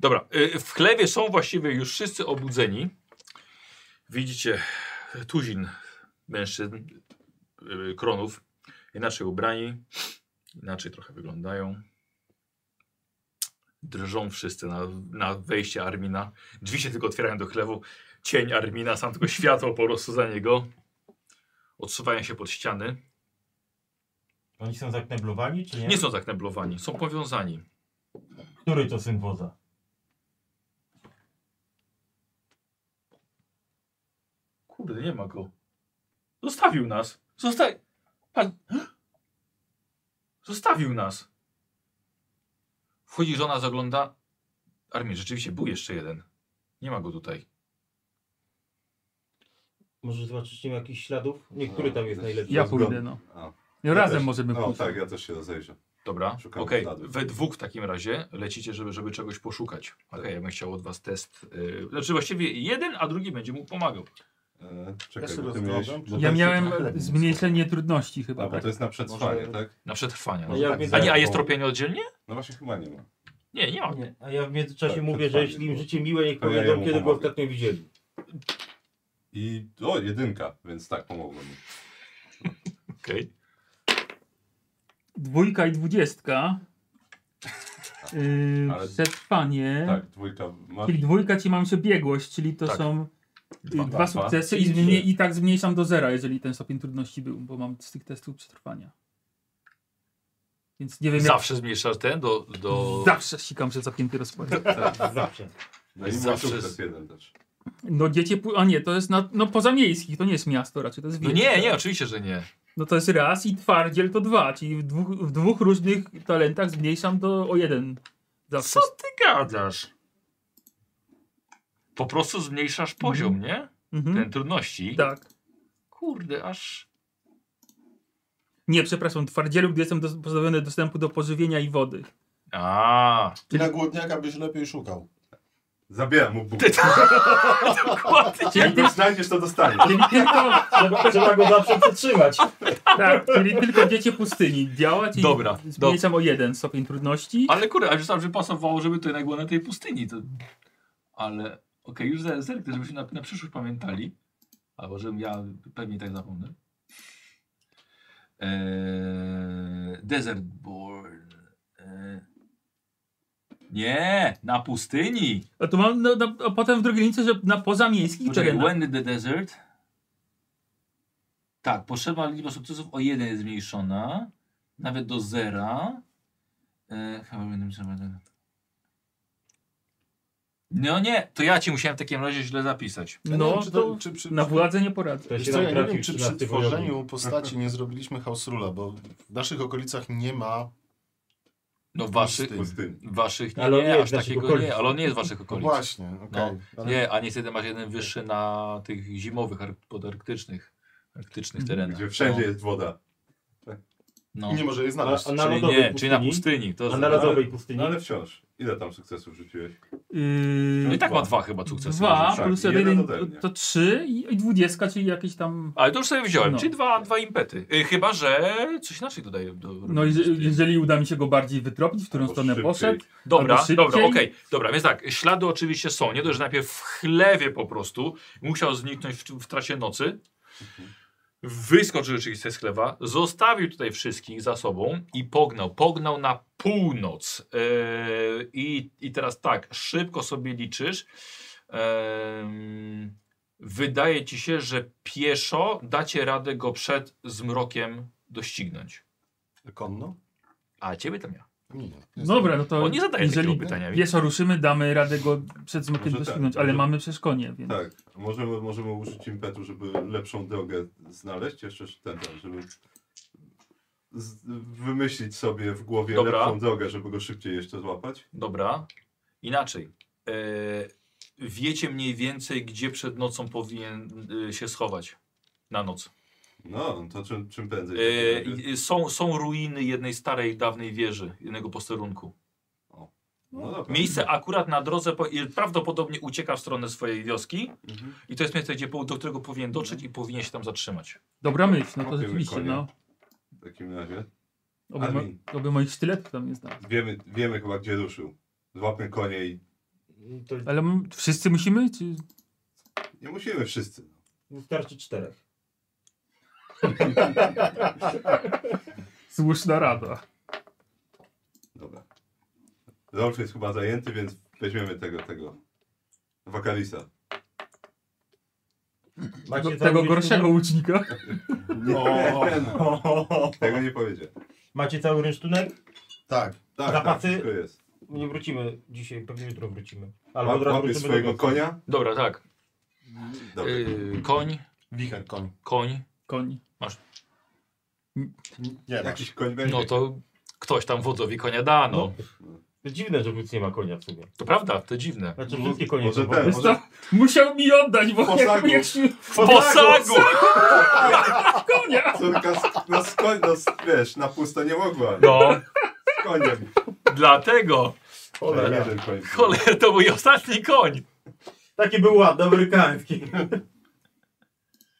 S1: dobra, e, w chlewie są właściwie już wszyscy obudzeni. Widzicie tuzin mężczyzn, e, kronów, inaczej ubrani, inaczej trochę wyglądają. Drżą wszyscy na, na wejście Armina. Drzwi się tylko otwierają do chlewu. Cień Armina, sam tylko światło po prostu za niego. Odsuwają się pod ściany.
S4: Oni są zakneblowani, czy nie?
S1: Nie są zakneblowani, są powiązani.
S4: Który to syn woza?
S1: Kurde, nie ma go. Zostawił nas. Zosta... Pan... Zostawił nas. Wchodzi żona, zagląda. Armii, rzeczywiście był jeszcze jeden. Nie ma go tutaj.
S4: Może zobaczyć nie ma jakichś śladów? Niektóry tam jest najlepszy.
S8: Ja
S2: Rozgląd-
S8: pójdę, no.
S2: A,
S8: No razem
S2: też.
S8: możemy
S2: No
S8: pójść.
S2: tak, ja też się rozejrzę.
S1: Dobra,
S2: Szukamy
S1: okej.
S2: śladów.
S1: We dwóch w takim razie lecicie, żeby, żeby czegoś poszukać. Okej, ja bym chciał od was test. Yy, znaczy właściwie jeden, a drugi będzie mu pomagał.
S2: E,
S9: Ja
S2: czekaj,
S9: się
S2: bo ty
S9: rozglądam.
S2: miałeś...
S9: Ja
S2: bo to
S8: Ja
S2: jest-
S8: miałem
S2: to jest-
S8: zmniejszenie trudności
S2: A,
S8: chyba.
S2: bo
S8: Tak.
S2: tak. to jest na przetrwanie,
S9: Może-
S2: tak?
S1: Na przetrwanie.
S4: A ja
S2: tak,
S4: widzę-
S1: A, nie, a
S2: bo-
S1: jest tropienie oddzielnie?
S2: No właśnie chyba nie ma.
S1: Nie, nie ma.
S4: Nie, a ja w międzyczasie
S2: Tak,
S4: mówię, że
S2: przetrwanie
S4: jeśli im
S2: było.
S4: życie miłe, niech
S2: To ja
S4: powiedzą,
S2: jemu
S4: kiedy go
S2: pomogę.
S4: ostatnio widzieli.
S2: I o, jedynka, więc tak pomogło mi.
S1: Okej.
S8: Dwójka i dwudziestka. Yy,
S2: Ale-
S8: przetrwanie.
S2: Tak, dwójka masz.
S8: Czyli dwójka ci mam się biegłość, czyli to
S1: Tak.
S8: są
S1: Dwa.
S8: dwa, dwa sukcesy i,
S4: Czyli
S8: zmniej,
S4: trzy.
S8: i tak zmniejszam do zera, jeżeli ten stopień trudności był, bo mam z tych testów przetrwania. Więc nie wiem
S1: Zawsze zmniejszasz ten do... do...
S8: jak... Zawsze sikam się zapięty rozporem.
S4: Zawsze.
S2: No i mam
S1: Zawsze
S2: sukces
S1: z-
S2: jeden też.
S8: No dzieci... Pu- a nie, to jest na, no pozamiejskich, to nie jest miasto raczej, to jest
S1: No
S8: wieś.
S1: nie, nie, oczywiście, że nie.
S8: No to jest raz i twardziel to dwa, czyli w dwóch, w dwóch różnych talentach zmniejszam do o jeden. Zawsze.
S1: Co ty gadasz? Po prostu zmniejszasz poziom, nie?
S8: Mhm.
S1: Ten trudności.
S8: Tak.
S1: Kurde, aż.
S8: Nie, przepraszam, twardzielu, gdy jestem dos- pozbawiony dostępu do pożywienia i wody.
S1: A,
S9: Ty na głodniaka byś lepiej szukał.
S2: Zabieram mu Bóg.
S1: Ty- tak dokładnie.
S8: Czyli, ty,
S2: Jak znajdziesz, to dostaniesz.
S8: czyli tylko...
S4: Trzeba, trzeba go zawsze przytrzymać.
S8: Tak, czyli tylko dziecię pustyni działać i
S1: Dobra,
S8: zmniejszam o jeden stopień trudności.
S1: Ale kurde, a już tam, że pasowało, żeby tutaj było na tej pustyni. To... Ale okej, już zer- zerknę, żebyśmy na, na przyszłość pamiętali. Albo żebym ja pewnie tak zapomnę. Eee, Desert Born. Eee. Nie, na pustyni.
S8: A tu mam no, na, a potem w drugiej lince, że na pozamiejskich
S1: Poczekaj,
S8: terenach.
S1: When in the Desert. Tak, potrzeba liczba sukcesów o jeden jest zmniejszona. Nawet do zera. E, chyba będę musiał... No nie, to ja ci musiałem w takim razie źle zapisać.
S9: Ja nie
S8: No,
S9: wiem, czy
S8: to
S9: czy przy,
S8: na władze nie poradzę.
S4: To
S9: Wiesz
S4: się
S9: co,
S4: nam
S9: ja nie
S4: trafił
S9: wiem, czy przy
S4: 13 wojownik.
S9: tworzeniu postaci nie zrobiliśmy hausrula, bo w naszych okolicach nie ma...
S1: No waszych,
S2: Pustyni.
S1: waszych nie,
S4: Ale on
S1: nie,
S4: nie jest
S1: aż
S4: z naszych
S1: takiego
S4: okolic.
S1: nie, ale on nie jest z waszych
S9: No
S1: okolic.
S9: właśnie, okej. Ale
S1: Nie, a niestety masz jeden wyższy na tych zimowych, ar- podarktycznych arktycznych terenach.
S2: Gdzie wszędzie jest woda.
S1: No.
S9: Nie może jej znaleźć.
S4: A- a na
S1: Czyli
S4: narodowej
S1: nie, czyli na
S4: pustyni?
S1: pustyni. To
S4: A
S1: za-
S4: na narodowej pustyni.
S2: No ale wciąż. Ile tam sukcesów rzuciłeś?
S8: Yy,
S1: No i tak ma dwa chyba sukcesy.
S8: Dwa
S2: tak,
S8: plus
S2: i
S8: jeden,
S2: jeden
S8: to,
S2: ode mnie.
S8: to trzy i i dwudziestka, czyli jakieś tam...
S1: Ale to już sobie wziąłem,
S8: No.
S1: czyli dwa, dwa impety. Y, chyba, że coś inaczej dodaję. Do,
S8: No i że- jeżeli uda mi się go bardziej wytropić, w którą
S2: Albo
S8: stronę
S2: szybciej.
S8: poszedł,
S1: Dobra,
S8: Albo szybciej.
S1: dobra, okej. Dobra, więc tak, ślady oczywiście są. Nie dość, że najpierw w chlewie po prostu musiał zniknąć w, w trasie nocy. Wyskoczył rzeczywiście z chlewa, zostawił tutaj wszystkich za sobą i pognał. Pognał na północ. Yy, i, I teraz tak, szybko sobie liczysz. Em, wydaje ci się, że pieszo dacie radę go przed zmrokiem doścignąć.
S9: Konno?
S1: A ciebie tam ja.
S9: Nie, nie. nie
S8: dobra, no to
S1: On nie zadaje
S8: jeżeli
S1: takiego pytania.
S8: wiesz, ruszymy, damy radę go przed zmykiem
S2: Może tak,
S8: doścignąć, ale
S2: może-
S8: mamy przecież konie, więc...
S2: Tak, możemy, możemy użyć impetu, żeby lepszą drogę znaleźć, jeszcze ten, ten, żeby z, wymyślić sobie w głowie
S1: Dobra.
S2: lepszą drogę, żeby go szybciej jeszcze złapać.
S1: Dobra. Inaczej. E, wiecie mniej więcej, gdzie przed nocą powinien e, się schować na noc.
S2: No, to czym, czym prędzej.
S1: E, i- są, są ruiny jednej starej, dawnej wieży, jednego posterunku.
S2: no dobra.
S1: Miejsce akurat na drodze po, i prawdopodobnie ucieka w stronę swojej wioski
S2: Mhm.
S1: i to jest miejsce, gdzie, po- do którego powinien dotrzeć i powinien się tam zatrzymać.
S8: Dobra myśl, no to
S2: Łapiemy
S8: rzeczywiście,
S2: konia.
S8: no.
S2: W takim razie.
S8: Oby, mo-
S2: Armin,
S8: oby moich sztyletów tam nie znalazł.
S2: wiemy, wiemy chyba gdzie ruszył. Złapmy konie i
S4: To
S8: Ale m- wszyscy musimy? Czy...
S2: nie musimy wszyscy.
S4: wystarczy czterech.
S8: Słuszna rada.
S2: Dobra. Rolf jest chyba zajęty, więc weźmiemy tego, tego. Wakalisa.
S8: Tego,
S4: Macie
S8: tego
S4: zamówić
S8: gorszego
S4: tunel?
S8: łucznika.
S2: Nie,
S4: O,
S2: tego nie powiedzie.
S4: Macie cały rynsztunek?
S9: Tak.
S2: Tak,
S4: Zapasy?
S2: tak, wszystko jest.
S4: Nie wrócimy dzisiaj, pewnie jutro wrócimy. Albo
S2: Łap,
S4: od razu
S2: łapiesz
S4: wrócimy
S2: swojego
S4: do końca.
S2: konia.
S1: Dobra, tak.
S2: Dobra.
S1: E, koń,
S9: Wicher, koń.
S1: koń.
S8: Koń.
S9: Nie ma.
S2: Jakiś koń będzie.
S1: No to ktoś tam wodzowi konia da, no.
S4: To dziwne, że Wódz nie ma konia w sumie.
S1: To prawda, to dziwne.
S4: Znaczy wszystkie konie
S2: Może
S4: są
S2: ten,
S8: Wiesz
S2: może
S8: co? Musiał mi oddać, bo jak,
S2: Posagu.
S8: jak się...
S1: W posagu!
S8: Konia!
S2: córka z, no z koń, no z, wiesz, na pusto nie mogła.
S1: No,
S2: Z koniem.
S1: dlatego.
S2: Cholera.
S4: Cholera.
S2: Jeden koń.
S1: Cholera, to mój ostatni koń.
S4: Taki był ładny, amerykański.
S8: Tak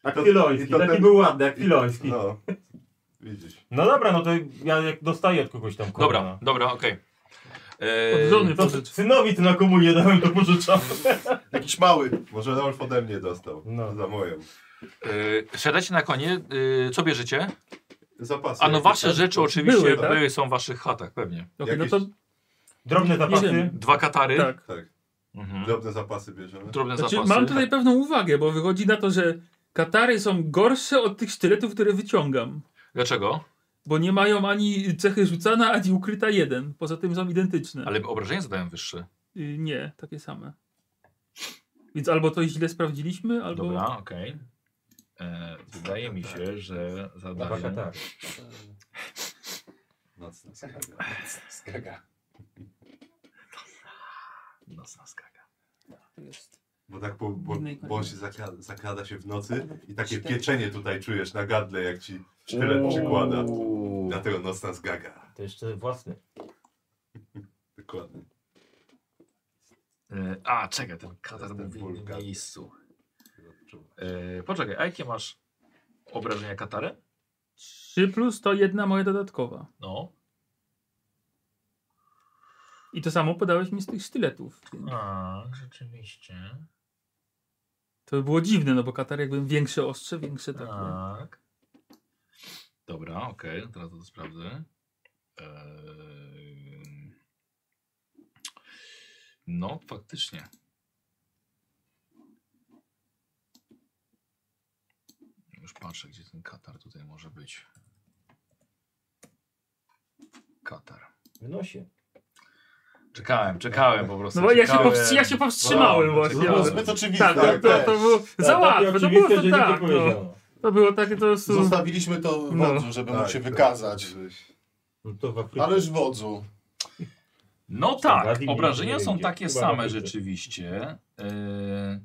S4: Jak
S2: To-
S4: filoński,
S2: i to
S4: taki
S2: ten-
S4: był ładny, jak filoński. No.
S2: No. Widzisz.
S4: dobra, no to ja jak dostaję od kogoś tam konia.
S1: Dobra, dobra, okej. E,
S8: Od
S3: no.
S8: żony
S4: To
S8: pożycz.
S4: synowi to na komunię dałem, to pożyczam.
S9: Jakiś mały.
S2: Może Rolf ode mnie dostał.
S4: No.
S2: Za moją.
S1: Yy, Siadacie na konie, yy, co bierzecie?
S2: Zapasy.
S1: A no
S2: jakieś
S1: wasze
S2: tam.
S1: rzeczy oczywiście
S8: Były,
S1: były,
S8: tak?
S1: są w waszych chatach, pewnie.
S8: Okej, no
S2: Jakieś-
S8: to
S4: Drobne zapasy.
S8: Jedziemy.
S1: Dwa katary,
S8: tak.
S2: Tak.
S1: mhm.
S2: Drobne zapasy bierzemy.
S1: drobne
S8: Znaczy,
S1: zapasy. Tak.
S8: mam tutaj pewną uwagę, bo wychodzi na to, że katary są gorsze od tych sztyletów, które wyciągam.
S1: Dlaczego?
S8: Bo nie mają ani cechy rzucana, ani ukryta jeden. Poza tym są identyczne.
S1: Ale obrażenia zadałem wyższe.
S8: Y, nie, takie same. Więc albo to źle sprawdziliśmy, albo...
S1: Dobra, okej. E, Wydaje mi się, że
S4: Dwa
S1: zadałem...
S3: tak.
S4: katary.
S2: Nocne.
S9: Skaga.
S1: Nocna skaga.
S2: Bo tak, po, bo,
S8: Innej
S2: bo on
S8: kończy.
S2: się zakrada, zakrada się w nocy i takie pieczenie tutaj czujesz na gardle, jak ci sztylet przykłada. Dlatego nocna zgaga.
S4: To jeszcze własny.
S2: Dokładnie.
S1: E, A, czekaj, ten katar
S2: Jestem
S1: był w innym
S2: wulkan.
S1: miejscu. E, Poczekaj, a jakie masz obrażenia katarem?
S8: 3 plus to jedna moja dodatkowa.
S1: No.
S8: I to samo podałeś mi z tych sztyletów.
S1: A, Tak, rzeczywiście.
S8: To by było dziwne, no bo katar jakby większe ostrze, większe takie.
S1: Tak. Dobra, okej, no teraz to sprawdzę. Ehm. No, faktycznie. Już patrzę, gdzie ten katar tutaj może być. Katar.
S4: W nosie.
S1: Czekałem, czekałem po prostu.
S8: No bo ja się,
S1: czekałem.
S8: powst- ja się powstrzymałem
S1: Wow,
S8: właśnie.
S1: to
S9: To
S1: było
S9: było
S8: ale-
S9: zbyt oczywiste.
S8: Tak, to, to, to było
S3: Tak,
S8: za łatwe, to było to tak. No. To było takie to No. jest...
S9: Zostawiliśmy to wodzu, żeby mu się
S2: Tak,
S9: wykazać.
S3: No to w Afryce.
S9: Ależ wodzu.
S1: No tak,
S3: Władimir
S1: obrażenia są
S3: będzie.
S1: takie
S3: Chyba
S1: same
S3: będzie.
S1: rzeczywiście. Yy,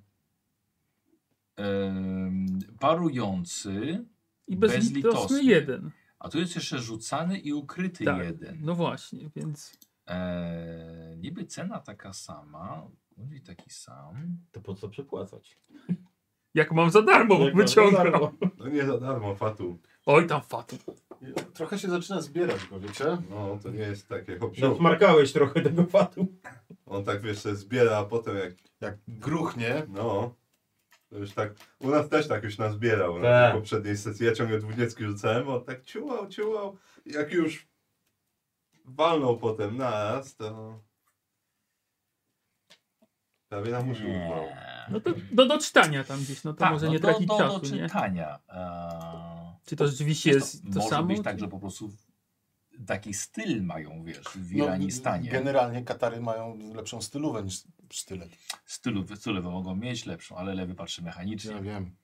S1: yy, parujący,
S8: I bezlitosny
S1: bezlitosny.
S8: jeden.
S1: a tu jest jeszcze rzucany i ukryty
S8: Tak.
S1: jeden.
S8: No właśnie, więc...
S1: Eee, niby cena taka sama, mówi taki sam.
S3: To po co przepłacać?
S8: Jak mam za darmo
S3: Jak
S8: wyciągam.
S3: za darmo.
S2: No nie za darmo, Fatu.
S8: Oj tam fatu.
S9: Trochę się zaczyna zbierać go, wiecie?
S2: No, to nie jest takie hop
S4: No.
S2: siup.
S3: Zasmarkałeś trochę tego fatu.
S2: On tak wiesz, se zbiera, a potem jak,
S9: Jak gruchnie.
S2: no. To już tak, u nas też tak już nazbierał na
S3: Tak.
S2: tej poprzedniej sesji. Ja ciągle dwudziestki rzucałem, on tak ciułał, ciułał. Jak już walnął potem nas, to... Prawie nam uszu urwał.
S8: No to do doczytania tam gdzieś, no to
S1: Tak,
S8: może
S1: no
S8: nie
S1: do,
S8: tracić
S1: do,
S8: czasu,
S1: do
S8: nie?
S1: czytania. Eee,
S8: Czy to rzeczywiście jest to
S1: może
S8: samo?
S1: być tak,
S8: czy-
S1: że po prostu taki styl mają, wiesz, w
S9: No,
S1: Iranistanie.
S9: generalnie Katary mają lepszą stylówę niż sztylet.
S1: stylu, stylowe mogą mieć lepszą, ale lewy patrzy
S9: Ja
S2: Tak.
S1: mechanicznie
S9: wiem.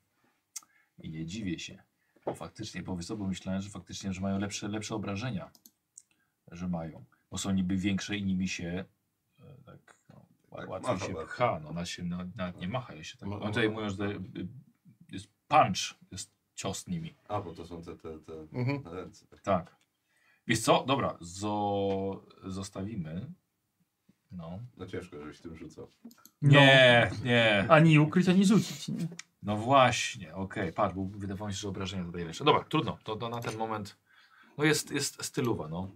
S1: i nie dziwię się. Bo faktycznie, powiedz to, bo myślałem, że faktycznie, że mają lepsze, lepsze obrażenia, że mają, bo są niby większe i nimi się e, tak no, ła-
S2: Tak,
S1: łatwiej
S2: macha
S1: się
S2: bardzo.
S1: pcha, no ona się na, nawet nie macha, ja się tak,
S9: Ma-
S1: no, tutaj
S9: ma-
S1: mówią, że y, jest punch, jest cios nimi,
S2: A, bo to są te, te, te
S9: Mhm.
S2: ręce. Tak.
S1: tak. Wiesz co, dobra, zo, zostawimy, no.
S2: No ciężko, żebyś tym rzucał.
S8: No.
S1: Nie, nie.
S8: Ani ukryć, ani rzucić, nie?
S1: No właśnie, okej, patrz, bo wydawało mi się, że obrażenia dodaję jeszcze. Dobra, trudno, to, to na ten moment, no jest, jest stylowa, no.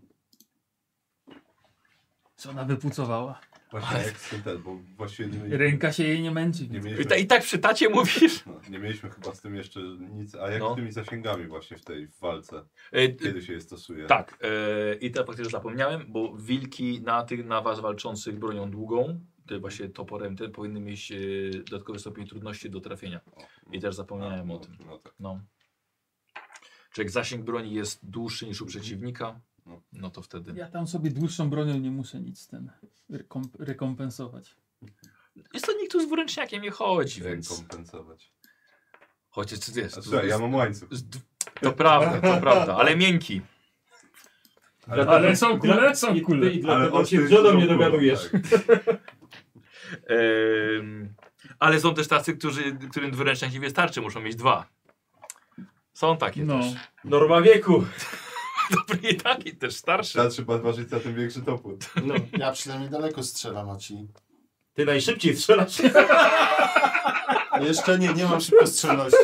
S8: Co ona wypucowała?
S2: Właśnie jak z tym ten, bo właściwie nie mieliśmy,
S8: Ręka się jej nie męczy.
S2: nie
S8: więc-
S1: I, ta,
S2: mieliśmy,
S1: I tak przy tacie mówisz?
S2: no, nie mieliśmy chyba z tym jeszcze nic. A jak
S1: No.
S2: z tymi zasięgami właśnie w tej walce?
S1: E, t-
S2: Kiedy się je stosuje?
S1: tak, e, i to faktycznie zapomniałem, bo wilki na tych, na was walczących bronią długą, te właśnie toporem, te powinny mieć e, dodatkowy stopień trudności do trafienia. I też zapomniałem o tym.
S2: No tak.
S1: No. Czy jak zasięg broni jest dłuższy niż u przeciwnika,
S2: No.
S1: no to wtedy.
S8: Ja tam sobie dłuższą bronią nie muszę nic ten rekom- rekompensować.
S1: Jest to nikt tu z wręczniakiem nie chodzi, więc...
S2: Rekompensować.
S1: Chociaż ty wiesz,
S2: A
S1: to-
S2: słuchaj, ja mam łańcuch.
S1: z d- To prawda, to prawda, ale miękki.
S8: Ale są kule, są
S3: I
S8: kule.
S3: ty i dlatego
S2: od
S3: się
S2: tych
S3: z żoną nie
S2: żołków,
S3: dogadujesz.
S2: tak.
S1: Em, ale są też tacy, którzy, którym dwuręcznik nie wystarczy, muszą mieć dwa. Są takie
S8: No.
S1: też.
S3: Norma wieku.
S1: Dobry i taki też starszy.
S2: Starszy barbarzyca, tym większy topór.
S3: No.
S9: Ja przynajmniej daleko strzelam, a ci...
S3: Ty najszybciej strzelasz.
S9: Jeszcze nie, nie mam szybkostrzelności.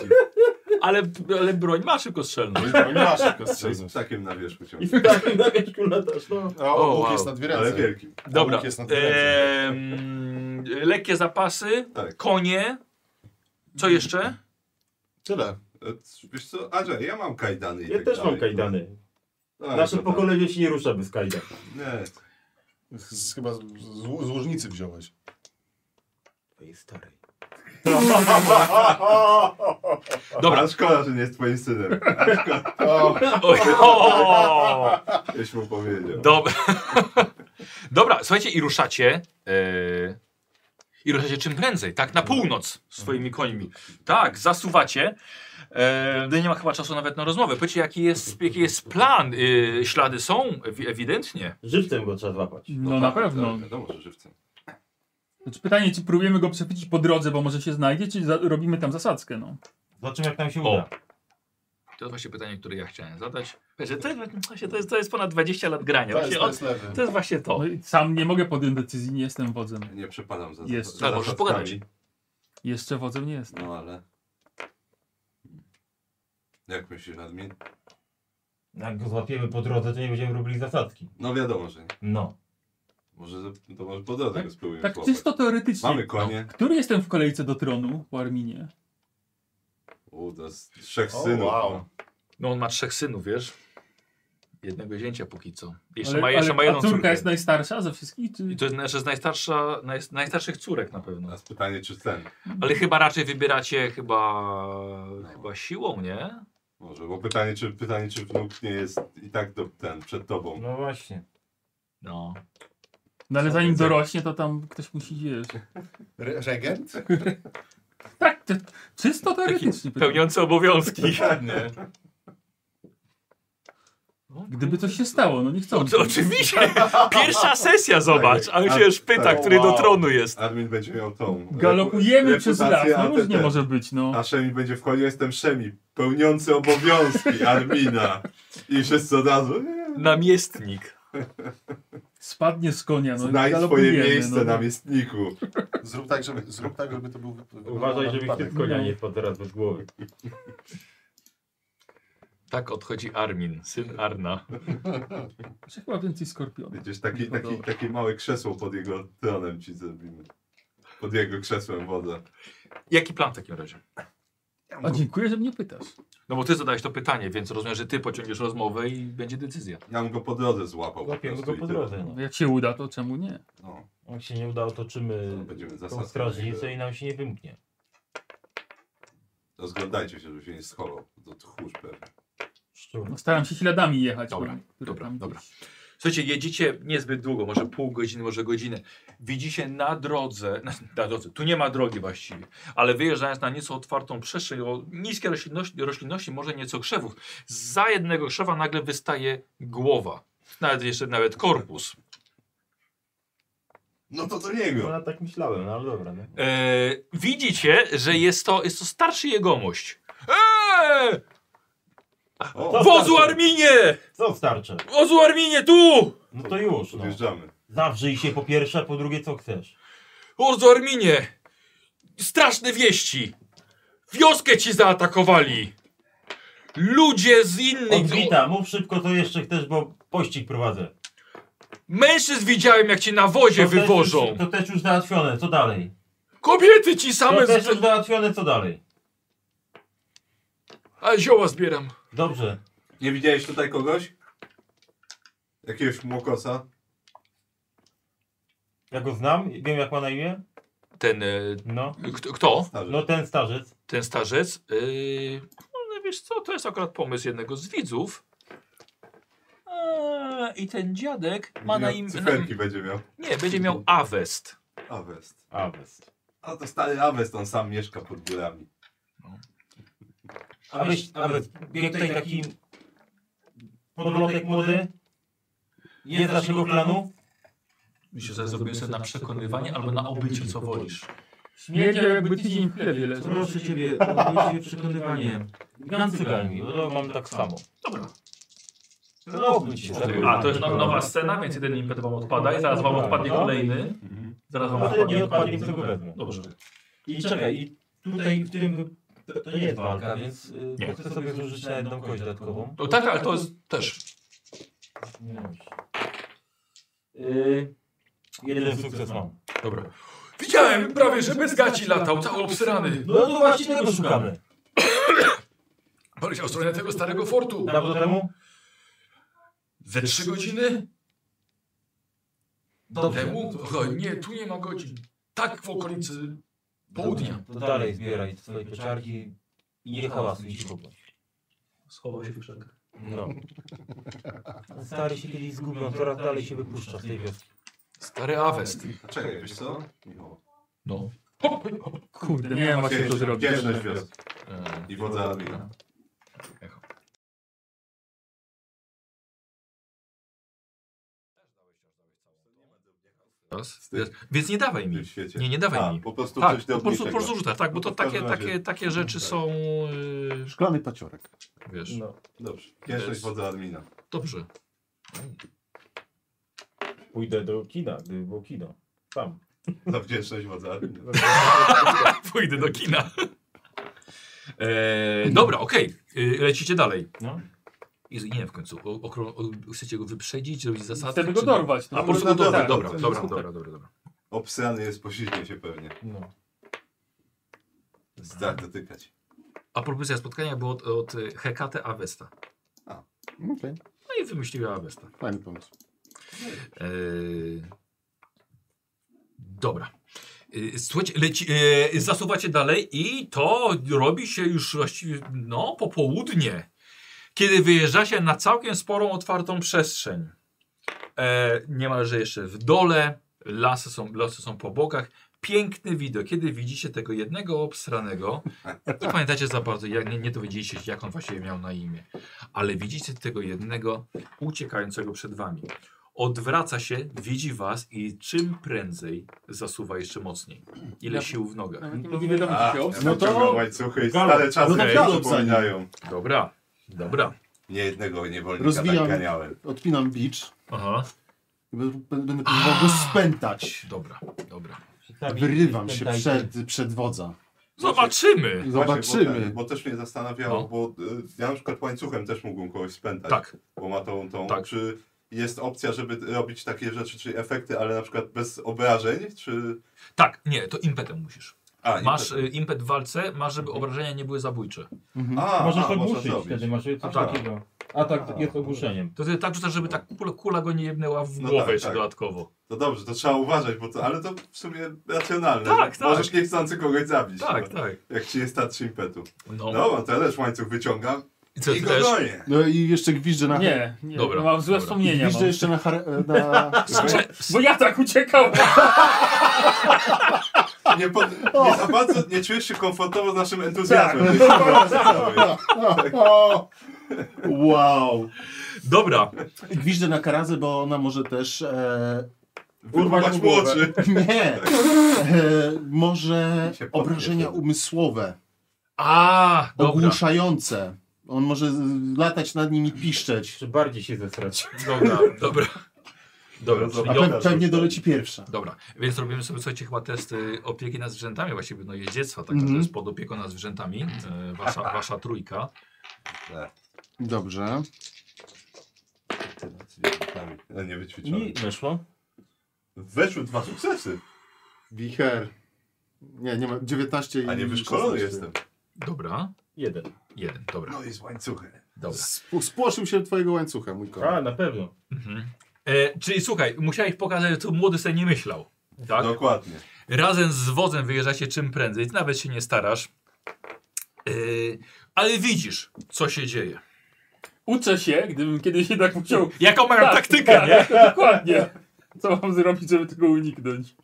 S1: Ale, ale broń ma szybko strzelną.
S9: Bo Nie masz
S2: No i z
S9: szybkostrzelności.
S2: takim na wierzchu
S3: I
S2: ciągle.
S3: w takim na wieczku latasz. No.
S9: A obok
S1: wow.
S9: jest na dwie
S2: Ale
S9: ręce.
S2: wielkim.
S1: Dobra.
S9: Łuk jest
S8: e,
S9: na dwie ręce.
S1: Em, lekkie zapasy,
S2: Tak.
S1: konie. Co jeszcze?
S9: Tyle.
S2: E, c- Wiesz co, Andrzej, ja mam kajdany. i
S3: Ja
S2: tak
S3: też mam
S2: dalej.
S3: kajdany.
S2: Tak,
S3: Nasze
S2: to tak.
S3: pokolenie się nie rusza bez kajdan.
S2: no, Nie,
S9: Z, chyba z, z, z łożnicy wziąłeś.
S3: Twojej starej.
S1: Dobra.
S2: A szkoda, że nie jest twoim synem.
S9: O,
S1: Oj, o!
S2: Jeś mu powiedział.
S1: Dobra. Dobra, słuchajcie, i ruszacie. e, I ruszacie czym prędzej, tak? Na północ swoimi końmi. Tak, zasuwacie. E, no nie ma chyba czasu nawet na rozmowę. Powiedzcie, jaki jest, jaki jest plan? E, ślady są ewi- ewidentnie.
S3: Żywcem go trzeba złapać.
S8: No, na
S2: tak,
S8: pewno.
S2: tak, Wiadomo, że żywcem.
S8: Znaczy pytanie, czy próbujemy go przechwycić po drodze, bo może się znajdzie, czy za- robimy tam zasadzkę, no.
S3: Zobaczymy jak nam się uda.
S1: To jest właśnie pytanie, które ja chciałem zadać. Wiecie, to, jest- właśnie to, jest, to jest ponad 20 lat grania.
S9: to
S1: Właśnie
S9: jest, to
S1: on,
S8: tak.
S9: jest lewy.
S1: to jest właśnie to.
S8: no i sam nie mogę podjąć decyzji, nie jestem wodzem.
S2: Ja Nie przepadam za
S8: Jest.
S2: za-
S1: Tak,
S2: za
S1: możesz
S2: zasadkami.
S1: pogadać.
S8: Jeszcze wodzem nie jestem.
S2: No ale... Jak myślisz, Admin?
S3: Jak go złapiemy po drodze, to nie będziemy robili zasadzki.
S2: No wiadomo, że nie.
S3: No.
S2: Może za- to może po drodze
S8: Tak-
S2: go spróbujemy
S8: Tak
S2: złapać.
S8: czysto teoretycznie.
S2: Mamy konie.
S8: Który jestem w kolejce do tronu po Arminie?
S2: U, to jest trzech
S9: O,
S2: synów.
S9: wow.
S2: no.
S1: No on ma trzech synów, wiesz? Jednego zięcia póki co. Jeszcze,
S8: Ale-
S1: ma, jeszcze
S8: ale-
S1: ma jedną
S8: a córka
S1: córkę.
S8: jest najstarsza ze wszystkich? Czy...
S1: I to jest nasza najstarsza, naj, najstarszych córek na pewno.
S2: Teraz pytanie, czy ten
S1: Ale chyba raczej wybieracie chyba, chyba siłą, nie?
S2: może, bo pytanie, czy pytanie, czy wnuk nie jest i tak do, ten przed tobą.
S3: No właśnie.
S1: No.
S8: No ale zanim dorośnie, to tam ktoś musi wiesz.
S9: Re- Regent?
S8: Tak, to, czysto teoretycznie. pytam.
S1: Pełniący obowiązki.
S4: Nie.
S8: Gdyby coś się stało, no nie chcą.
S1: To oczywiście. Pierwsza sesja, zobacz. A on się już pyta,
S2: Tak.
S1: który do tronu jest.
S2: Armin będzie miał tą.
S8: Galopujemy
S2: repu-
S8: przez las,
S2: reputację
S8: no
S2: ATT.
S8: różnie może być, no.
S2: A Szemi będzie wchodził, jestem Szemi, pełniący obowiązki Armina. I wszyscy od razu. "Eee,
S1: Namiestnik.
S8: Spadnie z konia, no. i
S2: Znajdź swoje
S8: galopujemy,
S2: miejsce
S8: no.
S2: na miestniku.
S9: Zrób tak, żeby, zrób tak, żeby to był wyglądało
S4: Uważaj,
S9: na
S4: żebyś
S3: tak.
S9: wypadek.
S4: ty konia nie wpadł teraz bez głowy.
S1: Tak odchodzi Armin, syn Arna.
S8: Jeszcze chyba więcej skorpiona.
S2: Widzisz, taki, taki,
S8: No Dobra.
S2: takie małe krzesło pod jego tronem ci zrobimy. Pod jego krzesłem wodę.
S1: Jaki plan w takim razie?
S8: A dziękuję, że mnie pytasz.
S1: No bo ty zadałeś to pytanie, więc rozumiem, że ty pociągniesz rozmowę i będzie decyzja.
S2: Ja bym go po drodze złapał. po
S4: Łapiemy
S2: prostu
S4: go
S2: i
S4: po
S2: tyle.
S4: drodze. No.
S8: Jak się uda, to czemu nie?
S2: No,
S4: Jak się nie uda,
S2: to
S4: otoczymy
S2: będziemy
S4: tą
S2: zasadzać.
S4: strażnicę i nam się nie wymknie.
S2: Rozglądajcie się, żeby się nie schował. To tchórz pewnie.
S4: Szczur.
S8: No, staram się śladami jechać.
S1: Dobra,
S8: bo- które
S1: dobra,
S8: tam
S1: dobra.
S8: gdzieś-
S1: Słuchajcie, jedziecie niezbyt długo, może pół godziny, może godzinę. Widzicie na drodze, na, na drodze, tu nie ma drogi właściwie, ale wyjeżdżając na nieco otwartą przestrzeń, o niskie roślinności, roślinności, może nieco krzewów, za jednego krzewa nagle wystaje głowa. Nawet jeszcze nawet korpus.
S2: No to do niego.
S4: No, ja tak myślałem, no ale dobra. No.
S1: E, widzicie, że jest to, jest to starszy jegomość. Eee!
S2: O,
S1: Wozu Arminie!
S4: Co starcze?
S1: Wozu Arminie, tu!
S4: No to już. No.
S2: Podjeżdżamy.
S4: Zawrzyj się po pierwsze, a po drugie co chcesz.
S1: Wozu Arminie! Straszne wieści! Wioskę ci zaatakowali! Ludzie z innych...
S4: Odbita, mów szybko co jeszcze chcesz, bo pościg prowadzę.
S1: Mężczyzn widziałem, jak cię na wozie
S4: To też
S1: wywożą.
S4: Już, to też już załatwione, co dalej?
S1: Kobiety ci
S4: To
S1: same...
S4: też
S1: Z...
S4: już załatwione, co dalej?
S1: A zioła zbieram.
S4: Dobrze.
S2: Nie widziałeś tutaj kogoś? Jakiegoś młokosa?
S4: Ja go znam, wiem jak ma na imię.
S1: Ten... e,
S4: No.
S1: Kto? kto?
S2: Starzy.
S4: No ten starzec.
S1: Ten starzec? Yy... No wiesz co, to jest akurat pomysł jednego z widzów. Eee, I ten dziadek ma na
S2: Miał-
S1: imię...
S2: Cyferki będzie miał.
S1: Nie, będzie miał Awest.
S2: Awest.
S4: Awest.
S2: A to stary Awest, on sam mieszka pod górami.
S4: Awest, Awest. Bieg tutaj taki podlotek młody. Jest z naszego klanu.
S1: Myślę, że zrobię sobie na przekonywanie albo na obycie, co wolisz.
S8: Śmiedział jakby tydzień w chlewie leżał.
S5: Proszę ciebie, odbudź się przekonywanie.
S4: Gram cyganmi, no mam tak samo. Dobra. No, obudź się. Tak.
S1: A, to jest now- nowa scena, więc jeden impet wam odpada i zaraz wam odpadnie kolejny. Zaraz wam
S4: No to
S1: odpadnie.
S4: nie odpadnie, co go wezmę.
S1: Dobrze.
S5: I czekaj, i tutaj w tym...
S4: To, to nie jest walka, więc y,
S1: Nie.
S4: bo chcę sobie zużyć na jedną kość dodatkową.
S1: No tak, ale to jest też.
S4: Tak.
S5: Yy,
S4: Y, Jeden sukces mam. Znaczy,
S1: Dobra. Widziałem prawie, że bez gaci latał, cały obsyrany.
S4: No to właśnie tego szukamy.
S1: Poleciał w stronę tego starego fortu.
S4: Dawno temu?
S1: Ze trzy godziny?
S4: Dobrze.
S1: Temu? O, nie, tu nie ma godzin. Tak w okolicy południa.
S4: To dalej zbieraj swoje pieczarki i nie hałasuj i cicho bądź.
S1: Schował się w krzakach.
S4: No. Stary się kiedyś zgubią, coraz dalej się wypuszcza z tej wioski.
S1: Stary Awest.
S2: A czekaj, wiesz co? Michał.
S1: No.
S8: Kurde, nie wiem właśnie co zrobić.
S2: Wdzięczność wiosny
S1: E,
S2: i wodza Armina.
S1: Raz. Więc nie dawaj
S2: W
S1: mi.
S2: tym świecie.
S1: Nie, nie dawaj
S2: A,
S1: mi.
S2: po prostu
S1: Tak,
S2: coś do
S1: po prostu, po
S2: obniżenia.
S1: prostu rzucaj, tak, bo
S2: No
S1: to
S2: to w
S1: takie,
S2: każdym razie-
S1: takie, takie rzeczy
S2: tak.
S1: są, yy,
S9: Szklany paciorek.
S1: wiesz,
S4: No.
S2: Dobrze. Wdzięczność wodza Armina.
S1: dobrze.
S4: Pójdę do kina, gdyby było kino. Tam.
S2: Za No, wdzięczność wodza Armina.
S1: Pójdę
S2: Mm.
S1: do kina. E, dobra, okej, y, lecicie dalej.
S4: No.
S1: Jezu, nie w końcu, o, okro, o, chcecie go wyprzedzić, zrobić zasady?
S8: Chcemy go
S1: czy-
S8: dorwać.
S1: A, po
S8: No.
S1: prostu go
S2: No
S1: dorwać,
S2: tak,
S1: dobra,
S2: tak,
S1: dobra,
S2: tak.
S1: dobra, dobra, dobra.
S2: Obsrany jest, posilnie się pewnie.
S4: No.
S2: Tak, dotykać.
S1: A propozycja spotkania była od, od y, Hekate Avesta.
S9: Okej,
S1: No i wymyśliła Avesta.
S9: fajny pomysł.
S1: Eee, dobra. Eee, Słuchajcie, leci, eee, zasuwacie dalej i to robi się już właściwie no, popołudnie, kiedy wyjeżdżacie na całkiem sporą, otwartą przestrzeń. E, niemalże jeszcze w dole, lasy są, lasy są po bokach. Piękny widok. Kiedy widzicie tego jednego obstranego, to pamiętacie za bardzo, jak, nie, nie dowiedzieliście się, jak on właściwie miał na imię, ale widzicie tego jednego uciekającego przed wami. Odwraca się, widzi was i czym prędzej zasuwa jeszcze mocniej. Ile
S8: Ja-
S1: sił w nogach.
S8: Nawet nie mogę wiadomo,
S2: A,
S8: się
S2: no
S8: obstał.
S2: to... łańcuchy i
S4: Galop.
S2: stare czasy
S4: No to
S2: mi
S4: galop
S2: przypominają.
S1: Dobra, dobra.
S2: Nie jednego niewolnika
S9: Rozwijam.
S2: tak ganiałem.
S9: Odpinam bicz
S1: Aha.
S9: i b- b- będę próbował go spętać.
S1: Dobra, dobra.
S9: Wyrywam się
S4: Pamiętajcie.
S9: przed, przed wodza.
S1: Zobaczymy!
S2: Właśnie, bo,
S9: Zobaczymy.
S2: ten, bo też mnie zastanawiało,
S1: No.
S2: bo y, ja na przykład łańcuchem też mógłbym kogoś spętać.
S1: Tak,
S2: Bo ma tą, tą
S1: Tak.
S2: czy jest opcja, żeby robić takie rzeczy, czy efekty, ale na przykład bez obrażeń, czy...
S1: tak, nie, to impetem musisz.
S2: A, nie,
S1: Masz
S2: to-
S1: y, impet w walce, masz, żeby obrażenia nie były zabójcze.
S2: A,
S4: Możesz
S2: a, można
S4: ogłuszyć
S2: zrobić.
S4: wtedy, masz coś
S1: tak.
S4: takiego. A tak
S2: A,
S4: jest ogłuszeniem.
S1: To ty tak rzucasz, żeby tak kula, kula go nie jebnęła w
S2: No
S1: głowę
S2: tak,
S1: jeszcze
S2: tak.
S1: dodatkowo.
S2: To dobrze, to trzeba uważać, bo to, ale to w sumie racjonalne.
S1: Tak, tak.
S2: Możesz niechcący kogoś zabić.
S1: Tak,
S2: no,
S1: tak.
S2: Jak ci nie starczy impetu.
S1: No,
S2: No, to ja też łańcuch wyciągam
S1: i co
S2: i
S1: ty
S2: go
S1: też?
S2: gonię.
S9: No i jeszcze gwiżdżę na...
S8: Nie, nie,
S1: tak. Dobra,
S8: no mam złe
S1: dobra.
S8: wspomnienia.
S9: Gwiżdżę
S8: Mam.
S9: jeszcze na... Har- na...
S1: Znaczy,
S8: Bo ja tak uciekałem.
S2: Nie, pod, nie za bardzo, nie czujesz się komfortowo z naszym entuzjazmem.
S9: O! Wow.
S1: Dobra,
S9: Gwiżdżę na karazę, bo ona może też... E...
S2: Tak. Urwać mu oczy.
S9: Nie. E... Może
S2: Mi się podnie
S9: obrażenia
S2: wtedy.
S9: umysłowe.
S1: a dobra,
S9: ogłuszające. On może z- latać nad nimi i piszczeć.
S4: Czy bardziej się zesrać?
S1: dobra, dobra. Dobra, czyli
S9: A
S2: Dobra,
S9: pe
S1: dobra.
S9: pewnie doleci pierwsza.
S1: Dobra, więc robimy sobie, słuchajcie, chyba testy opieki nad zwierzętami, właściwie no jeździectwa, tak,
S9: Mhm.
S1: to jest pod opieką nad zwierzętami, e, wasza, wasza trójka.
S9: Dobrze.
S2: No nie wyćwiczony.
S4: I weszło.
S2: Weszły dwa sukcesy,
S9: Wicher. Nie, nie ma. 19 i
S2: a nie wyszkolony
S9: 16.
S2: jestem.
S1: Dobra,
S4: Jeden.
S1: jeden, dobra,
S2: No i z łańcuchem.
S1: dobra.
S9: Sp- Spłoszył się twojego łańcucha, mój kolega.
S1: Tak.
S4: A, na pewno.
S1: Mhm. E, czyli słuchaj, musiałeś pokazać, co młody sobie nie myślał,
S2: No.
S1: tak?
S2: Dokładnie.
S1: Razem z wodzem wyjeżdżacie czym prędzej, ty nawet się nie starasz. E, ale widzisz, co się dzieje.
S8: Uczę się, gdybym kiedyś jednak musiał.
S1: Jaką mają taktykę, nie?
S8: tak, Dokładnie. Co mam zrobić, żeby tego uniknąć?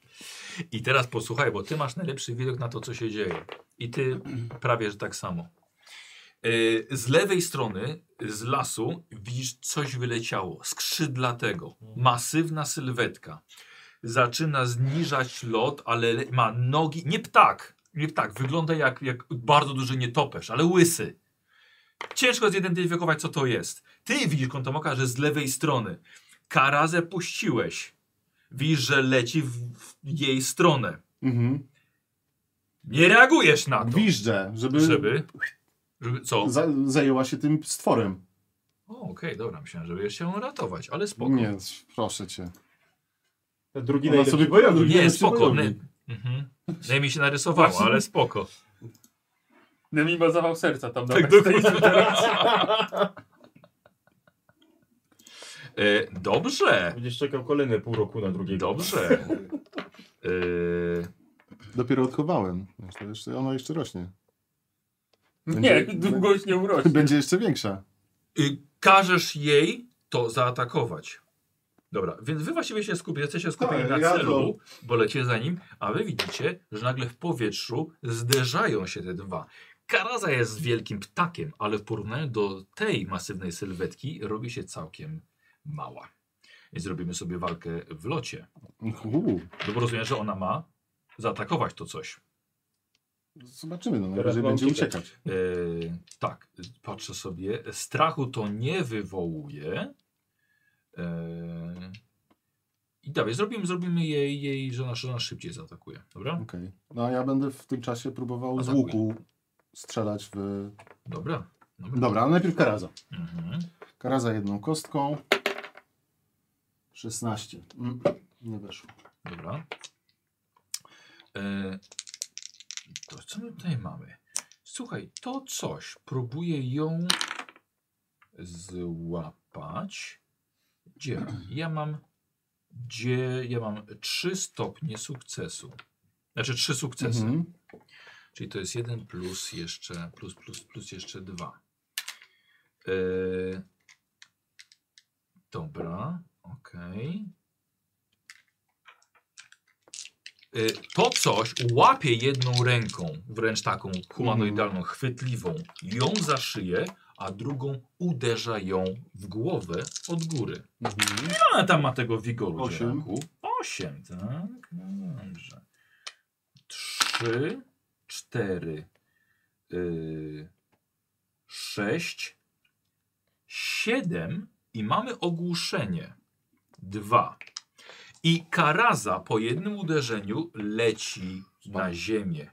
S1: I teraz posłuchaj, bo ty masz najlepszy widok na to, co się dzieje. I ty prawie, że tak samo. Yy, Z lewej strony, z lasu, widzisz coś wyleciało. Skrzydlatego. Masywna sylwetka. Zaczyna zniżać lot, ale le- ma nogi. Nie ptak. Nie ptak. Wygląda jak, jak bardzo duży nietoperz, ale łysy. Ciężko zidentyfikować, co to jest. Ty widzisz kątem oka, że z lewej strony. Karazę puściłeś. Widzisz, że leci w, w jej stronę.
S9: Mhm.
S1: Nie reagujesz na to.
S9: Gwiżdżę, żeby,
S1: Żeby. żeby co?
S9: Za, zajęła się tym stworem.
S1: O, okej, dobra, myślałem, żeby się ratować, ale spoko.
S9: Nie, proszę cię.
S4: Ten drugi
S9: Ona
S4: najlepszy.
S9: sobie boją, drugi
S1: No, nie
S9: najlepszy
S1: spoko. Nie,
S9: bojownik.
S1: mhm. nie mi się narysowało, ale spoko.
S8: Nemi ma zawał serca tam
S1: Tak,
S8: nawet.
S1: E, dobrze,
S4: Będziesz czekał kolejne pół roku na drugiego.
S1: dobrze. E,
S9: Dopiero odchowałem. Jeszcze- Jeszcze, ona jeszcze rośnie.
S8: Nie,
S9: Będzie-
S8: długość nie urośnie.
S9: Będzie jeszcze większa.
S1: y, każesz jej to zaatakować. Dobra, więc wy właściwie się skupi, jesteście skupieni
S2: Tak,
S1: na
S2: ja
S1: celu, bo lecie za nim, a wy widzicie, że nagle w powietrzu zderzają się te dwa. Karaza jest wielkim ptakiem, ale w porównaniu do tej masywnej sylwetki robi się całkiem mała. Więc robimy sobie walkę w locie.
S9: Uhu.
S1: No bo rozumiem, że ona ma zaatakować to coś.
S9: Zobaczymy,
S4: Teraz
S9: no najwyżej
S4: mam
S9: będzie
S4: uciekać.
S9: uciekać.
S1: E, tak, patrzę sobie. Strachu to nie wywołuje. E, I dawaj, zrobimy, zrobimy jej, jej że, ona, że ona szybciej zaatakuje. Dobra?
S9: Okej. No a ja będę w tym czasie próbował z
S1: Atakuj.
S9: łuku strzelać w...
S1: Dobra. Dobra.
S9: Dobra, ale najpierw Karaza.
S1: Mhm.
S9: Karaza jedną kostką. 16. Mm, nie weszło.
S1: Dobra. E, to co my tutaj mamy? Słuchaj, to coś. Próbuję ją złapać. Gdzie? Ja mam. Gdzie ja mam trzy stopnie sukcesu. Znaczy trzy sukcesy.
S9: Mhm.
S1: Czyli to jest jeden plus jeszcze plus plus plus jeszcze dwa. E, dobra. Okej. Y, To coś łapie jedną ręką, wręcz taką humanoidalną, chwytliwą, ją za szyję, a drugą uderza ją w głowę od góry. Ile ona tam ma tego wigoru?
S9: Osiem.
S1: dzielaku? Osiem, tak. No dobrze. Trzy, cztery, yy, sześć, siedem i mamy ogłuszenie. Dwa. I karaza po jednym uderzeniu leci na ziemię.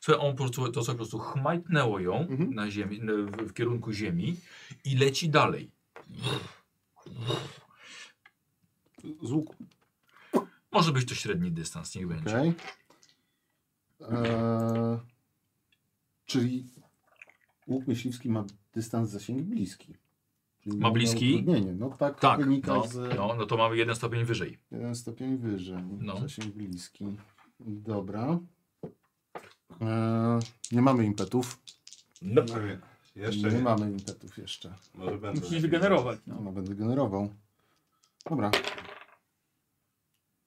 S1: Słuchaj, on po prostu, to co po prostu chmajtnęło ją
S9: Mhm.
S1: na ziemi, n- w, w kierunku ziemi i leci dalej.
S9: Z łuku.
S1: Może być to średni dystans, niech będzie.
S9: Okej. Eee, czyli łuk myśliwski ma dystans zasięg bliski. Czyli
S1: Ma bliski?
S9: Nie, nie, no tak,
S1: Tak,
S9: wynika
S1: no,
S9: z
S1: no, no to mamy jeden stopień wyżej.
S9: jeden stopień wyżej.
S1: No.
S9: Zasięg bliski. Dobra. Eee, nie mamy impetów.
S3: No.
S2: No nie, Jeszcze
S9: nie
S2: nie.
S9: mamy impetów jeszcze.
S2: Może będę.
S8: Musisz wygenerować.
S9: No,
S8: No.
S9: no będę generował. Dobra.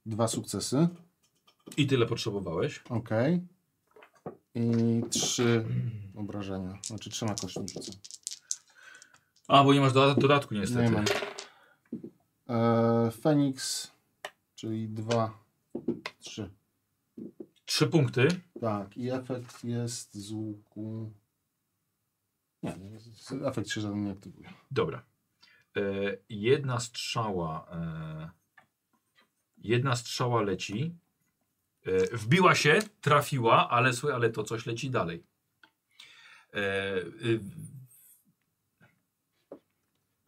S9: Dwa sukcesy.
S1: I tyle potrzebowałeś.
S9: Okej. I trzy obrażenia. Znaczy trzema kośćmi rzucę.
S1: A, bo nie masz doda- dodatku niestety.
S9: Nie mam. E, Feniks, czyli dwa, trzy.
S1: Trzy punkty.
S9: Tak, i efekt jest z łuku. Nie, nie, z- efekt się żaden nie aktywuje.
S1: Dobra. E, jedna strzała. E, jedna strzała leci. E, wbiła się, trafiła, ale słuchaj, ale to coś leci dalej. E, y,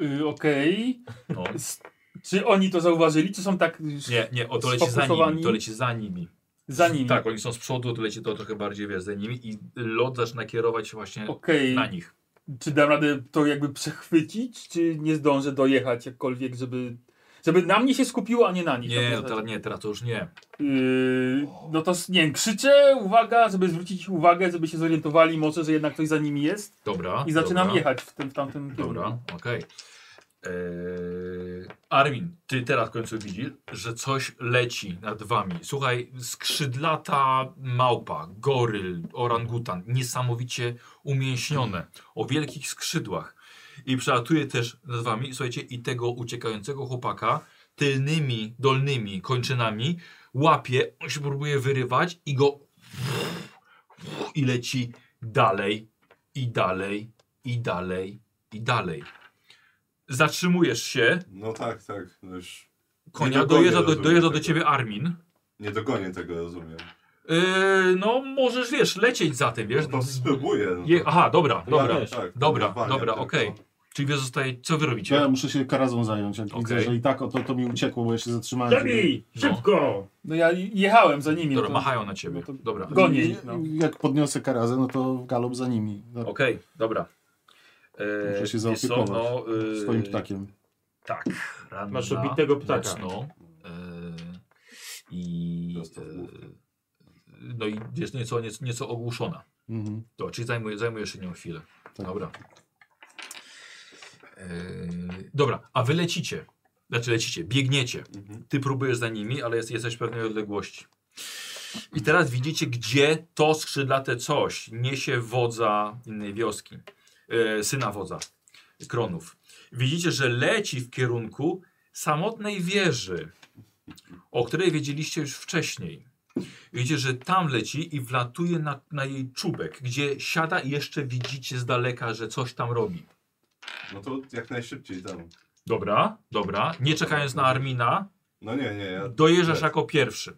S8: Y, Okej.
S1: no.
S8: S- Czy oni to zauważyli, czy są tak już
S1: Nie, nie, o to leci za nimi.
S8: Sfokusowani?
S1: To leci za nimi.
S8: za nimi?
S1: Tak, oni są z przodu, to leci to trochę bardziej wiesz, za nimi i lot zaczyna kierować się właśnie
S8: Okej.
S1: na nich.
S8: Czy dam radę to jakby przechwycić, czy nie zdążę dojechać jakkolwiek, żeby... Żeby na mnie się skupiło, a nie na nich.
S1: Nie,
S8: na
S1: no
S8: tej
S1: teraz nie, teraz to już nie.
S8: Yy, no to s- nie wiem, krzyczę, uwaga, żeby zwrócić ich uwagę, żeby się zorientowali może, że jednak ktoś za nimi jest
S1: Dobra.
S8: i zaczynam
S1: dobra,
S8: jechać w, tym, w tamtym kierunku.
S1: Dobra, okej. Eee, Armin, ty teraz w końcu widzisz, że coś leci nad wami. Słuchaj, skrzydlata małpa, goryl, orangutan, niesamowicie umięśnione, o wielkich skrzydłach. I przelatuje też nad wami, słuchajcie, i tego uciekającego chłopaka tylnymi, dolnymi kończynami łapie, on się próbuje wyrywać i go i leci dalej, i dalej, i dalej, i dalej. Zatrzymujesz się,
S2: No tak, tak. No już
S1: konia
S2: Nie dogonię,
S1: dojeżdża do,
S2: rozumiem
S1: dojeżdża do
S2: tego.
S1: ciebie Armin.
S2: nie dogonię tego, rozumiem.
S1: Yy, no możesz, wiesz, lecieć za tym, wiesz.
S2: No to spróbuję. No to...
S1: Je, aha, dobra, dobra.
S2: Tak, tak,
S1: Dobra,
S2: wyzwania
S1: dobra,
S2: tylko.
S1: okej. Czyli wy zostaje, co wy
S9: Ja,
S1: robicie?
S9: muszę się karazą zająć, jak
S1: Okej.
S9: widzę, że i tak o to, to mi uciekło, bo ja się zatrzymałem.
S4: Zabij!
S1: No.
S4: Szybko!
S8: No ja jechałem za nimi.
S1: Dobra,
S8: to-
S1: machają na ciebie.
S8: no to-
S1: Dobra,
S8: Go- Gonię
S9: I-
S8: ich, no.
S9: Jak podniosę karazę, no to galop za nimi. No,
S1: okej, dobra. Eee,
S9: Muszę się
S1: wiesz co,
S9: zaopiekować
S1: yy,
S9: Swoim ptakiem.
S1: Tak. Ranna,
S4: Masz obitego ptaka.
S1: Mocno, eee, I...
S2: Prosto w główkę.
S1: eee, no i jest nieco, nieco, nieco ogłuszona.
S9: Mhm,
S1: To, czyli zajmuje, zajmuje się nią chwilę.
S9: tak.
S1: Dobra. Yy, dobra, a wy lecicie. Znaczy lecicie, biegniecie.
S2: Mhm.
S1: Ty próbujesz za nimi, ale jest, jesteś w pewnej odległości. I teraz widzicie, gdzie to skrzydlate coś niesie wodza innej wioski. Yy, syna wodza, kronów. Widzicie, że leci w kierunku samotnej wieży, o której wiedzieliście już wcześniej. Widzicie, że tam leci i wlatuje na, na jej czubek, gdzie siada i jeszcze widzicie z daleka, że coś tam robi.
S2: No to jak najszybciej tam.
S1: Dobra, dobra. Nie czekając na Armina,
S2: No nie, nie, ja.
S1: dojeżdżasz
S2: tak.
S1: jako pierwszy.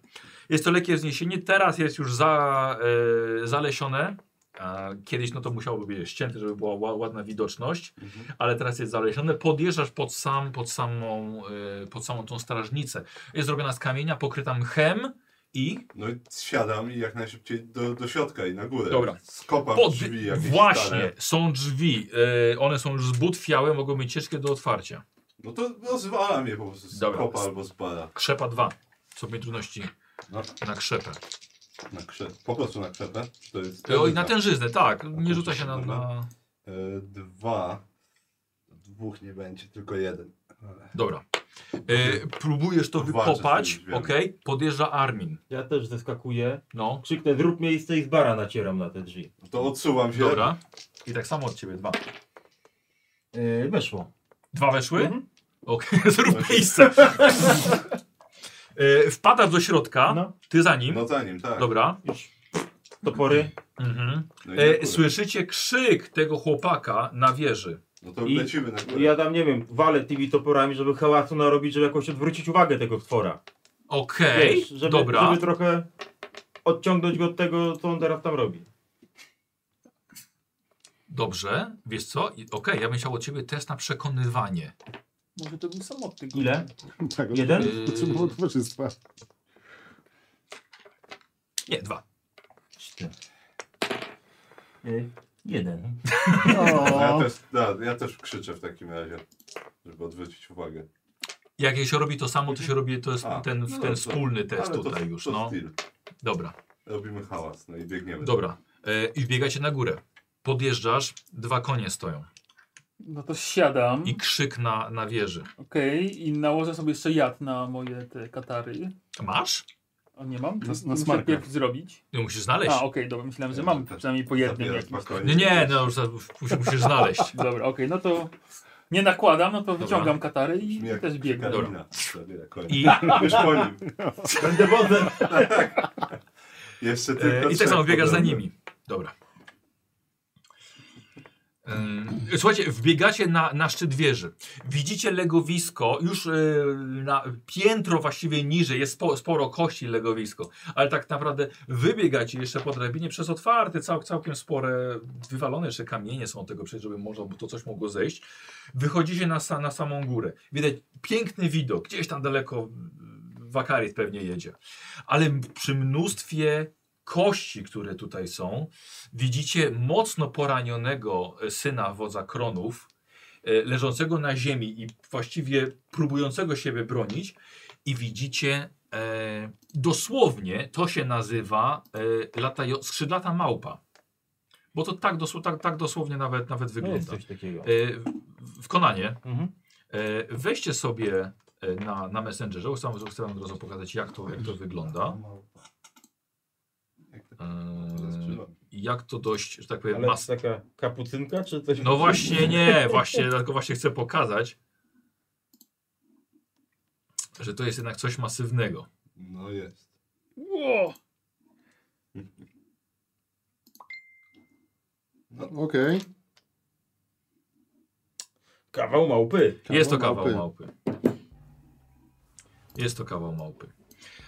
S1: Jest to lekkie wzniesienie, teraz jest już za, e, zalesione. A Kiedyś no to musiałoby być ścięte, żeby była ła- ładna widoczność,
S2: Mhm.
S1: ale teraz jest zalesione. Podjeżdżasz pod, sam, pod, samą, e, pod samą tą strażnicę. Jest zrobiona z kamienia, pokryta mchem i
S2: No i siadam i jak najszybciej do, do środka i na górę.
S1: Dobra.
S2: Skopam
S1: Pod...
S2: drzwi jakieś
S1: Właśnie,
S2: stare.
S1: są drzwi. E, one są już zbutwiałe, mogą być ciężkie do otwarcia.
S2: No to rozwalam je po prostu z
S1: Dobra.
S2: kopa albo z bara.
S1: Krzepa 2. Stopień trudności
S2: No.
S1: na krzepę.
S2: Na krze- po prostu na krzepę. To jest
S1: E, Oj, na tężyznę, tak.
S2: to
S1: Nie rzuca się na...
S2: dobra.
S1: na...
S2: E, dwa. E, dwóch nie będzie, tylko jeden. Ale...
S1: Dobra. E, próbujesz to
S2: Walczę z tym
S1: wykopać,
S2: drzwiami.
S1: okej? Podjeżdża Armin.
S3: Ja też zeskakuję.
S1: No,
S3: Krzyknę, zrób miejsce i z bara nacieram na te drzwi.
S2: No To odsuwam się.
S1: dobra. I tak samo od ciebie dwa.
S3: Yy, weszło.
S1: Dwa weszły?
S3: Mhm.
S1: Okej, zrób miejsce. e, wpadasz do środka,
S3: No.
S1: ty za nim.
S2: No za nim, tak.
S1: Dobra.
S3: Topory.
S1: Mhm.
S2: No, i na
S1: E,
S2: górę.
S1: słyszycie krzyk tego chłopaka na wieży.
S2: no to
S3: I-
S2: lecimy na górę.
S3: Ja tam, nie wiem, walę tymi toporami, żeby hałasu narobić, żeby jakoś odwrócić uwagę tego stwora.
S1: Okej,
S3: Wiesz, żeby,
S1: dobra.
S3: żeby trochę odciągnąć go od tego, co on teraz tam robi.
S1: Dobrze, wiesz co? I- Okej, ja bym chciał od ciebie test na przekonywanie.
S8: Może to był samotny.
S3: Ile?
S13: Tak,
S3: Jeden?
S13: Potrzebował towarzystwa.
S1: Nie, dwa.
S4: Y, Jeden.
S2: No Ja,
S13: O,
S2: też, da, ja też krzyczę w takim razie, żeby odwrócić uwagę.
S1: Jak jej się robi to samo, to się robi to jest
S2: A,
S1: ten,
S2: no
S1: ten
S2: to-
S1: wspólny test
S2: Ale
S1: tutaj
S2: to,
S1: już.
S2: to
S1: No.
S2: styl.
S1: Dobra,
S2: Robimy hałas, no i biegniemy.
S1: dobra. E, I wbiegacie na górę. Podjeżdżasz, dwa konie stoją.
S8: No to siadam.
S1: I krzyk na, na wieży.
S8: Okej, i nałożę sobie jeszcze jad na moje te katary.
S1: Masz?
S8: A nie mam?
S13: Na- na
S8: Muszę
S13: smarkę.
S8: pierw zrobić.
S1: Ty musisz
S8: A,
S1: znaleźć.
S8: okej, dobra, myślałem, że mam przynajmniej po jednym
S2: Zabierasz
S8: jakimś.
S2: bakonie.
S1: Nie, nie, no już za- musisz, musisz znaleźć.
S8: Dobra, okej, no to nie nakładam, no to wyciągam katary i
S2: Brzmi jak
S8: też biegnę.
S1: Dobra.
S2: Karolina zabiera konia.
S1: I,
S2: Już po nim.
S3: Będę wodzem.
S2: Jeszcze tylko
S1: e, I tak
S2: trzech
S1: samo biegasz za
S2: podobno.
S1: nimi. Dobra. Ym, E, Słuchajcie, wbiegacie na, na szczyt wieży. Widzicie legowisko, już y, na piętro właściwie niżej, jest spo, sporo kości legowisko, ale tak naprawdę wybiegacie jeszcze po drabinie przez otwarte, cał, całkiem spore, wywalone jeszcze kamienie są od tego przecież, żeby można, bo to coś mogło zejść. Wychodzicie na, sa, na samą górę. Widać piękny widok, gdzieś tam daleko mm, wakarit pewnie jedzie, ale m- przy mnóstwie kości, które tutaj są, widzicie mocno poranionego e, syna wodza Kronów, e, leżącego na ziemi i właściwie próbującego siebie bronić. I widzicie e, dosłownie, to się nazywa e, latajo, skrzydlata małpa. Bo to tak, dosł, tak, tak dosłownie nawet, nawet
S3: No jest
S1: wygląda.
S3: coś takiego.
S1: E, w- w Konanie
S3: Mhm.
S1: e, weźcie sobie e, na, na Messengerze, chcę wam chcę wam od razu pokazać jak to, jak to wygląda.
S2: Jak to- Teraz
S1: E,
S2: trzymam.
S1: jak to dość, że tak powiem,
S3: Ale
S1: mas...
S3: taka kapucynka czy coś?
S1: No właśnie nie, właśnie, tylko właśnie chcę pokazać, że to jest jednak coś masywnego.
S2: No jest.
S8: Ło!
S13: okej.
S3: Kawał małpy.
S1: jest to
S13: Kawał
S1: kawał małpy. Jest to kawał małpy.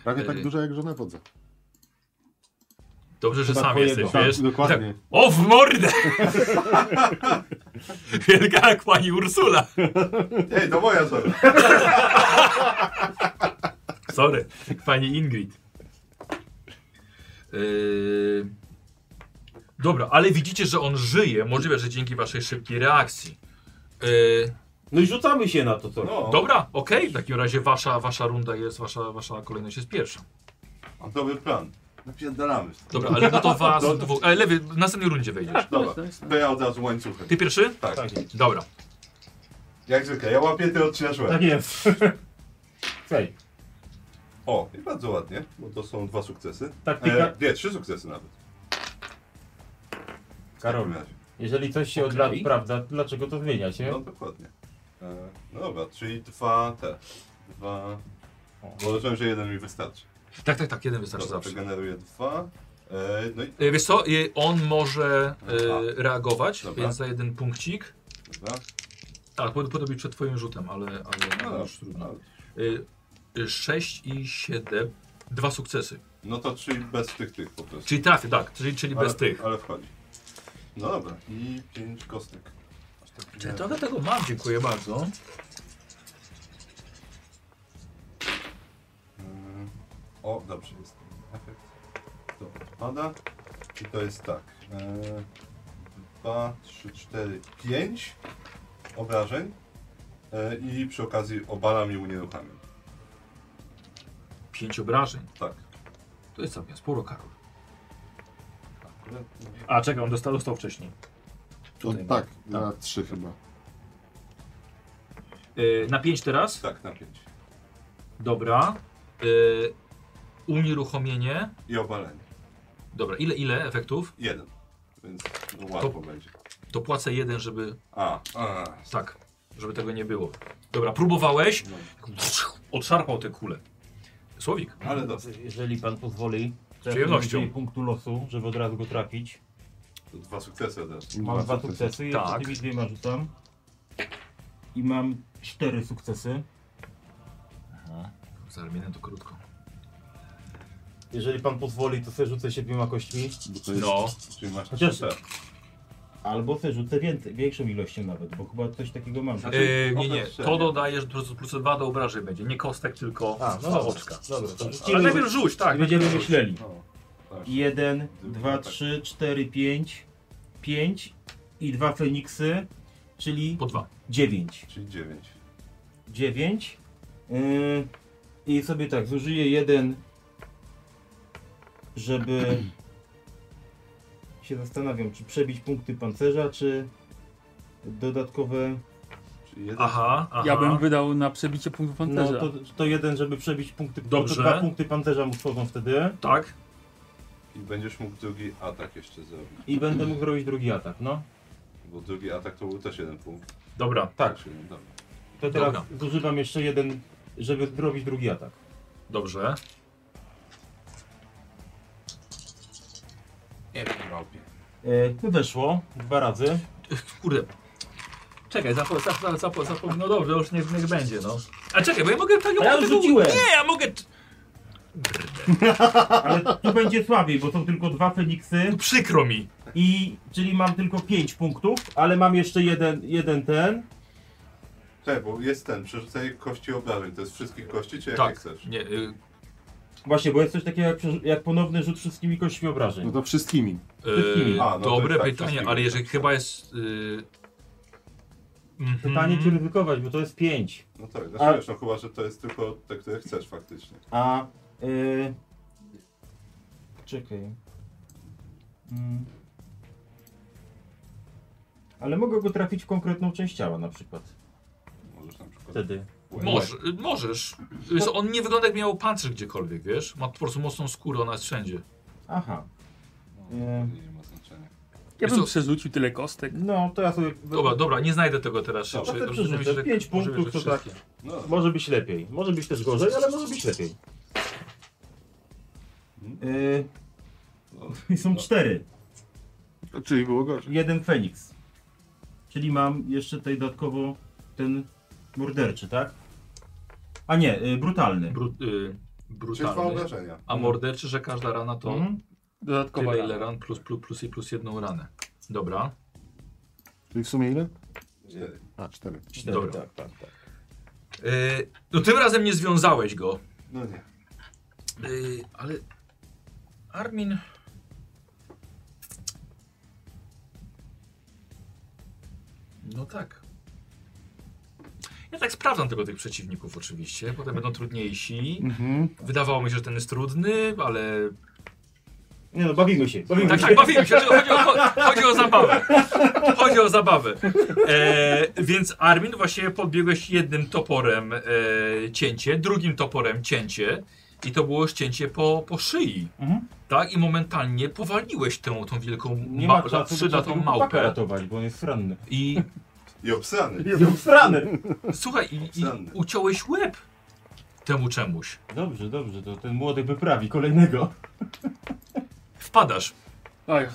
S13: Prawie
S1: Ej.
S13: tak duża jak żona wodza.
S1: Dobrze, że
S3: Chyba
S1: sam
S3: twojego.
S1: jesteś,
S13: Tak,
S1: wiesz?
S13: dokładnie.
S1: O, w mordę! Wielka jak pani Ursula.
S2: Ej, to moja zora.
S1: Sorry, pani Ingrid. Yy... Dobra, ale widzicie, że on żyje. Możliwe, że dzięki waszej szybkiej reakcji. Yy...
S3: No i rzucamy się na to co?
S2: No.
S1: Dobra, okej, w takim razie wasza, wasza runda jest, wasza, wasza kolejność jest pierwsza.
S2: Mam dobry plan. Napierdalamy.
S1: Dobra, ale no to was dwóch, ale lewy, w następnej rundzie wejdziesz.
S2: Dobra,
S8: Nice,
S2: to ja od razu łańcuchem.
S1: Ty pierwszy?
S2: Tak,
S3: Tak jest.
S1: Dobra.
S2: jak zwykle, ja łapię, ty odcinasz łeb.
S3: Tak jest. Słuchaj,
S2: O, i bardzo ładnie, bo to są dwa sukcesy.
S3: taktyka.
S2: E, nie, trzy sukcesy nawet. W
S3: Karol,
S2: takim razie.
S3: jeżeli coś się od
S1: Okej.
S3: lat sprawdza, to dlaczego to zmienia się?
S2: No dokładnie. E, no dobra, czyli dwa te. Dwa... Bo rozumiem, że jeden mi wystarczy.
S1: Tak, tak, tak, jeden wystarczy
S2: Dobra, to
S1: zawsze.
S2: generuję dwa. E, no i
S1: Yy, Wiesz co, yy, on może yy,
S2: Aha.
S1: reagować,
S2: Dobra.
S1: więc za jeden punkcik.
S2: dobra.
S1: Tak, pod- podobnie przed twoim rzutem, ale, ale
S2: No,
S1: już trudno.
S2: dobra.
S1: Y, y, 6 i 7. Dwa sukcesy.
S2: No to czyli bez tych tych po prostu.
S1: Czyli trafię, tak, czyli, czyli bez
S2: ale,
S1: tych.
S2: Ale wchodzi. No dobra. I pięć kostek.
S1: Czyli trochę tego mam, dziękuję bardzo.
S2: Mm, O, dobrze jest. Efekt. To odpada. I to jest tak. E, dwa, trzy, cztery, pięć obrażeń. E, I przy okazji obalam i unieruchamiam.
S1: 5 obrażeń.
S2: Tak.
S1: To jest całkiem sporo, Karol.
S2: Akurat, no.
S1: A, czekam, dostał, dostał wcześniej.
S13: To
S1: Tutaj
S13: tak, na trzy chyba.
S1: Y, na 5 teraz?
S2: Tak, na pięć.
S1: Dobra. Y, unieruchomienie.
S2: I obalenie.
S1: Dobra, ile, ile efektów?
S2: Jeden. Więc no, łatwo będzie.
S1: To płacę jeden, żeby.
S2: A, a.
S1: Tak, żeby tego nie było. Dobra, próbowałeś.
S2: No.
S1: Odszarpał tę kulę. Słowik.
S2: Ale dobrze.
S4: Jeżeli pan pozwoli, to ja
S1: przyjemnością.
S4: użyję punktu losu, żeby od razu go trafić.
S2: To Dwa sukcesy od razu.
S4: Mam dwa sukcesy, jeszcze
S1: Tak.
S4: tymi dwiema rzucam. I mam cztery sukcesy.
S1: Z Arminem to krótko.
S14: Jeżeli pan pozwoli, to sobie rzucę siedmioma kośćmi.
S2: Bo to jest,
S1: No.
S2: Czyli masz
S4: Chociaż-
S2: trzy.
S4: Albo sobie rzucę więcej, większą ilością nawet, bo chyba coś takiego mam.
S2: Znaczy-
S1: Y, nie, nie.
S2: Obrażenie.
S1: To dodajesz plus, plus dwa do obrażeń będzie. Nie kostek, tylko
S14: A, no
S1: no
S14: dobra.
S1: oczka.
S14: Dobra, to
S1: Ale
S14: rzucimy.
S1: najpierw rzuć, tak.
S4: I będziemy myśleli.
S2: No, tak.
S4: Jeden,
S2: Drugi
S4: dwa,
S2: atak.
S4: trzy, cztery, pięć, pięć i dwa Feniksy, czyli
S1: Po dwa.
S4: dziewięć.
S2: Czyli dziewięć.
S4: Dziewięć. Yy, I sobie tak, zużyję jeden, żeby... się zastanawiam, czy przebić punkty pancerza, czy dodatkowe...
S2: Czyli jeden.
S1: Aha, aha.
S8: Ja bym wydał na przebicie punktu pancerza.
S4: No to, to jeden, żeby przebić punkty... no
S1: Dobrze.
S4: To dwa punkty pancerza mu wchodzą wtedy.
S1: Tak.
S2: I będziesz mógł drugi atak jeszcze zrobić.
S4: I będę mógł robić drugi atak, no.
S2: Bo drugi atak to był też jeden punkt.
S1: Dobra,
S4: Tak.
S2: Czyli, dobra.
S4: To teraz
S1: Dobra.
S4: zużywam jeszcze jeden, żeby zrobić drugi atak.
S1: dobrze.
S2: Nie wiem, robię.
S4: E, weszło dwa razy.
S1: Kurde. Czekaj, zapo, zapo, zapo, zapo, no dobrze, już niech, niech będzie, no. A czekaj, bo ja mogę tak
S4: A ja już rzuciłem.
S1: Nie, ja mogę.
S4: Ale tu będzie słabiej, bo są tylko dwa Feniksy.
S1: Przykro mi.
S4: I czyli mam tylko pięć punktów, ale mam jeszcze jeden, jeden ten.
S2: Cześć, Tak, bo jest ten, przerzucaj kości obrażeń. To jest wszystkich kości, czy jak
S1: Tak.
S2: chcesz?
S1: Nie, y,
S4: Właśnie, bo jest coś takiego jak, przerzu- jak ponowny rzut wszystkimi kośćmi
S9: No
S4: obrażeń.
S9: to wszystkimi.
S1: y,
S2: A, no to
S1: dobre
S2: jest tak,
S1: pytanie,
S2: wszystkiego.
S1: ale jeżeli chyba jest. Y, mhm.
S4: Pytanie, czy ryzykować, bo to jest pięć.
S2: No tak,
S4: A-
S2: znaczy wiesz, no chyba, że to jest tylko te, które chcesz faktycznie.
S4: A. Y... Czekaj. Mm. Ale mogę go trafić w konkretną część ciała na przykład.
S2: Możesz na przykład...
S4: Wtedy.
S1: Moż, y, możesz. Y, On nie wygląda jak miał pancerz gdziekolwiek, wiesz? Ma po prostu mocną skórę, ona jest wszędzie.
S4: Aha. E,
S2: No, nie ma znaczenia.
S8: ja
S1: Wiesz
S8: bym
S1: co?
S8: przerzucił tyle kostek.
S4: No, to ja sobie.
S1: Dobra, dobra, nie znajdę tego teraz
S2: Dobra,
S1: szybciej.
S4: to
S1: Dobrze,
S4: przerzucę.
S1: myślę, że tak
S4: Pięć
S1: może
S4: punktów
S1: wiesz,
S4: to tak.
S1: wszystkie.
S2: No,
S4: Może być lepiej. Może być też gorzej, ale może być lepiej. Yy,
S2: no,
S4: i są cztery.
S9: Czyli było gorzej.
S4: Jeden Feniks. Czyli mam jeszcze tutaj dodatkowo ten morderczy, tak? A nie, y, brutalny.
S1: Bru, y,
S2: Czyli dwa
S1: brutalny.
S2: obrażenia.
S1: A morderczy, że każda rana to.
S4: Mhm.
S8: Dodatkowa
S1: Tyle ile ran plus, plus, plus i plus jedną ranę. Dobra.
S9: Czyli w sumie ile?
S2: Cztery.
S9: A, cztery.
S4: Cztery,
S1: Dobra.
S4: tak, tak, tak.
S1: Yy, no tym razem nie związałeś go.
S2: No nie.
S1: Yy, ale Armin... No tak. Ja tak sprawdzam tego tych przeciwników oczywiście. Potem będą trudniejsi.
S9: Mhm.
S1: Wydawało mi się, że ten jest trudny, ale...
S4: Nie no, bawimy się. Bawimy
S1: Tak,
S4: się.
S1: tak, bawimy się. że Chodzi o, cho- chodzi o zabawę. Chodzi o zabawę. E, więc Armin, właściwie podbiegłeś jednym toporem e, cięcie, drugim toporem cięcie i to było cięcie po, po szyi.
S4: Mhm.
S1: Tak? I momentalnie powaliłeś tę, tą wielką,
S4: Nie
S1: ma,
S4: ma czasu, żeby
S1: przydatą
S4: tego chłopaka
S1: małpę.
S4: ratować, bo on jest ranny.
S1: I
S2: I obsrany.
S4: Jest ranny.
S1: słuchaj, i, i
S2: Obsrany.
S1: uciąłeś łeb temu czemuś.
S4: Dobrze, dobrze, to ten młody wyprawi kolejnego.
S1: Wpadasz.
S8: Oj,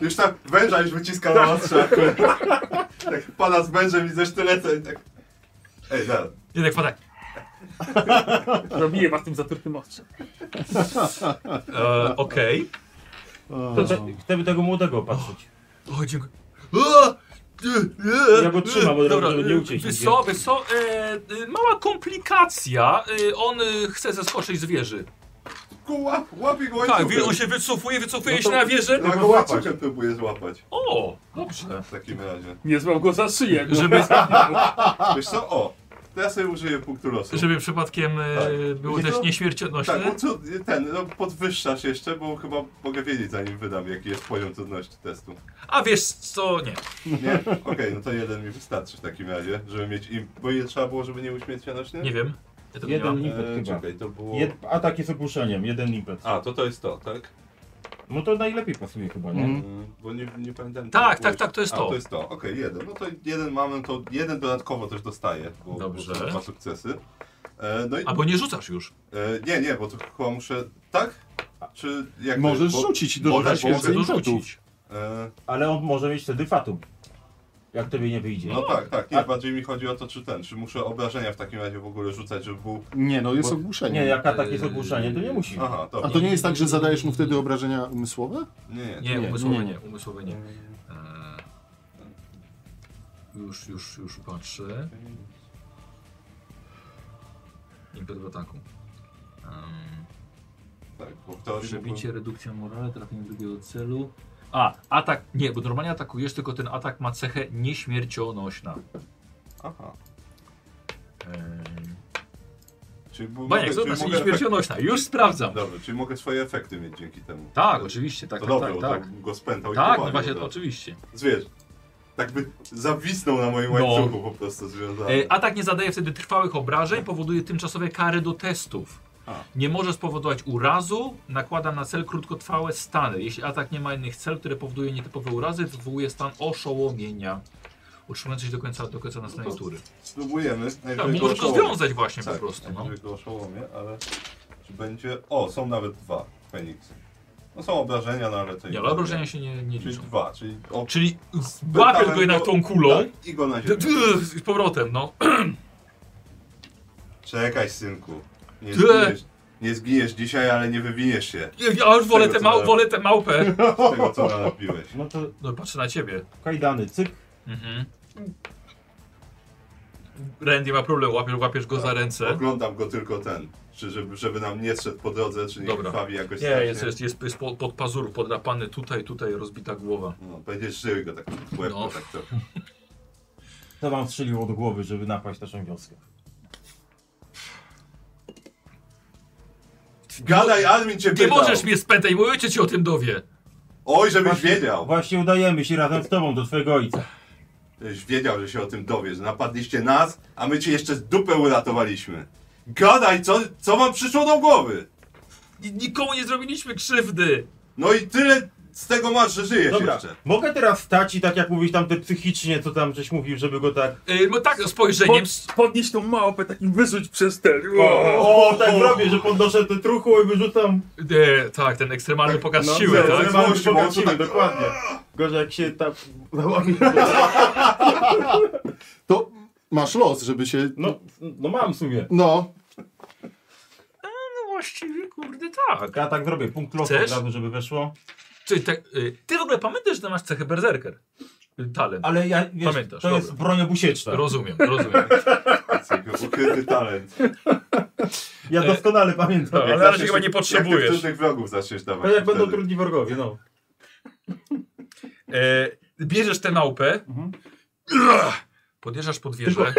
S2: Już tak węża już wyciska na ostrze. tak pana z wężem i ze sztyletem i tak... Ej, zaraz.
S1: Jednak wpada.
S8: robiłem was tym zaturtym ostrzem.
S1: E, Okej.
S9: O,
S4: To te, chcemy tego młodego opatrzyć.
S1: O, dziękuję. O!
S4: Ja go trzymam, bo
S1: Dobra, y,
S4: żeby nie uciekł
S1: Wyso, wyso, e, e, mała komplikacja. E, on e, chce zeskoczyć z wieży.
S2: Ku, łap, łapie go
S1: Tak,
S2: łańcuchem.
S1: wie- on się wycofuje, wycofuje
S2: No
S1: się
S2: to-
S1: na wieżę.
S2: Ja go łańcuchem próbuję złapać.
S1: O, dobrze.
S2: W takim razie.
S8: Nie złam go za szyję. no.
S1: Żeby,
S2: Wiesz co? O! To ja sobie użyję punktu losu.
S1: Żeby przypadkiem e,
S2: Tak.
S1: był
S2: Nie
S1: też
S2: to-
S1: nieśmiercionośny.
S2: Tak, no co, ten, no podwyższasz jeszcze, bo chyba mogę wiedzieć zanim wydam, jaki jest poziom trudności testu.
S1: A wiesz co, nie.
S2: Nie? Okej, no to jeden mi wystarczy w takim razie, żeby mieć im... Bo ile trzeba było, żeby nie uśmiercianośnie?
S1: Nie wiem. Ja tego nie
S4: Jeden
S1: mam.
S4: impet
S2: E,
S4: chyba.
S2: czekaj, to było...
S4: Jed, atak jest ogłuszeniem, jeden impet.
S2: A, to to jest to, tak?
S4: No to najlepiej pasuje chyba, nie?
S9: Mhm.
S2: Mm, Bo nie, nie pamiętam.
S1: Tak,
S2: co
S1: tak,
S2: było.
S1: tak, to jest
S2: A,
S1: to.
S2: to jest to, okej, jeden. No to jeden mamy, to jeden dodatkowo też dostaję, bo,
S1: Dobrze.
S2: bo są dwa sukcesy. E, no i...
S1: Albo nie rzucasz już.
S2: E, nie, nie, bo to chyba muszę... Tak? Czy jak to
S9: Możesz
S2: jest? bo...
S9: rzucić,
S2: Możesz,
S9: dodać
S1: Też mogę
S9: więcej impetów.
S1: dorzucić.
S2: E,
S4: Ale on może mieć wtedy fatum. Jak tobie nie wyjdzie.
S2: No tak, tak. Nie,
S4: A-
S2: bardziej mi chodzi o to, czy ten, czy muszę obrażenia w takim razie w ogóle rzucać, żeby był...
S9: Nie, no jest
S2: Bo-
S9: ogłuszenie.
S4: Nie, jak atak jest ogłuszenie, to nie musi.
S2: Aha,
S9: A
S2: dobra.
S9: to nie jest tak, że zadajesz mu wtedy obrażenia umysłowe?
S2: Nie, nie.
S1: Nie,
S9: nie,
S1: umysłowy
S9: nie,
S1: nie, umysłowy nie. Eee, Już, już, już patrzę. Impet w ataku. Ehm,
S2: Tak, bo w teorii
S1: Przebicie,
S2: mógłbym-
S1: redukcja morale, trafienie drugiego celu. A, atak. Nie, bo normalnie atakujesz, tylko ten atak ma cechę nieśmiercionośna.
S2: Aha.
S1: Ehm,
S2: Czyli bu-
S1: Baniek,
S2: mogę,
S1: zobacz,
S2: czyli mogę efekt...
S1: nieśmiercionośna, już sprawdzam.
S2: Dobra, czyli mogę swoje efekty mieć dzięki temu.
S1: Tak, oczywiście, tak,
S2: To
S1: tak, tak.
S2: dobrze, bo
S1: Tak,
S2: to go spętał i
S1: tak no
S2: powalił
S1: właśnie, to
S2: od razu.
S1: oczywiście.
S2: Zwierz. Tak by zawisnął na moim
S1: No.
S2: łańcuchu po prostu związany.
S1: E, Atak nie zadaje wtedy trwałych obrażeń, powoduje tymczasowe kary do testów.
S2: A.
S1: Nie może spowodować urazu, nakłada na cel krótkotrwałe stany. Jeśli atak nie ma innych cel, które powoduje nietypowe urazy, wywołuje stan oszołomienia. Utrzymujący się do końca, do końca następnej
S2: No to-
S1: tury.
S2: Spróbujemy.
S1: Tak,
S2: Najpierw
S1: bo możesz go
S2: oszołomię.
S1: związać właśnie
S2: tak,
S1: po prostu. No.
S2: najpierw go oszołomię, ale czy będzie... O, są nawet dwa Feniksy. No są obrażenia, no ale to...
S1: Nie,
S2: i-
S1: ale obrażenia się nie, nie
S2: Czyli
S1: liczą.
S2: dwa, czyli... O,
S1: Czyli łapiesz
S2: Spytałem
S1: go jednak
S2: go-
S1: tą kulą
S2: tak, I go na
S1: d-
S2: ziemię.
S1: d- z powrotem, no.
S2: Czekaj, synku. Nie
S1: Ty!
S2: zginiesz, nie zginiesz dzisiaj, ale nie wywiniesz się
S1: Ja już wolę
S2: Tego,
S1: tę
S2: co
S1: mał,
S2: dałem.
S1: wolę tę małpę.
S2: z tego, co napiłeś.
S4: No to
S1: No patrzę na ciebie.
S4: kajdany, cyk.
S1: Mhm. Randy ma problem, łapiesz, łapiesz go za ręce.
S2: Oglądam go tylko ten. Czy żeby, żeby nam nie szedł po drodze, czy nie
S1: Dobra.
S2: krwawi jakoś
S1: Nie,
S2: strasznie.
S1: jest, jest, jest, jest pod, pod pazur podrapany tutaj, tutaj rozbita głowa.
S2: No, będziesz żył go tak w łeb,
S1: No.
S2: tak to.
S4: To wam strzeliło do głowy, żeby napaść naszą wioskę.
S2: Gadaj, Armin cię
S1: Nie
S2: pytał.
S1: no, możesz mnie spętać, bo ojciec cię o tym dowie.
S2: Oj, żebyś
S4: Właśnie-
S2: wiedział.
S4: Właśnie udajemy się razem z tobą do twojego ojca.
S2: Żebyś wiedział, że się o tym dowiesz. Napadliście nas, a my cię jeszcze z dupę uratowaliśmy. Gadaj, co, co wam przyszło do głowy?
S1: Ni- Nikomu nie zrobiliśmy krzywdy.
S2: No i tyle z tego masz, że żyjesz
S4: Dobra,
S2: jeszcze.
S4: mogę teraz stać i tak jak mówisz tam te psychicznie, co tam żeś mówił, żeby go tak...
S1: Yy, no tak, spojrzeniem.
S8: Podnieś tą małpę, takim wyrzuć przez ten.
S4: O, tak robię, że podnoszę te truchło i wyrzucam...
S1: E, tak, ten ekstremalny pokaz siły,
S4: zero,
S1: tak?
S4: zero,
S2: Złość,
S4: zero,
S2: moc,
S4: siły,
S2: tak.
S4: dokładnie. Gorzej jak się tak tam...
S9: To masz los, żeby się...
S4: No, no mam w sumie.
S9: No,
S1: No właściwie, kurde, tak.
S4: Ja tak zrobię, punkt losu
S1: Chcesz?
S4: od razu, żeby weszło.
S1: Ty, tak y, ty w ogóle pamiętasz, że masz cechę berserker? Y, Talent.
S4: Ale ja, wiesz,
S1: Pamiętasz,
S4: to
S1: dobra.
S4: jest broń obusieczna.
S1: Rozumiem, rozumiem.
S2: Ukryty talent.
S4: Ja
S1: E,
S4: doskonale pamiętam.
S1: Ale na razie chyba nie
S2: Jak ty
S1: potrzebujesz.
S2: trudnych wrogów zaczniesz dawać.
S4: No jak
S2: wtedy.
S4: będą trudni wrogowie, no.
S1: E, bierzesz tę małpę, podjeżdżasz pod wieżę.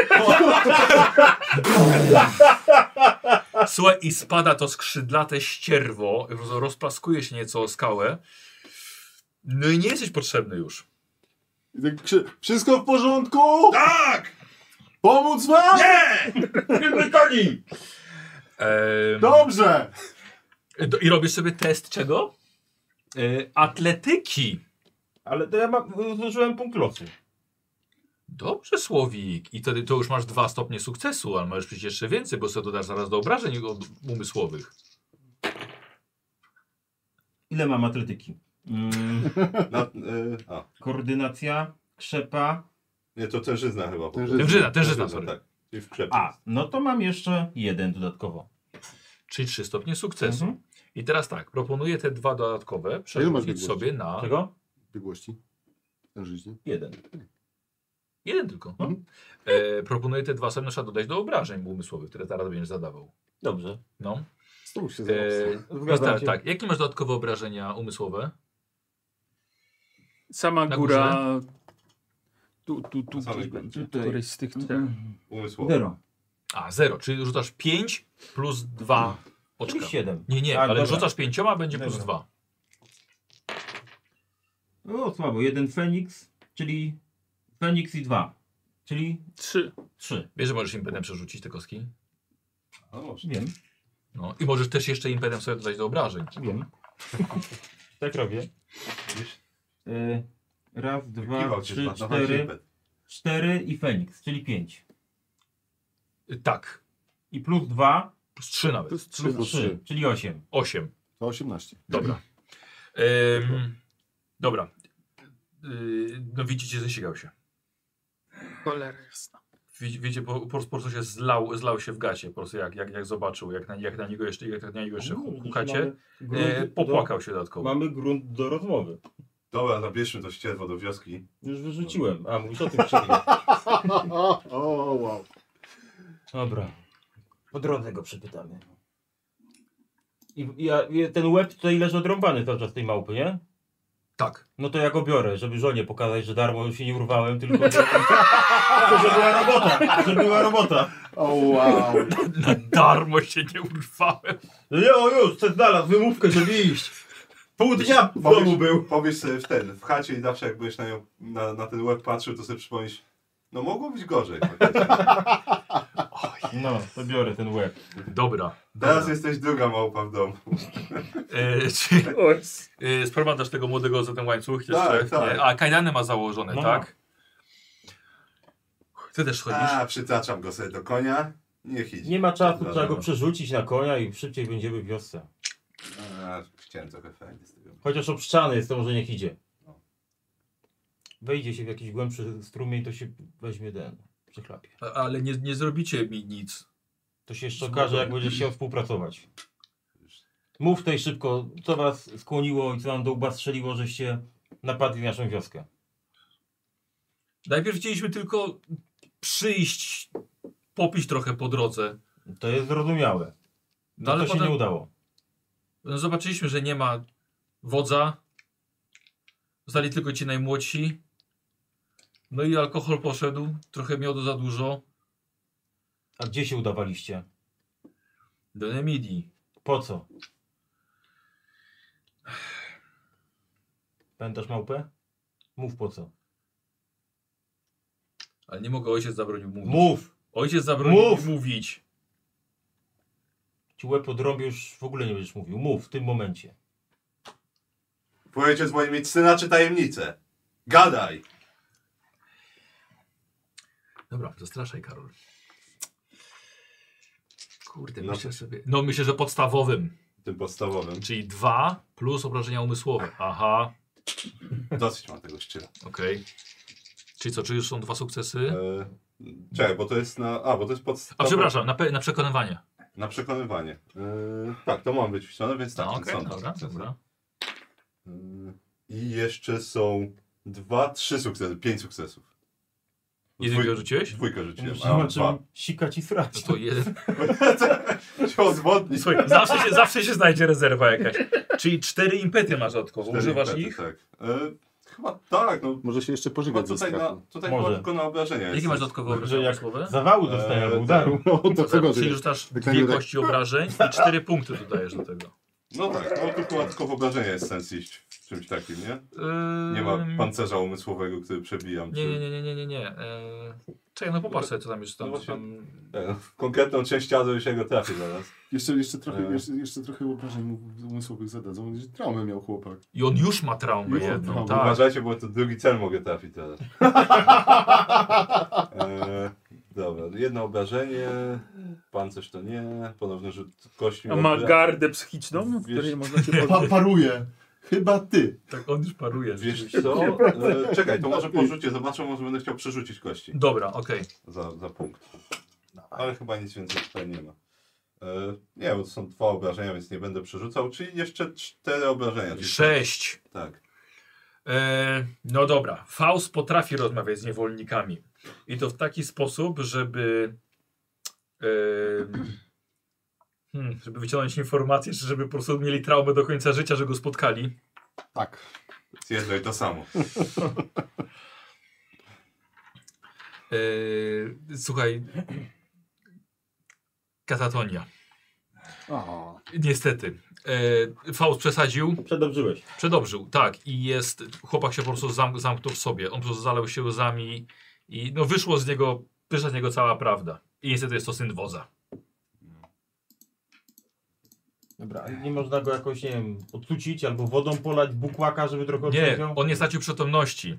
S1: Słuchaj, i spada to skrzydlate ścierwo, roz- rozplaskuje się nieco o skałę. No i nie jesteś potrzebny już.
S9: I tak krzy- wszystko w porządku?
S2: Tak!
S9: Pomóc wam?
S1: Ehm,
S9: Dobrze!
S1: do- I robisz sobie test czego? E, atletyki.
S4: Ale to ja mam, zużyłem punkt losu.
S1: Dobrze, Słowik. I wtedy to już masz dwa stopnie sukcesu, ale możesz przecież jeszcze więcej, bo sobie dodasz zaraz do obrażeń od- umysłowych.
S4: Ile mam atletyki? Mm,
S2: Na, y, a,
S4: koordynacja, krzepa.
S2: nie, to tężyzna chyba. po
S9: Tężyzna.
S2: prostu.
S1: Tężyzna, tężyzna, sorry.
S2: tak. Czyli w krzepie.
S4: A, no to mam jeszcze jeden dodatkowo.
S1: Czyli trzy stopnie sukcesu.
S4: Mhm.
S1: I teraz tak, proponuję te dwa dodatkowe przerzucić
S9: biegłości?
S1: sobie na
S4: Czego?
S9: Biegłości. Tężyźnie.
S4: Jeden.
S1: jeden tylko.
S4: Mhm.
S1: E, proponuję te dwa sobie na przykład dodać do obrażeń umysłowych, które teraz będziesz zadawał.
S4: Dobrze.
S1: No.
S9: Znowu się
S1: E,
S9: e...
S1: więc
S4: Zgadzam
S1: tak,
S4: się.
S1: tak. Jakie masz dodatkowe obrażenia umysłowe?
S8: Sama
S1: Na
S8: góra. Tu, tu, tu,
S2: samej
S8: tu,
S2: górze.
S8: tu, któryś z tych trzech.
S2: Umysłowo.
S4: Zero.
S1: A, 0, czyli rzucasz 5 plus 2 oczka.
S4: Czyli 7.
S1: Nie, nie,
S4: Mhm. A,
S1: ale
S4: dobra.
S1: rzucasz pięcioma, będzie plus
S4: Dobra.
S1: dwa.
S4: No słabo, jeden Feniks, czyli Feniks i dwa, czyli
S8: Trzy.
S4: trzy.
S1: Wiesz, że możesz impetem przerzucić te kostki?
S2: No może.
S4: Wiem,
S1: No i możesz też jeszcze impetem sobie dodać do obrażeń.
S4: wiem. tak robię.
S2: Wiesz,
S3: E,
S4: Y, raz, dwa,
S2: kiwał cię,
S4: trzy,
S2: zna- na
S4: cztery,
S2: walce.
S4: cztery i Feniks, czyli pięć.
S1: Y, Tak,
S4: I plus dwa,
S1: plus 3 nawet,
S13: Plus
S4: plus trzy, czyli osiem.
S1: 8.
S13: 18.
S1: Dobra. Ym, dobra. Ym, no widzicie, zasigał się.
S8: Cholera jasna.
S1: Widzi- Wiecie, po, po, prostu- po prostu się zlał, zlał się w gacie, po prostu jak, jak, jak zobaczył, jak na, jak na niego jeszcze, jak na niego jeszcze hukacie, e, popłakał się
S3: Do,
S1: dodatkowo.
S3: mamy grunt do rozmowy.
S2: Dobra, zabierzmy to ścierwo do wioski.
S3: Już wyrzuciłem. A, mówisz o tym przerwie.
S13: o, o, wow.
S4: Dobra.
S3: Po drodze go przepytamy. I, i, ja- i ten łeb tutaj leży odrąbany cały czas tej małpy, nie?
S1: Tak.
S4: No to ja go biorę, żeby żonie pokazać, że darmo się nie urwałem, tylko że, tylko że była robota, że była robota.
S13: O, wow.
S1: Na darmo się nie urwałem.
S3: Nie, o No już, ten znalazł wymówkę, żeby iść. Pół dnia w domu był.
S2: Powiesz sobie w ten, w chacie i zawsze jak byłeś na, nią, na, na ten łeb patrzył, to sobie przypomnisz, no mogło być gorzej.
S4: No, to biorę ten łeb.
S1: Dobra.
S2: Teraz jesteś druga małpa w domu.
S1: E, czy,
S8: Oj,
S1: e, sprowadzasz tego młodego za ten łańcuch jeszcze?
S2: Tak, tak.
S1: Nie? A kajdany ma założone,
S4: No.
S1: tak? Ty też chodzisz?
S2: no. A, przytaczam go sobie do konia, niech idzie.
S4: Nie ma czasu,
S2: Dobra,
S4: trzeba go
S2: dobra.
S4: przerzucić na konia i szybciej będziemy w wiosce.
S2: A, chciałem trochę fajnie z tego.
S4: Chociaż obszczany jest, to może niech idzie.
S2: No.
S4: Wejdzie się w jakiś głębszy strumień, to się weźmie ten, przyklapie.
S1: A- Ale nie, nie zrobicie mi nic.
S4: To się jeszcze okaże, jak będziesz chciał współpracować. Mów tutaj szybko, co was skłoniło i co nam do łba strzeliło, żeście napadli na naszą wioskę.
S1: Najpierw chcieliśmy tylko przyjść, popić trochę po drodze.
S4: To jest zrozumiałe.
S1: No
S4: No,
S1: ale
S4: to się
S1: potem
S4: nie udało.
S1: no, zobaczyliśmy, że nie ma wodza. Zostali tylko ci najmłodsi. No i alkohol poszedł, trochę miodu za dużo.
S4: A gdzie się udawaliście?
S1: Do Nemidii.
S4: Po co? Pamiętasz małpę? Mów po co.
S1: Ale nie mogę, ojciec zabronił mówić.
S4: Mów!
S1: Ojciec zabronił
S4: Mów!
S1: mi mówić.
S4: Ci łeb odrobię, już w ogóle nie będziesz mówił. Mów w tym momencie.
S2: Powiecie z moim mieć syna czy tajemnicę? Gadaj!
S1: Dobra, zastraszaj Karol. Kurde,
S2: No.
S1: myślę sobie. No myślę, że podstawowym,
S2: Tym podstawowym.
S1: czyli dwa plus obrażenia umysłowe. Aha,
S2: Dosyć mam tego szczyla.
S1: okej. Czyli co, czy już są dwa sukcesy?
S2: E, czekaj, bo to jest na... A, bo to jest
S1: A
S2: podstawowe.
S1: przepraszam, na, pe- na przekonywanie.
S2: Na przekonywanie.
S13: Eee,
S2: E, tak, to mam być wpisane, więc tak.
S1: No,
S2: to
S1: okej,
S2: są
S1: dobra,
S2: sukcesy.
S1: dobra.
S2: E, I jeszcze są dwa, trzy sukcesy, pięć sukcesów.
S1: Jedynkę rzuciłeś?
S2: Dwójkę rzuciłem,
S4: Musisz
S2: a mam
S4: na
S2: dwa.
S4: czym sikać i
S1: No
S4: srać.
S1: to jeden.
S2: Się odwodnić.
S1: Słuchaj, zawsze się, zawsze się znajdzie rezerwa jakaś. Czyli cztery impety masz dodatkowo.
S2: Cztery
S1: Używasz
S2: impety,
S1: ich?
S2: Tak. E, chyba tak, no.
S13: Może się jeszcze
S2: Chyba
S13: pożygać ze
S2: tutaj tak na,
S13: strachu.
S2: tutaj
S4: Może.
S2: chyba tylko na obrażenia
S1: Jakie
S2: jest.
S1: masz dodatkowe
S4: Dobrze,
S1: obrażenia
S4: jak
S1: słowe?
S4: Zawału dostaję
S2: Eee,
S4: albo udaru.
S13: No to co
S1: Czyli
S13: gorzej.
S1: rzucasz
S13: Wyklęty
S1: dwie
S13: tak.
S1: kości obrażeń i cztery punkty dodajesz do tego.
S2: No tak, no tylko dodatkowo obrażenia jest sens iść w czymś takim, nie? Ehm, Nie ma
S1: Ym,
S2: pancerza umysłowego, który przebijam.
S1: Ehm, Nie, nie,
S2: czy-
S1: nie, nie, nie, nie, nie. Eee, czekaj, no popatrz sobie, co tam jest. Tam,
S2: No
S1: co tam...
S2: E, no, w konkretną część ciała już jego trafię zaraz.
S13: Jeszcze, jeszcze, trochę,
S2: E.
S13: jeszcze, jeszcze trochę obrażeń mu- umysłowych zadadzą. Traumę miał chłopak.
S1: I on już ma traumę
S13: Już ma
S1: jedną,
S2: no,
S13: traumę.
S1: tak.
S2: Uważajcie, bo to drugi cel mogę trafić teraz. e, dobra, jedno obrażenie, pancerz to nie, ponowny rzut kości.
S8: A ma
S2: Obra-
S8: gardę psychiczną, w
S2: Wiesz-
S8: której można się
S13: Pa,
S8: pozbyć.
S13: paruje. Chyba ty.
S1: Tak, on już paruje.
S2: Wiesz
S1: rzeczywiście.
S2: co? E, czekaj, to może porzucie, zobaczę, może będę chciał przerzucić kości
S1: Dobra, okej.
S2: za, za punkt. Ale chyba nic więcej tutaj nie ma. E, nie, bo to są dwa obrażenia, więc nie będę przerzucał, czyli jeszcze cztery obrażenia. czyli-
S1: Sześć.
S2: Tak.
S1: E, no dobra, Faust potrafi rozmawiać z niewolnikami. I to w taki sposób, żeby. E, hmm, żeby wyciągnąć informacje, czy żeby po prostu mieli traumę do końca życia, że go spotkali.
S13: Tak.
S2: Zjeżdżaj to samo.
S1: E, słuchaj, Katatonia.
S9: O,
S1: Niestety. E, Faust przesadził.
S4: tak. Przedobrzyłeś.
S1: Przedobrzył, tak. I jest. Chłopak się po prostu zam, zamknął w sobie. On po prostu zalał się łzami i no wyszło z niego, wyszła z niego cała prawda. I niestety jest to syn woza.
S4: Dobra, nie można go jakoś, nie wiem, odsucić albo wodą polać, bukłaka, żeby trochę
S1: Nie,
S4: odciągnął?
S1: on nie stracił przytomności.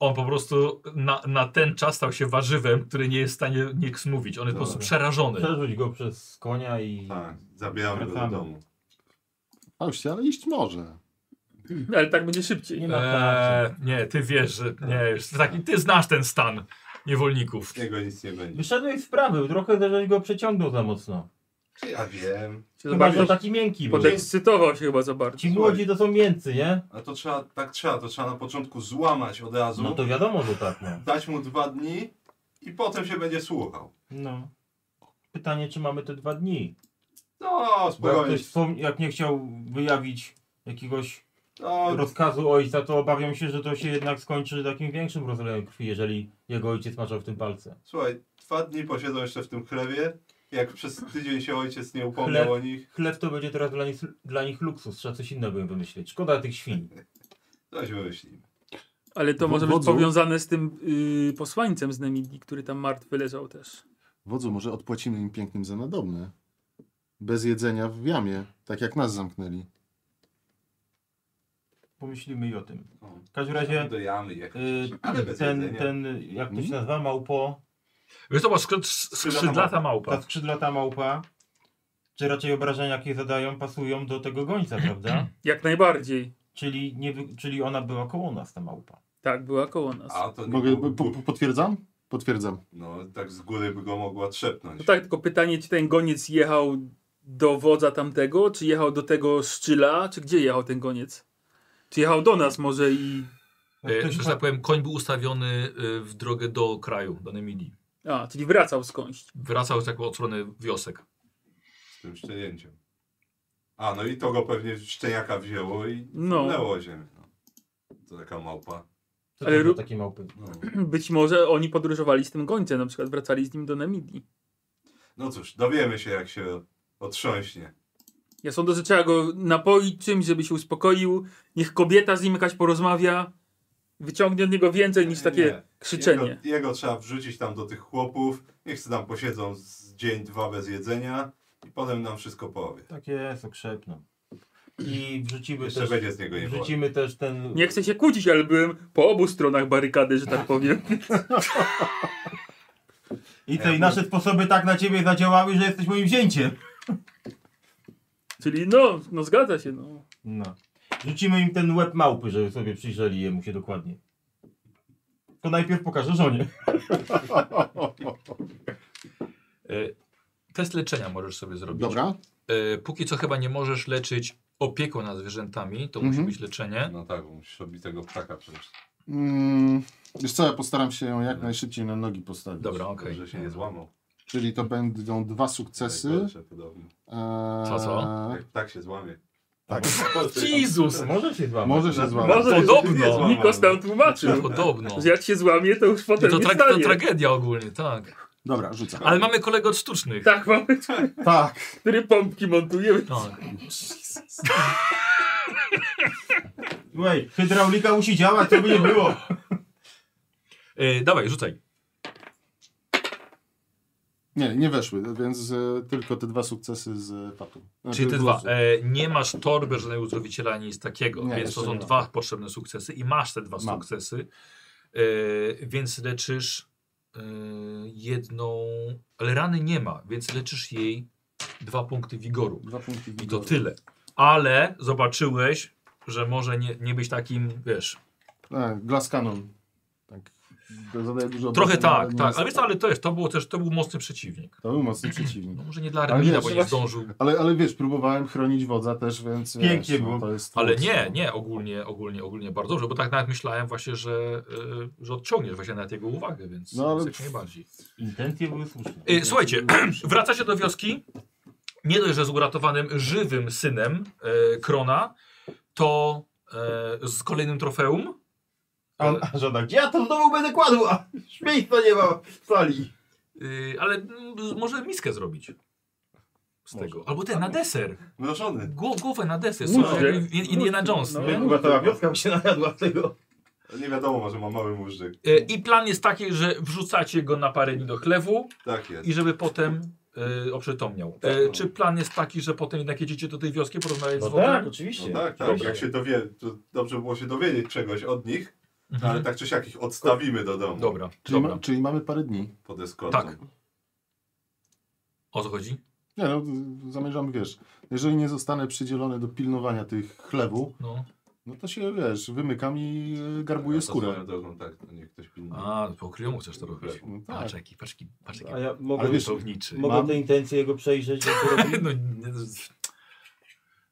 S1: On po prostu na, na ten czas stał się warzywem, który nie jest w stanie nikt mówić. On jest po prostu
S2: Dobra.
S1: przerażony.
S4: Przerzuć go przez konia i...
S2: Tak, zabieramy go do
S4: Wracamy.
S2: domu.
S9: Fauście, ale iść może.
S8: Ale tak będzie szybciej.
S4: Nie ma eee...
S1: Eee, nie, ty wiesz, że nie, już taki, ty znasz ten stan niewolników.
S2: Jego nic nie będzie.
S4: Wyszedłeś z prawy, trochę żeś go przeciągnął za mocno.
S2: Ja wiem.
S8: Się za
S4: Chyba,
S8: bardzo
S4: że taki miękki był.
S8: Podekscytował się chyba za bardzo.
S4: Ci młodzi to są mięcy, nie?
S2: A to trzeba, tak trzeba, to trzeba na początku złamać od razu,
S4: No to wiadomo, że tak, no.
S2: dać mu dwa dni i potem się będzie słuchał.
S4: no. Pytanie, czy mamy te dwa dni?
S2: No,
S4: Bo jak,
S2: spokojnie.
S4: ktoś wspom- jak nie chciał wyjawić jakiegoś
S2: No,
S4: rozkazu ojca, to obawiam się, że to się jednak skończy takim większym rozlejem krwi, jeżeli jego ojciec maczał w tym palce.
S2: słuchaj, dwa dni posiedzą jeszcze w tym chlewie. Jak przez tydzień się ojciec nie upomniał
S4: Chleb.
S2: o nich,
S4: Chleb to będzie teraz dla nich, dla nich luksus, trzeba coś innego im wymyślić. Szkoda tych świń.
S2: coś wymyślimy.
S8: Ale to
S9: W-
S8: może być
S9: wodzu?
S8: powiązane z tym y, posłańcem z Nemidii, który tam martwy leżał też.
S9: Wodzu, może odpłacimy im pięknym za nadobne. Bez jedzenia w jamie, tak jak nas zamknęli.
S4: Pomyślimy i o tym.
S2: No.
S4: W każdym razie
S2: Do jamy jak... Ale
S4: y,
S2: bez
S4: ten,
S2: jedzenia.
S4: ten, jak to się nazywa, małpo,
S1: Wiesz, to była skrzyd- skrzydlata małpa.
S4: ta skrzydlata małpa, czy raczej obrażenia, jakie zadają, pasują do tego gońca, prawda?
S8: Jak najbardziej.
S4: Czyli, nie, wy- czyli ona była koło nas, ta małpa.
S8: Tak, była koło nas.
S2: A to nie
S9: Mogę,
S2: byłby
S9: po,
S2: pu-
S9: po, potwierdzam? Potwierdzam.
S2: No, tak z góry by go mogła trzepnąć.
S8: No tak, tylko pytanie, czy ten goniec jechał do wodza tamtego, czy jechał do tego szczyla, czy gdzie jechał ten goniec? Czy jechał do nas może i...
S4: Jak
S1: E,
S4: ktoś
S1: że
S4: ma-
S1: tak powiem, koń był ustawiony e, w drogę do kraju, do Nemidii.
S8: A, czyli wracał skądś.
S1: Wracał z taką od strony wiosek.
S2: Z tym szczenięciem. A, no i to go pewnie szczeniaka wzięło i
S8: No.
S2: leło ziemię. No. To taka małpa.
S4: Co
S8: Ale
S4: ale
S8: ru-
S4: takie małpy.
S2: No,
S8: Być może oni podróżowali z tym gońcem, na przykład wracali z nim do Namidii.
S2: no cóż, dowiemy się jak się otrząśnie.
S8: Ja sądzę, że trzeba go napoić czymś, żeby się uspokoił. Niech kobieta z nim jakaś porozmawia. Wyciągnie od niego więcej niż takie
S2: Nie. Jego,
S8: krzyczenie.
S2: jego trzeba wrzucić tam do tych chłopów. Niech se tam posiedzą z dzień, dwa bez jedzenia i potem nam wszystko powie.
S4: Tak jest, okrzepną. I wrzucimy
S2: Jeszcze
S4: też,
S2: będzie z niego niewolnik.
S4: wrzucimy też ten...
S8: Nie chcę się kłócić, ale byłem po obu stronach barykady, że tak powiem.
S4: I te i nasze sposoby tak na ciebie zadziałały, że jesteś moim wzięciem.
S8: Czyli no, no zgadza się. No.
S4: No. Rzucimy im ten łeb małpy, żeby sobie przyjrzeli jemu się dokładnie. To najpierw pokażę żonie.
S1: E, Test leczenia możesz sobie zrobić.
S9: Dobra.
S1: E, Póki co chyba nie możesz leczyć opieką nad zwierzętami, to
S9: Mhm.
S1: musi być leczenie.
S2: No tak, bo musisz robić tego ptaka przecież.
S9: Mm, wiesz co, ja postaram się ją jak najszybciej na nogi postawić.
S1: Dobra, okej.
S2: Dobrze się nie złamał.
S9: Czyli to będą dwa sukcesy.
S2: Najgorsze podobno.
S9: Eee,
S1: Co, co?
S2: Jak ptak się złamie.
S9: Tak.
S1: Jezus!
S4: Może się złamać.
S9: Może się złamać.
S8: Może
S2: Nie
S1: Podobno!
S2: złamał.
S8: Nikos nam
S2: no.
S8: tłumaczył,
S1: Podobno.
S8: że jak się złamie, to już
S1: Nie,
S8: potem
S1: To,
S8: nie
S1: tra to
S8: stanie.
S1: tragedia ogólnie, tak.
S9: Dobra, rzucam.
S1: Ale mamy kolegę od sztucznych.
S8: Tak, mamy,
S9: Tak.
S8: który pompki montujemy.
S1: Tak.
S4: Słuchaj, hydraulika musi działać, to by nie było.
S1: E, dawaj, rzucaj.
S9: Nie, nie weszły, więc e, tylko te dwa sukcesy z Znaczy, patu.
S1: Czyli te dwa. E, nie masz torby żadnego uzdrowiciela, nic takiego,
S9: Nie,
S1: więc
S9: jeszcze
S1: to są
S9: nie ma.
S1: dwa potrzebne sukcesy i masz te dwa
S9: Mam.
S1: sukcesy, e, więc leczysz e, jedną, ale rany nie ma, więc leczysz jej dwa punkty wigoru
S9: Dwa punkty
S1: i to
S9: wigoru.
S1: tyle. Ale zobaczyłeś, że może nie, nie być takim, wiesz,
S9: E, glass cannon. Tak. To Zadaje dużo
S1: trochę
S9: obrażeń,
S1: tak,
S9: ale nie
S1: tak,
S9: jest-
S1: ale, wiesz, co, ale to jest, to było też, to był mocny przeciwnik.
S9: To był mocny przeciwnik.
S1: No może nie dla Armina,
S9: wiesz,
S1: bo nie
S9: właśnie-
S1: zdążył,
S9: Ale, ale wiesz, próbowałem chronić wodza też, więc.
S4: Pięknie
S9: wiesz, no,
S4: było.
S9: to jest
S1: Ale nie, nie, ogólnie, ogólnie, ogólnie bardzo dobrze, bo tak nawet myślałem właśnie, że, y, że odciągniesz właśnie nawet jego uwagę, więc,
S9: No, ale-
S1: więc jak najbardziej.
S4: Intencje były słuszne.
S1: Y, słuchajcie, wracacie do wioski, nie dość, że z uratowanym żywym synem y, Krona, to y, z kolejnym trofeum,
S4: A, a żona, gdzie ja to znowu będę kładł, a miejsca nie ma w sali.
S1: Yy, ale mm, może miskę zrobić z tego. Albo ten na deser.
S2: Mrożony.
S1: Głów, głowę na deser.
S8: Mózg.
S1: Słuchaj, In- In- Indiana Jones.
S8: No.
S1: nie?
S4: Chyba cała wioska by się najadła tego.
S2: No Nie wiadomo, może ma mały móżdżyk.
S1: E, I plan jest taki, że wrzucacie go na parę dni do chlewu
S2: Tak jest.
S1: i żeby potem e, oprzytomniał. E, czy plan jest taki, że potem jednak jedziecie do tej wioski, porozmawiać z
S4: Tak, No
S1: wodą?
S4: tak, oczywiście.
S2: No tak, tak.
S4: Dobrze.
S2: Jak się dowie, to dobrze było się dowiedzieć czegoś od nich,
S1: Mhm.
S2: ale tak czy siak ich odstawimy do domu
S1: Dobra,
S9: Czyli,
S1: dobra.
S9: ma, czyli mamy parę dni.
S2: pod eskortą.
S1: Tak. O co chodzi?
S9: Nie no, zamierzam, wiesz, jeżeli nie zostanę przydzielony do pilnowania tych chlebów,
S1: No.
S9: no to się, wiesz, wymykam i e, garbuję
S2: To
S9: skórę.
S2: swoją drogą, tak, to niech ktoś pilnuje.
S1: A, po kryjomu chcesz to robić.
S9: No tak.
S1: Patrz jaki, patrz jaki, patrz jaki
S4: A ja mogę,
S9: Ale wiesz,
S1: buntowniczy.
S4: mogę
S9: mam-
S4: te intencje jego przejrzeć. jak to robi?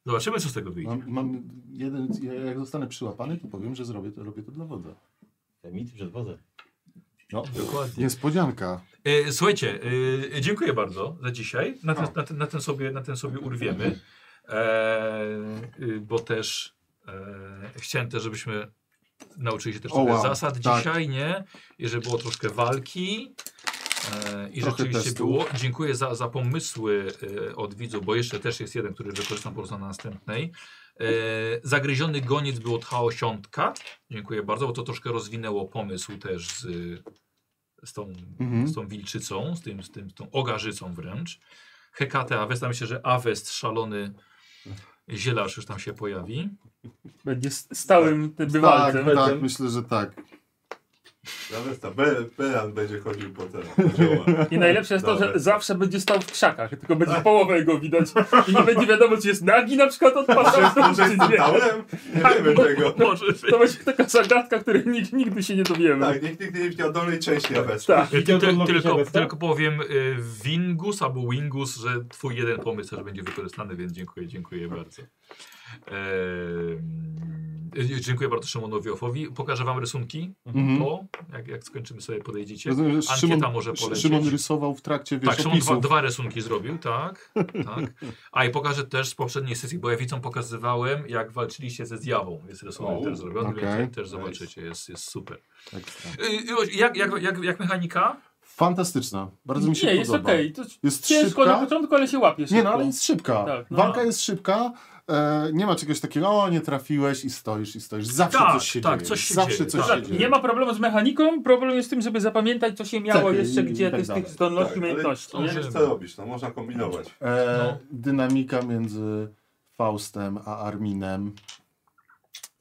S1: No, nie, zobaczymy co z tego
S4: No.
S1: wyjdzie.
S9: Mam, mam jeden, ja- jak zostanę przyłapany, to powiem, że zrobię to, robię to dla wodza.
S4: Te Mit przed wodę.
S1: Dokładnie.
S9: Niespodzianka.
S1: E, słuchajcie, e, dziękuję bardzo za dzisiaj. Na
S9: No.
S1: ten, na ten, na ten, sobie, na ten sobie urwiemy, e, y, bo też e, chciałem też, żebyśmy nauczyli się też
S9: O,
S1: trochę
S9: wow,
S1: zasad
S9: tak.
S1: dzisiaj, nie? I żeby było troszkę walki. E, I
S9: Trochę
S1: rzeczywiście
S9: testów.
S1: było. Dziękuję za, za pomysły e, od widzów, bo jeszcze też jest jeden, który wykorzystam po prostu na następnej. E, zagryziony goniec był od chaosiątka. Dziękuję bardzo, bo to troszkę rozwinęło pomysł też z, z tą
S9: Mhm.
S1: z tą wilczycą, z, tym, z, tym, z tą ogarzycą wręcz. Hekate Avesta, myślę, że Avest, szalony zielarz już tam się pojawi.
S8: Będzie s- stałym tym
S9: Tak,
S8: bywalcem.
S9: tak, myślę, że tak.
S2: Nawet ta Be- Beran będzie chodził po ten po zioła.
S8: I najlepsze jest to, że
S2: Dobra. Tak.
S8: zawsze będzie stał w krzakach, tylko będzie połowę jego widać i nie będzie wiadomo, czy jest nagi na przykład od pasa,
S2: Może
S8: czy
S2: jest
S8: nie.
S2: totalem? Nie wiemy tego.
S1: Może
S8: To będzie taka zagadka, której nikt, nigdy się nie dowiemy.
S2: Tak, nikt nigdy nie widział dolnej części Avesta.
S8: Tak.
S1: Ty, ty,
S4: odnosi się
S1: tylko,
S4: Avesta?
S9: tak?
S1: tylko powiem y, Wingus albo Wingus, że twój jeden pomysł też będzie wykorzystany, więc dziękuję, dziękuję bardzo. Ehm, y, dziękuję bardzo Szymonowi Ofowi. Pokażę wam rysunki
S9: Mhm.
S1: po, jak, jak skończymy sobie podejdziecie.
S9: Rozumiem, że
S1: Ankieta
S9: Szymon,
S1: może polecieć.
S9: Szymon rysował w trakcie, wiesz,
S1: Tak, Szymon dwa,
S9: opisów.
S1: dwa rysunki zrobił, tak, tak. A i pokażę też z poprzedniej sesji, bo ja widzom pokazywałem, jak walczyliście ze zjawą. Jest rysunek
S2: O,
S1: też zrobiony,
S9: okej.
S1: więc też zobaczycie, jest, jest super.
S9: Ekstra.
S1: Y, y, Jak, jak, jak, jak mechanika?
S9: Fantastyczna. Bardzo mi się
S8: nie, jest
S9: podoba.
S8: okej. To
S9: Jest
S8: ciężko na
S9: szybka.
S8: początku, ale się łapiesz.
S9: Nie, no ale jest szybka.
S8: Tak, no.
S9: Walka jest szybka. E, nie ma czegoś takiego, o nie trafiłeś i stoisz, i stoisz. Zawsze
S1: Tak,
S9: coś się
S1: tak,
S9: dzieje.
S1: coś się
S9: Zawsze
S1: dzieje,
S9: coś
S1: tak.
S9: się dzieje.
S8: Nie ma problemu z mechaniką, problem jest z tym, żeby zapamiętać, co się miało
S9: Cechy
S8: jeszcze,
S9: i- i
S8: gdzie
S9: tak
S8: to jest
S9: dalej.
S8: tych zdolności,
S2: Tak, ale
S8: umiejętności.
S2: To
S8: nie?
S2: wiesz co robisz, no można kombinować.
S1: No.
S9: E, Dynamika między Faustem a Arminem.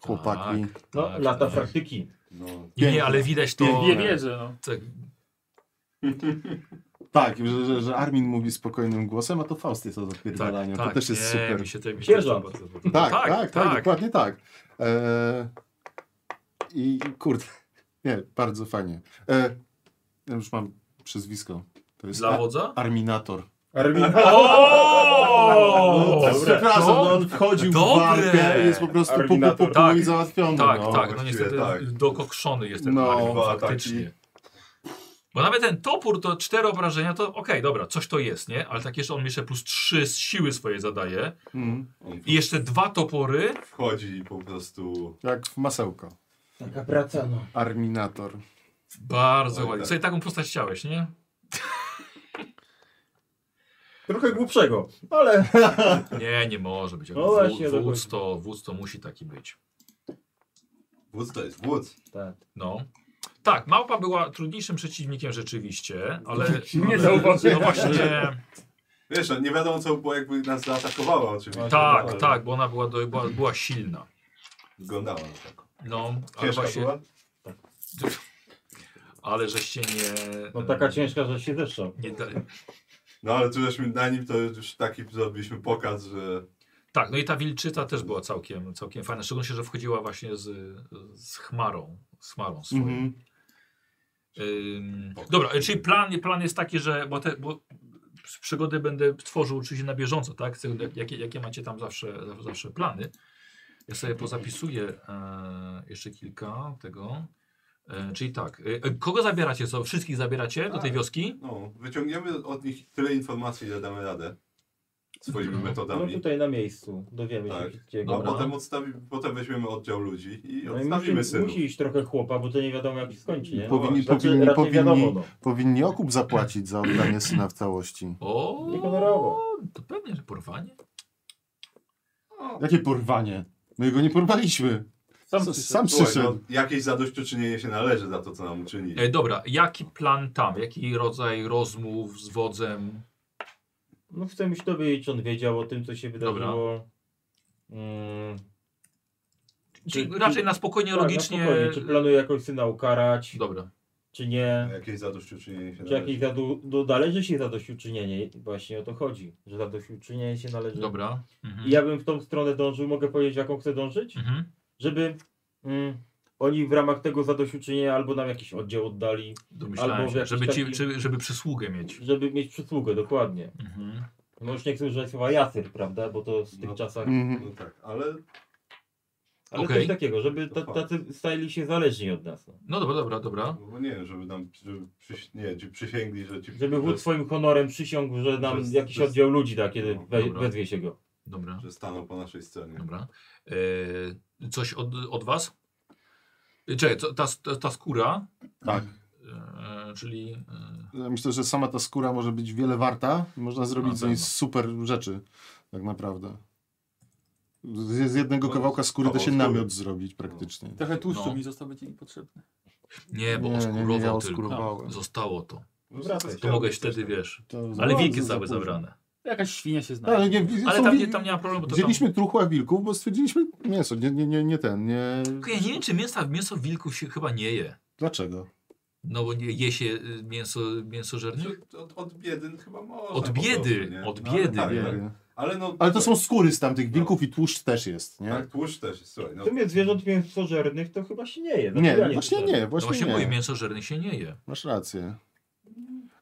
S9: Chłopaki.
S4: No,
S1: Tak,
S4: lata
S1: tak.
S4: praktyki.
S2: No,
S1: I nie, ale widać to...
S8: Nie wierzę, no.
S1: Tak,
S9: Tak, że, że, że Armin mówi spokojnym głosem, a to Faust jest o zapierdalaniu. to też jest
S1: Tak, nie,
S9: super.
S1: Mi się, te- mi się
S4: Sierżant.
S1: podoba.
S9: Tak, tak, tak, dokładnie tak. E, I kurde, nie, bardzo fajnie. E, ja już mam przezwisko. To jest
S1: Dla
S9: Ar-
S1: wodza?
S9: Arminator.
S4: Armin.
S1: O!
S9: Przepraszam,
S1: to-
S9: no on wchodził w
S1: dobre.
S9: walkę i jest po prostu pupu, pupu
S1: Tak.
S9: i załatwiony.
S1: Tak,
S9: no.
S1: tak, no
S2: właściwie
S1: niestety
S2: tak.
S1: dokokszony jest ten
S9: No,
S1: no,
S2: dwa
S1: faktycznie. Bo nawet ten topór to cztery obrażenia, to okej, dobra, coś to jest, nie? Ale tak jeszcze on mi jeszcze plus trzy z siły swoje zadaje.
S9: Mm,
S2: on
S1: I jeszcze dwa topory.
S2: wchodzi i po prostu...
S9: jak w masełko.
S4: Taka praca, no.
S9: Arminator.
S1: Bardzo
S2: Oj,
S1: ładnie.
S2: tak.
S1: Sobie taką postać chciałeś, nie?
S4: Trochę głupszego, ale
S1: Nie, nie może być.
S4: No właśnie,
S1: Wó- Wódz
S4: dokładnie.
S1: to, wódz to musi taki być.
S2: Wódz to jest wódz.
S1: No. Tak, małpa była trudniejszym przeciwnikiem rzeczywiście, ale...
S8: Nie
S1: ale-
S8: zauważyłem.
S1: No właśnie...
S2: Wiesz, no, nie wiadomo co by było jakby nas zaatakowała oczywiście.
S1: Tak,
S2: ale
S1: tak, bo ona była, do, była, była silna.
S2: Wyglądała na taką.
S1: No, ale
S2: Ciężka
S1: właśnie,
S2: była?
S1: ale żeście nie...
S4: no taka ciężka, że się zeszła.
S1: nie da,
S2: No ale tu żeśmy na nim to już taki zrobiliśmy pokaz, że
S1: tak, no i ta wilczyca też była całkiem, całkiem fajna, szczególnie, że wchodziła właśnie z, z chmarą, z chmarą swoją.
S9: Mhm.
S1: Ym, dobra, e, czyli plan, plan jest taki, że, bo, te, bo przygody będę tworzył oczywiście na bieżąco, tak? Chcę, jak- Jakie, jakie macie tam zawsze, zaw- zawsze plany. Ja sobie pozapisuję e, jeszcze kilka tego. E, czyli tak, e, kogo zabieracie? Co?
S4: Tak.
S1: Wszystkich zabieracie do tej wioski?
S2: no, wyciągniemy od nich tyle informacji, ile damy radę. swoimi
S4: No
S2: metodami.
S4: tutaj na miejscu dowiemy
S2: Tak.
S4: się gdzie
S2: No,
S4: go
S2: potem, odstawi, potem weźmiemy oddział ludzi i
S4: no i
S2: odstawimy
S4: musi,
S2: synów.
S4: musi iść trochę chłopa, bo to nie wiadomo jak się skończy, nie?
S9: Powinni,
S4: Znaczy,
S9: powinni,
S4: raczej wiadomo,
S9: powinni,
S4: no.
S9: powinni okup zapłacić za oddanie syna w całości.
S1: O,
S4: no. Niehonorowo.
S1: to pewnie, że porwanie.
S9: Jakie porwanie? My go nie porwaliśmy.
S8: Sam
S9: Sam,
S8: przyszedł.
S9: sam
S2: Słuchaj, no,
S9: przyszedł.
S2: jakieś zadośćuczynienie się należy za to, co nam uczyni.
S1: E, dobra, jaki plan tam? Jaki rodzaj rozmów z wodzem?
S4: No chcę mieć dowiedzieć, czy on wiedział o tym, co się wydarzyło. Mm,
S1: Czyli
S4: Czy-
S1: raczej
S4: czy-
S1: na spokojnie,
S4: tak,
S1: logicznie.
S4: na spokojnie, czy planuje jakoś syna ukarać,
S1: Dobra.
S4: czy nie.
S2: Jakieś zadośćuczynienie się
S4: Czy jakieś
S2: należy.
S4: zadu, do, należy się zadośćuczynienie, właśnie o to chodzi, że zadośćuczynienie się należy.
S1: Dobra.
S4: I
S1: Mhm.
S4: ja bym w tą stronę dążył, mogę powiedzieć jaką chcę dążyć?
S1: Mhm.
S4: Żeby mm, oni w ramach tego zadośćuczynienia albo nam jakiś oddział oddali,
S1: Domyślałem
S4: Albo w
S1: się,
S4: jakiś
S1: żeby, ci,
S4: taki-
S1: żeby, żeby przysługę mieć.
S4: żeby mieć przysługę, dokładnie.
S1: Mhm.
S4: No już nie chcę używać słowa jacyr, prawda, bo to w tych
S2: No.
S4: czasach...
S9: Mhm.
S2: No tak, ale
S4: Ale
S1: Okej.
S4: coś takiego, żeby ta- tacy stali się zależni od nas. No.
S1: No dobra, dobra, dobra.
S2: no, nie wiem, żeby nam żeby przyś, nie, ci przysięgli, że ci...
S4: Żeby
S2: że,
S4: wódz swoim honorem przysiągł, że nam
S2: Że z-
S4: jakiś
S2: że z-
S4: oddział ludzi da, kiedy
S2: No,
S4: we,
S1: dobra.
S4: wezwie się go.
S1: Dobra.
S2: że staną po naszej stronie.
S1: Dobra. E, coś od, od was? E, Czekaj, co- ta, ta, ta skóra.
S9: Tak.
S1: E, czyli. E,
S9: Ja Myślę, że sama ta skóra może być wiele warta. i Można
S1: Na
S9: zrobić z niej
S1: pewno.
S9: super rzeczy, tak naprawdę. Z, z jednego
S2: No,
S9: kawałka skóry da
S2: kawał
S9: się
S2: skóry.
S9: namiot zrobić praktycznie.
S1: Trochę
S15: Trochę
S1: tłuszczu
S15: tłuszczu
S1: No. mi
S15: mi został, będzie mi potrzebny.
S1: nie, bo
S9: Nie, nie, nie,
S1: oskurował
S9: ja
S1: tylko.
S9: oskurowałem.
S1: Zostało to.
S2: No,
S4: Wracaj.
S1: To mogłeś wtedy,
S15: tak.
S1: wiesz. Ale wilki zostały zabrane.
S8: Jakaś świnia się znajdzie.
S9: Tak, Ale, nie,
S1: Ale
S9: są
S1: tam
S9: wi-
S1: nie, tam nie ma problemu. To tam...
S9: Wzięliśmy truchła wilków, bo stwierdziliśmy mięso, nie, nie, nie, nie ten, nie...
S1: Tylko Ja nie wiem, czy mięsa, mięso wilków się chyba nie je.
S9: Dlaczego?
S1: No bo nie, je się y, mięso,
S9: Znaczy,
S1: mięsożernych.
S2: Że znaczy, Od, od biedy chyba może.
S1: Od
S2: po
S1: biedy,
S2: prostu, nie?
S1: od
S2: No, ale
S1: biedy,
S2: tak,
S1: nie?
S2: tak. Ale no...
S9: Ale to są skóry z
S1: No.
S9: tamtych wilków i tłuszcz też jest, nie?
S2: Tak, tłuszcz też jest, słuchaj. No,
S4: W sumie zwierząt mięsożernych to chyba się nie je. Znaczy,
S9: Nie,
S4: ja
S9: właśnie
S4: słyszałem.
S9: nie,
S1: No właśnie
S9: właśnie
S1: mówię,
S9: nie.
S1: mięsożernych się nie je.
S9: Masz rację.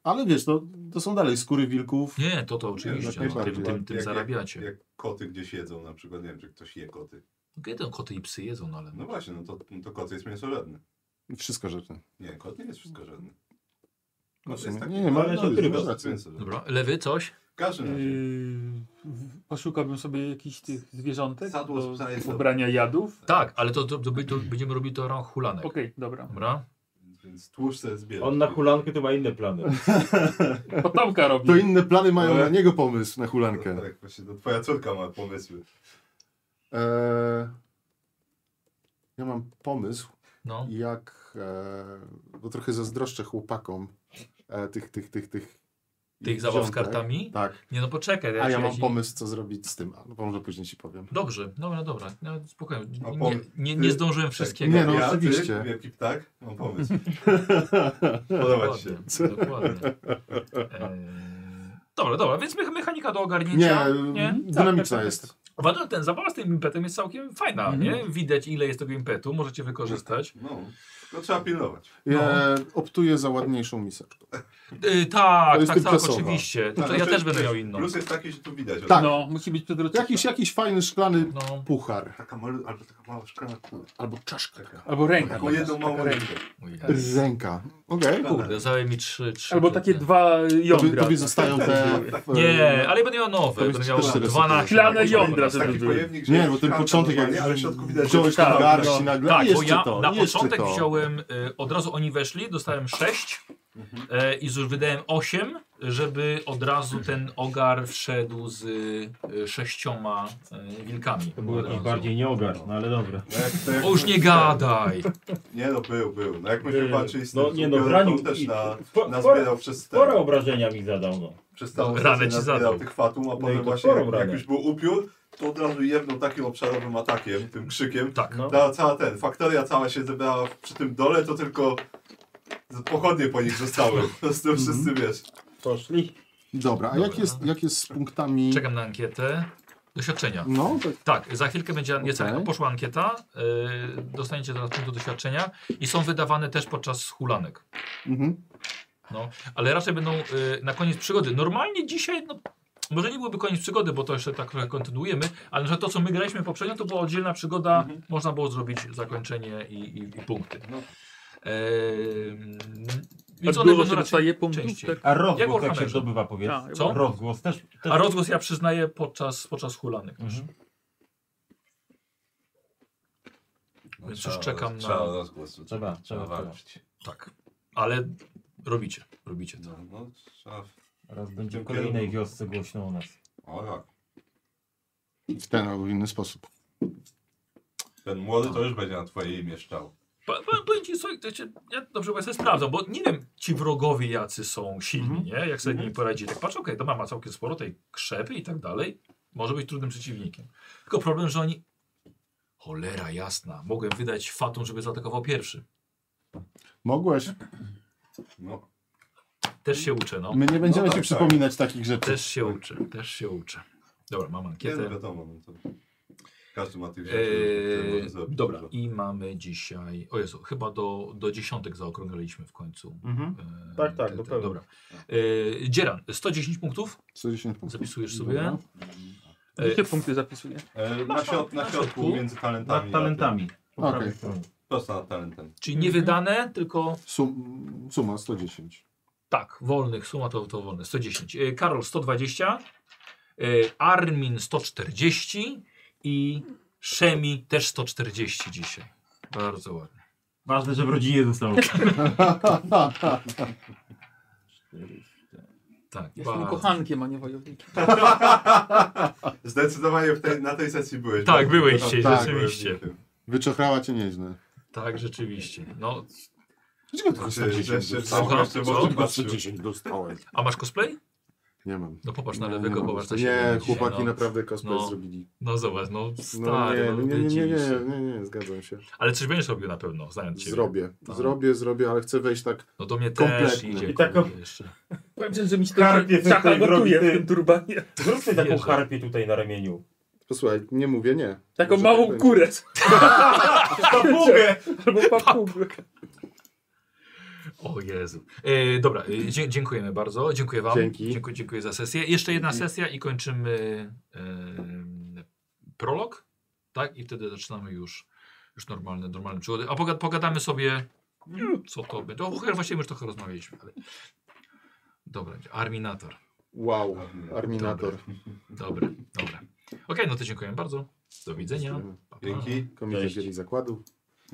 S9: Ale wiesz, to, to są dalej skóry wilków.
S1: Nie, to to oczywiście.
S9: znaczy, jak
S1: no, tym,
S9: najbardziej.
S1: tym, tym
S2: Jak-
S1: zarabiacie.
S2: jak koty gdzieś jedzą na przykład, nie wiem, czy ktoś je koty.
S1: Kiedy koty i psy jedzą, no ale.
S2: No właśnie, no to, no to kot jest mięsożerny.
S9: Wszystko rzeczy.
S2: Nie, kot nie jest wszystko żadny.
S9: No w
S2: Kot jest
S9: sumie.
S2: taki...
S9: Nie, nie, ma,
S4: Ale
S9: no,
S4: to
S9: no,
S4: tryb.
S9: masz rację.
S1: Dobra, lewy coś?
S2: W każdym razie.
S8: Yy, poszukałbym sobie jakichś tych zwierzątek
S2: Sadło z
S8: do
S2: psa jest
S8: ubrania jadów.
S1: Tak, ale to, to, to, by- to będziemy robili to rang hulanek.
S8: Okej, dobra.
S1: Dobra?
S2: Więc tłuszcz sobie zbierze.
S4: On na hulankę to ma inne plany.
S8: Potomka
S9: To
S8: robi.
S9: inne plany mają
S2: Ale-
S9: na niego pomysł, na
S2: Tak,
S9: hulankę.
S2: tak, właśnie, no, twoja córka ma pomysły. Tak,
S9: Eee, ja mam pomysł,
S1: No.
S9: jak, eee, bo trochę zazdroszczę chłopakom e, tych, tych, tych, tych.
S1: Tych zabaw z
S9: wziątek.
S1: kartami?
S9: Tak.
S1: Nie no poczekaj,
S9: A ja
S1: ci-
S9: mam
S1: ci-
S9: pomysł, co zrobić z tym, ale może później ci powiem.
S1: Dobrze, dobra, dobra. No, spokojnie.
S2: A
S1: Nie,
S2: pom-
S1: nie,
S2: ty-
S1: nie zdążyłem wszystkiego.
S9: y, nie, no,
S2: ja,
S9: oczywiście.
S2: Ty, wielki ptak, mam pomysł. Podoba ci się.
S1: Dokładnie, dokładnie. Eee, dobra, dobra, więc mecha- mechanika do
S9: Nie,
S1: ogarnięcia. nie?
S9: dynamiczna
S8: tak,
S9: jest.
S1: Uważam, że ten zabawa z tym impetem jest całkiem fajna,
S8: Mhm.
S1: nie? Widać ile jest tego impetu, możecie wykorzystać.
S2: No, to trzeba pilnować.
S9: Ja optuję za ładniejszą miseczkę.
S1: Yy, tak,
S9: Mhm. To jest
S1: tak, tak,
S9: tymczasowa.
S1: oczywiście. To, to
S2: Ale
S9: znaczy,
S1: ja
S2: no, to
S1: też
S2: jest-
S1: będę
S2: wiesz,
S1: miał inną.
S2: Plus jest taki, że tu widać.
S9: Tak.
S8: No, musi być przedroczny.
S9: Jakiś, jakiś fajny szklany
S1: No,
S9: puchar.
S2: Taka malu, albo taka mała szklana kula.
S9: Albo czaszka.
S8: Albo ręka.
S2: Taką jedną małą rękę.
S9: Ręka.
S2: Tak.
S9: Okej.
S1: kurde, zajmie mi trzy, trzy.
S8: Albo takie dwa
S9: Tobie,
S8: jądra.
S9: tobie zostają te...
S1: Nie, ale będę miał
S9: To
S1: nowe.
S9: jest
S1: Będę miał
S9: też teraz
S1: 12.
S8: Plany
S1: Będę miał
S8: jądra, żeby
S2: Taki
S8: były.
S2: pojemnik, że
S9: Nie,
S2: jest
S9: bo ten
S2: szklanka
S9: początek jak
S2: normalnie, ale w środku widać, że
S9: wziąłeś tam
S8: tak,
S9: garści
S8: no.
S9: nagle,
S1: Tak, bo
S9: jeszcze
S1: ja
S9: to,
S1: na
S9: jeszcze
S1: początek
S9: to.
S1: wziąłem, y, od razu oni weszli, dostałem 6
S9: Mhm.
S1: y, i już wydałem 8, żeby od razu ten ogar wszedł z y, sześcioma y, wilkami.
S4: To był
S1: Od
S4: jakiś
S1: razu.
S4: bardziej nieogar, no ale dobra.
S2: No jak- to jak-
S1: O, już nie gadaj!
S2: Nie no, był, był. No jak myśmy
S4: Yy,
S2: walczyli z tym,
S4: No nie no,
S2: ubiorem,
S4: ranił
S2: to też
S4: i-
S2: na,
S4: spo- sporo-
S2: nazbierał przez ten,
S4: Sporo obrażenia mi zadał, no.
S2: przez całą
S1: Ranę
S2: sesję
S1: ci
S2: nazbierał
S1: zadał.
S2: tych fatum, a
S4: i
S2: potem
S4: to
S2: właśnie
S4: sporą
S2: jak, jak
S4: ranę.
S2: już był upiór, to od razu jedną takim obszarowym atakiem, tym krzykiem.
S1: Tak.
S4: No.
S2: Ta, cała ten, faktoria cała się zebrała w- przy tym dole, to tylko z- pochodnie po nich zostały. To z tym
S4: Mhm.
S2: wszyscy wiesz.
S4: Poszli.
S9: Dobra, a
S1: Dobra.
S9: jak jest, jak jest z punktami...
S1: Czekam na ankietę. Doświadczenia.
S9: No, tak.
S1: Tak, za chwilkę będzie nieca,
S9: Okej.
S1: poszła ankieta. y, dostaniecie teraz punktu doświadczenia i są wydawane też podczas hulanek.
S9: Mhm.
S1: Ale raczej będą y, na koniec przygody. Normalnie dzisiaj, no, może nie byłby koniec przygody, bo to jeszcze tak trochę kontynuujemy, ale że to, co my graliśmy poprzednio, to była oddzielna przygoda. Można było zrobić zakończenie i, i, i punkty.
S2: No.
S1: Ehm, Więc one
S8: Odbyło
S1: będą raczej...
S8: się dostaje punktów.
S1: częściej.
S8: Tak.
S4: A
S1: Jak
S4: rozgłos jak
S1: Warhammerze.
S4: się zdobywa powierzchnię?
S8: Tak,
S1: Co?
S4: Rozgłos też. też...
S1: A rozgłos ja przyznaję podczas, podczas hulanych.
S4: Mhm.
S2: No,
S1: Więc
S2: trzeba-
S1: już czekam na-
S2: Trzeba rozgłos. tutaj.
S4: Trzeba, trzeba
S2: walczyć.
S1: Tak. Ale robicie, robicie to.
S2: No, no, trzeba...
S4: Raz będzie w kolejnej wiosce głośno o nas.
S2: O tak.
S9: W ten albo inny sposób.
S2: Ten młody to już będzie na twojej mieszczał.
S1: Pa- pa- Powiem ci, słuchaj, to cię, ja dobrze bo ja sobie sprawdzam, bo nie wiem, ci wrogowie jacy są silni, nie? Jak sobie z nimi poradzi. Tak patrz, okej, to ma- ma całkiem sporo tej krzepy i tak dalej. Może być trudnym przeciwnikiem. Tylko problem, że oni... Cholera jasna, mogłem wydać fatum, żeby zaatakował pierwszy.
S9: Mogłeś.
S2: No.
S1: Też się uczę, no.
S9: My nie będziemy
S2: No
S9: ci
S2: tak,
S9: przypominać takich rzeczy.
S1: Też się uczę, też się uczę. Dobra, mam
S2: Kiedy?
S1: ankietę.
S2: Wiadomo, no to... Każdy ma tych rzeczy, które
S1: Eee,
S2: może zrobić.
S1: dobra,
S2: dużo.
S1: i mamy dzisiaj. O Jezu, chyba do, do dziesiątek zaokrągliliśmy w końcu.
S16: Mhm.
S1: Eee,
S16: Tak, tak, do pełna.
S1: Dobra. Eee, Dzieran, 110 punktów.
S9: 110 punktów.
S1: Zapisujesz sobie.
S8: Gdzie
S1: Eee,
S8: się punkty zapisuje?
S2: Eee, na, środ na środku, między talentami.
S4: Nad
S2: a
S4: talentami. Po
S9: Okej.
S4: prawej stronie.
S2: tym. Prosto nad talentem.
S1: czyli nie wydane, tylko
S9: Sum, suma 110.
S1: tak, wolnych, suma to, to wolne. 110. Eee, Karol 120, eee, Armin 140 i Szemi też 140 dzisiaj. Bardzo ładnie.
S4: Ważne, że w rodzinie zostało.
S1: Tak,
S8: Jestem
S1: bardzo-
S8: kochankiem, a nie wojownikiem.
S2: Zdecydowanie w tej, na tej sesji byłeś.
S1: Tak, byłeś dzisiaj,
S9: tak,
S1: rzeczywiście.
S9: Wyczochrała cię nieźle.
S1: Tak, rzeczywiście. No,
S9: Dlaczego tylko
S2: Znaczy,
S9: 110
S2: jeszcze-
S9: dostałem?
S1: Słucham? Co?
S9: Dlaczego tylko 110 dostałem.
S1: a masz cosplay?
S9: Nie mam.
S1: No popatrz na
S9: Nie,
S1: lewego,
S9: nie mam.
S1: popatrz na siebie dzisiaj,
S9: Nie, chłopaki
S1: no.
S9: naprawdę cosplay
S1: No.
S9: zrobili.
S1: No zobacz, no
S9: No
S1: stary,
S9: nie,
S1: no,
S9: nie, nie, nie,
S1: dziwisz
S9: nie,
S1: się.
S9: nie, nie, zgadzam się.
S1: Ale coś będziesz robił na pewno, znając ciebie.
S9: Zrobię,
S1: No.
S9: zrobię, zrobię, ale chcę wejść tak
S1: No do mnie też
S9: Kompletnie.
S1: idzie.
S16: I tak-
S1: kurde, jeszcze.
S8: Powiem szczerze, że mi się
S16: Karpie
S8: to czaka
S16: tutaj
S8: gotuje
S16: robi,
S8: w
S16: ty.
S8: tym turbanie.
S16: Zrób sobie taką
S1: Jezu.
S16: harpię tutaj na ramieniu.
S9: Posłuchaj, nie mówię nie.
S8: Taką
S9: Że
S8: małą
S9: tak
S8: kurę.
S16: Papugę!
S8: Albo papugę.
S1: O Jezu. E, dobra, e, dzie dziękujemy bardzo. Dziękuję wam.
S9: Dzięki.
S1: Dziękuję, dziękuję za sesję. Jeszcze jedna sesja i kończymy e, prolog. Tak? I wtedy zaczynamy już, już normalne, normalne przygody. A poga pogadamy sobie,
S9: Mm.
S1: co to będzie. O, chyba właściwie już trochę rozmawialiśmy. Ale... Dobra, Arminator.
S9: Wow, Arminator.
S1: Dobre, dobre. Okej, no to dziękuję bardzo. Do widzenia. Pa, pa.
S2: Dzięki.
S9: Komisja Dzieli Zakładu.